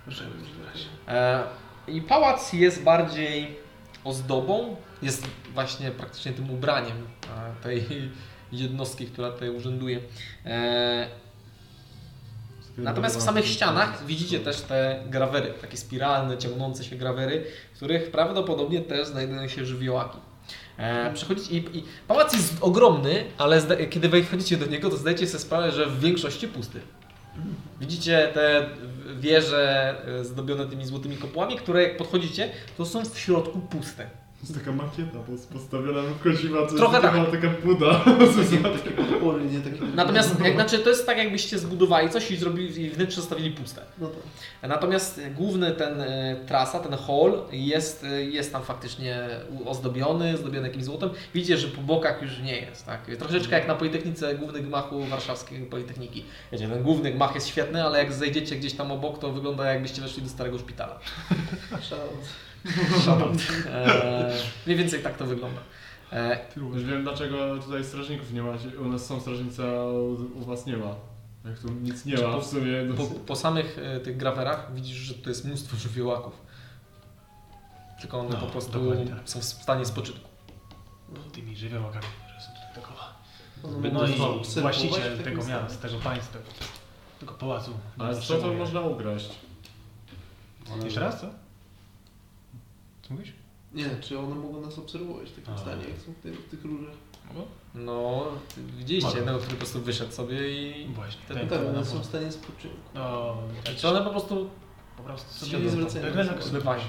Żebym nie brać. E, I pałac jest bardziej ozdobą, jest właśnie praktycznie tym ubraniem e, tej jednostki, która tutaj urzęduje. E, Natomiast w samych ścianach widzicie też te grawery, takie spiralne, ciągnące się grawery, w których prawdopodobnie też znajdują się żywiołaki. E, przechodzicie i, i pałac jest ogromny, ale zda, kiedy wejdziecie do niego, to zdajecie sobie sprawę, że w większości pusty. Widzicie te wieże e, zdobione tymi złotymi kopułami, które jak podchodzicie, to są w środku puste. To jest taka makieta pos- postawiona w koziwa, co Trochę tak. jest taka, taka buda. z Takie podpory, nie takie... Natomiast, jak, znaczy, to jest tak jakbyście zbudowali coś i zrobili i wnętrze zostawili puste. No tak. Natomiast główny ten e, trasa, ten hall jest, e, jest tam faktycznie u- ozdobiony, zdobiony jakimś złotem. Widzicie, że po bokach już nie jest. Tak? Troszeczkę jak na Politechnice, główny gmachu warszawskiej Politechniki. Wiecie, ten główny gmach jest świetny, ale jak zejdziecie gdzieś tam obok, to wygląda jakbyście weszli do starego [laughs] szpitala. E, mniej więcej tak to wygląda. E, Już wiem dlaczego tutaj strażników nie ma. U nas są strażnicy, a u, u was nie ma. Jak tu nic nie ma w sumie. po, po samych e, tych grawerach widzisz, że to jest mnóstwo żywiołaków. Tylko one No, po prostu dokładnie tak. są w stanie spoczynku. No, Tymi żywiołakami, które są tutaj dookoła. Ono No można i obserwować w właściciel takim tego stanie. miasta, tego państwa, tego pałacu. Ale nie co to potrzebuje. można ukraść? Jeszcze raz, co? Co mówisz? Nie, czy one mogą nas obserwować w takim A. stanie, jak są w tych, w tych różach? No, widzieliście jednego, który po prostu wyszedł sobie i... Właśnie. Te- ten, Tak, ten, one ten. są w stanie spoczynku. No, Czy one po prostu... po prostu Się nie zwracają. Wygląda Zbywają.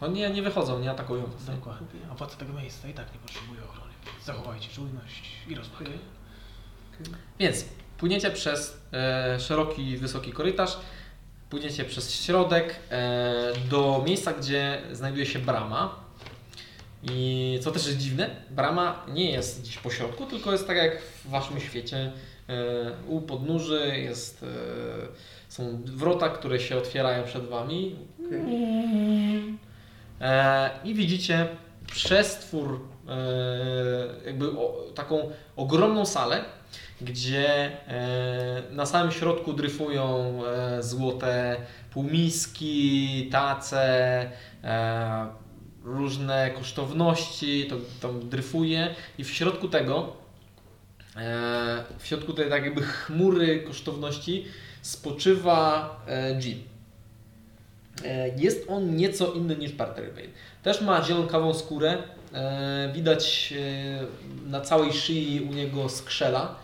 No nie, nie wychodzą, nie atakują. was, nie? Dokładnie. A władca tego miejsca i tak nie potrzebuje ochrony. więc Zachowajcie czujność i rozwagę. Okej. Więc płyniecie przez e, szeroki, wysoki korytarz. Pójdziecie przez środek e, do miejsca, gdzie znajduje się brama. I co też jest dziwne, brama nie jest gdzieś po środku, tylko jest tak jak w waszym świecie. E, u podnóży jest, e, są wrota, które się otwierają przed wami. E, I widzicie przestwór, e, jakby o, taką ogromną salę, gdzie e, na samym środku dryfują e, złote półmiski, tace, e, różne kosztowności, to tam dryfuje i w środku tego, e, w środku tej tak jakby chmury kosztowności spoczywa e, Jeep. E, Jest on nieco inny niż Bartervane. Też ma zielonkawą skórę. e, Widać e, na całej szyi u niego skrzela.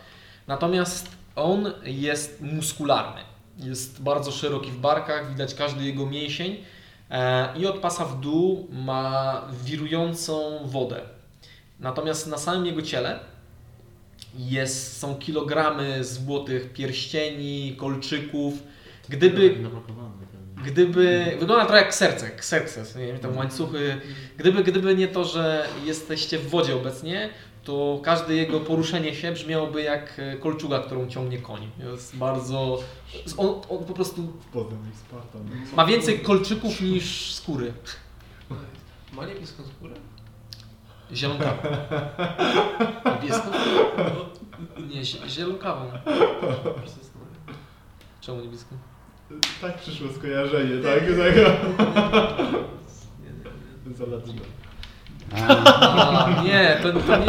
Natomiast on jest muskularny. Jest bardzo szeroki w barkach, widać każdy jego mięsień. e, I od pasa w dół ma wirującą wodę. Natomiast na samym jego ciele jest, są kilogramy złotych pierścieni, kolczyków. Gdyby Gdyby. Wygląda trochę jak serce, jak serce, nie wiem, tam łańcuchy. Gdyby, gdyby nie to, że jesteście w wodzie obecnie, to każde jego poruszenie się brzmiałoby jak e, kolczuga, którą ciągnie koń. Jest bardzo. On, on po prostu Potem ich Spartan. ma więcej kolczyków niż skóry. Ma niebieską skórę? Zielonkawą. Niebieską? No, Nie, zie- zielonkawą. Czemu niebieską? Tak przyszło skojarzenie, tak? [laughs] tak. Nie, nie, nie. Zaladino. A, nie, to, to nie.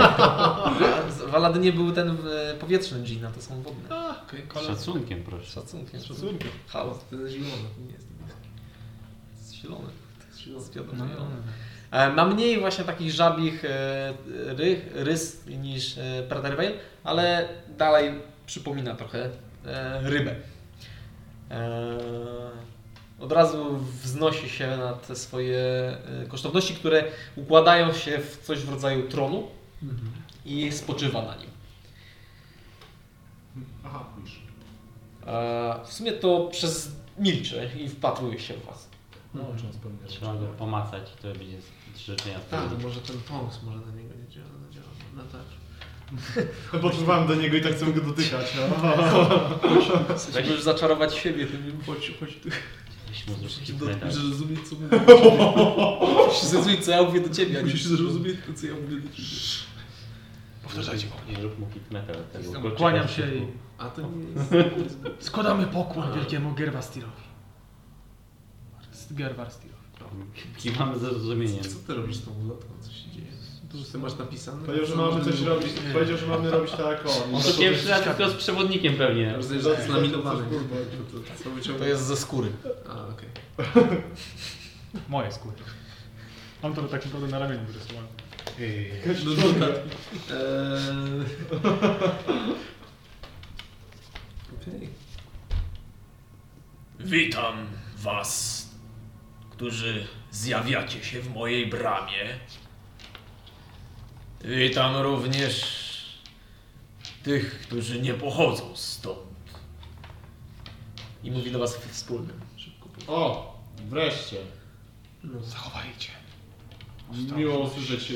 W Aladynie był ten e, powietrzny dżina, to są wodne. Okej, Z kolor. szacunkiem proszę. Szacunkiem. Szacunkiem. Chaos. To jest zielony, to nie jest niebieski. Jest zielony. zielony. Jest wiadomo zielony. E, Ma mniej właśnie takich żabich e, rych, rys niż e, Predator Whale, ale dalej przypomina trochę e, rybę. E, Od razu wznosi się na te swoje e, kosztowności, które układają się w coś w rodzaju tronu i spoczywa na nim. Aha, pisz. E, W sumie to przez milczy i wpatruje się w was. No, o czym wspomniałeś. Trzeba go pomacać i to będzie z- życzenia A, to spełnione. może ten Tongs może na niego nie działa, no działa. No tak. Podpływałem do niego i tak chcę go dotykać. No. Weź. Możesz zaczarować siebie tym Chodź, chodź tu. Weź mu zrób ci tak. Musisz prezent. zrozumieć, co mówię. Musisz zrozumieć, co ja mówię do ciebie. a nie- Musisz zrozumieć to, co ja mówię do ciebie. Powtarzajcie po mnie. Nie rób mu hit metal. tego Jestem, kolczyka kłaniam w się środku. i A to nie [laughs] jest... składamy pokłon wielkiemu Gerwastirowi. Gerwastirowi. Kiwamy ze zrozumieniem. Co ty robisz z tą ulotką? Co się dzieje? Dużo ty masz napisane? Powiedział, że mamy coś robić. Powiedział, że mamy robić tak o. On to pierwszy raz tylko z przewodnikiem pewnie. Rozumiesz, że to jest laminowane. Coś, kurwa. Co wyciągnął? To jest ze skóry. A, okej. Moje skóry. Mam to tak naprawdę na ramieniu wyrysowałem. Do notatki. Eee. Okej. Witam was, którzy zjawiacie się w mojej bramie. Witam również tych, którzy nie pochodzą stąd. I mówi do was wspólnym. O, wreszcie. Zachowajcie. No, Miło usłyszeć e,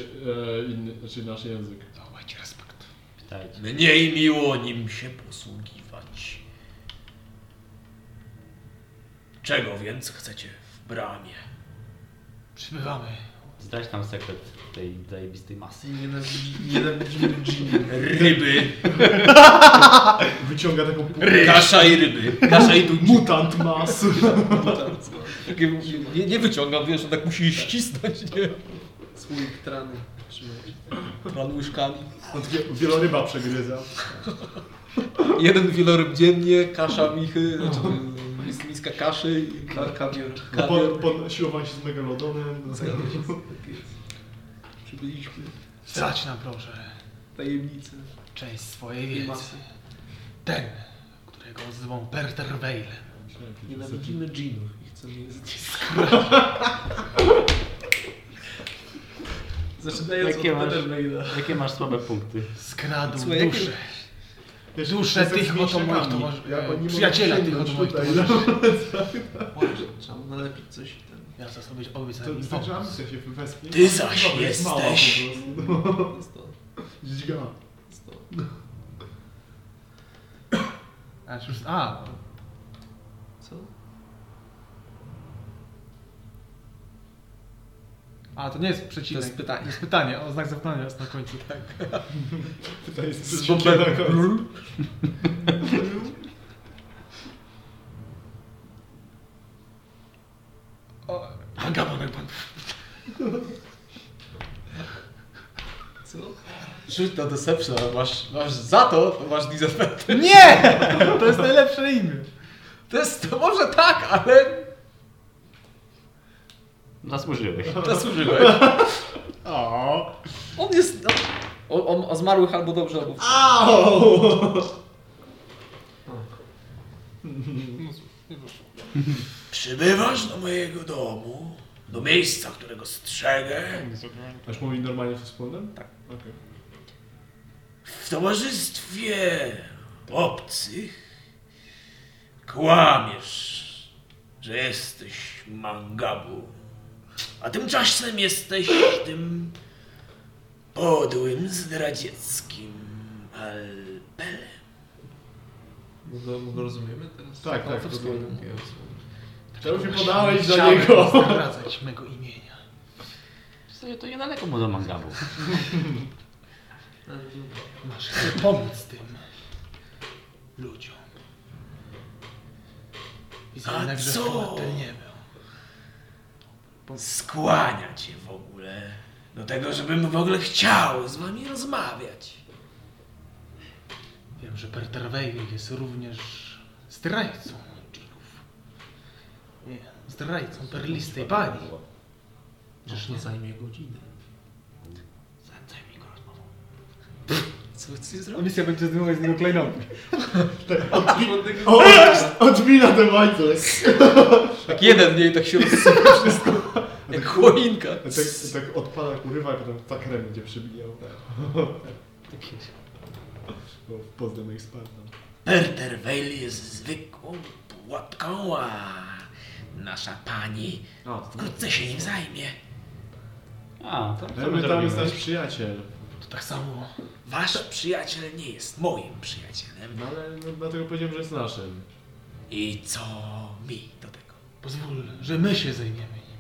inny, znaczy nasz język. Zachowajcie respekt. Pytajcie. Mniej miło nim się posługiwać. Czego więc chcecie w bramie? Przybywamy. Zdać tam sekret tej zajebistej masy. Nienawidzi- Nienawidzimy Jimmy. Ryby, [laughs] Wyciąga taką pół... kasza i ryby, kasza i tu Mutant mas. Takie- Nie, nie wyciągam, wiesz, on tak musi ścisnąć, nie? Słoik trany. Trzymaj. Pan łyżkami. On no, takie wieloryba przegryza. Jeden wieloryb dziennie, kasza michy, znaczy y, mis- miska kaszy. i- No. Ka- Kawior. Pod, pod siłowanie się z megalodonem. No. Zgadza się. Tak jest. Przybyliśmy. Zdać nam proszę Tajemnice. część swojej Nie wiedzy. Ten, którego zwą Perter Vale. Nienawidzimy dżinów i chcemy je [laughs] zniszczyć. Zaczynając Jakie od masz? Petermaila. Jakie masz słabe punkty? Skradł Słuchaj, jakie- duszę Wiesz, tak. Dusze jestem tych z oto moich mięśniakami. towarzyszy. Jak oni mogą Przyjaciela tych sięgnąć oto moich tutaj, No. towarzyszy. Trzeba mu nalepić coś i ten. Ja chcę sobie obiec To znaczy, wystarczy ambicja się wespnie. Ty zaś Dobra, jest mała po jesteś. prostu. No, Jest to. Dźga. Jest to. A, już, a, Co? a, to nie jest przecinek. To jest pytanie. To jest pytanie, o znak zapytania jest na końcu. Tak. To jest Z przeciwnie bąbelem. na końcu. Agabonek pan. Co? Rzuć na deception, ale masz, masz za to, to masz disadvantage. Nie! To jest najlepsze imię. To jest, to może tak, ale Zasłużyłeś. zasłużyłeś. No, O. On jest. No, on, on o zmarłych albo dobrze, albo. Przybywasz do mojego domu, do miejsca, którego strzegę, Aż mówi normalnie z spłondem? Tak. w towarzystwie obcych. Kłamiesz, że jesteś mangabu, a tymczasem jesteś tym podłym zdradzieckim alpelem. Bo go, bo go rozumiemy teraz? Tak, tak, to rozumiem. Czemu się podałeś do niego? Zwracać mego imienia. W sumie to niedaleko mu do mangabu. Masz chcę pomóc tym ludziom. Widzę A jednak, że co? Fortel nie był. skłania cię w ogóle do tego, żebym w ogóle chciał z wami rozmawiać. Wiem, że Perterwejwik jest również zdrajcą dżinów. Nie, zdrajcą perlistej pani. Przecież nie zajmie godziny. Zajmij mi go rozmową. Co chcesz zrobić? Misja będzie zdejmować z niego klejnoty. [laughs] Tak, O, odmina ten łańcuch. Tak jeden mniej tak się rozsypa wszystko. Jak choinka. Tak, [laughs] tak odpada, urywa i potem tak rem będzie przybijał. [laughs] Tak Bo w Poznań ich spadł. Perterwejl jest zwykłą pułapką, a nasza pani O, to- wkrótce się nim zajmie. A, to co my My tam jest zrobimy? nasz przyjaciel. To tak samo. Wasz przyjaciel nie jest moim przyjacielem. No ale no, dlatego powiedziałem, że jest naszym. I co mi do tego? Pozwól, że my się zajmiemy nim.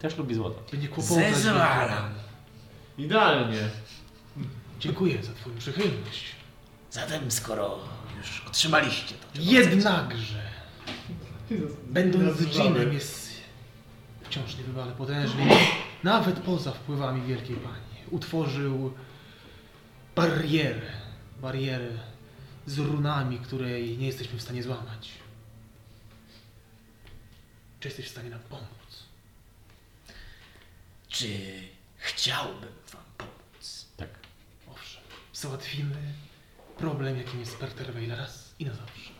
Też lubi złoto. By nie kłopotać. Zezwalam. Idealnie. Dziękuję za twoją przychylność. Zatem skoro już otrzymaliście to, czego Jednakże, Jezus, będąc nazywamy. dżinem jest wciąż niebywale potężny, nawet poza wpływami Wielkiej Pani. Utworzył barierę, barierę z runami, której nie jesteśmy w stanie złamać. Czy jesteś w stanie nam pomóc? Czy chciałbym wam pomóc? Owszem, załatwimy problem, jakim jest Perterweil raz i na zawsze.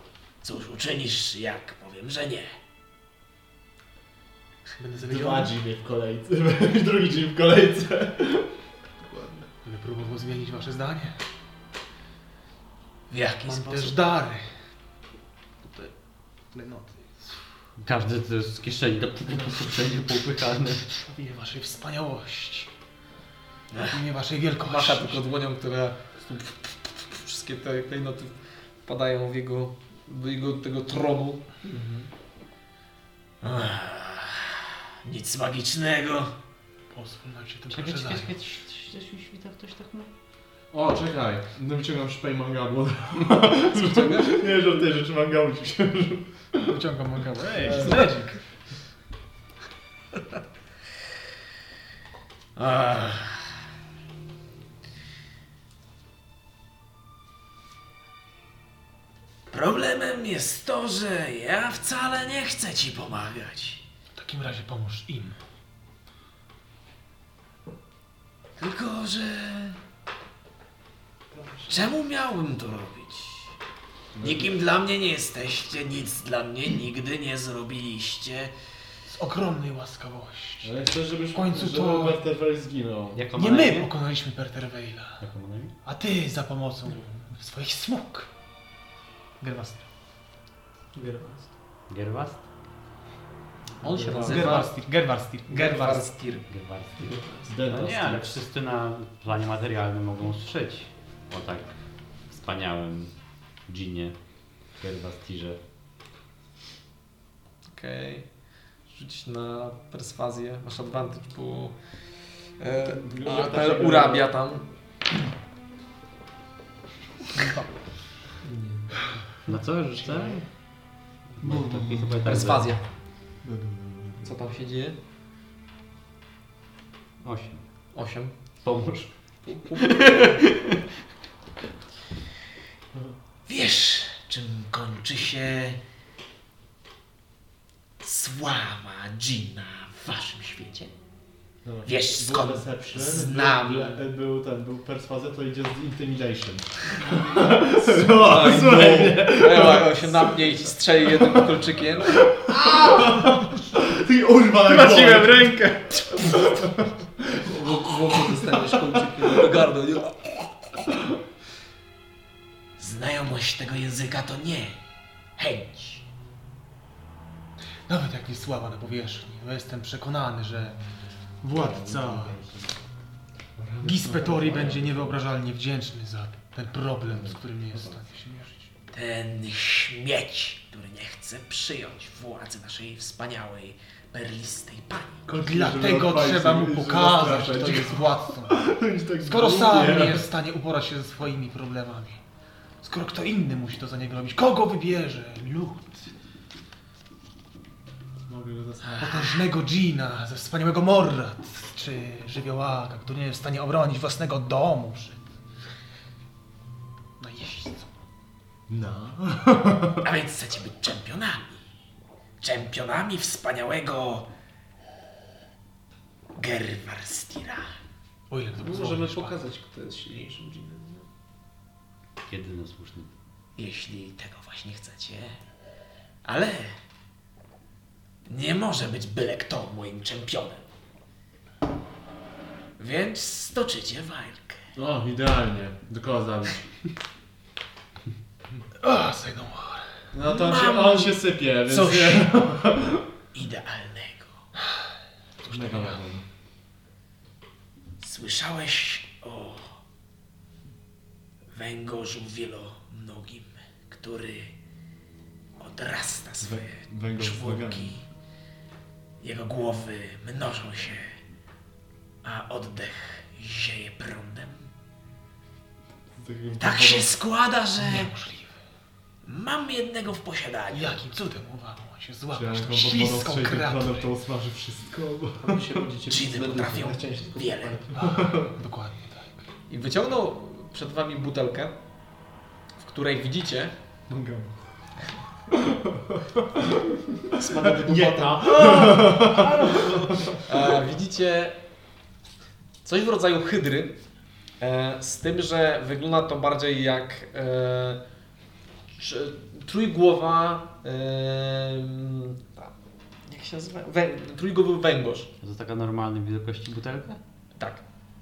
Cóż uczynisz, jak powiem, że nie? Będę Dwa zawiedziony, dżiny w kolejce. [laughs] Drugi dżin w kolejce. będę próbował zmienić wasze zdanie. W jaki Mam sposób? też dary. Tutaj klejnoty. Każdy to jest z kieszeni do pu- pu- pu- wszędzie poupychane. W imię waszej wspaniałości. Ech. W imię waszej wielkości. Macha tylko dłonią, która wszystkie te klejnoty wpadają w jego, do jego tego tronu. Ach, Nic magicznego. Pozwól nam się tym proszę zająć. O, czekaj. No wyciągam szpej mangabu. Nie, że tej rzeczy mam gałąć. Wyciągam mangałę. Ach. Problemem jest to, że ja wcale nie chcę ci pomagać. W takim razie pomóż im. Tylko, że... Czemu miałbym to robić? Nikim dla mnie nie jesteście, nic dla mnie nigdy nie zrobiliście. Z ogromnej łaskawości. Ale chcesz, żebyś W końcu żeby to- Werther zginął. Jak on Nie ma na my imię? pokonaliśmy Perterweila, Jak on ma na imię? a ty za pomocą swoich smug. Gerwast. Gerwast. Gerwast? On się nazywa... Gerwarstir. Gerwarstir. Gerwarstir. Gerwarstir. No Dental nie, ale wszyscy na planie materialnym mogą strzeć po tak wspaniałym dżinie Gerwastirze. Okej. Rzuć na perswazję. Masz advantage, bo... E, apel urabia tam. No co, rzucę? Bo taki chyba tak Perswazja. Co tam się dzieje? za- Osiem. Osiem. Pomóż. Wiesz, czym kończy się sława Gina w waszym świecie? Wiesz skąd Był deception, znam. Był, ble- był ten, był perswazja, to idzie z intimidation. Oj, no. Ewa, on się napnie i ci strzeli jednym kolczykiem. Ty urwa na Traciłem rękę! Wokół dostaniesz kołczykiem do gardła. nie? znajomość tego języka to nie chęć. Nawet jak jest sława na powierzchni, no jestem przekonany, że władca Gispetori będzie niewyobrażalnie wdzięczny za ten problem, z którym nie jest w stanie się mierzyć. Ten śmieć, który nie chce przyjąć władzy naszej wspaniałej, perlistej pani. Dlatego trzeba mu pokazać, kto [laughs] jest władcą. tak Skoro sam nie jest w stanie uporać się ze swoimi problemami. Skoro kto inny musi to za niego robić. Kogo wybierze? Lud. Potężnego Gina, ze wspaniałego Morrat, czy żywiołaka, który nie jest w stanie obronić własnego domu No przed najeźdźcą. A więc chcecie być czempionami. Czempionami wspaniałego Gerwarstira. O ile to No, Możemy pozwolisz, Pan. pokazać, kto jest silniejszym dżinem. Jedyny słuszny. Jeśli tego właśnie chcecie. Ale nie może być byle kto moim czempionem. Więc stoczycie walkę. O, idealnie. Do koła zabić. A, say no more. No to on się, on się sypie, więc... Coś nie- idealnego. Mega ładny. Słyszałeś o węgorzu wielonogim, który odrasta swoje węgorz z czwórki. nogami. Jego głowy mnożą się, a oddech zieje prądem. No Tak się składa, że Niemożliwe. mam jednego w posiadaniu. Jakim cudem udało się złapać Chciałem tą go podwodą śliską strzelić kreaturę. planem, to usmaży wszystko. A my się będziecie Dżiny potrafią wiele. Dokładnie tak. I wyciągnął przed wami butelkę, w której widzicie Mogę. Nie ta. E, widzicie coś w rodzaju hydry, e, z tym, że wygląda to bardziej jak e, trzy- trójgłowa, e, mm, jak się nazywa? Wę, trójgłowy węgorz, To jest taka normalnej wielkości butelka? tak,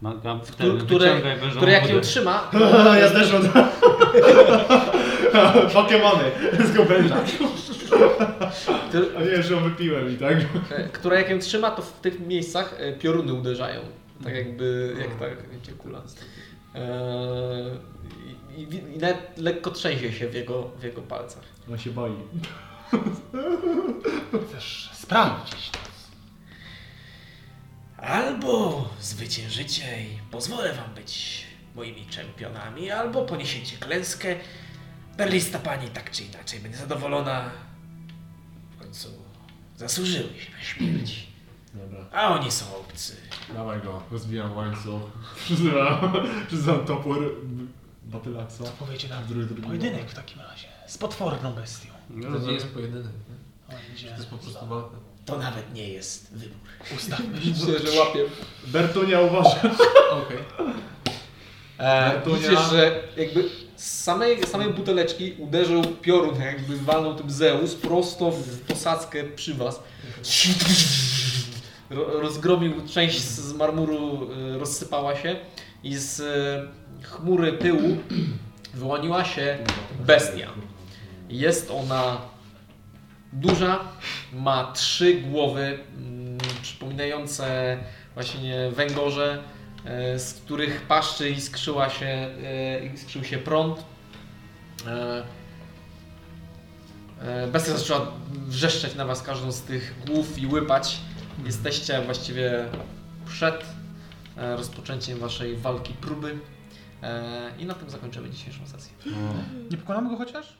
Magam który, które, które jak ją trzyma, [laughs] ja też mam. Pokemony z Goblina. ty, A nie, że ją wypiłem i tak. e, która jak ją trzyma, to w tych miejscach e, pioruny uderzają, tak jakby, jak ta, wiecie, kula. E, i, i, wi- I nawet lekko trzęsie się w jego, w jego palcach. On się boi. Chcesz sprawdzić to. Albo zwyciężycie i pozwolę wam być moimi czempionami, albo poniesiecie klęskę. Berlista pani tak czy inaczej będzie zadowolona. W końcu zasłużyły się na śmierć. Dobra. A oni są obcy. Dawaj go. Rozbijam łańcuch. Przyzywam. Przyznam topór Batylaksa. Co powiecie na Drugi, drugi. pojedynek w takim razie? Z potworną bestią. To nie jest pojedynek. nie? On idzie. To jest po prostu walka. To nawet nie jest wybór. Ustawmy się. Myślę, że [laughs] łapie Bertunia uważa. Okej. E, Bertunia. widzicie, że jakby z samej, samej buteleczki uderzył piorun, tak jakby walnął tym Zeus prosto w posadzkę przy was. Ro- Rozgromił część z y, z marmuru, e, rozsypała się i z e, chmury y, pyłu wyłoniła się bestia. Jest ona duża, ma trzy głowy mm, przypominające właśnie węgorze, e, z których paszczy iskrzyła się, e, iskrzył się prąd. E, e, Bestia zaczęła wrzeszczeć na was każdą z tych głów i łypać. Jesteście właściwie przed e, rozpoczęciem waszej walki próby. E, I na tym zakończymy dzisiejszą sesję. Nie pokonamy go chociaż?